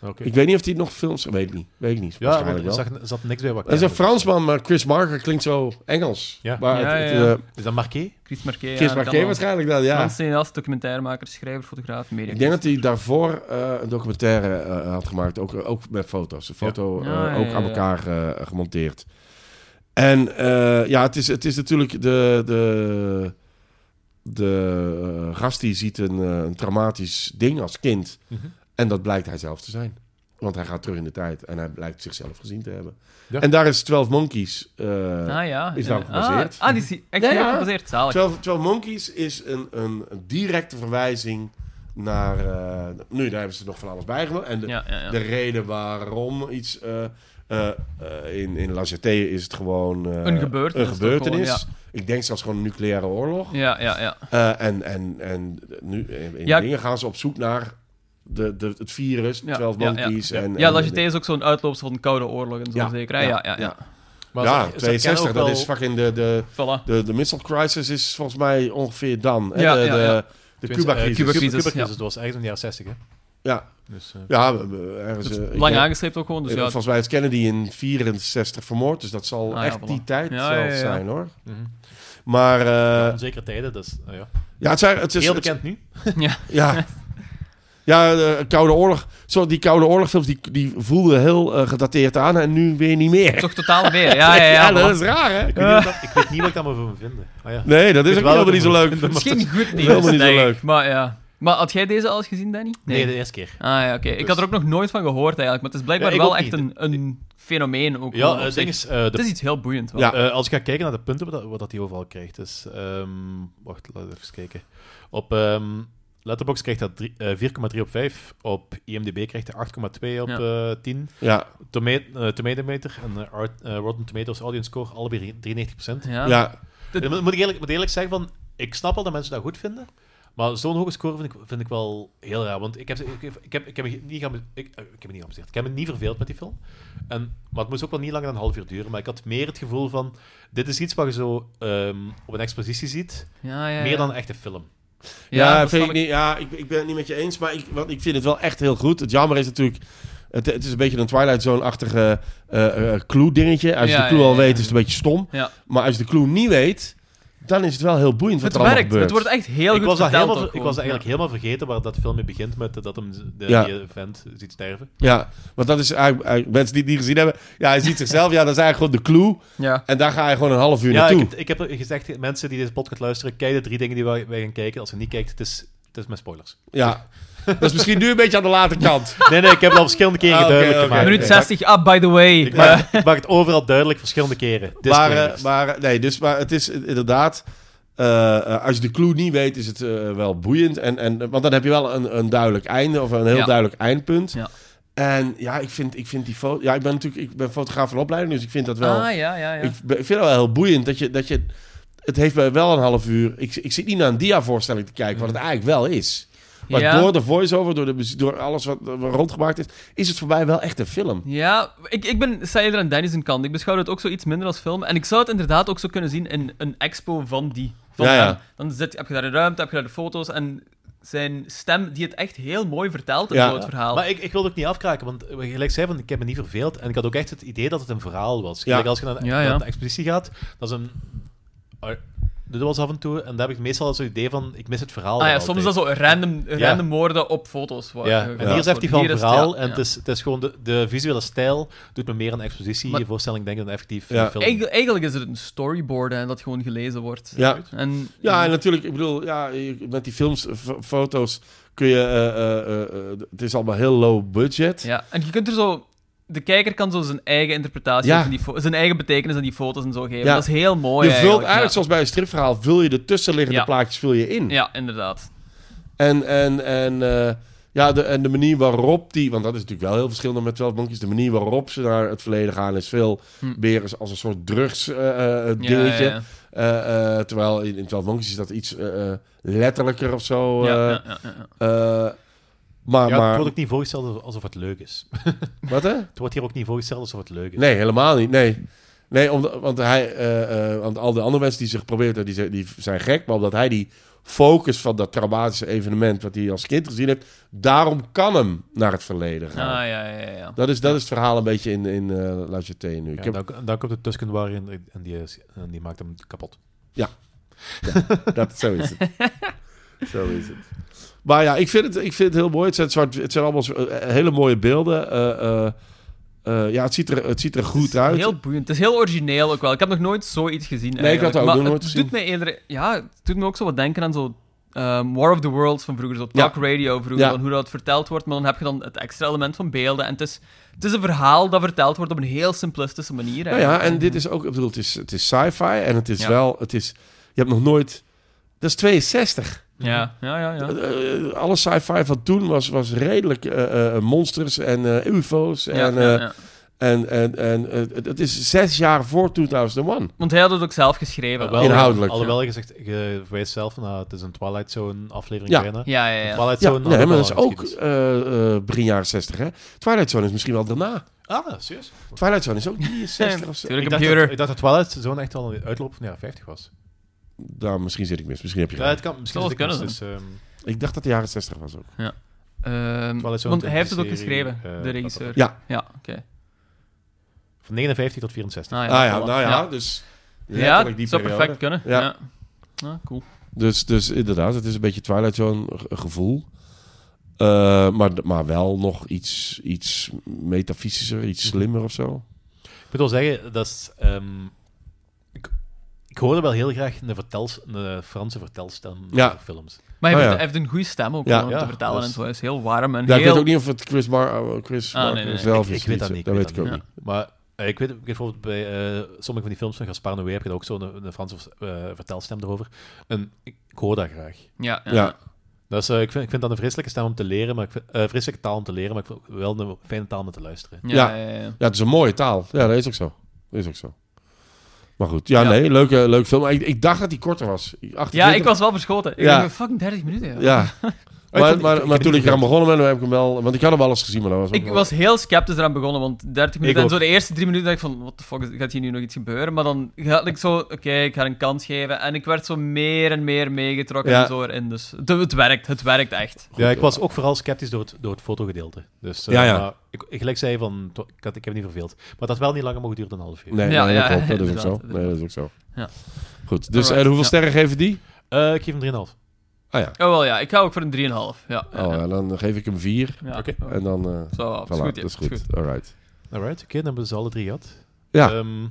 [SPEAKER 4] Oké.
[SPEAKER 2] Ik weet niet of hij nog films... Weet ik niet. Weet ik niet.
[SPEAKER 4] Ja, want
[SPEAKER 2] waarschijnlijk
[SPEAKER 4] er
[SPEAKER 2] wel.
[SPEAKER 4] zag- er zat niks bij wat ik
[SPEAKER 2] Dat is een
[SPEAKER 4] kende.
[SPEAKER 2] Fransman, maar Chris Marker klinkt zo Engels.
[SPEAKER 4] Ja.
[SPEAKER 2] Maar
[SPEAKER 3] Ja,
[SPEAKER 2] het- het,
[SPEAKER 3] ja.
[SPEAKER 2] eh,
[SPEAKER 4] Is dat Marquet?
[SPEAKER 3] Chris Marquet.
[SPEAKER 2] Chris Marker waarschijnlijk dan, ja.
[SPEAKER 3] Frans cineast, documentairemaker, schrijver, fotograaf, media.
[SPEAKER 2] Ik denk dat hij daarvoor eh, een documentaire eh, had gemaakt, ook, ook met foto's. Een foto
[SPEAKER 3] Ja.
[SPEAKER 2] eh,
[SPEAKER 3] Ah, ja,
[SPEAKER 2] ook
[SPEAKER 3] ja,
[SPEAKER 2] aan
[SPEAKER 3] ja.
[SPEAKER 2] elkaar eh, gemonteerd. En eh, ja, het is, het is natuurlijk de, de, de eh, gast die ziet een, eh, een traumatisch ding als kind.
[SPEAKER 4] Mhm.
[SPEAKER 2] En dat blijkt hij zelf te zijn. Want hij gaat terug in de tijd en hij blijkt zichzelf gezien te hebben.
[SPEAKER 4] Ja.
[SPEAKER 2] En daar is 12 Monkeys. eh,
[SPEAKER 3] Ah ja.
[SPEAKER 2] Is daarop
[SPEAKER 3] eh,
[SPEAKER 2] gebaseerd.
[SPEAKER 3] Ah, ah, die is echt
[SPEAKER 2] Ja, ja.
[SPEAKER 3] daarop gebaseerd. Zalig.
[SPEAKER 2] 12, 12 Monkeys is een, een, een directe verwijzing naar... eh, nu, daar hebben ze nog van alles bij gemaakt. En de,
[SPEAKER 3] Ja, ja, ja.
[SPEAKER 2] de reden waarom iets. eh, eh, eh, in, in La Jetée is het gewoon. eh,
[SPEAKER 3] Een gebeurtenis,
[SPEAKER 2] Een gebeurtenis.
[SPEAKER 3] toch
[SPEAKER 2] Ik denk zelfs gewoon een nucleaire oorlog.
[SPEAKER 3] Ja, ja, ja.
[SPEAKER 2] Eh, en, en, en nu in in
[SPEAKER 3] Ja.
[SPEAKER 2] dingen gaan ze op zoek naar de, de, het virus,
[SPEAKER 3] Ja,
[SPEAKER 2] 12
[SPEAKER 3] ja, ja.
[SPEAKER 2] monkeys. En,
[SPEAKER 3] Ja,
[SPEAKER 2] en-
[SPEAKER 3] La Jetée is ook zo'n uitloopsel van de Koude Oorlog en zo
[SPEAKER 2] Ja,
[SPEAKER 3] zeker. hè?
[SPEAKER 2] ja,
[SPEAKER 3] Ja, ja, ja.
[SPEAKER 4] Maar
[SPEAKER 2] ja,
[SPEAKER 4] ze- ze
[SPEAKER 2] 62,
[SPEAKER 4] kennen ook
[SPEAKER 2] dat
[SPEAKER 4] wel-
[SPEAKER 2] is fucking de, de,
[SPEAKER 3] Voilà.
[SPEAKER 2] de, de missile crisis is volgens mij ongeveer dan. hè?
[SPEAKER 3] Ja,
[SPEAKER 2] de
[SPEAKER 3] ja, ja.
[SPEAKER 2] de, de
[SPEAKER 4] Ik weet- eh,
[SPEAKER 2] Cuba-crisis.
[SPEAKER 3] Cuba-
[SPEAKER 4] Cuba-
[SPEAKER 3] crisis,
[SPEAKER 4] Cuba-crisis,
[SPEAKER 3] ja.
[SPEAKER 4] dat was ergens in de jaren 60, hè?
[SPEAKER 2] ja,
[SPEAKER 4] Dus, eh,
[SPEAKER 2] ja, we- we- ergens...
[SPEAKER 3] Dat is
[SPEAKER 2] eh, ik
[SPEAKER 3] lang
[SPEAKER 2] denk-
[SPEAKER 3] aangesleept ook gewoon, dus
[SPEAKER 2] Eh,
[SPEAKER 3] ja.
[SPEAKER 2] Volgens mij is Kennedy in 64 vermoord, dus dat zal
[SPEAKER 3] Ah, ja,
[SPEAKER 2] echt
[SPEAKER 3] voilà.
[SPEAKER 2] die tijd
[SPEAKER 3] Ja,
[SPEAKER 2] zelf
[SPEAKER 3] ja, ja.
[SPEAKER 2] zijn hoor.
[SPEAKER 4] mhm.
[SPEAKER 2] Maar eh,
[SPEAKER 4] Onzekere tijden, dat is... nou ja.
[SPEAKER 2] ja, het, zijn, het is
[SPEAKER 4] Heel
[SPEAKER 2] het-
[SPEAKER 4] bekend nu.
[SPEAKER 2] ja, ja, de Koude Oorlog. Zo, die Koude Oorlogfilms die, die voelden heel eh, gedateerd aan en nu weer niet meer.
[SPEAKER 3] Toch totaal weer. Ja, ja, ja.
[SPEAKER 2] dat
[SPEAKER 3] voilà.
[SPEAKER 2] is raar hè.
[SPEAKER 4] Ik weet, niet wat dat- ik weet niet wat ik daarvan moet vinden. Maar ja.
[SPEAKER 2] Nee, dat is
[SPEAKER 4] Ik
[SPEAKER 2] ook
[SPEAKER 4] wel
[SPEAKER 2] helemaal niet zo
[SPEAKER 4] dat-
[SPEAKER 2] leuk.
[SPEAKER 3] Misschien goed niet.
[SPEAKER 2] Helemaal niet zo
[SPEAKER 3] nee.
[SPEAKER 2] leuk.
[SPEAKER 3] Maar ja. Maar had jij deze al eens gezien, Danny?
[SPEAKER 4] Nee, de eerste keer.
[SPEAKER 3] Ah ja, oké. Ik had er ook nog nooit van gehoord eigenlijk, maar het is blijkbaar
[SPEAKER 4] Ja, ik
[SPEAKER 3] wel
[SPEAKER 4] ook
[SPEAKER 3] echt een, een fenomeen ook.
[SPEAKER 4] Ja,
[SPEAKER 3] op
[SPEAKER 4] het
[SPEAKER 3] zich.
[SPEAKER 4] ding is... eh, de-
[SPEAKER 3] Het is iets heel boeiend. wel.
[SPEAKER 2] Ja.
[SPEAKER 4] eh, als ik ga kijken naar de punten wat dat- wat dat hij overal krijgt. Dus, ehm, wacht, laat ik even kijken. Op ehm Letterboxd krijgt dat drie- eh, 4,3 op 5. Op IMDb krijgt hij 8,2 op
[SPEAKER 3] Ja.
[SPEAKER 4] eh, 10.
[SPEAKER 2] Ja,
[SPEAKER 4] Toma eh, Tomatometer en eh, Art- eh, Rotten Tomatoes Audience Score, allebei 93%.
[SPEAKER 3] Ja.
[SPEAKER 2] ja.
[SPEAKER 4] En Eh, Moet, moet ik eerlijk, moet eerlijk zeggen, van, ik snap wel dat mensen dat goed vinden. Maar zo'n hoge score vind ik, vind ik wel heel raar. Want ik heb, ik, heb- ik heb, ik heb, me niet geame- ik, eh, ik heb me niet geamuseerd. Ik heb me niet verveeld met die film. En, maar het moest ook wel niet langer dan een half uur duren. Maar ik had meer het gevoel van... Dit is iets wat je zo ehm, op een expositie ziet.
[SPEAKER 3] Ja, ja, ja.
[SPEAKER 4] Meer dan een echte film.
[SPEAKER 2] Ja,
[SPEAKER 3] dat
[SPEAKER 2] vind ik
[SPEAKER 3] snap
[SPEAKER 2] niet. Ja, ik, ik ben het niet met je eens, maar ik, want ik vind het wel echt heel goed. Het jammer is natuurlijk. Het, het is een beetje een Twilight Zone-achtige eh, eh, clue-dingetje. Als je
[SPEAKER 3] Ja,
[SPEAKER 2] de clue
[SPEAKER 3] ja,
[SPEAKER 2] al
[SPEAKER 3] ja,
[SPEAKER 2] weet,
[SPEAKER 3] ja.
[SPEAKER 2] is het een beetje stom.
[SPEAKER 3] Ja.
[SPEAKER 2] Maar als je de clue niet weet, dan is het wel heel boeiend wat
[SPEAKER 3] Het
[SPEAKER 2] er allemaal
[SPEAKER 3] werkt.
[SPEAKER 2] gebeurt.
[SPEAKER 3] Het wordt echt heel
[SPEAKER 4] ik,
[SPEAKER 3] goed
[SPEAKER 4] was dat
[SPEAKER 3] verteld.
[SPEAKER 4] helemaal,
[SPEAKER 3] ook
[SPEAKER 4] ver- ik
[SPEAKER 3] gewoon.
[SPEAKER 4] was dat eigenlijk helemaal vergeten waar dat film mee begint. Met eh, dat hem z- de,
[SPEAKER 2] Ja.
[SPEAKER 4] die vent ziet sterven.
[SPEAKER 2] Ja, want dat is eigenlijk, eigenlijk- mensen die het niet gezien hebben. Ja, hij ziet zichzelf. ja, dat is eigenlijk gewoon de clue.
[SPEAKER 3] Ja.
[SPEAKER 2] En daar ga je gewoon een half uur
[SPEAKER 4] Ja, ik,
[SPEAKER 2] naartoe.
[SPEAKER 4] heb- ik heb gezegd, mensen die deze podcast luisteren, kijk de drie dingen die wij, wij gaan kijken. Als je niet kijkt, het is, het is met spoilers.
[SPEAKER 2] Ja. Dat is misschien nu een beetje aan de late kant.
[SPEAKER 4] Nee, nee, ik heb het al verschillende keren
[SPEAKER 2] Ah, oké,
[SPEAKER 4] duidelijk
[SPEAKER 2] oké.
[SPEAKER 4] gemaakt.
[SPEAKER 2] Maar nu
[SPEAKER 3] Minuut
[SPEAKER 2] het
[SPEAKER 4] Ik
[SPEAKER 3] 60. Ah, by the way.
[SPEAKER 4] maak- eh, Ik maak, ik maak het overal duidelijk verschillende keren.
[SPEAKER 2] Maar, eh,
[SPEAKER 4] Disclaimers.
[SPEAKER 2] maar, eh, nee, dus, maar het is inderdaad... eh, eh, als je de clue niet weet, is het eh, wel boeiend. En, en, want dan heb je wel een, een duidelijk einde of een heel
[SPEAKER 3] Ja.
[SPEAKER 2] duidelijk eindpunt.
[SPEAKER 3] Ja.
[SPEAKER 2] En ja, ik vind, ik vind die foto... Ja, ik ben natuurlijk ik ben fotograaf van opleiding, dus ik vind dat wel...
[SPEAKER 3] Ah, ja, ja, ja.
[SPEAKER 2] ik, ben- ik vind dat wel heel boeiend dat je... Dat je het heeft mij wel een half uur... Ik, ik zit niet naar een diavoorstelling te kijken, wat het eigenlijk wel is. Maar
[SPEAKER 3] Mhm. ja.
[SPEAKER 2] door de voice-over, door, de, muziek, door alles wat eh, rondgemaakt is... is het voor mij wel echt een film.
[SPEAKER 3] Ja, ik, ik ben Seiler en Dennis een kant. Ik beschouw het ook zo iets minder als film. En ik zou het inderdaad ook zo kunnen zien in een expo van die. Van
[SPEAKER 2] Ja, ja.
[SPEAKER 3] hem. Dan zit, heb je daar de ruimte, heb je daar de foto's en zijn stem die het echt heel mooi vertelt in
[SPEAKER 2] Ja.
[SPEAKER 3] zo'n verhaal.
[SPEAKER 4] Maar ik, ik wilde ook niet afkraken, want eh, gelijk zei van, ik heb me niet verveeld. En ik had ook echt het idee dat het een verhaal was.
[SPEAKER 2] Ja.
[SPEAKER 4] Gelijk als je naar,
[SPEAKER 3] Ja, ja.
[SPEAKER 4] naar een expositie gaat, dat is een... eh, doe dat was af en toe. En daar heb ik meestal zo'n idee van, ik mis het verhaal.
[SPEAKER 3] Ah ja,
[SPEAKER 4] dan
[SPEAKER 3] soms is
[SPEAKER 4] altijd.
[SPEAKER 3] dat zo random,
[SPEAKER 4] Ja.
[SPEAKER 3] random woorden op foto's. waar-
[SPEAKER 4] Ja,
[SPEAKER 3] eh,
[SPEAKER 4] en
[SPEAKER 3] geplaatst
[SPEAKER 4] hier zegt hij
[SPEAKER 3] worden.
[SPEAKER 4] van
[SPEAKER 3] Hier
[SPEAKER 4] een
[SPEAKER 3] is
[SPEAKER 4] verhaal.
[SPEAKER 3] ja,
[SPEAKER 4] en
[SPEAKER 3] ja.
[SPEAKER 4] het is, het is gewoon de, de visuele stijl doet me meer aan expositie
[SPEAKER 3] Maar-
[SPEAKER 4] en voorstelling denken dan effectief
[SPEAKER 2] Ja.
[SPEAKER 4] eh, film.
[SPEAKER 3] Eigen- Eigenlijk is het een storyboard en dat gewoon gelezen wordt.
[SPEAKER 2] Ja.
[SPEAKER 3] En,
[SPEAKER 2] Ja, en natuurlijk, ik bedoel, ja, je- met die films, f- foto's kun je... eh, eh, eh, eh, het is allemaal heel low budget.
[SPEAKER 3] ja, en je kunt er zo... De kijker kan zo zijn eigen interpretatie,
[SPEAKER 2] Ja.
[SPEAKER 3] van die fo- zijn eigen betekenis aan die foto's en zo geven.
[SPEAKER 2] Ja.
[SPEAKER 3] Dat is heel mooi
[SPEAKER 2] je vult
[SPEAKER 3] eigenlijk.
[SPEAKER 2] eigenlijk, zoals bij een stripverhaal, vul je de tussenliggende
[SPEAKER 3] Ja.
[SPEAKER 2] plaatjes vul je in.
[SPEAKER 3] ja. ja, inderdaad.
[SPEAKER 2] En, en, en, eh, ja, de, en de manier waarop die... Want dat is natuurlijk wel heel verschillend met 12 Monkeys. De manier waarop ze naar het verleden gaan is veel
[SPEAKER 3] Hm.
[SPEAKER 2] meer als- als een soort drugs eh, eh,
[SPEAKER 3] Ja,
[SPEAKER 2] dingetje.
[SPEAKER 3] ja, ja.
[SPEAKER 2] Eh, eh, terwijl in, in 12 Monkeys is dat iets eh, eh, letterlijker of zo.
[SPEAKER 3] Ja,
[SPEAKER 2] eh,
[SPEAKER 3] ja, ja, ja, ja.
[SPEAKER 2] eh, maar,
[SPEAKER 4] Ja, het
[SPEAKER 2] maar...
[SPEAKER 4] wordt ook niet voorgesteld alsof- alsof het leuk is.
[SPEAKER 2] Wat, hè?
[SPEAKER 4] Het wordt hier ook niet voorgesteld alsof het leuk is.
[SPEAKER 2] Nee, helemaal niet. Nee. Nee, omdat, want, hij, eh, eh, want al de andere mensen die zich probeert, die, zijn- die zijn gek. Maar omdat hij die focus van dat traumatische evenement... wat hij als kind gezien heeft... daarom kan hem naar het verleden gaan.
[SPEAKER 3] Ah, ja, ja, ja, ja.
[SPEAKER 2] Dat is, dat is het verhaal een beetje in, in eh La Jetée nu.
[SPEAKER 4] Ja,
[SPEAKER 2] ik heb,
[SPEAKER 4] dan, dan komt de Tusken Warrior en, en, die, is- en die maakt hem kapot.
[SPEAKER 2] dat, zo is het. zo is het. Maar ja, ik vind het, ik vind het heel mooi. Het zijn, zwart, het zijn allemaal zo- eh, hele mooie beelden. Eh, eh, eh, ja, het ziet er, het ziet er goed uit.
[SPEAKER 3] Heel boeiend. Het is heel origineel ook wel. Ik heb nog nooit zoiets gezien.
[SPEAKER 2] ik had
[SPEAKER 3] eigenlijk.
[SPEAKER 2] dat ook
[SPEAKER 3] maar
[SPEAKER 2] nog nooit
[SPEAKER 3] het
[SPEAKER 2] gezien.
[SPEAKER 3] Doet mij eerder, ja, het doet me ook zo wat denken aan zo ehm, War of the Worlds van vroeger, zo
[SPEAKER 2] Ja.
[SPEAKER 3] talk radio vroeger,
[SPEAKER 2] Ja.
[SPEAKER 3] van hoe dat verteld wordt. Maar dan heb je dan het extra element van beelden. En het is, het is een verhaal dat verteld wordt op een heel simplistische manier.
[SPEAKER 2] Nou ja,
[SPEAKER 3] eigenlijk.
[SPEAKER 2] en dit is ook, ik bedoel, het is, het is sci-fi en het is
[SPEAKER 3] Ja.
[SPEAKER 2] wel, het is, je hebt nog nooit, dat is 62.
[SPEAKER 3] Ja, ja, ja. ja.
[SPEAKER 2] Eh, alle sci-fi van toen was, was redelijk eh, eh, monsters en eh, UFO's en,
[SPEAKER 3] Ja,
[SPEAKER 2] eh,
[SPEAKER 3] ja, ja.
[SPEAKER 2] en, en, en eh, het is zes jaar voor 2001.
[SPEAKER 3] Want hij had het ook zelf geschreven.
[SPEAKER 4] Alhoewel-
[SPEAKER 2] Inhoudelijk.
[SPEAKER 4] Alhoewel je zegt, je verwijst zelf naar het is een Twilight Zone aflevering
[SPEAKER 2] Ja.
[SPEAKER 4] bijna.
[SPEAKER 3] Ja, ja, ja.
[SPEAKER 4] Twilight
[SPEAKER 2] Ja,
[SPEAKER 4] Zone Oh, had
[SPEAKER 2] nee, maar dat is
[SPEAKER 4] nou, wel
[SPEAKER 2] ook
[SPEAKER 4] geschiedenis.
[SPEAKER 2] eh, eh, begin jaren 60, hè? Twilight Zone is misschien wel daarna.
[SPEAKER 4] Ah, serieus?
[SPEAKER 2] Twilight Zone is ook 63 of zo.
[SPEAKER 3] Tuurlijk,
[SPEAKER 4] Ik
[SPEAKER 3] een
[SPEAKER 4] dacht,
[SPEAKER 3] computer.
[SPEAKER 4] dat, ik dacht dat Twilight Zone echt al een uitloop van de jaren 50 was.
[SPEAKER 2] Nou, misschien zit ik mis, misschien heb je
[SPEAKER 4] Ja, het
[SPEAKER 2] gelijk.
[SPEAKER 4] kan misschien
[SPEAKER 3] Zou
[SPEAKER 4] zit
[SPEAKER 3] wel
[SPEAKER 4] ik
[SPEAKER 3] kunnen
[SPEAKER 4] mis, dus, ehm,
[SPEAKER 2] Ik dacht dat de jaren 60 was ook.
[SPEAKER 3] Ehm,
[SPEAKER 4] Twilight Zone
[SPEAKER 3] want hij heeft het ook
[SPEAKER 4] televisieserie,
[SPEAKER 3] geschreven,
[SPEAKER 4] eh,
[SPEAKER 3] de regisseur.
[SPEAKER 2] Ja.
[SPEAKER 3] Ja, oké.
[SPEAKER 4] van 59 tot 64.
[SPEAKER 3] Ah,
[SPEAKER 2] ah ja,
[SPEAKER 3] voilà.
[SPEAKER 2] nou ja,
[SPEAKER 3] ja.
[SPEAKER 2] dus...
[SPEAKER 3] Ja,
[SPEAKER 2] letterlijk die
[SPEAKER 3] het zou
[SPEAKER 2] periode.
[SPEAKER 3] perfect kunnen.
[SPEAKER 2] Ja.
[SPEAKER 3] Ja. Ah, cool.
[SPEAKER 2] Dus, dus inderdaad, het is een beetje Twilight Zone ge- gevoel. Eh, maar, maar wel nog iets, iets metafysischer, iets slimmer of zo.
[SPEAKER 4] Ik moet wel zeggen, dat is... ehm, ik, ik hoorde wel heel graag een, vertels, een Franse vertelstem
[SPEAKER 2] Ja.
[SPEAKER 4] over films.
[SPEAKER 3] Maar hij,
[SPEAKER 2] Oh,
[SPEAKER 3] heeft,
[SPEAKER 2] ja.
[SPEAKER 3] hij heeft een goede stem ook
[SPEAKER 2] Ja.
[SPEAKER 3] om
[SPEAKER 4] Ja,
[SPEAKER 3] te vertellen
[SPEAKER 4] dus-
[SPEAKER 3] en zo. Hij is heel warm en
[SPEAKER 2] Ja, ik
[SPEAKER 3] heel...
[SPEAKER 2] weet ook niet of het Chris, Mar eh, Chris
[SPEAKER 3] Ah,
[SPEAKER 2] Marker
[SPEAKER 3] nee, nee, nee.
[SPEAKER 2] zelf
[SPEAKER 4] Ik-
[SPEAKER 2] is.
[SPEAKER 4] ik weet dat
[SPEAKER 2] zo.
[SPEAKER 4] niet,
[SPEAKER 2] Dat
[SPEAKER 4] ik
[SPEAKER 2] weet ik
[SPEAKER 4] weet
[SPEAKER 2] ook
[SPEAKER 3] dat
[SPEAKER 2] niet.
[SPEAKER 4] Maar eh, ik weet ik weet bijvoorbeeld bij eh, sommige van die films van Gaspar Noé heb je ook zo'n een Franse eh, vertelstem erover. En ik, ik hoor dat graag.
[SPEAKER 3] Ja, ja.
[SPEAKER 2] Ja.
[SPEAKER 4] Dus, eh, ik, vind, ik vind dat een vreselijke stem om te leren, maar ik vind, eh, vreselijke taal om te leren, maar ik vind het wel een fijne taal om te luisteren.
[SPEAKER 3] Ja, ja, ja.
[SPEAKER 2] Ja, het is een mooie taal. Ja, dat is ook zo. Dat is ook zo. Maar goed, ja,
[SPEAKER 3] Ja.
[SPEAKER 2] nee, leuke, leuk film. Maar Ik, ik dacht dat die korter was. 48.
[SPEAKER 3] Ja, ik was wel verschoten. Ik
[SPEAKER 2] Ja.
[SPEAKER 3] denk, fucking 30 minuten, joh.
[SPEAKER 2] Ja,
[SPEAKER 4] Maar ik
[SPEAKER 2] maar,
[SPEAKER 4] vind-
[SPEAKER 2] maar,
[SPEAKER 4] ik- ik
[SPEAKER 2] maar
[SPEAKER 4] vind
[SPEAKER 2] toen
[SPEAKER 4] het
[SPEAKER 2] ik eraan
[SPEAKER 4] niet
[SPEAKER 2] begonnen ben, heb ik hem wel... Want ik had hem al eens gezien, maar dat was ook
[SPEAKER 3] Ik
[SPEAKER 2] wel-
[SPEAKER 3] was heel sceptisch eraan begonnen, want 30 minuten en
[SPEAKER 4] ook.
[SPEAKER 3] zo de eerste drie minuten dacht ik van, what the fuck, is- gaat hier nu nog iets gebeuren? Maar dan had ik zo, oké, ik ga een kans geven. En ik werd zo meer en meer meegetrokken
[SPEAKER 2] Ja.
[SPEAKER 3] en zo erin. Dus het, het werkt, het werkt echt.
[SPEAKER 4] Ja, ik was ook vooral sceptisch door het, door het fotogedeelte. Dus eh,
[SPEAKER 2] Ja, ja.
[SPEAKER 4] maar ik, ik gelijk zei van, to- ik, had, ik heb niet verveeld. Maar dat had wel niet langer mogen duren dan een half uur.
[SPEAKER 2] Nee,
[SPEAKER 3] Ja,
[SPEAKER 2] nee, dat
[SPEAKER 3] ja,
[SPEAKER 2] klopt. Dat is ook zo.
[SPEAKER 3] inderdaad.
[SPEAKER 2] Nee, dat is ook zo.
[SPEAKER 3] Ja.
[SPEAKER 2] Goed, dus en
[SPEAKER 3] Alright,
[SPEAKER 2] hoeveel
[SPEAKER 3] ja.
[SPEAKER 2] sterren geven die?
[SPEAKER 4] Eh, ik geef hem 3,5.
[SPEAKER 2] Ah ja.
[SPEAKER 3] Oh wel, ja, ik ga ook voor een 3,5. Ja,
[SPEAKER 2] Oh, ja, dan geef ik hem vier.
[SPEAKER 3] ja.
[SPEAKER 4] oké.
[SPEAKER 3] Ja.
[SPEAKER 2] En dan... eh,
[SPEAKER 3] Zo, dat is
[SPEAKER 2] Voilà,
[SPEAKER 3] goed, ja,
[SPEAKER 2] dat is
[SPEAKER 3] dat is
[SPEAKER 2] goed. Alright.
[SPEAKER 4] Alright, oké, dan hebben we ze alle drie gehad.
[SPEAKER 2] Ja.
[SPEAKER 4] Ehm,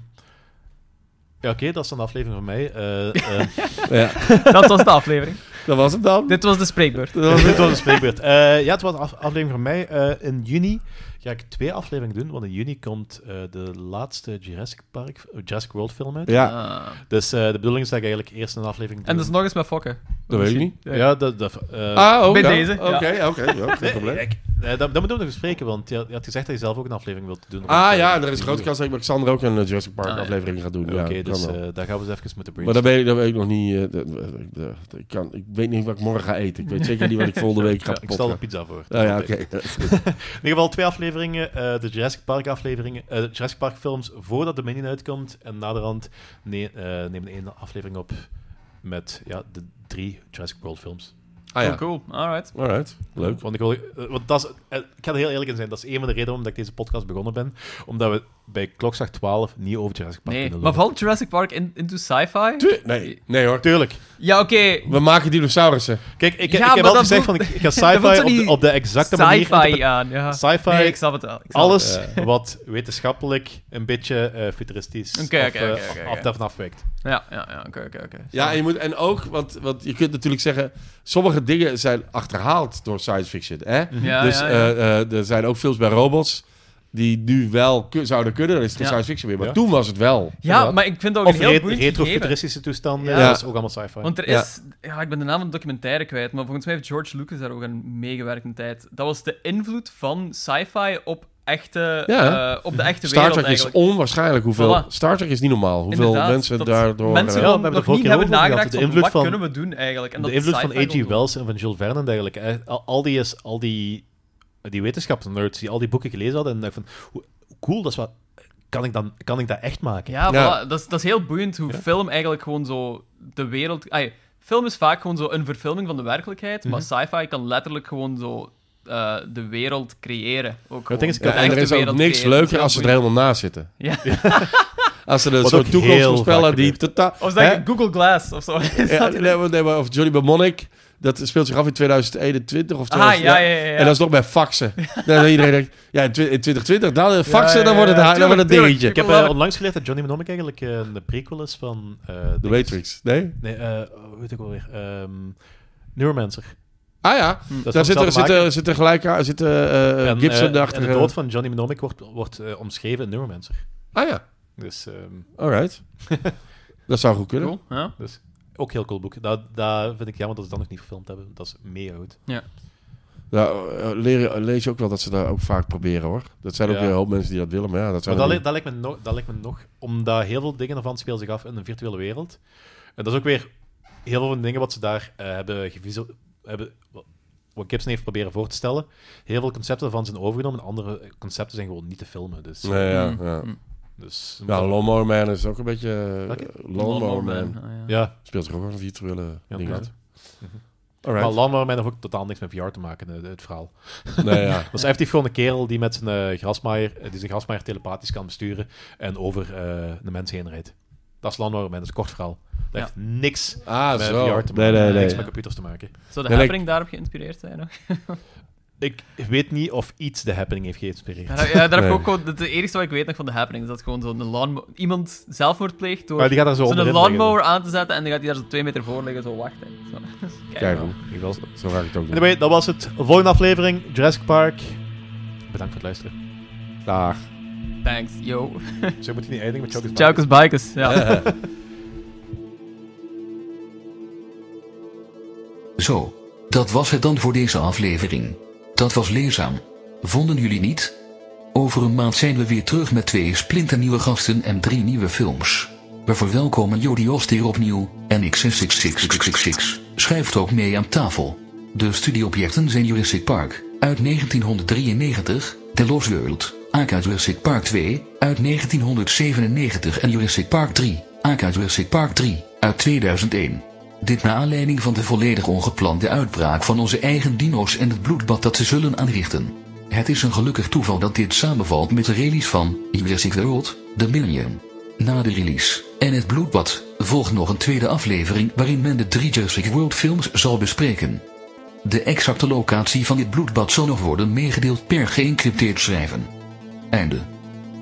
[SPEAKER 4] ja, oké, dat is dan de aflevering van mij. Eh, ehm,
[SPEAKER 2] ja,
[SPEAKER 3] Dat was de aflevering.
[SPEAKER 2] dat was hem dan.
[SPEAKER 3] Dit was de spreekbeurt.
[SPEAKER 2] Dat was
[SPEAKER 4] dit was een spreekbeurt. Eh, ja, het was een af- aflevering van mij. Eh, in juni ga ik twee afleveringen doen, want in juni komt eh, de laatste Jurassic Park, eh, Jurassic World film uit.
[SPEAKER 2] Ja,
[SPEAKER 3] Ah.
[SPEAKER 4] Dus eh, de bedoeling is dat ik eigenlijk eerst een aflevering
[SPEAKER 3] En
[SPEAKER 4] doe.
[SPEAKER 3] dat is nog eens met fokken.
[SPEAKER 2] dat weet ik niet.
[SPEAKER 3] Ja.
[SPEAKER 4] Ja, dat... dat eh,
[SPEAKER 2] Ah, ook
[SPEAKER 3] Bij
[SPEAKER 2] ja.
[SPEAKER 3] deze, ja.
[SPEAKER 2] Oké, ja, oké. ja, Geen
[SPEAKER 4] Nee,
[SPEAKER 2] probleem.
[SPEAKER 4] ik- eh, dat, dat moeten we nog bespreken, want je, had- je had gezegd dat je zelf ook een aflevering wilt
[SPEAKER 2] Ah
[SPEAKER 4] doen. rond,
[SPEAKER 2] ja,
[SPEAKER 4] eh,
[SPEAKER 2] en er is
[SPEAKER 4] die
[SPEAKER 2] grote
[SPEAKER 4] nieuwe.
[SPEAKER 2] kans dat ik met Xander ook een eh, Jurassic Park
[SPEAKER 3] Ah, ja.
[SPEAKER 2] aflevering ga doen.
[SPEAKER 4] Oké,
[SPEAKER 2] Ja, kan
[SPEAKER 4] dus
[SPEAKER 2] wel.
[SPEAKER 4] eh, daar gaan we eens even moeten
[SPEAKER 2] maar
[SPEAKER 4] brainstormen.
[SPEAKER 2] dat weet, ik, dat weet ik nog niet. eh, de- de- de- de- ik, kan, ik weet niet wat ik morgen ga eten. Ik weet zeker niet wat ik volgende week ga
[SPEAKER 4] ik stel de
[SPEAKER 2] potten.
[SPEAKER 4] pizza voor.
[SPEAKER 2] Ah, ja, oké. Dat is goed.
[SPEAKER 4] In ieder geval twee afleveringen, eh, de Jurassic Park afleveringen, eh, de Jurassic Park films voordat Dominion uitkomt. En naderhand ne eh, nemen we één aflevering op met ja, de drie Jurassic World films.
[SPEAKER 2] Ah ja,
[SPEAKER 3] Oh, cool. Alright.
[SPEAKER 2] alright. Leuk.
[SPEAKER 4] Want ik, wil, eh, want dat is, eh, ik ga er heel eerlijk in zijn. Dat is een van de redenen omdat ik deze podcast begonnen ben. Omdat we bij klokslag 12 niet over Jurassic Park
[SPEAKER 3] Nee.
[SPEAKER 4] kunnen
[SPEAKER 3] Maar
[SPEAKER 4] lullen.
[SPEAKER 3] valt Jurassic Park in, into sci-fi?
[SPEAKER 2] Tu- nee, nee hoor.
[SPEAKER 4] Tuurlijk.
[SPEAKER 3] Ja, oké.
[SPEAKER 2] We maken dinosaurussen.
[SPEAKER 4] Kijk, ik,
[SPEAKER 3] Ja,
[SPEAKER 4] ik
[SPEAKER 3] maar
[SPEAKER 4] heb wel
[SPEAKER 3] dat
[SPEAKER 4] gezegd van
[SPEAKER 3] voelt-
[SPEAKER 4] ik, ik ga
[SPEAKER 3] dat voelt
[SPEAKER 4] sci-fi
[SPEAKER 3] zo
[SPEAKER 4] op, de-
[SPEAKER 3] niet
[SPEAKER 4] op de exacte manier...
[SPEAKER 3] Sci-fi
[SPEAKER 4] interpreteren.
[SPEAKER 3] aan, ja.
[SPEAKER 4] Sci-fi,
[SPEAKER 3] Nee, ik snap het wel. Ik snap
[SPEAKER 4] alles
[SPEAKER 2] het,
[SPEAKER 4] wat wetenschappelijk een beetje eh, futuristisch
[SPEAKER 3] Oké,
[SPEAKER 4] of,
[SPEAKER 3] oké,
[SPEAKER 4] eh,
[SPEAKER 3] oké, oké,
[SPEAKER 4] af-
[SPEAKER 3] oké.
[SPEAKER 4] daarvan afwijkt.
[SPEAKER 3] het. Ja, ja, ja. Oké, oké, oké.
[SPEAKER 2] Ja, en, je moet, en ook, want, want je kunt natuurlijk zeggen... Sommige dingen zijn achterhaald door science fiction. Hè?
[SPEAKER 3] Ja,
[SPEAKER 2] dus
[SPEAKER 3] ja, ja.
[SPEAKER 2] eh, eh, er zijn ook films bij robots... die nu wel ku- zouden kunnen. Dan is het geen
[SPEAKER 3] Ja.
[SPEAKER 2] science fiction meer. Maar
[SPEAKER 4] Ja.
[SPEAKER 2] toen was het wel.
[SPEAKER 3] Ja, maar ik vind dat ook
[SPEAKER 4] Of
[SPEAKER 3] een heel
[SPEAKER 4] re-
[SPEAKER 3] boeiend gegeven.
[SPEAKER 4] retrofuturistische toestanden,
[SPEAKER 3] Ja.
[SPEAKER 4] dat is ook allemaal sci-fi.
[SPEAKER 3] Want er
[SPEAKER 2] Ja.
[SPEAKER 3] is... Ja, ik ben de naam van de documentaire kwijt, maar volgens mij heeft George Lucas daar ook aan meegewerkt een tijd. Dat was de invloed van sci-fi op echte...
[SPEAKER 2] Ja, hè?
[SPEAKER 3] eh, op de echte
[SPEAKER 2] Star
[SPEAKER 3] wereld
[SPEAKER 2] Trek is
[SPEAKER 3] eigenlijk.
[SPEAKER 2] onwaarschijnlijk hoeveel...
[SPEAKER 3] Voilà.
[SPEAKER 2] Star Trek is niet normaal. Hoeveel
[SPEAKER 3] Inderdaad,
[SPEAKER 2] mensen
[SPEAKER 3] dat
[SPEAKER 2] daardoor...
[SPEAKER 3] Mensen
[SPEAKER 2] eh,
[SPEAKER 3] gewoon
[SPEAKER 4] Ja, we hebben
[SPEAKER 3] nog
[SPEAKER 4] de vorige
[SPEAKER 3] niet
[SPEAKER 4] keer
[SPEAKER 3] hebben
[SPEAKER 4] ook over
[SPEAKER 3] nagedacht
[SPEAKER 4] gehad, de
[SPEAKER 3] van,
[SPEAKER 4] invloed
[SPEAKER 3] wat
[SPEAKER 4] van-
[SPEAKER 3] kunnen we doen eigenlijk. En
[SPEAKER 4] de
[SPEAKER 3] dat
[SPEAKER 4] invloed van
[SPEAKER 3] sci-fi
[SPEAKER 4] A.G.
[SPEAKER 3] nog-
[SPEAKER 4] Wells en van Jules Verne en dergelijke. eh, Al, al die, is- al die, die wetenschappsnerds die al die boeken gelezen hadden en dachten van, hoe, hoe cool, dat is wat... Kan ik, dan, kan ik dat echt maken?
[SPEAKER 3] Ja,
[SPEAKER 2] Ja.
[SPEAKER 3] voilà. Dat, is, dat is heel boeiend hoe film eigenlijk gewoon zo de wereld... Ai, film is vaak gewoon zo een verfilming van de werkelijkheid,
[SPEAKER 2] Mhm.
[SPEAKER 3] maar sci-fi kan letterlijk gewoon zo eh, de wereld creëren. Ook
[SPEAKER 4] het ding is,
[SPEAKER 3] gewoon.
[SPEAKER 2] ja,
[SPEAKER 3] De
[SPEAKER 2] en er
[SPEAKER 3] echte
[SPEAKER 2] is ook
[SPEAKER 3] wereld
[SPEAKER 2] niks
[SPEAKER 3] creëren. Dat is
[SPEAKER 2] leuker
[SPEAKER 3] heel
[SPEAKER 2] als ze er
[SPEAKER 3] boeiend.
[SPEAKER 2] helemaal naast zitten.
[SPEAKER 3] Ja.
[SPEAKER 2] Als ze een
[SPEAKER 4] Wat
[SPEAKER 2] soort
[SPEAKER 4] ook
[SPEAKER 2] toekomst
[SPEAKER 4] heel
[SPEAKER 2] voorspellen
[SPEAKER 4] vaak
[SPEAKER 2] die
[SPEAKER 4] gebeurt.
[SPEAKER 2] totaal...
[SPEAKER 3] Of zeg
[SPEAKER 2] hè?
[SPEAKER 3] ik Google Glass of zo. Ah,
[SPEAKER 2] Ja, nee, maar- nee, maar of Johnny Mnemonic, dat speelt zich af in 2021 of
[SPEAKER 3] Ah,
[SPEAKER 2] 2020.
[SPEAKER 3] ja, ja, ja. ja.
[SPEAKER 2] En dat is nog bij faxen. Dan iedereen denkt, ja, in twi- in 2020, dan eh, faxen,
[SPEAKER 3] ja,
[SPEAKER 2] dan wordt het,
[SPEAKER 3] ja,
[SPEAKER 2] ha- dan wordt het
[SPEAKER 3] tuurlijk,
[SPEAKER 2] dingetje.
[SPEAKER 4] Ik heb
[SPEAKER 3] Laat
[SPEAKER 4] eh,
[SPEAKER 3] ik-
[SPEAKER 4] onlangs geleerd dat Johnny Mnemonic eigenlijk eh, een prequel is van... eh,
[SPEAKER 2] De Matrix, nee?
[SPEAKER 4] Nee, eh, hoe heet ik alweer? Ehm Neuromancer.
[SPEAKER 2] Ah ja,
[SPEAKER 4] Dat
[SPEAKER 2] daar
[SPEAKER 4] is van
[SPEAKER 2] zitten,
[SPEAKER 4] hetzelfde maker.
[SPEAKER 2] zitten, zitten gelijk aan- zitten eh,
[SPEAKER 4] En, eh,
[SPEAKER 2] Gibson
[SPEAKER 4] en
[SPEAKER 2] daarachter.
[SPEAKER 4] de dood van Johnny Mnemonic wordt, wordt eh, omschreven in Neuromancer.
[SPEAKER 2] Ah ja,
[SPEAKER 4] Dus ehm,
[SPEAKER 2] alright. dat zou goed kunnen.
[SPEAKER 3] Cool, ja.
[SPEAKER 4] ook heel cool boek. Dat, dat vind ik jammer dat ze dat nog niet verfilmd hebben. Dat is mega goed.
[SPEAKER 2] Nou, eh, leer- lees je ook wel dat ze daar ook vaak proberen hoor. Dat zijn ook
[SPEAKER 4] Ja.
[SPEAKER 2] weer een hoop mensen die dat willen, maar ja, dat
[SPEAKER 4] Maar
[SPEAKER 2] zijn
[SPEAKER 4] dat,
[SPEAKER 2] er
[SPEAKER 4] li- dat, lijkt me nog, dat lijkt me nog, omdat heel veel dingen ervan spelen zich af in een virtuele wereld. En dat is ook weer heel veel van de dingen wat ze daar eh, hebben gevisu- hebben wa- Wat Gibson heeft proberen voor te stellen. Heel veel concepten van zijn overgenomen. En andere concepten zijn gewoon niet te filmen. Dus,
[SPEAKER 2] niet. Nee, ja,
[SPEAKER 3] Hmm.
[SPEAKER 2] ja.
[SPEAKER 4] dus
[SPEAKER 2] Ja, Lawnmower Man is ook een beetje... eh,
[SPEAKER 4] Welke?
[SPEAKER 2] Lawnmower Man.
[SPEAKER 4] ja.
[SPEAKER 2] Speelt zich ook wel een virtuele
[SPEAKER 4] Ja,
[SPEAKER 2] eh, ding
[SPEAKER 4] ja.
[SPEAKER 2] uit.
[SPEAKER 4] Mhm.
[SPEAKER 2] Alright.
[SPEAKER 4] Maar Landman heeft ook totaal niks met VR te maken, eh, het verhaal.
[SPEAKER 2] Nee, ja.
[SPEAKER 4] Dat is effectief gewoon een kerel die met zijn eh, grasmaaier, eh, die zijn grasmaaier telepathisch kan besturen en over eh, de mens heen rijdt. Dat is Landman, dat is een kort verhaal. Dat
[SPEAKER 3] Ja.
[SPEAKER 4] heeft niks
[SPEAKER 2] Ah,
[SPEAKER 4] met
[SPEAKER 2] zo.
[SPEAKER 4] VR te maken,
[SPEAKER 2] Nee, nee, nee.
[SPEAKER 4] niks met computers te maken.
[SPEAKER 3] Zou de
[SPEAKER 2] Ja, like-
[SPEAKER 3] happening daarop geïnspireerd zijn nog?
[SPEAKER 4] Ik weet niet of iets de happening heeft geïnspireerd.
[SPEAKER 3] Ja, daar daar heb
[SPEAKER 2] Nee.
[SPEAKER 3] ik ook gewoon... Het enige wat ik weet nog van de happening is dat gewoon zo'n lawnmower... Iemand zelfmoord pleegt door
[SPEAKER 4] Maar die gaat er zo
[SPEAKER 3] zo'n
[SPEAKER 4] onderin
[SPEAKER 3] lawnmower aan te zetten en dan gaat hij daar zo twee meter voor liggen, zo wachten. Zo. Kijk,
[SPEAKER 2] Kijk,
[SPEAKER 3] wel.
[SPEAKER 2] hoe.
[SPEAKER 4] liggen. Ik wel.
[SPEAKER 2] zo ga ik het ook doen.
[SPEAKER 4] Anyway, dat was het. Volgende aflevering, Jurassic Park. Bedankt voor het luisteren.
[SPEAKER 2] Dag.
[SPEAKER 3] Thanks, yo.
[SPEAKER 4] Zo moet je niet eindigen met Chokers.
[SPEAKER 3] Chaukus Bikers, ja.
[SPEAKER 1] Zo, dat was het dan voor deze aflevering. Dat was leerzaam. Vonden jullie niet? Over een maand zijn we weer terug met twee splinternieuwe gasten en drie nieuwe films. We verwelkomen Jody Oost hier opnieuw en X66666 schrijft ook mee aan tafel. De studieobjecten zijn Jurassic Park uit 1993, The Lost World, aka Jurassic Park 2 uit 1997 en Jurassic Park 3, aka Jurassic Park 3 uit 2001. Dit naar aanleiding van de volledig ongeplande uitbraak van onze eigen dino's en het bloedbad dat ze zullen aanrichten. Het is een gelukkig toeval dat dit samenvalt met de release van Jurassic World, The Millennium. Na de release en het bloedbad volgt nog een tweede aflevering waarin men de drie Jurassic World films zal bespreken. De exacte locatie van dit bloedbad zal nog worden meegedeeld per geëncrypteerd schrijven. Einde.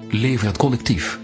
[SPEAKER 1] Lever het collectief.